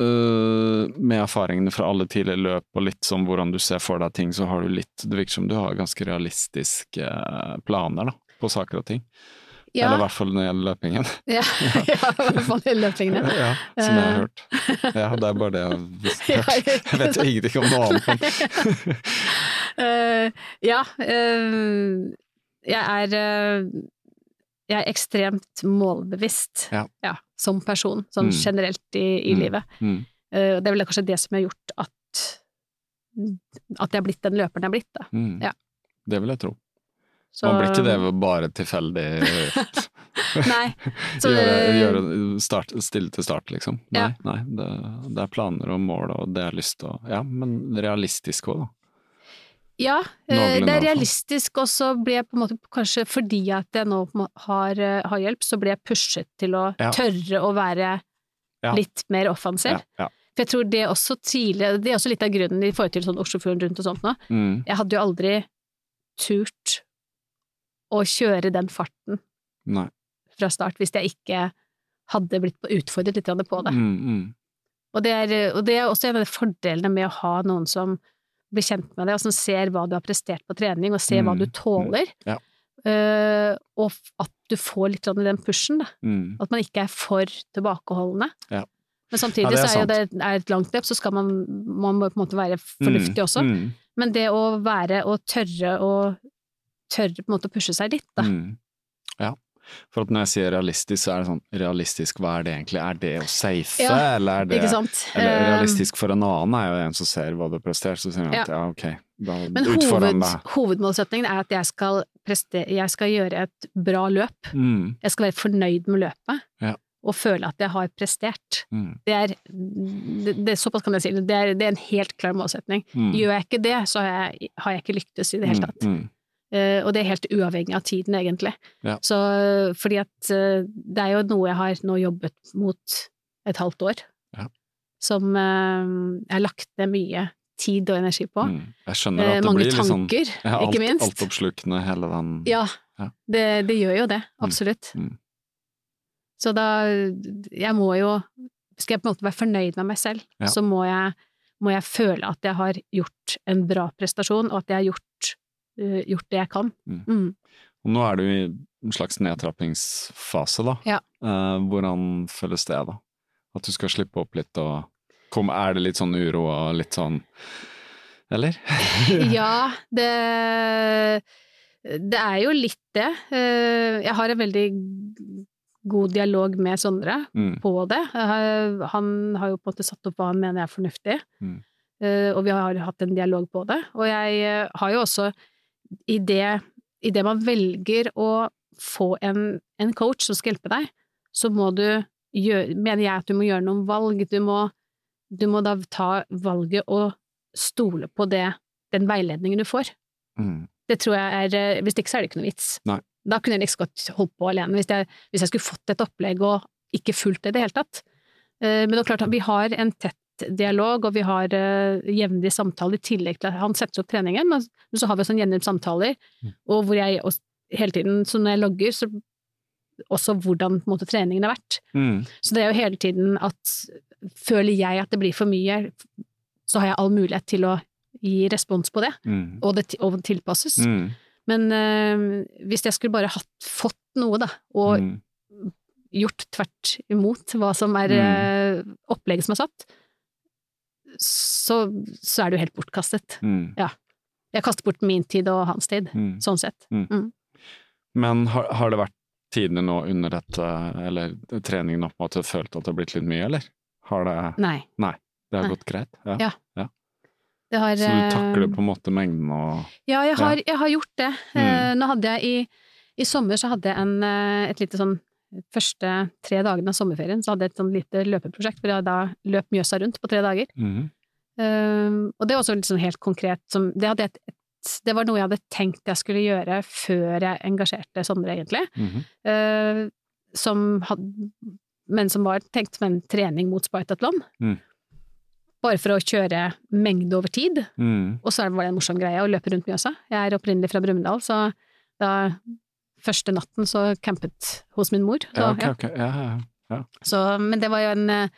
S2: øh, med erfaringene fra alle tidligere løp og litt sånn hvordan du ser for deg ting, så har du litt Det virker som du har ganske realistiske eh, planer, da, på saker og ting.
S5: Ja,
S2: Eller i hvert fall når det gjelder løpingen.
S5: ja. ja, i hvert fall i løpingene.
S2: ja, som jeg har
S5: Eh.
S2: hørt. Ja, det er bare det jeg
S5: Ja,
S2: har hørt. Jeg vet ingenting om noe annet. men-
S5: Eh, ja, eh, jeg er eh, Jeg er ekstremt målbevisst
S2: Ja.
S5: som person, sånn
S2: Mm.
S5: generelt i, i
S2: Mm.
S5: livet.
S2: Mm.
S5: Eh, det er vel kanskje det som har gjort at at jeg er blitt den løperen jeg er blitt. Da.
S2: Mm.
S5: Ja.
S2: Det vil jeg tro.
S5: Så-
S2: Man blir ikke det ved bare tilfeldig
S5: Nei. Så,
S2: gjøre,
S5: eh,
S2: gjøre, start, stille til start, liksom. Nei,
S5: Ja.
S2: nei det, det er planer og mål og det jeg har lyst til å Ja, men realistisk òg, da.
S5: Ja, eh,
S2: Noenlunde, i hvert
S5: det er
S2: fall.
S5: realistisk, og så blir jeg på en måte, kanskje fordi at jeg nå på en måte har, eh, har hjelp, så blir jeg pushet til å
S2: Ja.
S5: tørre å være
S2: Ja.
S5: litt mer offensiv.
S2: Ja, ja.
S5: For jeg tror det er også tidlig, det er også litt av grunnen i forhold til sånn Oslofjorden rundt og sånt nå.
S2: Mm.
S5: Jeg hadde jo aldri turt å kjøre den farten
S2: Nei.
S5: fra start hvis jeg ikke hadde blitt på- utfordret litt grann på det.
S2: Mm, mm.
S5: Og det, er, og det er også en av de fordelene med å ha noen som blir kjent med deg, og som ser hva du har prestert på trening, og ser hva
S2: Mm.
S5: du tåler.
S2: Ja.
S5: Eh, og f- at du får litt grann i den pushen, da.
S2: Mm.
S5: At man ikke er for tilbakeholdende.
S2: Ja.
S5: Men
S2: Ja,
S5: samtidig
S2: det er
S5: så er jo det er et langt løp, så skal man, man må på en måte være fornuftig også.
S2: Mm.
S5: Men det å være og tørre å tørre på en måte å pushe seg litt, da.
S2: Mm. Ja. For at når jeg sier realistisk, så er det sånn Realistisk, hva er det egentlig? Er det å safe,
S5: Ja,
S2: eller er det
S5: Ikke sant?
S2: Eller
S5: Eh,
S2: realistisk for en annen er jo en som ser hva du har prestert, så sier han at ja, ok, da
S5: Men
S2: utfordrer
S5: hoved,
S2: han deg.
S5: hovedmålsetningen er at jeg skal, preste, jeg skal gjøre et bra løp.
S2: Mm,
S5: Jeg skal være fornøyd med løpet.
S2: Ja.
S5: Og føle at jeg har prestert.
S2: mm,
S5: Det er, det, det, såpass kan jeg si, det er, det er en helt klar målsetning.
S2: mm,
S5: Gjør jeg ikke det, så har jeg, har jeg ikke lyktes i det hele tatt.
S2: Mm, mm,
S5: Eh, og det er helt uavhengig av tiden, egentlig.
S2: Ja.
S5: Så, fordi at eh, det er jo noe jeg har nå jobbet mot et halvt år,
S2: Ja.
S5: som eh, jeg har lagt ned mye tid og energi på.
S2: mm. Jeg skjønner
S5: Eh,
S2: at det
S5: mange
S2: blir litt sånn
S5: tanker,
S2: ja, alt,
S5: ikke minst.
S2: Altoppslukende, hele den
S5: Ja,
S2: Ja.
S5: det, det gjør jo det. Absolutt.
S2: Mm.
S5: Så da Jeg må jo Skal jeg på en måte være fornøyd med meg selv,
S2: Ja.
S5: så må jeg, må jeg føle at jeg har gjort en bra prestasjon, og at jeg har gjort, øh, gjort det jeg kan.
S2: Mm.
S5: Mm.
S2: Og nå er du i en slags nedtrappingsfase, da.
S5: Ja.
S2: Eh, hvordan føles det, da? At du skal slippe opp litt og kom, Er det litt sånn uro og litt sånn Eller?
S5: Ja, det Det er jo litt det. Eh, Jeg har en veldig god dialog med Sondre,
S2: Mm,
S5: på det. Eh, Han har jo på en måte satt opp hva han mener er fornuftig,
S2: Mm.
S5: Eh, og vi har hatt en dialog på det. Og jeg eh, har jo også, i det, i det man velger å få en, en coach som skal hjelpe deg, så må du gjøre, mener jeg at du må gjøre noen valg. Du må, du må da ta valget og stole på det, den veiledningen du får.
S2: mm,
S5: Det tror jeg er eh, Hvis ikke, så er det ikke noe vits.
S2: Nei.
S5: Da kunne jeg like så godt holdt på alene, hvis jeg, hvis jeg skulle fått et opplegg og ikke fulgt det i det hele tatt. Eh, Men det er klart, at vi har en tett dialog, og vi har eh, jevnlige samtaler i tillegg til at han setter opp treningen, men men så har vi også en jevnlig samtaler, og hvor jeg også, hele tiden Så når jeg logger, så også hvordan på en måte, treningen har vært.
S2: Mm.
S5: Så det er jo hele tiden at føler jeg at det blir for mye, så har jeg all mulighet til å gi respons på det,
S2: Mm.
S5: og det, ti- og det tilpasses.
S2: Mm.
S5: Men eh, hvis jeg skulle bare hatt, fått noe, da, og
S2: Mm.
S5: gjort tvert imot hva som er
S2: Mm.
S5: eh, opplegget som er satt, så, så er det jo helt bortkastet.
S2: Mm.
S5: Jeg kaster bort min tid og hans tid,
S2: Mm.
S5: sånn sett.
S2: Men har, har det vært tidene nå under dette, eller treningen opp mot at du har følt at det har blitt litt mye, eller? Har det,
S5: Nei.
S2: det har
S5: Nei.
S2: gått greit? Ja.
S5: Ja. Det har,
S2: Så du takler
S5: eh,
S2: på en måte mengden og
S5: Ja,
S2: Ja.
S5: jeg
S2: Mm.
S5: har, jeg har gjort det. Eh, nå hadde jeg i, I sommer så hadde jeg en, eh, et lite sånn Første tre dagene av sommerferien så hadde jeg et sånn lite løpeprosjekt hvor jeg da løp Mjøsa rundt på tre dager.
S2: Mhm.
S5: Eh, og det var også litt sånn helt konkret som det, hadde jeg et, et, det var noe jeg hadde tenkt jeg skulle gjøre før jeg engasjerte Sondre, egentlig.
S2: Mhm.
S5: eh, som hadde, men som var tenkt som en trening mot Spartathlon.
S2: Mm.
S5: Bare for å kjøre mengde over tid.
S2: Mhm.
S5: Og så var det en morsom greie å løpe rundt Mjøsa. Jeg er opprinnelig fra Brumunddal, så da første natten så campet hos min mor. Så,
S2: Ja, ok, ok. Ja, ja, ja.
S5: ja. så, men det var jo en eh,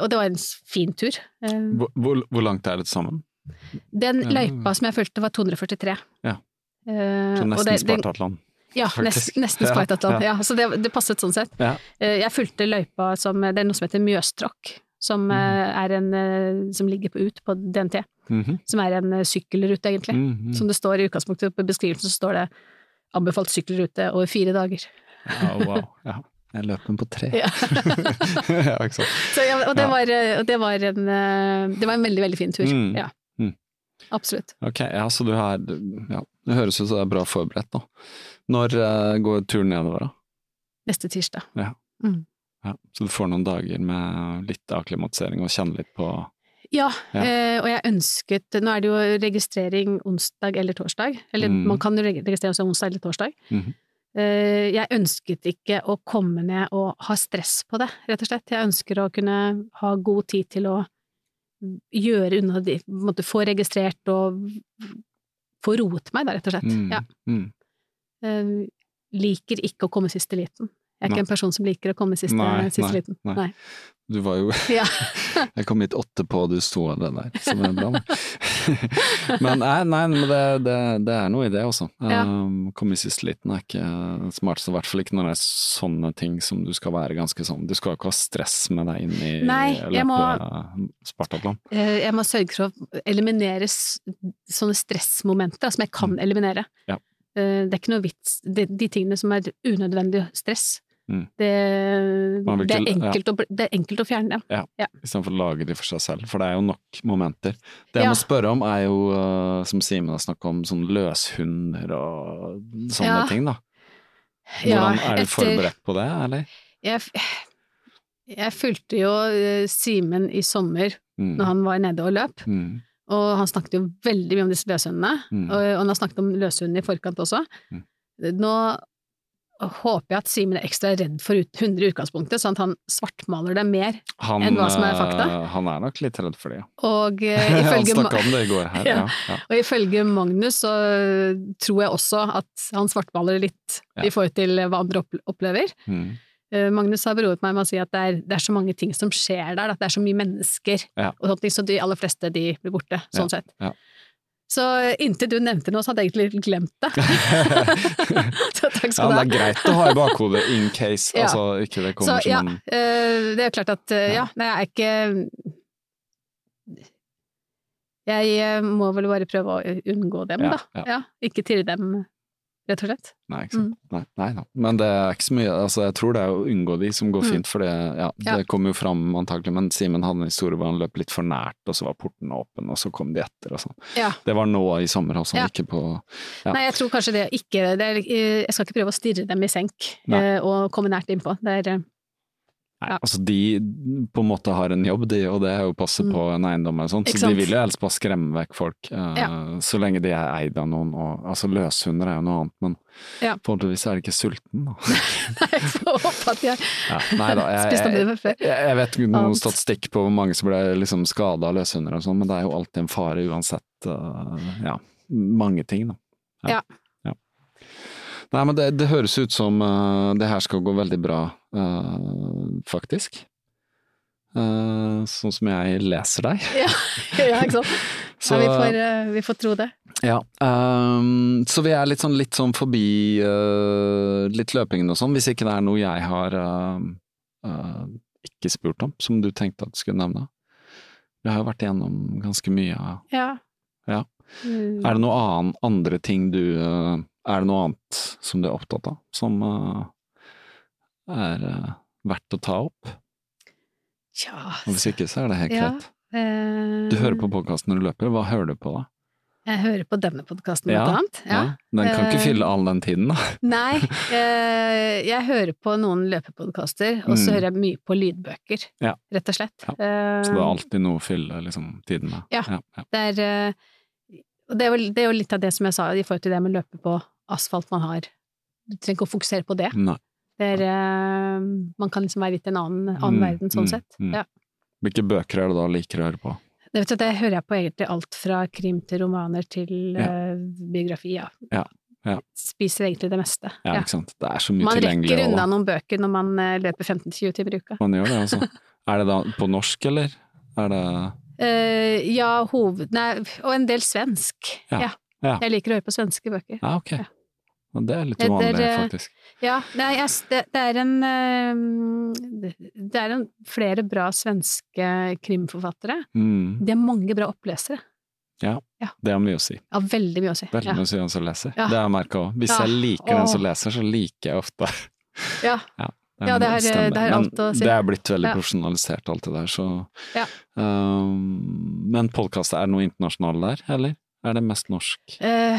S5: Og det var en s- fin tur. Eh,
S2: Hvor, hvor, hvor langt er det til sammen?
S5: Den
S2: Ja.
S5: løypa som jeg fulgte, var 243.
S2: Ja.
S5: Eh,
S2: Så
S5: og
S2: nesten
S5: det- den-
S2: Spartatland.
S5: Ja,
S2: faktisk.
S5: nest, nesten
S2: Ja, ja.
S5: Spartathlon. Ja, så det, det passet sånn sett.
S2: Ja.
S5: Eh, Jeg fulgte løypa som Det er noe som heter Mjøstråkk, som,
S2: Mm.
S5: eh, er en, eh, som ligger på UT på DNT.
S2: Mhm.
S5: Som er en eh, sykkelrute, egentlig.
S2: Mhm.
S5: Som det står i utgangspunktet på beskrivelsen, så står det 'anbefalt sykkelrute over fire dager'.
S2: Ja, wow. Ja. Jeg løp den på tre.
S5: Ja.
S2: ja, ikke sant.
S5: Så, ja, og det,
S2: Ja.
S5: var, eh, og det, var en, eh, det var en veldig, veldig fin tur.
S2: Mm.
S5: Ja.
S2: Mm.
S5: Absolutt.
S2: Ok, ja, så du er ja, Det høres ut som du er bra forberedt nå. Når eh, går turen nedover, da?
S5: Neste tirsdag.
S2: Ja, så du får noen dager med litt akklimatisering og kjenne litt på
S5: Ja,
S2: Ja.
S5: eh, og jeg ønsket Nå er det jo registrering onsdag eller torsdag. Eller
S2: Mm.
S5: man kan jo reg- registrere seg onsdag eller torsdag.
S2: Mhm.
S5: Eh, Jeg ønsket ikke å komme ned og ha stress på det, rett og slett. Jeg ønsker å kunne ha god tid til å gjøre unna de på en måte Få registrert og få roet meg, da, rett og slett.
S2: Mm,
S5: Ja.
S2: mm.
S5: Eh, Liker ikke å komme sist i liten. Jeg er
S2: Nei.
S5: ikke en person som liker å komme sist eh,
S2: Nei,
S5: sist i
S2: nei,
S5: liten.
S2: nei.
S5: Nei.
S2: Du var jo
S5: Ja.
S2: Jeg kom hit åtte på, og du sto av den der, som er bra. da. Men nei, nei men det, det, det er noe i det, altså.
S5: Ja.
S2: Um, komme i siste liten er ikke det smarteste, i hvert fall ikke når det er sånne ting som du skal være ganske sånn Du skal jo ikke ha stress med deg inn i
S5: Nei, jeg må-
S2: Spartatland.
S5: Eh, Jeg må sørge for å eliminere s- sånne stressmomenter da, som jeg kan eliminere.
S2: Mm. Ja.
S5: Eh, Det er ikke noe vits De, de tingene som er unødvendig stress,
S2: Mm.
S5: det,
S2: Man vil
S5: det, er
S2: ikke- ja.
S5: enkelt å, bl- det er enkelt å fjerne dem.
S2: istedenfor å lage de for seg selv, for det er jo nok momenter. Det jeg
S5: Ja.
S2: må spørre om er jo, eh, som Simen har snakket om, sånn løshunder og sånne
S5: Ja.
S2: ting, da.
S5: Ja,
S2: Hvordan er du
S5: etter-
S2: forberedt på det, eller?
S5: Jeg, f- jeg fulgte jo eh, Simen i sommer
S2: Mm.
S5: når han var nede og løp,
S2: Mm.
S5: og han snakket jo veldig mye om disse løshundene,
S2: Mm.
S5: og, og han har snakket om løshundene i forkant også.
S2: Mm.
S5: Nå håper jeg at Simen er ekstra redd for ut- hunder i utgangspunktet, sånn at han svartmaler dem mer
S2: Han,
S5: Enn hva som er
S2: eh,
S5: fakta?
S2: han er nok litt redd for det, ja.
S5: Og, eh,
S2: Han
S5: ifølge,
S2: snakka om det i går her.
S5: Ja.
S2: Ja. Ja.
S5: og ifølge Magnus så eh, tror jeg også at han svartmaler litt
S2: Ja.
S5: i forhold til hva andre opp- opplever.
S2: Mm.
S5: Eh, Magnus har beroliget meg med å si at det er, det er så mange ting som skjer der, at det er så mye mennesker,
S2: Ja.
S5: og sånt, så de aller fleste de blir borte, sånn sett.
S2: ja.
S5: Så inntil du nevnte noe, så hadde jeg egentlig glemt det. så takk
S2: ja,
S5: skal du
S2: men
S5: ha.
S2: det er greit å ha i bakhodet in case,
S5: Ja.
S2: altså ikke det kommer
S5: Så ja,
S2: som en
S5: eh, det er klart at eh, ja, nei, jeg er ikke Jeg eh, må vel bare prøve å unngå dem,
S2: Ja,
S5: da.
S2: ja.
S5: Ja. ikke tirre dem, rett og slett.
S2: Nei, ikke
S5: Mm.
S2: sant. Nei, nei, da. Men det er ikke så mye altså, Jeg tror det er å unngå de som går
S5: Mm.
S2: fint, for det, ja, det
S5: Ja.
S2: kom jo fram antagelig. Men Simen hadde en historie hvor han løp litt for nært, og så var porten åpen, og så kom de etter og sånn.
S5: Ja.
S2: Det var nå i sommer også,
S5: Ja.
S2: ikke på Ja.
S5: Nei, jeg tror kanskje det ikke det er, eh, Jeg skal ikke prøve å stirre dem i senk
S2: Nei.
S5: eh, og komme nært innpå. Det er, eh,
S2: Nei,
S5: Ja.
S2: altså de på en måte har en jobb, de, og det er jo å passe
S5: Mm.
S2: på en eiendom og sånn, så
S5: Ikke
S2: de
S5: sant?
S2: vil jo helst bare skremme vekk folk, eh,
S5: Ja.
S2: så lenge de er eid av noen, og altså løshunder er jo noe annet, men
S5: Ja.
S2: forhåpentligvis er de ikke sulten, da.
S5: jeg får håpe at jeg
S2: Ja, nei da, jeg,
S5: spiste opp
S2: jeg,
S5: det
S2: Jeg,
S5: før.
S2: jeg vet ikke noen
S5: Annet.
S2: statistikk på hvor mange som ble liksom skada av løshunder og sånn, men det er jo alltid en eh, fare uansett. øh, ja, mange ting, da.
S5: Ja.
S2: Nei, men det, det høres ut som eh, det her skal gå veldig bra, eh, faktisk. Eh, sånn som jeg leser deg.
S5: ja, ikke sant?
S2: Så,
S5: Nei, vi, får, eh, vi får tro det.
S2: ja, ehm, så vi er litt sånn, litt sånn forbi eh, litt løpingen og sånn, hvis ikke det er noe jeg har ehm, eh, ikke spurt om, som du tenkte at du skulle nevne. Vi har jo vært igjennom ganske mye av
S5: Ja.
S2: Ja.
S5: Mm.
S2: Er det noe annen, andre ting du eh, Er det noe annet som du er opptatt av, som eh, er eh, verdt å ta opp?
S5: Tja Eh,
S2: Og hvis ikke, så er det helt
S5: Ja. mm.
S2: greit. Du hører på podkasten når du løper, hva hører du på da?
S5: Jeg hører på denne podkasten, blant
S2: Ja,
S5: annet. Ja.
S2: Den kan ikke
S5: Eh,
S2: fylle all den tiden, da.
S5: Nei, eh, jeg hører på noen løpepodkaster, og så
S2: Mm.
S5: hører jeg mye på lydbøker,
S2: Ja.
S5: rett og slett.
S2: Ja,
S5: Eh,
S2: Så det er alltid noe å fylle liksom, tiden med.
S5: Ja.
S2: ja.
S5: det er, eh, og det er, jo, det er jo litt av det som jeg sa i forhold til det med å løpe på asfalt man har. Du trenger ikke å fokusere på det.
S2: Nei.
S5: det er, eh, man kan liksom være litt i en annen,
S2: Mm,
S5: annen verden, sånn
S2: mm,
S5: sett.
S2: mm.
S5: Ja.
S2: Hvilke bøker er det da liker å høre på?
S5: Det, vet du, det hører jeg på egentlig alt fra krim til romaner til
S2: Ja.
S5: eh, biografi. Ja.
S2: Ja, ja.
S5: Spiser egentlig det meste.
S2: Ja,
S5: Ja.
S2: ikke sant. Det er så mye
S5: Man
S2: tilgjengelig.
S5: rekker
S2: også, da.
S5: unna noen bøker når man eh, løper 15-20 timer i uka.
S2: Man gjør det, altså. er det da på norsk, eller? Er det
S5: Eh, ja, hoved... Nei, og en del svensk.
S2: Ja,
S5: Ja.
S2: ja.
S5: Jeg liker å høre på svenske bøker.
S2: Ja, ok.
S5: Ja.
S2: Men det er litt
S5: Det- det
S2: uvanlig,
S5: er, eh,
S2: faktisk.
S5: Ja, nei, jeg, s- det, det er en eh, Det er en, flere bra svenske krimforfattere.
S2: Mm.
S5: De er mange bra opplesere.
S2: Det har mye å si.
S5: Ja, veldig mye å si.
S2: Veldig
S5: Ja.
S2: mye å si den som leser.
S5: Ja.
S2: Det har jeg merka òg. Hvis
S5: Ja.
S2: jeg liker den som
S5: Åh.
S2: leser, så liker jeg ofte
S5: Ja.
S2: den
S5: Ja, det har- eh,
S2: stemmen.
S5: det har alt å
S2: Men
S5: si.
S2: det er blitt veldig
S5: Ja.
S2: profesjonalisert, alt det der, så
S5: Ja.
S2: Ehm, Men podkast, er det noe internasjonal der, eller? Er det mest norsk?
S5: Eh,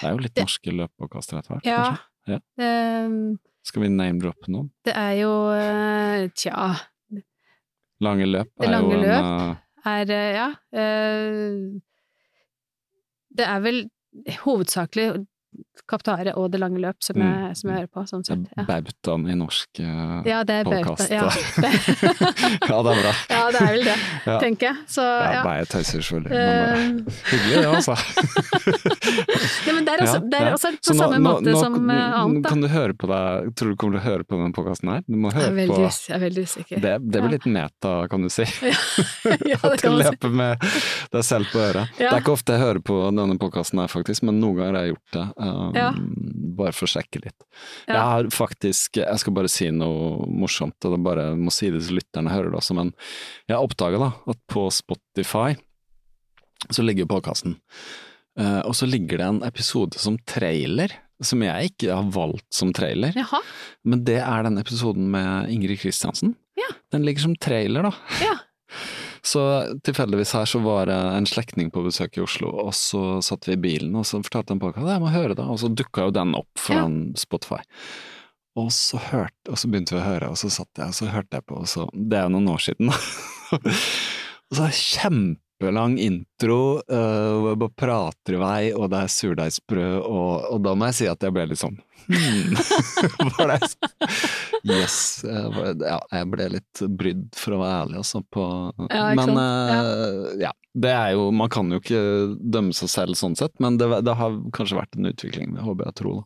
S2: Det er jo litt
S5: det-
S2: norske løpepodkaster etter hvert,
S5: ja.
S2: kanskje? Ja.
S5: Eh,
S2: Skal vi name-droppe noen?
S5: det er jo eh, Tja.
S2: Lange løp
S5: Det
S2: er jo
S5: lange
S2: en
S5: løp.
S2: eh,
S5: er eh, Ja. eh, Det er vel hovedsakelig Kaptare og Det lange løp som
S2: Mm.
S5: jeg, som jeg hører på, sånn
S2: det er
S5: sett. Ja.
S2: bautaen i norsk eh,
S5: Ja, det er bauta.
S2: podcast,
S5: Ja.
S2: Ja, det er bra.
S5: ja, det er vel det,
S2: Ja.
S5: tenker jeg. Så
S2: Ja,
S5: ja.
S2: Nei, jeg tøyser selvfølgelig, men eh,
S5: Eh,
S2: hyggelig det, altså.
S5: Ja, men det er også,
S2: Ja,
S5: det er
S2: ja.
S5: også på
S2: Så nå-
S5: samme
S2: nå-
S5: måte
S2: nå-
S5: som eh, annet, da.
S2: Kan du høre på deg, tror du kommer til å høre på denne podkasten her? Du må
S5: Jeg er
S2: høre
S5: veldig,
S2: på
S5: us- jeg er veldig usikker.
S2: det, det blir
S5: Ja.
S2: litt meta, kan du si.
S5: ja, det
S2: At du
S5: kan man si.
S2: løper med deg selv på øret.
S5: Ja.
S2: Det er ikke ofte jeg hører på denne podkasten her, faktisk, men noen ganger har jeg gjort det. um,
S5: Ja.
S2: Bare for å sjekke litt.
S5: Ja.
S2: Jeg har faktisk Jeg skal bare si noe morsomt, og det bare må si det så lytterne hører det også, men jeg har oppdaga da at på Spotify så ligger jo podkasten, Eh, og så ligger det en episode som trailer, som jeg ikke har valgt som trailer.
S5: Jaha,
S2: Men det er den episoden med Ingrid Kristiansen.
S5: Ja.
S2: Den ligger som trailer, da.
S5: Ja.
S2: Så tilfeldigvis her så var det en slektning på besøk i Oslo, og så satt vi i bilen, og så fortalte han på hva jeg må høre det, og så dukka jo den opp
S5: Ja.
S2: foran Spotify. Og så, hørte, og så begynte vi å høre, og så satt jeg og så hørte jeg på, og så Det er jo noen år siden, da. og så er det kjempelang intro, øh, hvor jeg bare prater i vei, og det er surdeigsbrød, og, og da må jeg si at jeg ble litt sånn hmm. Var det Yes. jeg var- Ja, jeg ble litt brydd, for å være ærlig, altså. På,
S5: Ja, ikke
S2: men
S5: sant?
S2: eh, ja. Det er jo Man kan jo ikke dømme seg selv sånn sett, men det, det har kanskje vært en utvikling, det håper jeg og tror. Da.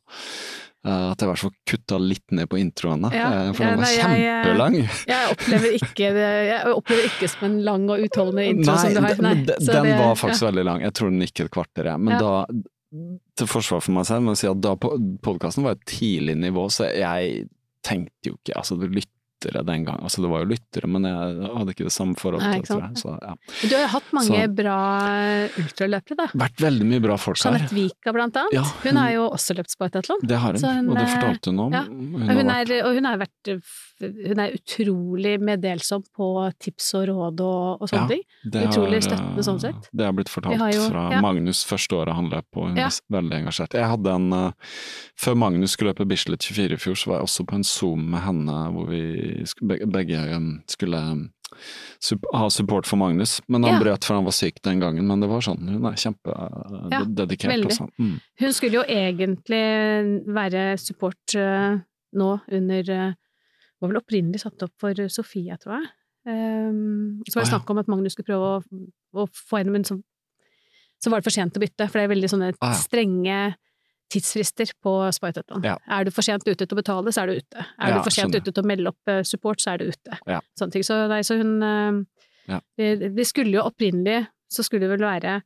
S2: Eh, at jeg i hvert fall kutta litt ned på introene,
S5: Ja,
S2: eh, for den
S5: ja,
S2: var
S5: nei, jeg, eh,
S2: kjempelang.
S5: jeg opplever ikke det jeg opplever ikke som en lang og utholdende intro
S2: Nei,
S5: som du har.
S2: den- men de-
S5: så
S2: den
S5: det-
S2: var faktisk veldig lang. Jeg tror den gikk et kvarter, jeg. Men
S5: Ja.
S2: da til forsvar for meg selv, må jeg si at da podkasten var et tidlig nivå, så jeg tenkte jo ikke Altså, det var lyttere den gang. Altså, det var jo lyttere, men jeg hadde ikke det samme
S5: Nei,
S2: forholdet
S5: ikke
S2: til
S5: sant?
S2: det. Så, ja.
S5: ja. Du har jo hatt mange
S2: Så-
S5: bra ultraløpere, da.
S2: Vært veldig mye bra folk her.
S5: Jeanette Vika, blant annet.
S2: Ja,
S5: hun, har jo også løpt spartatlon.
S2: Det har hun,
S5: Så hun,
S2: og det
S5: eh,
S2: fortalte hun om.
S5: ja.
S2: Hun
S5: Hun
S2: har vært-
S5: er, og hun, har vært, hun er utrolig meddelsom på tips og råd og, og sånne
S2: Ja.
S5: ting.
S2: det
S5: utrolig
S2: har, eh,
S5: støttende sånn sett.
S2: Det er blitt fortalt
S5: har jo-
S2: fra
S5: ja.
S2: Magnus første året han løp, og hun
S5: Ja.
S2: er veldig engasjert. Jeg hadde en, eh, Før Magnus skulle løpe Bislett 24 i fjor, så var jeg også på en Zoom med henne hvor vi sk- be- begge eh, skulle eh, sup ha support for Magnus. Men han
S5: Ja.
S2: brøt for han var syk den gangen, men det var sånn. Hun er eh,
S5: Ja,
S2: kjempededikert.
S5: veldig.
S2: også. Mm.
S5: Hun skulle jo egentlig være support eh, nå under eh, Var vel opprinnelig satt opp for Sofia, tror jeg. Ehm, så var det
S2: Å, ja.
S5: snakk om at Magnus skulle prøve å, å få henne, men så, så var det for sent å bytte. For det er veldig sånne
S2: ja.
S5: strenge tidsfrister på Spytetland.
S2: Ja.
S5: Er du for sent ute til å betale, så er du ute. Er
S2: Ja,
S5: du for sent
S2: skjønner.
S5: ute til å melde opp eh, support, så er du ute.
S2: Ja.
S5: Sånne ting. Så, nei, så hun eh,
S2: Ja.
S5: vi, vi skulle jo opprinnelig så skulle det vel være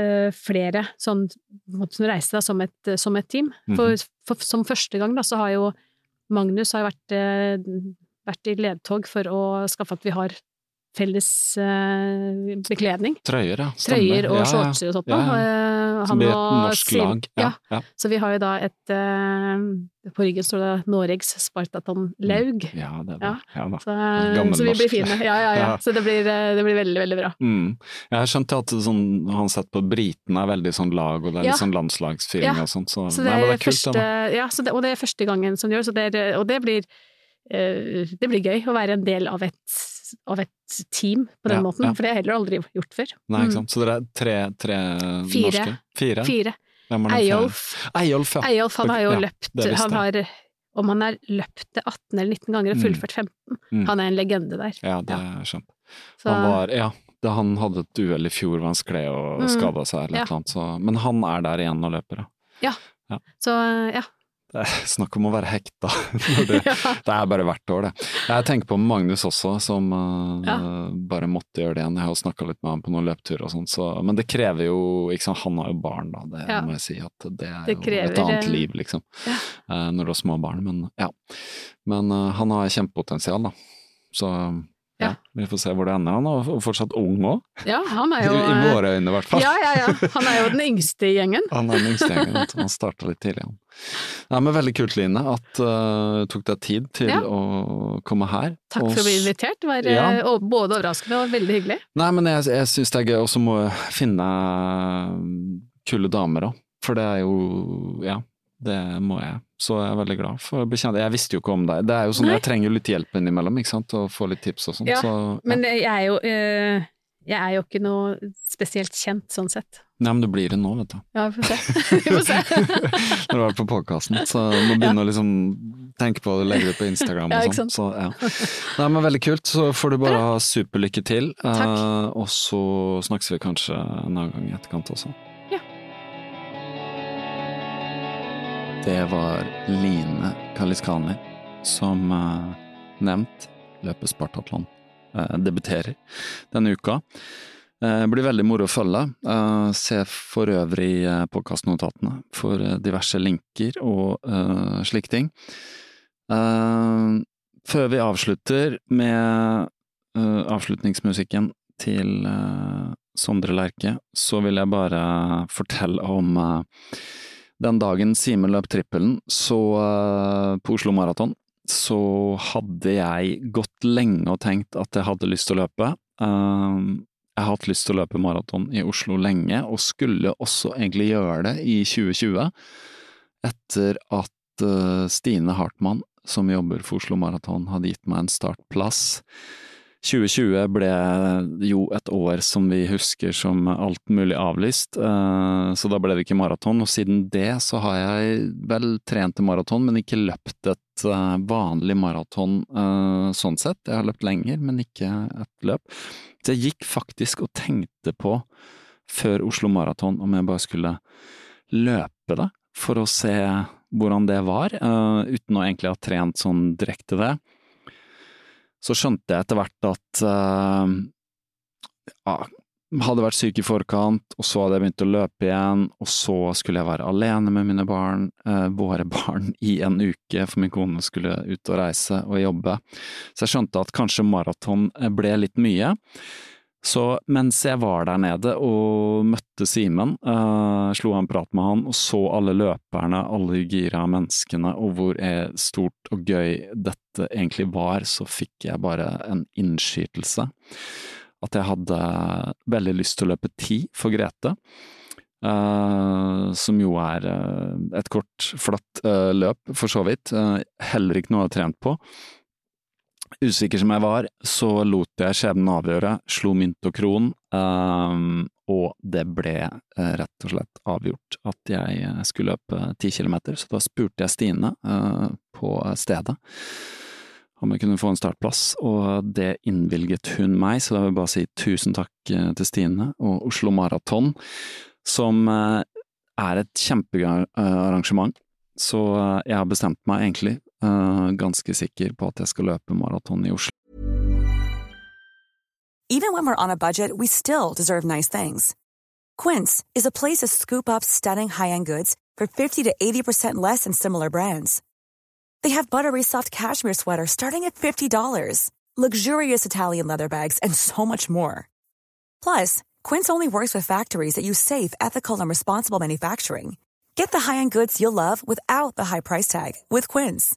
S5: eh, flere sånn på en måte som reiste da, som et, eh, som et team.
S2: Mhm.
S5: For, for som første gang da, så har jo Magnus har jo vært, eh, vært i ledtog for å skaffe at vi har felles eh, bekledning.
S2: Trøyer, ja.
S5: Trøyer og
S2: Ja, ja.
S5: shortser og sånt. da.
S2: Ja,
S5: Eh,
S2: Som
S5: han
S2: blir et
S5: og
S2: norsk
S5: Siv-
S2: lag.
S5: Ja,
S2: Ja, ja.
S5: så vi har jo da et eh, På ryggen står det Noregs Spartaton Laug.
S2: ja det er det.
S5: Ja.
S2: Ja, da.
S5: Så,
S2: Gammel
S5: så vi blir
S2: norsk.
S5: fine. Ja, ja, ja.
S2: Ja.
S5: Så det blir, eh, det blir veldig, veldig bra.
S2: Mm. Jeg har skjønt at sånn, han sett på britene er veldig sånn lag, og det er
S5: Ja.
S2: litt sånn landslagsfeeling
S5: Ja.
S2: og sånt, så,
S5: Så det
S2: nei,
S5: er
S2: men det er kult,
S5: første,
S2: det da.
S5: ja, så det, og det er første gangen som det gjør, så det er, og det blir, eh, det blir gøy å være en del av et, av et team på den
S2: Ja,
S5: måten,
S2: ja.
S5: for det har jeg heller aldri gjort før.
S2: Nei, ikke
S5: Mm.
S2: sant? Så dere er tre, tre
S5: Fire.
S2: norske? Fire.
S5: Mm. Fire.
S2: Hvem er den fjerde?
S5: Eyolf.
S2: Eyolf, ja.
S5: Eyolf, han har jo
S2: Ja,
S5: løpt
S2: det visste
S5: han har, Om han har løpt det 18 eller 19 ganger og
S2: Mm.
S5: fullført 15,
S2: Mm.
S5: han er en legende der.
S2: Ja, det har jeg skjønt.
S5: Så,
S2: Han var, ja, da han hadde et uhell i fjor hvor han skled og
S5: Mm.
S2: skada seg eller
S5: Ja.
S2: et eller annet, så, men han er der igjen og løper, ja.
S5: så ja.
S2: Det er snakk om å være hekta. når du- Det er bare hvert år, det. Jeg tenker på Magnus også, som eh, bare måtte gjøre det igjen. Jeg har snakka litt med ham på noen løpturer og sånn, så Men det krever jo ikke sant, Han har jo barn, da. Det
S5: Ja.
S2: må jeg si at det er
S5: Det krever,
S2: jo et annet
S5: eh,
S2: liv, liksom. eh, Når du har små barn. Men ja. Men eh, han har kjempepotensial, da. Så ja,
S5: Ja.
S2: vi får se hvor det ender. Han er jo fortsatt ung òg.
S5: ja, han
S2: I,
S5: er jo
S2: I
S5: eh,
S2: våre øyne, i hvert fall.
S5: Ja, ja, ja. Han er jo den yngste i gjengen.
S2: Han er den yngste gjengen, vet du. han starta litt tidlig. Han. Nei, men Veldig kult, Line, at eh, du tok deg tid til
S5: Ja.
S2: å komme her.
S5: Takk
S2: Og
S5: for å bli
S2: s-
S5: invitert. Det var
S2: Ja.
S5: eh, og- både overraskende og veldig hyggelig.
S2: Nei, men jeg, jeg syns det er gøy, og så må jeg finne kule damer òg. For det er jo Ja, det må jeg. Så jeg er veldig glad for å bli kjent. Jeg visste jo ikke om deg. Det er jo sånn,
S5: Nei.
S2: Jeg trenger jo litt hjelp innimellom, ikke sant, og få litt tips og sånn.
S5: Ja,
S2: så,
S5: Men jeg er jo, eh, jeg er jo ikke noe spesielt kjent sånn sett.
S2: Nei, men du blir det nå, vet du.
S5: Ja, vi får se. Vi får se.
S2: Når du har vært på podkasten, så må du begynne å liksom tenke på å legge det på Instagram
S5: Ja,
S2: og
S5: ikke
S2: sånn. Så,
S5: sant?
S2: ja. Nei, men veldig kult. Så får du bare ha superlykke til.
S5: Takk.
S2: eh, Og så snakkes vi kanskje en annen gang i etterkant også.
S5: Ja.
S2: Det var Line Kaliskani som eh, nevnt løpet Spartatlon eh, debuterer denne uka. Eh, blir veldig moro å følge. Eh, se for øvrig eh, podkastnotatene for eh, diverse linker og eh, slike ting. Eh, før vi avslutter med eh, avslutningsmusikken til eh, Sondre Lerche, så vil jeg bare fortelle om eh, den dagen Simen løp trippelen så, eh, på Oslo Maraton, så hadde jeg gått lenge og tenkt at jeg hadde lyst til å løpe. Eh, jeg har hatt lyst til å løpe maraton i Oslo lenge, og skulle også egentlig gjøre det i 2020, etter at eh, Stine Hartmann, som jobber for Oslo Maraton, hadde gitt meg en startplass. 2020 ble jo et år som vi husker som alt mulig avlyst, eh, så da ble det ikke maraton. Og siden det så har jeg vel trent til maraton, men ikke løpt et eh, vanlig maraton eh, sånn sett. Jeg har løpt lenger, men ikke et løp. Så jeg gikk faktisk og tenkte på, før Oslo Maraton, om jeg bare skulle løpe det, for å se hvordan det var, eh, uten å egentlig ha trent sånn direkte det. Så skjønte jeg etter hvert at eh, ja, hadde vært syk i forkant, og så hadde jeg begynt å løpe igjen, og så skulle jeg være alene med mine barn, eh, våre barn, i en uke, for min kone skulle ut og reise og jobbe. Så jeg skjønte at kanskje maraton eh, ble litt mye. Så mens jeg var der nede og møtte Simen, eh, slo jeg en prat med han og så alle løperne, alle gira menneskene og hvor eh, stort og gøy dette egentlig var, så fikk jeg bare en innskytelse. At jeg hadde veldig lyst til å løpe ti for Grete. eh, som jo er eh, et kort, flatt eh, løp, for så vidt. Eh, heller ikke noe jeg har trent på. Usikker som jeg var, så lot jeg skjebnen avgjøre, slo mynt og kron, ehm, og det ble eh, rett og slett avgjort at jeg eh, skulle løpe ti kilometer, så da spurte jeg Stine eh, på stedet om jeg kunne få en startplass, og det innvilget hun meg, så da vil jeg bare si tusen takk eh, til Stine og Oslo Maraton, som eh, er et kjempearrangement, så eh, jeg har bestemt meg egentlig eh, ganske sikker på at jeg skal løpe maraton i Oslo.
S1: Even when we're on a budget, we still deserve nice things. Quince is a place to scoop up stunning high-end goods for 50 to 80% less than similar brands. They have buttery soft cashmere sweaters starting at $50, luxurious Italian leather bags, and so much more. Plus, Quince only works with factories that use safe, ethical, and responsible manufacturing. Get the high-end goods you'll love without the high price tag with Quince.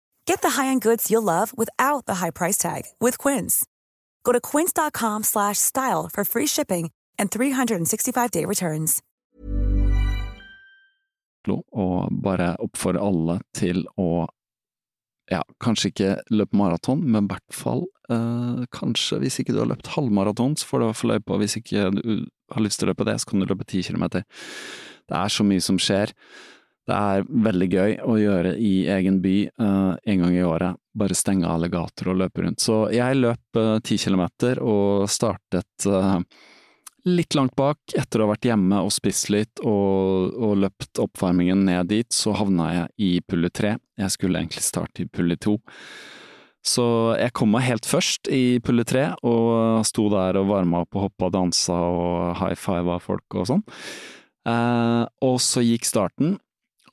S1: Get the high-end goods you'll love without the high price tag with Quince. Go to quince.com slash style for free shipping and 365-day returns.
S2: Oslo, og bare oppfordre alle til å ja, kanskje ikke løpe maraton, men i hvert fall eh, kanskje hvis ikke du har løpt halvmaraton, så får du i hvert fall løpe, og hvis ikke du har lyst til å løpe det, så kan du løpe ti kilometer. Det er så mye som skjer. Det er veldig gøy å gjøre i egen by eh, en gang i året. Bare stenge alle gater og løpe rundt. Så jeg løp eh, ti kilometer og startet eh, litt langt bak. Etter å ha vært hjemme og spist litt og, og løpt oppvarmingen ned dit, så havna jeg i pulle tre. Jeg skulle egentlig starte i pulle to. Så jeg kom meg helt først i pulle tre, og sto der og varma opp og hoppa og dansa og high fiva folk og sånn. Eh, og så gikk starten,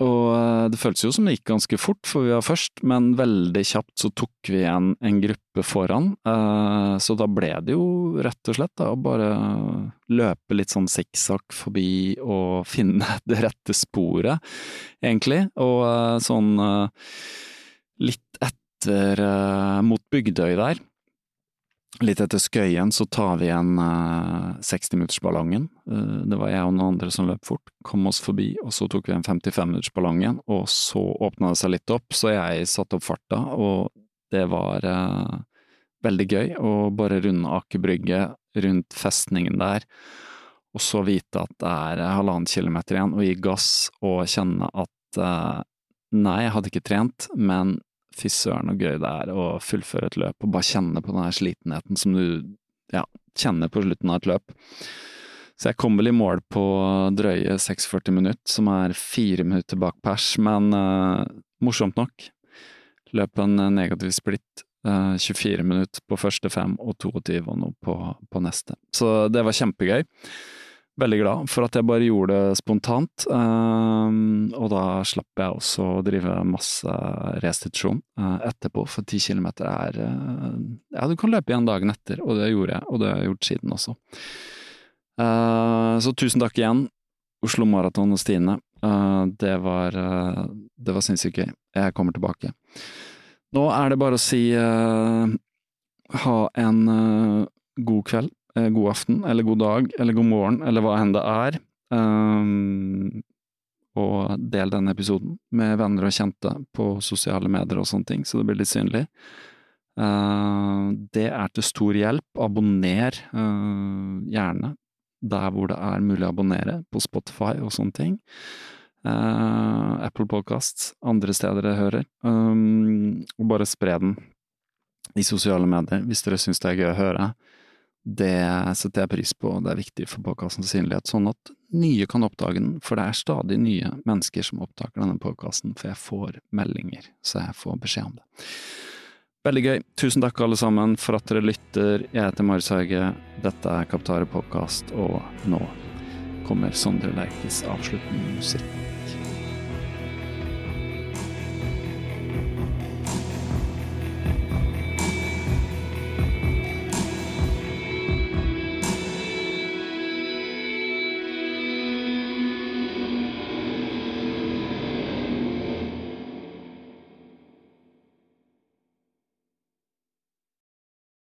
S2: og eh, det føltes jo som det gikk ganske fort, for vi var først, men veldig kjapt så tok vi igjen en gruppe foran. Eh, så da ble det jo rett og slett da, å bare løpe litt sånn sikksakk forbi og finne det rette sporet, egentlig. Og eh, sånn eh, litt etter eh, mot Bygdøy der. Litt etter Skøyen så tar vi igjen eh, 60-minuttersballongen. Eh, det var jeg og noen andre som løp fort. Kom oss forbi, og så tok vi igjen 55-minuttersballongen. Og så åpna det seg litt opp, så jeg satte opp farta, og det var eh, veldig gøy å bare runde Aker Brygge, rundt festningen der. Og så vite at det er eh, halvannen kilometer igjen, og gi gass og kjenne at eh, nei, jeg hadde ikke trent, men fy søren og gøy det er å fullføre et løp og bare kjenne på den her slitenheten som du ja, kjenner på slutten av et løp. Så jeg kom vel i mål på drøye 46 minutter, som er fire minutter bak pers, men eh, morsomt nok. Løp en negativ splitt, eh, 24 minutter på første fem og 22 og noe på, på neste. Så det var kjempegøy. Veldig glad for at jeg bare gjorde det spontant, ehm, og da slapp jeg også å drive masse restitusjon eh, etterpå, for ti kilometer er eh, Ja, du kan løpe igjen dagen etter, og det gjorde jeg, og det har jeg gjort siden også. Eh, Så tusen takk igjen, Oslo Maraton og Stine. Eh, Det var, eh, det var sinnssykt gøy. Jeg kommer tilbake. Nå er det bare å si eh, ha en eh, god kveld, eh, god aften, eller god dag, eller god morgen, eller hva enn det er. Ehm, og del denne episoden med venner og kjente på sosiale medier og sånne ting, så det blir litt synlig. Ehm, det er til stor hjelp. Abonner eh, gjerne der hvor det er mulig å abonnere, på Spotify og sånne ting. Ehm, Apple Podcasts, andre steder jeg hører. Ehm, og bare spre den i sosiale medier hvis dere syns det er gøy å høre. Det setter jeg pris på, og det er viktig for podkastens synlighet, sånn at nye kan oppdage den, for det er stadig nye mennesker som oppdager denne podkasten, for jeg får meldinger, så jeg får beskjed om det. Veldig gøy. Tusen takk, alle sammen, for at dere lytter. Jeg heter Marius Hauge, dette er Kaptare podkast, og nå kommer Sondre Lerches avsluttende musikk.